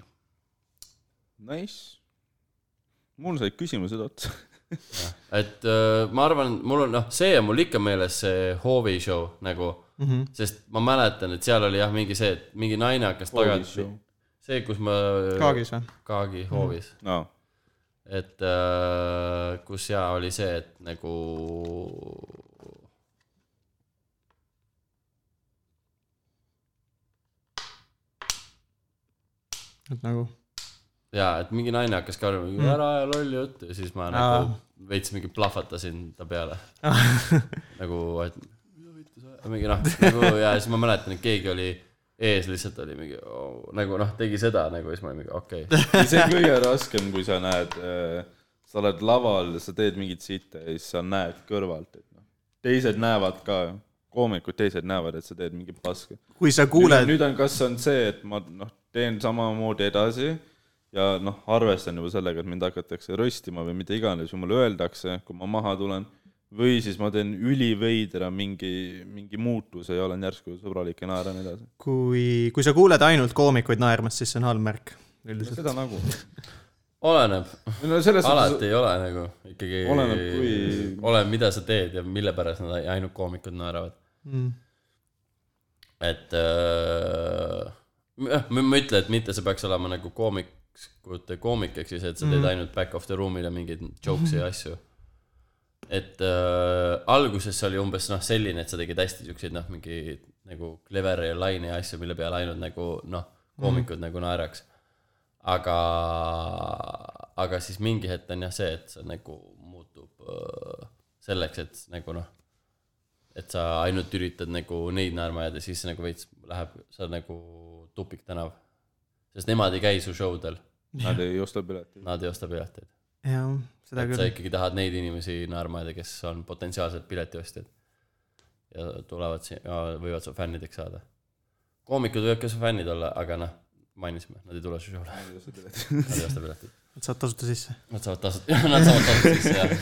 [SPEAKER 2] Nice . mul said küsimused otsa .
[SPEAKER 3] et öö, ma arvan , mul on noh , see on mul ikka meeles see hoovi show nagu mm ,
[SPEAKER 1] Mhm.
[SPEAKER 3] -hmm. sest ma mäletan , et seal oli jah , mingi see , et mingi naine hakkas tagant , see , kus ma
[SPEAKER 1] kaagis või ?
[SPEAKER 3] kaagi hoovis mm ,
[SPEAKER 2] no. .
[SPEAKER 3] -hmm. et öö, kus ja oli see , et nagu
[SPEAKER 1] et nagu ,
[SPEAKER 3] jaa , et mingi naine hakkas ka olema ,
[SPEAKER 2] Mm.
[SPEAKER 3] ära aja lolli juttu ja siis ma
[SPEAKER 1] Aa.
[SPEAKER 3] nagu veits mingi plahvatasin ta peale nagu , et mida võitu sa ajad? mingi noh , nagu ja siis ma mäletan , et keegi oli ees lihtsalt oli mingi oh, nagu noh , tegi seda nagu ja siis ma olin mingi okei okay. .
[SPEAKER 2] see on kõige raskem , kui sa näed , sa oled laval , sa teed mingit sitta ja siis sa näed kõrvalt , et noh , teised näevad ka , koomikud teised näevad , et sa teed mingit paska .
[SPEAKER 1] kui sa
[SPEAKER 2] nüüd
[SPEAKER 1] kuuled ,
[SPEAKER 2] nüüd on , kas on see , et ma noh , teen samamoodi edasi ja noh , arvestan juba sellega , et mind hakatakse röstima või mida iganes ju mulle öeldakse , kui ma maha tulen , või siis ma teen üliveidra mingi , mingi muutuse ja olen järsku sõbralik ja naeran edasi .
[SPEAKER 1] kui , kui sa kuuled ainult koomikuid naermas , siis see on halb märk . üldiselt .
[SPEAKER 2] seda nagu .
[SPEAKER 3] oleneb ,
[SPEAKER 2] no selles
[SPEAKER 3] alati
[SPEAKER 2] suhtes ,
[SPEAKER 3] ei ole nagu ikkagi .
[SPEAKER 2] Oleneb, kui-
[SPEAKER 3] oleneb , mida sa teed ja mille pärast nad ainult koomikud naeravad .
[SPEAKER 2] Mm.
[SPEAKER 3] et äh, jah , ma ma ei ütle , et mitte see peaks olema nagu koomikute koomik , ehk siis , et sa teed ainult back of the room'ile mingeid jokes'e ja asju . et äh, alguses see oli umbes noh , selline , et sa tegid hästi siukseid noh , mingi nagu clever'e ja laine ja asju , mille peale ainult nagu noh , koomikud mm. nagu naeraks . aga , aga siis mingi hetk on jah see , et see nagu muutub äh, selleks , et nagu noh et sa ainult üritad nagu neid naerma jääda , siis see nagu veits läheb , sa oled nagu tupiktänav . sest nemad ei käi su show del ,
[SPEAKER 2] Nad ei osta piletit .
[SPEAKER 3] nad ei osta pileteid .
[SPEAKER 1] jah , seda
[SPEAKER 3] et sa
[SPEAKER 1] küll .
[SPEAKER 3] ikkagi tahad neid inimesi naerma jääda , kes on potentsiaalsed piletiostjad . ja tulevad si- , võivad su fännideks saada . koomikud võivad ka su fännid olla , aga noh , mainisime , nad ei tule su show'le , nad ei osta pileteid .
[SPEAKER 1] saad tasuta sisse .
[SPEAKER 3] Nad saavad tasuta , nad saavad tasuta sisse jah .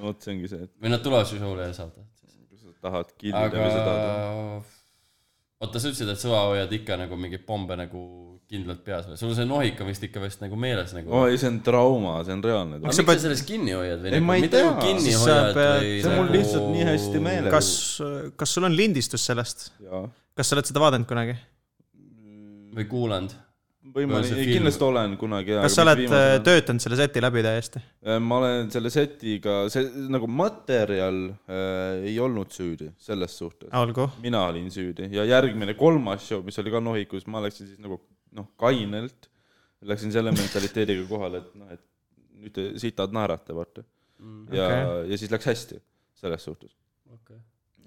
[SPEAKER 2] vot see ongi see , et
[SPEAKER 3] või nad tulevad su show'le ja saavad tasuta .
[SPEAKER 2] kui sa tahad killida aga... või sa tahad .
[SPEAKER 3] aga oota , sa ütlesid , et suva hoiad ikka nagu mingeid pombe nagu kindlalt peas või ? sul see nohik on vist ikka vist nagu meeles nagu
[SPEAKER 2] oo . Oh, ei , see on trauma , see on reaalne
[SPEAKER 3] aga
[SPEAKER 2] trauma .
[SPEAKER 1] sa
[SPEAKER 3] miks sa
[SPEAKER 1] pead-
[SPEAKER 3] sellest kinni hoiad või
[SPEAKER 2] Ei, ma
[SPEAKER 3] nagu
[SPEAKER 2] ei
[SPEAKER 3] mida
[SPEAKER 2] tea.
[SPEAKER 3] nagu kinni
[SPEAKER 1] Siis sa
[SPEAKER 3] hoiad
[SPEAKER 1] pead-
[SPEAKER 3] või ? nagu-
[SPEAKER 2] see on mul lihtsalt nii hästi meeles.
[SPEAKER 1] kas , kas sul on lindistus sellest ?
[SPEAKER 2] jaa .
[SPEAKER 1] kas sa oled seda vaadanud kunagi ?
[SPEAKER 3] või kuulanud ?
[SPEAKER 2] võimalik
[SPEAKER 3] see , film-
[SPEAKER 2] kindlasti olen kunagi .
[SPEAKER 1] kas sa oled äh, töötanud selle seti läbi täiesti ?
[SPEAKER 2] ma olen selle setiga , see nagu materjal äh, ei olnud süüdi selles suhtes .
[SPEAKER 1] olgu .
[SPEAKER 2] mina olin süüdi ja järgmine kolmas show , mis oli ka Nohikus , ma läksin siis nagu noh , kainelt , läksin selle mentaliteediga kohale , et noh , et nüüd te sitad naerate , vaata . ja okay. , ja siis läks hästi selles suhtes .
[SPEAKER 3] Mm, okei .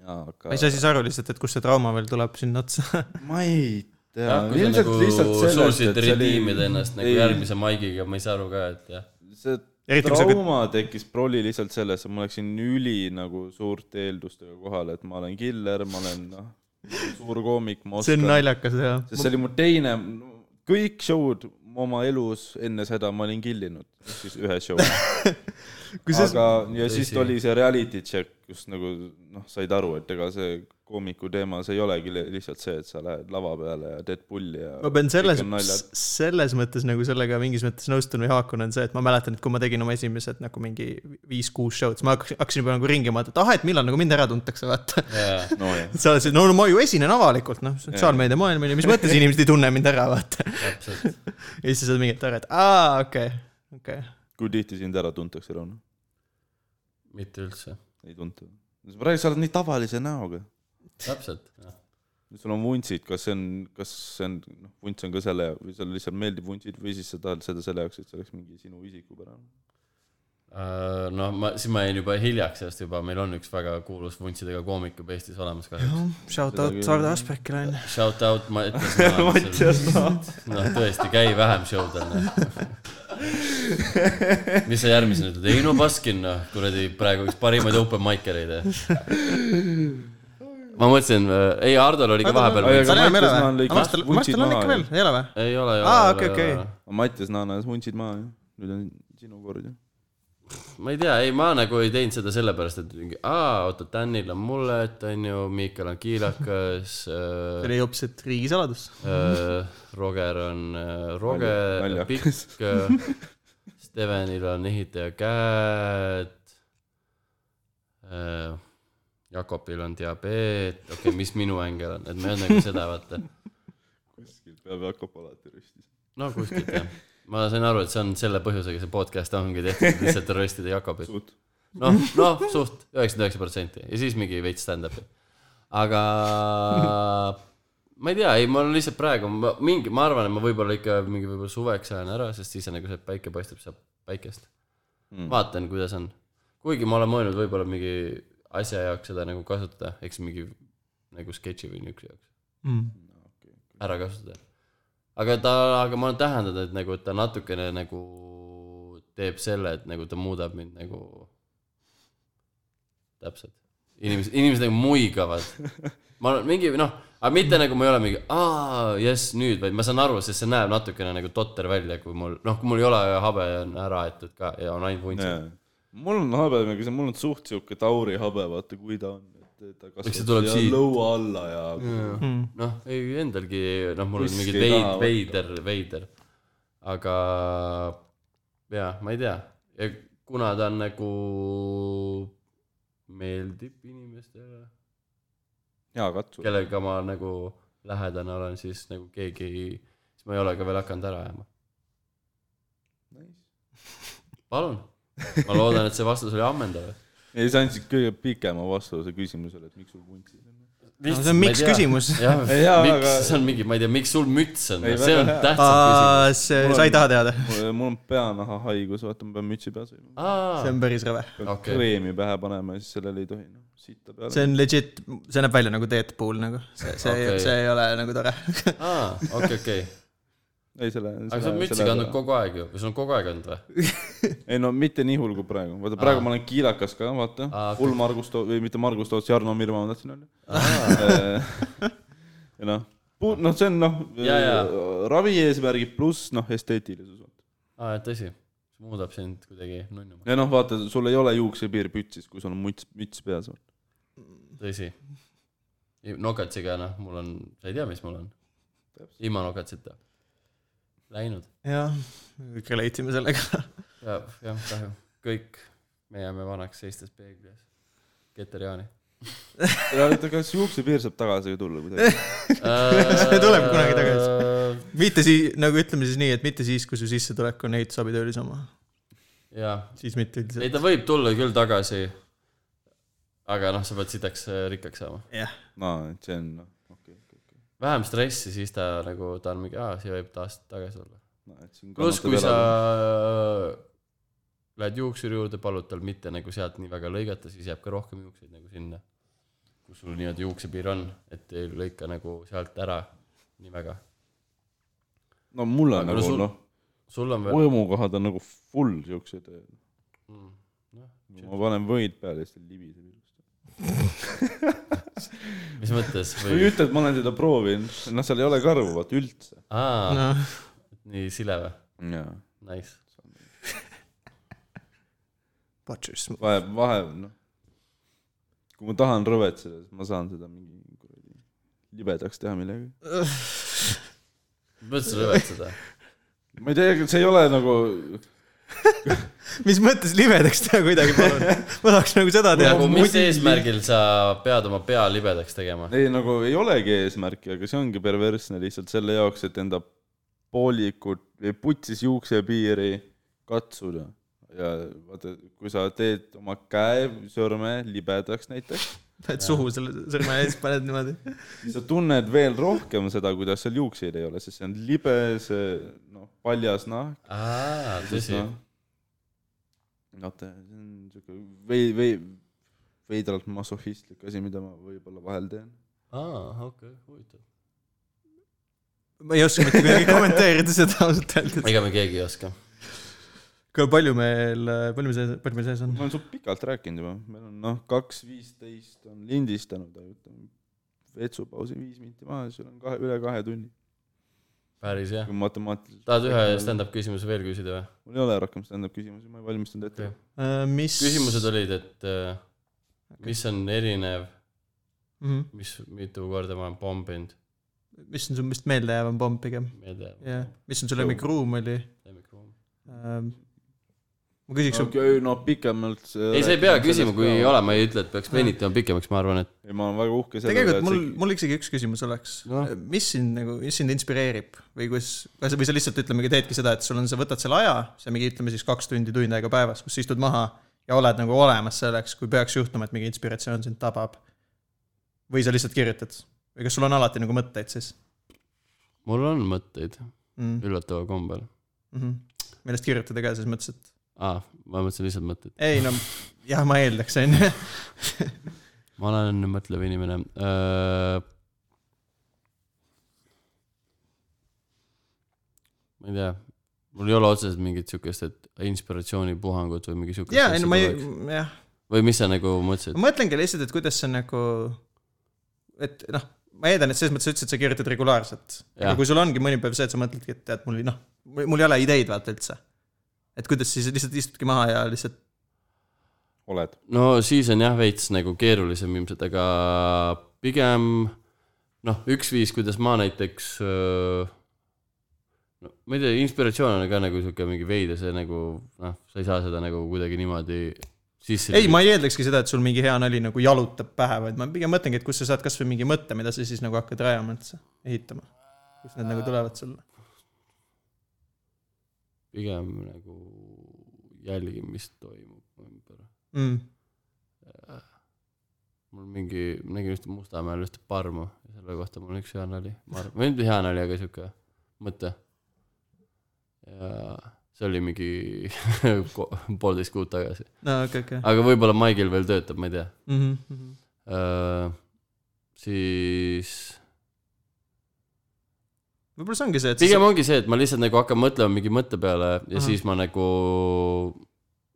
[SPEAKER 2] aga
[SPEAKER 1] ma ei saa siis aru lihtsalt , et kust see trauma veel tuleb sinna otsa .
[SPEAKER 2] ma ei tea
[SPEAKER 3] jah , kui sa nagu suutsid rediimida ennast nagu järgmise maigiga , ma ei saa aru ka , et jah .
[SPEAKER 2] see
[SPEAKER 1] Eriti, kui sa kõ-
[SPEAKER 2] trauma tekkis proli lihtsalt selles , et ma läksin üli nagu suurte eeldustega kohale , et ma olen killer , ma olen noh , suur koomik , ma
[SPEAKER 1] see
[SPEAKER 2] oskan
[SPEAKER 1] on naljakas jah .
[SPEAKER 2] sest see oli mu teine , kõik show'd mu oma elus enne seda ma olin killinud , siis ühe show .
[SPEAKER 1] Kusjuures-
[SPEAKER 2] aga , ja siis
[SPEAKER 3] Tõsi.
[SPEAKER 2] oli see reality check , kus nagu noh , said aru , et ega see koomiku teema , see ei olegi li- lihtsalt see , et sa lähed lava peale ja teed pulli ja
[SPEAKER 1] ma pean selles
[SPEAKER 2] kõik on , naljad.
[SPEAKER 1] selles mõttes nagu sellega mingis mõttes nõustun või haakun , on see , et ma mäletan , et kui ma tegin oma esimesed nagu mingi viis-kuus show'd , siis ma hakkasin , hakkasin juba nagu ringi mõtlema , et ah , et millal nagu mind ära tuntakse , vaata .
[SPEAKER 2] no, jah.
[SPEAKER 1] sa oled siin , no no ma ju esinen avalikult , noh , sotsiaalmeedia maailm on ju , mis mõttes inimesed ei tunne mind ära , vaata .
[SPEAKER 3] täpselt .
[SPEAKER 1] ja siis sa saad mingi , et ära , et aa , okei , okei .
[SPEAKER 2] kui tihti sind ära tuntakse , Rauno ?
[SPEAKER 3] mitte üldse .
[SPEAKER 2] ei tunta . praegu sa oled nii tavalise näoga .
[SPEAKER 3] täpselt .
[SPEAKER 2] sul on vuntsid , kas see on , kas see on , noh , vunts on ka selle , või sulle lihtsalt meeldib vuntsid või siis sa tahad seda selle jaoks , et see oleks mingi sinu isikupärane ?
[SPEAKER 3] noh , ma , siis ma jäin juba hiljaks , sest juba meil on üks väga kuulus vuntsidega koomik juba Eestis olemas kahjuks .
[SPEAKER 1] Shout
[SPEAKER 2] Seda
[SPEAKER 1] out
[SPEAKER 2] küll.
[SPEAKER 1] Sardo Aspergile on ju .
[SPEAKER 3] Shout out , ma ütlesin . noh , tõesti , käi vähem show'del , noh . mis sa järgmisena ütled , ei no Baskin , noh , kuradi praegu üks parimaid open mic ereid . ma mõtlesin , ei Hardol oli ka vahepeal
[SPEAKER 2] Ai,
[SPEAKER 3] veits
[SPEAKER 1] tal
[SPEAKER 2] aga-
[SPEAKER 1] enam ei ole
[SPEAKER 2] Mattias Naan
[SPEAKER 1] või
[SPEAKER 2] lõi ? kaks
[SPEAKER 1] Mastel , Mastel on
[SPEAKER 2] vuntsid
[SPEAKER 1] ikka
[SPEAKER 2] maha,
[SPEAKER 1] veel , ei ole või ?
[SPEAKER 3] ei ole , ei ole .
[SPEAKER 1] Aa, Ah, okei, okei.
[SPEAKER 2] Mattias Naanas vuntsid maha , nüüd on sinu kord ju .
[SPEAKER 3] ma ei tea , ei ma nagu ei teinud seda sellepärast , et mingi aa , oota , Tänil on mullet , onju , Miikal on kiilakas
[SPEAKER 1] see
[SPEAKER 3] äh, ,
[SPEAKER 1] oli hoopis , et riigisaladus .
[SPEAKER 3] äh, Roger on äh, Roger , pikk
[SPEAKER 2] Naljakas.
[SPEAKER 3] äh, , Stevenil on ehitaja käed äh, , Jakobil on diabeet , okei okay, , mis minu ängel on , et ma ei olnud nagu seda , vaata .
[SPEAKER 2] kuskil peab hakkab alati rüstis .
[SPEAKER 3] no kuskilt jah , ma sain aru , et see on selle põhjusega , see podcast ongi tehtud , lihtsalt arrestida Jakobit .
[SPEAKER 2] suht .
[SPEAKER 3] noh , noh suht üheksakümmend üheksa protsenti ja siis mingi veits stand-up'i . aga ma ei tea , ei mul on lihtsalt praegu ma, mingi , ma arvan , et ma võib-olla ikka mingi võib-olla suveks ajan ära , sest siis on nagu see , et päike paistab , saab päikest mm. . vaatan , kuidas on . kuigi ma olen mõelnud võib-olla mingi asja jaoks seda nagu kasutada , eks mingi nagu sketši või niisuguse jaoks
[SPEAKER 1] Mm.
[SPEAKER 2] Ah,
[SPEAKER 3] ära kasutada . aga ta , aga ma olen täheldanud , et nagu ta natukene nagu teeb selle , et nagu ta muudab mind nagu . täpselt , inimesed , inimesed nagu muigavad . ma olen mingi noh , aga mitte nagu ma ei ole mingi aa , jess , nüüd , vaid ma saan aru , sest see näeb natukene nagu totter välja , kui mul noh , kui mul ei ole habe on ära aetud ka ja on ainult vuntsid .
[SPEAKER 2] mul on habe , aga see , mul on suht siuke tauri habe , vaata kui ta on , et ta
[SPEAKER 3] Eks see tuleb
[SPEAKER 2] siia
[SPEAKER 3] siit.
[SPEAKER 2] lõua alla ja
[SPEAKER 3] noh , ei endalgi , noh , mul on mingi
[SPEAKER 2] Kuskil ei
[SPEAKER 3] veid,
[SPEAKER 2] taha
[SPEAKER 3] veider , veider . aga jaa , ma ei tea , kuna ta on nagu , meeldib inimestele ,
[SPEAKER 2] hea katsu .
[SPEAKER 3] kellega ma nagu lähedane olen , siis nagu keegi , siis ma ei ole ka veel hakanud ära ajama . palun , ma loodan , et see vastus oli ammendav .
[SPEAKER 2] ei , sa andsid kõige pikema vastuse küsimusele , et miks sul vuntsid on .
[SPEAKER 1] see on miks küsimus .
[SPEAKER 3] jah ,
[SPEAKER 2] Jaa,
[SPEAKER 3] miks aga...
[SPEAKER 2] aga- ,
[SPEAKER 3] see on mingi , ma ei tea , miks sul müts on ,
[SPEAKER 2] Ei,
[SPEAKER 3] see
[SPEAKER 2] väga
[SPEAKER 3] on
[SPEAKER 2] hea.
[SPEAKER 3] tähtsam küsimus .
[SPEAKER 1] aa , see , sa ei taha teada ?
[SPEAKER 2] mul on peanahahaigus , vaata ma pean mütsi peas hoidma .
[SPEAKER 1] see
[SPEAKER 3] aa ,
[SPEAKER 1] on päris rõve .
[SPEAKER 2] pean
[SPEAKER 3] Okei.
[SPEAKER 2] kreemi pähe panema ja siis sellele ei tohi , noh . sitta peale .
[SPEAKER 1] see on legit , see näeb välja nagu Deadpool nagu , see , see okay. ,
[SPEAKER 3] Okei.
[SPEAKER 1] see ei ole nagu tore .
[SPEAKER 3] aa , okei , okei .
[SPEAKER 2] ei , selle .
[SPEAKER 3] aga sa oled mütsi kandnud . kogu aeg ju , või sul on kogu aeg olnud või ?
[SPEAKER 2] ei no mitte nii hull kui praegu , vaata praegu ma olen kiilakas ka , vaata
[SPEAKER 3] Aa, .
[SPEAKER 2] hull Margus Toots , või mitte Margus Toots , Jarno Mirva ma tahtsin öelda . ja noh , noh , see on noh
[SPEAKER 3] Ja, ja. ,
[SPEAKER 2] ravi eesmärgid pluss noh , esteetilisus .
[SPEAKER 3] aa , tõsi , see muudab sind kuidagi nunnuma ,
[SPEAKER 2] ja noh , vaata , sul ei ole juuksepiir pütsis , kui sul on müts , müts peas .
[SPEAKER 3] tõsi . nokatsiga noh , mul on , sa ei tea , mis mul on . ilma nokatsita . Läinud ,
[SPEAKER 1] jah , kõik relate ime sellega .
[SPEAKER 3] jah , jah , kahju , kõik , me jääme vanaks seistes peegli ees . Keter Jaani .
[SPEAKER 2] kas juuksepiir saab tagasi tulla kuidagi ?
[SPEAKER 3] see
[SPEAKER 1] tuleb kunagi tagasi. .
[SPEAKER 3] Äh,
[SPEAKER 1] mitte siis , nagu ütleme siis nii , et mitte siis , kui su sissetulek on ehitusabitoolis oma ,
[SPEAKER 3] jah ,
[SPEAKER 1] siis mitte
[SPEAKER 3] ei
[SPEAKER 1] üldiselt .
[SPEAKER 3] ta võib tulla küll tagasi . aga noh , sa pead sitaks äh, rikkaks saama .
[SPEAKER 1] jah ,
[SPEAKER 2] no , et see on noh , okei , okei .
[SPEAKER 3] vähem stressi , siis ta nagu , ta on mingi , aa , see võib taas tagasi tulla . pluss ,
[SPEAKER 2] pluss
[SPEAKER 3] kui sa . lähed juuksuri juurde , palud tal mitte nagu sealt nii väga lõigata , siis jääb ka rohkem juukseid nagu sinna , kus sul nii-öelda juuksepiir on , et ei lõika nagu sealt ära nii väga .
[SPEAKER 2] no mul
[SPEAKER 3] Aga
[SPEAKER 2] on
[SPEAKER 3] no
[SPEAKER 2] nagu
[SPEAKER 3] sul-
[SPEAKER 2] noh ,
[SPEAKER 3] sul on veel , Mm,
[SPEAKER 2] võimukohad on nagu full siuksed , ma
[SPEAKER 3] noh. mis
[SPEAKER 2] panen võid peale ja siis ta libiseb ilusti .
[SPEAKER 3] mõttes
[SPEAKER 2] või
[SPEAKER 3] või ,
[SPEAKER 2] ütle , et ma olen seda proovinud , noh , seal ei ole karvu , vaata üldse .
[SPEAKER 3] aa ,
[SPEAKER 1] noh ,
[SPEAKER 3] nii sile või ,
[SPEAKER 2] jaa ,
[SPEAKER 3] nice .
[SPEAKER 1] butchers .
[SPEAKER 2] vahe , vahe on noh . kui ma tahan rõvetseda , siis ma saan seda mingi kuradi libedaks teha millegagi .
[SPEAKER 3] mõtlesin lõpetada ,
[SPEAKER 2] ma ei tea , see ei ole nagu ,
[SPEAKER 1] mis mõttes libedaks teha kuidagi , palun ? ma tahaks nagu seda teada
[SPEAKER 3] nagu . mis
[SPEAKER 2] muidugi-
[SPEAKER 3] eesmärgil sa pead oma pea libedaks tegema ?
[SPEAKER 2] ei nagu ei olegi eesmärki , aga see ongi perversne lihtsalt selle jaoks , et enda poolikut või putsis juuksepiiri katsuda . ja vaata , kui sa teed oma käe , sõrme libedaks näiteks ,
[SPEAKER 1] et suhu selle sõrme ees paned niimoodi .
[SPEAKER 2] siis sa tunned veel rohkem seda , kuidas seal juukseid ei ole , sest see on libe , see noh , paljas nahk .
[SPEAKER 3] aa , tõsi ,
[SPEAKER 2] noh. vaata , see on siuke vei- , vei- , veidralt masohhistlik asi , mida ma võib-olla vahel teen .
[SPEAKER 3] aa , okei , huvitav .
[SPEAKER 1] ma ei oska mitte kuidagi kommenteerida seda ausalt öeldes .
[SPEAKER 3] ega me keegi ei oska .
[SPEAKER 1] kui palju meil , palju meil sees , palju meil sees on
[SPEAKER 2] ma ? olen suht pikalt rääkinud juba , meil on noh , kaks viisteist on lindistanud , aga ütleme , vetsupausi viis minti maha , siis sul on kahe , üle kahe tunni .
[SPEAKER 3] päris jah .
[SPEAKER 2] kui matemaatiliselt .
[SPEAKER 3] tahad ühe ? stand-up küsimuse veel küsida või ?
[SPEAKER 2] mul ei ole rohkem stand-up küsimusi , ma ei valmistanud ette
[SPEAKER 3] Okei.
[SPEAKER 2] okay. .
[SPEAKER 1] Äh, mis ?
[SPEAKER 3] küsimused olid , et äh, mis on erinev ,
[SPEAKER 1] olid .
[SPEAKER 3] mis mitu korda ma olen pomminud ,
[SPEAKER 1] Mhm. mis on su vist meeldejäävam pomm pigem ?
[SPEAKER 3] ma ei tea
[SPEAKER 1] jah , mis on su lemmikruum oli ?
[SPEAKER 3] lemmikruum.
[SPEAKER 1] ma küsiks okay. ,
[SPEAKER 2] okei , no pikemalt .
[SPEAKER 3] ei , sa ei pea küsima , kui ei . ole , ma ei ütle , et peaks venitama pikemaks , ma arvan , et
[SPEAKER 2] ei , ma olen väga uhke selle
[SPEAKER 1] tegelikult mul , mul isegi üks küsimus oleks no. . mis sind nagu , mis sind inspireerib või kus , või sa või sa lihtsalt ütlemegi , teedki seda , et sul on , sa võtad selle aja , see mingi , ütleme siis kaks tundi , tund aega päevas , kus sa istud maha ja oled nagu olemas selleks , kui peaks juhtuma , et mingi inspiratsioon sind tabab . või sa lihtsalt kirjutad või kas sul on alati nagu mõtteid siis
[SPEAKER 3] mul on mõtteid
[SPEAKER 1] mm. ?
[SPEAKER 3] üllataval kombel .
[SPEAKER 1] Mm -hmm. millest kirjutada ka selles mõttes , et
[SPEAKER 3] aa , ma mõtlesin lihtsalt mõtteid .
[SPEAKER 1] ei no jah , ma eeldaks , on ju .
[SPEAKER 3] ma olen mõtlev inimene . Äh, ma ei tea , mul ei ole otseselt mingit siukest , et inspiratsioonipuhangut või mingi siukest .
[SPEAKER 1] jaa , ei no ma ei , jah .
[SPEAKER 3] või mis sa nagu mõtlesid ?
[SPEAKER 1] ma mõtlengi lihtsalt , et kuidas see on nagu , et noh , ma eeldan , et selles mõttes sa ütlesid , et sa kirjutad regulaarselt . aga
[SPEAKER 3] Jah.
[SPEAKER 1] kui sul ongi mõni päev see , et sa mõtledki , et tead , mul ei- noh , mul ei ole ideid vaata üldse . et kuidas siis lihtsalt istudki maha ja lihtsalt
[SPEAKER 2] oled .
[SPEAKER 3] no siis on jah veits nagu keerulisem ilmselt , aga pigem noh , üks viis , kuidas ma näiteks öö, no ma ei tea , inspiratsioon on ka nagu sihuke mingi veide , see nagu noh , sa ei saa seda nagu kuidagi niimoodi sisse .
[SPEAKER 1] ei , ma ei eeldakski seda , et sul mingi hea nali nagu jalutab pähe , vaid ma pigem mõtlengi , et kust sa saad kasvõi mingi mõtte , mida sa siis nagu hakkad rajama üldse , ehitama . kust need nagu tulevad sulle .
[SPEAKER 3] pigem nagu jälgin , mis toimub mu ümber .
[SPEAKER 1] Mm.
[SPEAKER 3] mul mingi , ma nägin ühte Mustamäel ühte parmu ja selle kohta mul on üks hea nali , ma arvan , või mitte hea nali , aga sihuke mõte . ja see oli mingi ko- poolteist kuud tagasi .
[SPEAKER 1] no okei , okei . Mhm,
[SPEAKER 3] aga võib-olla Maigil veel töötab , ma ei tea .
[SPEAKER 1] ja
[SPEAKER 3] siis
[SPEAKER 1] võib-olla see ongi see , et
[SPEAKER 3] pigem
[SPEAKER 1] Pigem...
[SPEAKER 3] ongi see , et ma lihtsalt nagu hakkan mõtlema mingi mõtte peale ja
[SPEAKER 1] Ahah.
[SPEAKER 3] siis ma nagu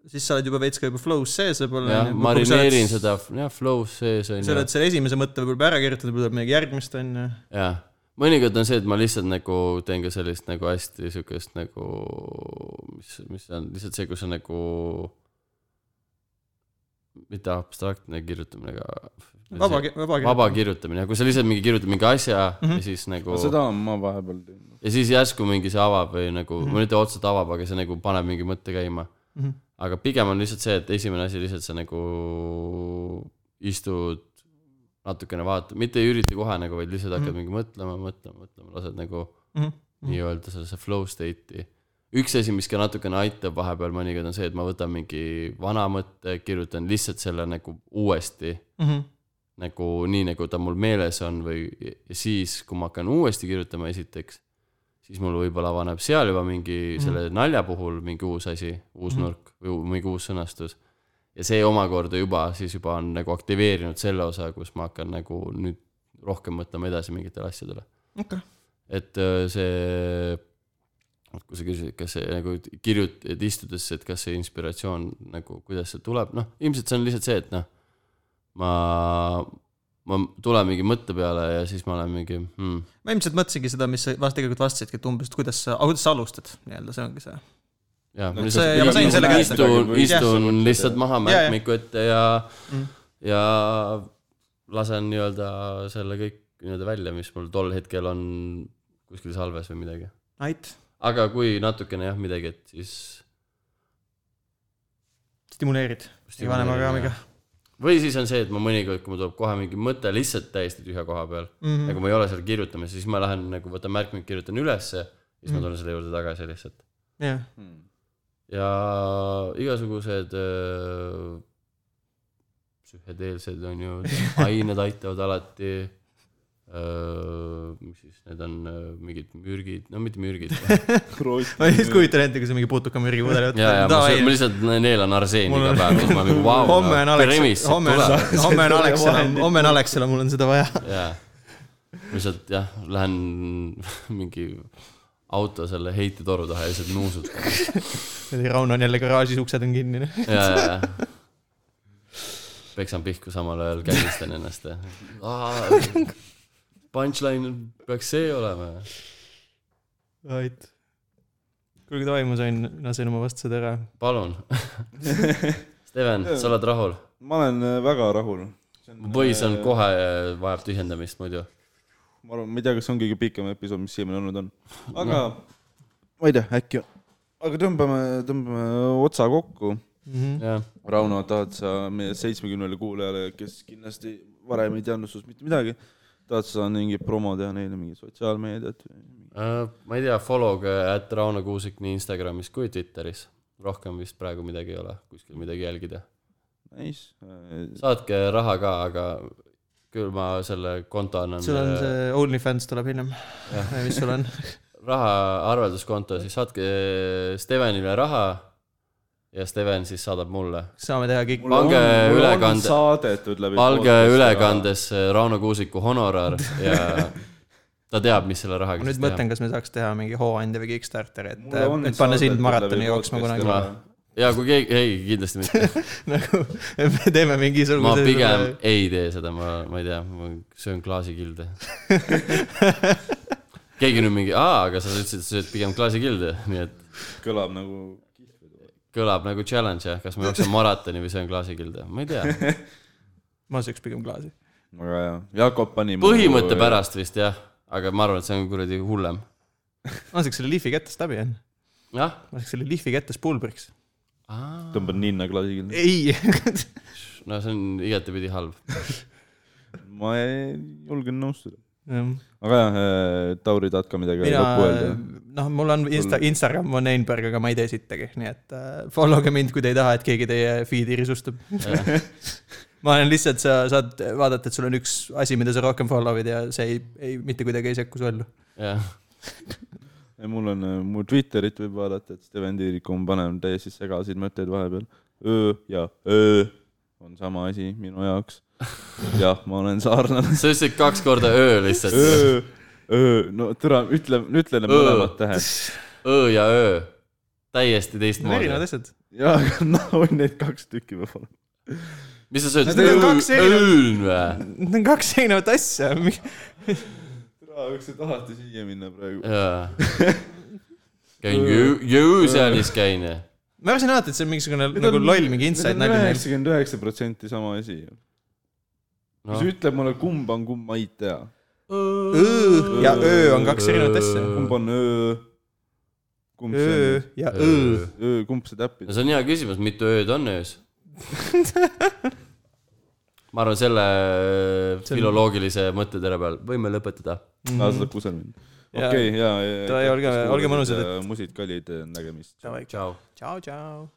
[SPEAKER 1] siis sa oled juba veits ka juba flow's sees võib-olla .
[SPEAKER 3] jah , marineerin seda jah , flow sees on
[SPEAKER 1] nagu- sa
[SPEAKER 3] ju
[SPEAKER 1] oled . selle esimese mõtte võib-olla ära kirjutanud , võib-olla tuleb midagi järgmist , on ju .
[SPEAKER 3] jah , mõnikord on see , et ma lihtsalt nagu teen ka sellist nagu hästi siukest nagu , mis , mis on lihtsalt see , kus on nagu . mitte abstraktne kirjutamine , aga .
[SPEAKER 1] vaba , vaba kirjutamine .
[SPEAKER 3] vaba kirjutamine , kui sa lihtsalt mingi kirjutad mingi asja mm -hmm.
[SPEAKER 1] Mhm.
[SPEAKER 3] ja siis nagu .
[SPEAKER 2] seda on ma vahepeal teinud .
[SPEAKER 3] ja siis järsku mingi see avab või nagu mm , -hmm. ma ei ütle otseselt avab , aga see nagu paneb mingi mõtte käima .
[SPEAKER 1] Mhm.
[SPEAKER 3] aga pigem on lihtsalt see , et esimene asi lihtsalt sa nagu istud , natukene vaatad , mitte ei ürita kohe nagu , vaid lihtsalt hakkad mm -hmm. mingi mõtlema , mõtlema , mõtlema , lased nagu mm
[SPEAKER 1] Mhm.
[SPEAKER 3] -hmm. nii-öelda sellesse flow state'i . üks asi , mis ka natukene aitab vahepeal mõnikord on see , et ma võtan mingi vana mõtte , kirjutan lihtsalt selle nagu uuesti
[SPEAKER 1] mm . -hmm.
[SPEAKER 3] nagu nii , nagu ta mul meeles on või ja siis , kui ma hakkan uuesti kirjutama esiteks , siis mul võib-olla avaneb seal juba mingi mm -hmm. selle nalja puhul mingi uus asi , uus mm -hmm. nurk või u- mingi uus sõnastus . ja see omakorda juba siis juba on nagu aktiveerinud selle osa , kus ma hakkan nagu nüüd rohkem mõtlema edasi mingitele asjadele .
[SPEAKER 1] okei okay. ,
[SPEAKER 3] et öö, see , kui sa küsisid , kas see nagu kirjut- , et istudes , et kas see inspiratsioon nagu , kuidas see tuleb , noh , ilmselt see on lihtsalt see , et noh , ma , ma tulen mingi mõtte peale ja siis ma olen mingi hmm, ,
[SPEAKER 1] ma ilmselt mõtlesingi seda , mis sa vast tegelikult vastasidki , et umbes , et kuidas sa , aga kuidas sa alustad nii-öelda , see ongi see .
[SPEAKER 3] jah ,
[SPEAKER 2] No
[SPEAKER 3] ma
[SPEAKER 1] see- ja ma sain selle
[SPEAKER 3] lihtsalt
[SPEAKER 1] kätte.
[SPEAKER 3] istun ,
[SPEAKER 2] Jah.
[SPEAKER 3] istun lihtsalt maha
[SPEAKER 1] Jaa, jaa.
[SPEAKER 3] märkmiku ette ja
[SPEAKER 1] Mm. ,
[SPEAKER 3] ja lasen nii-öelda selle kõik nii-öelda välja , mis mul tol hetkel on kuskil salves või midagi .
[SPEAKER 1] Ait ,
[SPEAKER 3] aga kui natukene jah midagi , et siis
[SPEAKER 1] stimuleerid , ei vanema kraamiga .
[SPEAKER 3] või siis on see , et ma mõnikord , kui mul tuleb kohe mingi mõte lihtsalt täiesti tühja koha peal mm.
[SPEAKER 1] Mhm.
[SPEAKER 3] ja kui ma ei ole seal kirjutamas , siis ma lähen nagu võtan märkmik , kirjutan ülesse ja siis mm.
[SPEAKER 1] Mhm.
[SPEAKER 3] ma tulen selle juurde tagasi lihtsalt .
[SPEAKER 1] jah ,
[SPEAKER 2] Hmm.
[SPEAKER 3] ja igasugused öö, psühhedeelsed on ju , ained aitavad alati . mis siis need on , mingid mürgid , no mitte mürgid .
[SPEAKER 1] ma just kujutan ette , kui sa mingi putukamürgipudeli
[SPEAKER 3] ja , ja ma,
[SPEAKER 1] Davai.
[SPEAKER 3] ma lihtsalt neelan arseeni
[SPEAKER 1] Mul
[SPEAKER 3] iga
[SPEAKER 1] on-
[SPEAKER 3] päev , siis ma olen nagu vau ,
[SPEAKER 1] homme on Alex ,
[SPEAKER 3] premise
[SPEAKER 1] homme on
[SPEAKER 3] tuleb .,
[SPEAKER 1] homme on Alexela
[SPEAKER 2] vahendid. ,
[SPEAKER 1] homme on Alexela , mul on seda vaja .
[SPEAKER 3] jaa , lihtsalt jah , lähen mingi auto selle heitetoru taha ja lihtsalt nuusutan .
[SPEAKER 1] Rauno on jälle garaažis , uksed on kinni .
[SPEAKER 3] ja , ja , ja . peksan pihku samal ajal , kägistan ennast ja . Punchline peaks see olema .
[SPEAKER 1] noh. Ait . kuulge , Toivo , ma sain , lasen oma vastused ära .
[SPEAKER 3] palun . Steven , sa oled rahul ?
[SPEAKER 2] ma olen äh, väga rahul .
[SPEAKER 3] poiss on kohe , vajab tühjendamist muidu .
[SPEAKER 2] ma arvan , ma ei tea , kas see on kõige pikem episood , mis siiamaani olnud on , aga ma ei tea , äkki , aga tõmbame , tõmbame otsa kokku .
[SPEAKER 1] Mhm.
[SPEAKER 3] jah ,
[SPEAKER 2] Rauno , tahad sa meie seitsmekümnele kuulajale , kes kindlasti varem ei teadnud sinust mitte midagi , tahad sa mingi promo teha neile , mingi sotsiaalmeediat või ?
[SPEAKER 3] Äh, ma ei tea , follow'ge at Rauno Kuusik nii Instagramis kui Twitteris . rohkem vist praegu midagi ei ole , kuskil midagi jälgida .
[SPEAKER 2] Nice .
[SPEAKER 3] saatke raha ka , aga küll ma selle konto annan . äh,
[SPEAKER 1] sul on see OnlyFans tuleb hiljem . mis sul on ?
[SPEAKER 3] raha arvelduskonto , siis saatke äh, Stevenile raha ja Steven siis saadab mulle .
[SPEAKER 1] saame teha kõik .
[SPEAKER 3] Pange ülekande-
[SPEAKER 2] saadetud läbi .
[SPEAKER 3] pange . ülekandesse äh, Rauno Kuusiku honorar ja ta teab , mis selle rahaga
[SPEAKER 1] ma nüüd
[SPEAKER 3] siis teha .
[SPEAKER 1] mõtlen , kas me saaks teha mingi hooandja või Kickstarteri , et ,
[SPEAKER 2] Mulle on
[SPEAKER 1] et panna sind
[SPEAKER 2] saadetud
[SPEAKER 1] maratoni
[SPEAKER 2] läbi
[SPEAKER 1] jooksma
[SPEAKER 2] podcast'i
[SPEAKER 1] kunagi
[SPEAKER 2] raha. .
[SPEAKER 3] ja kui keegi , ei kindlasti mitte ,
[SPEAKER 1] nagu , et me teeme mingisuguse .
[SPEAKER 3] ma pigem ei tee seda , ma , ma ei tea , ma söön klaasikilde . keegi nüüd mingi , aa , aga sa ütlesid , et sa sööd pigem klaasikilde , nii et
[SPEAKER 2] kõlab nagu
[SPEAKER 3] kõlab nagu challenge jah , kas ma jooksen maratoni või söön klaasikilde , ma ei tea .
[SPEAKER 1] ma sööks pigem klaasi .
[SPEAKER 2] väga hea , Jakob pani .
[SPEAKER 3] põhimõtte . pärast vist jah , aga ma arvan , et see on kuradi hullem .
[SPEAKER 1] ma sööks selle lihvi kätest läbi , onju .
[SPEAKER 3] jah ,
[SPEAKER 1] ma sööks selle lihvi kätest pulbriks .
[SPEAKER 2] tõmban ninna klaasiga .
[SPEAKER 1] ei .
[SPEAKER 3] no see on igatepidi halb .
[SPEAKER 2] ma ei julgen nõustuda .
[SPEAKER 1] mina ,
[SPEAKER 2] aga jah , Tauri , tahad ka midagi lõppu öelda ?
[SPEAKER 1] noh , mul on Insta , Instagram on Einberg , aga ma ei tee sittagi , nii et äh, follow ge mind , kui te ei taha , et keegi teie feed'i risustab . ma olen lihtsalt , sa saad vaadata , et sul on üks asi , mida sa rohkem follow'id ja see ei , ei mitte kuidagi ei sekku su ellu .
[SPEAKER 3] jah ,
[SPEAKER 2] ja mul on , mu Twitterit võib vaadata , et Steven Tiirik on , paneb täiesti segaseid mõtteid vahepeal . öö ja öö on sama asi minu jaoks . jah , ma olen sarnane .
[SPEAKER 3] sa ütlesid kaks korda öö lihtsalt .
[SPEAKER 2] öö , öö , no türa , ütle , ütle need
[SPEAKER 3] Öö.
[SPEAKER 2] mõlemad tähed .
[SPEAKER 3] öö ja öö . täiesti teistmoodi .
[SPEAKER 1] erinevad asjad .
[SPEAKER 2] jaa , aga no on neid kaks tükki võib-olla .
[SPEAKER 3] mis sa sööd ,
[SPEAKER 1] Need on nagu kaks erinevat-
[SPEAKER 3] õõn või ?
[SPEAKER 1] Need on kaks erinevat asja .
[SPEAKER 2] türa , kas te tahate siia minna praegu ?
[SPEAKER 3] jaa . käin jõu , jõusaalis käin .
[SPEAKER 1] ma arvasin alati , et see on mingisugune nagu loll mingi inside nali neil .
[SPEAKER 2] üheksakümmend üheksa protsenti sama asi .
[SPEAKER 3] No.
[SPEAKER 2] siis ütle mulle , kumb on kumb , ma ei tea .
[SPEAKER 1] Õ ja öö on kaks erinevat asja .
[SPEAKER 2] kumb on öö ? kumb see
[SPEAKER 1] öö
[SPEAKER 2] on ?
[SPEAKER 1] ja öö .
[SPEAKER 3] no
[SPEAKER 2] öö , kumb see täppi ?
[SPEAKER 3] see on hea küsimus , mitu ööd on öös ? ma arvan , selle
[SPEAKER 1] on-
[SPEAKER 3] filoloogilise mõttetera peal võime lõpetada .
[SPEAKER 1] mm.
[SPEAKER 2] lased kusagil mind .
[SPEAKER 1] Mhm. Jaa.
[SPEAKER 2] okei , ja , ja .
[SPEAKER 1] Davai, olge- olge mõnusad, et-
[SPEAKER 2] musid kallid , äh, nägemist .
[SPEAKER 1] tšau ,
[SPEAKER 3] tšau .
[SPEAKER 1] tšau .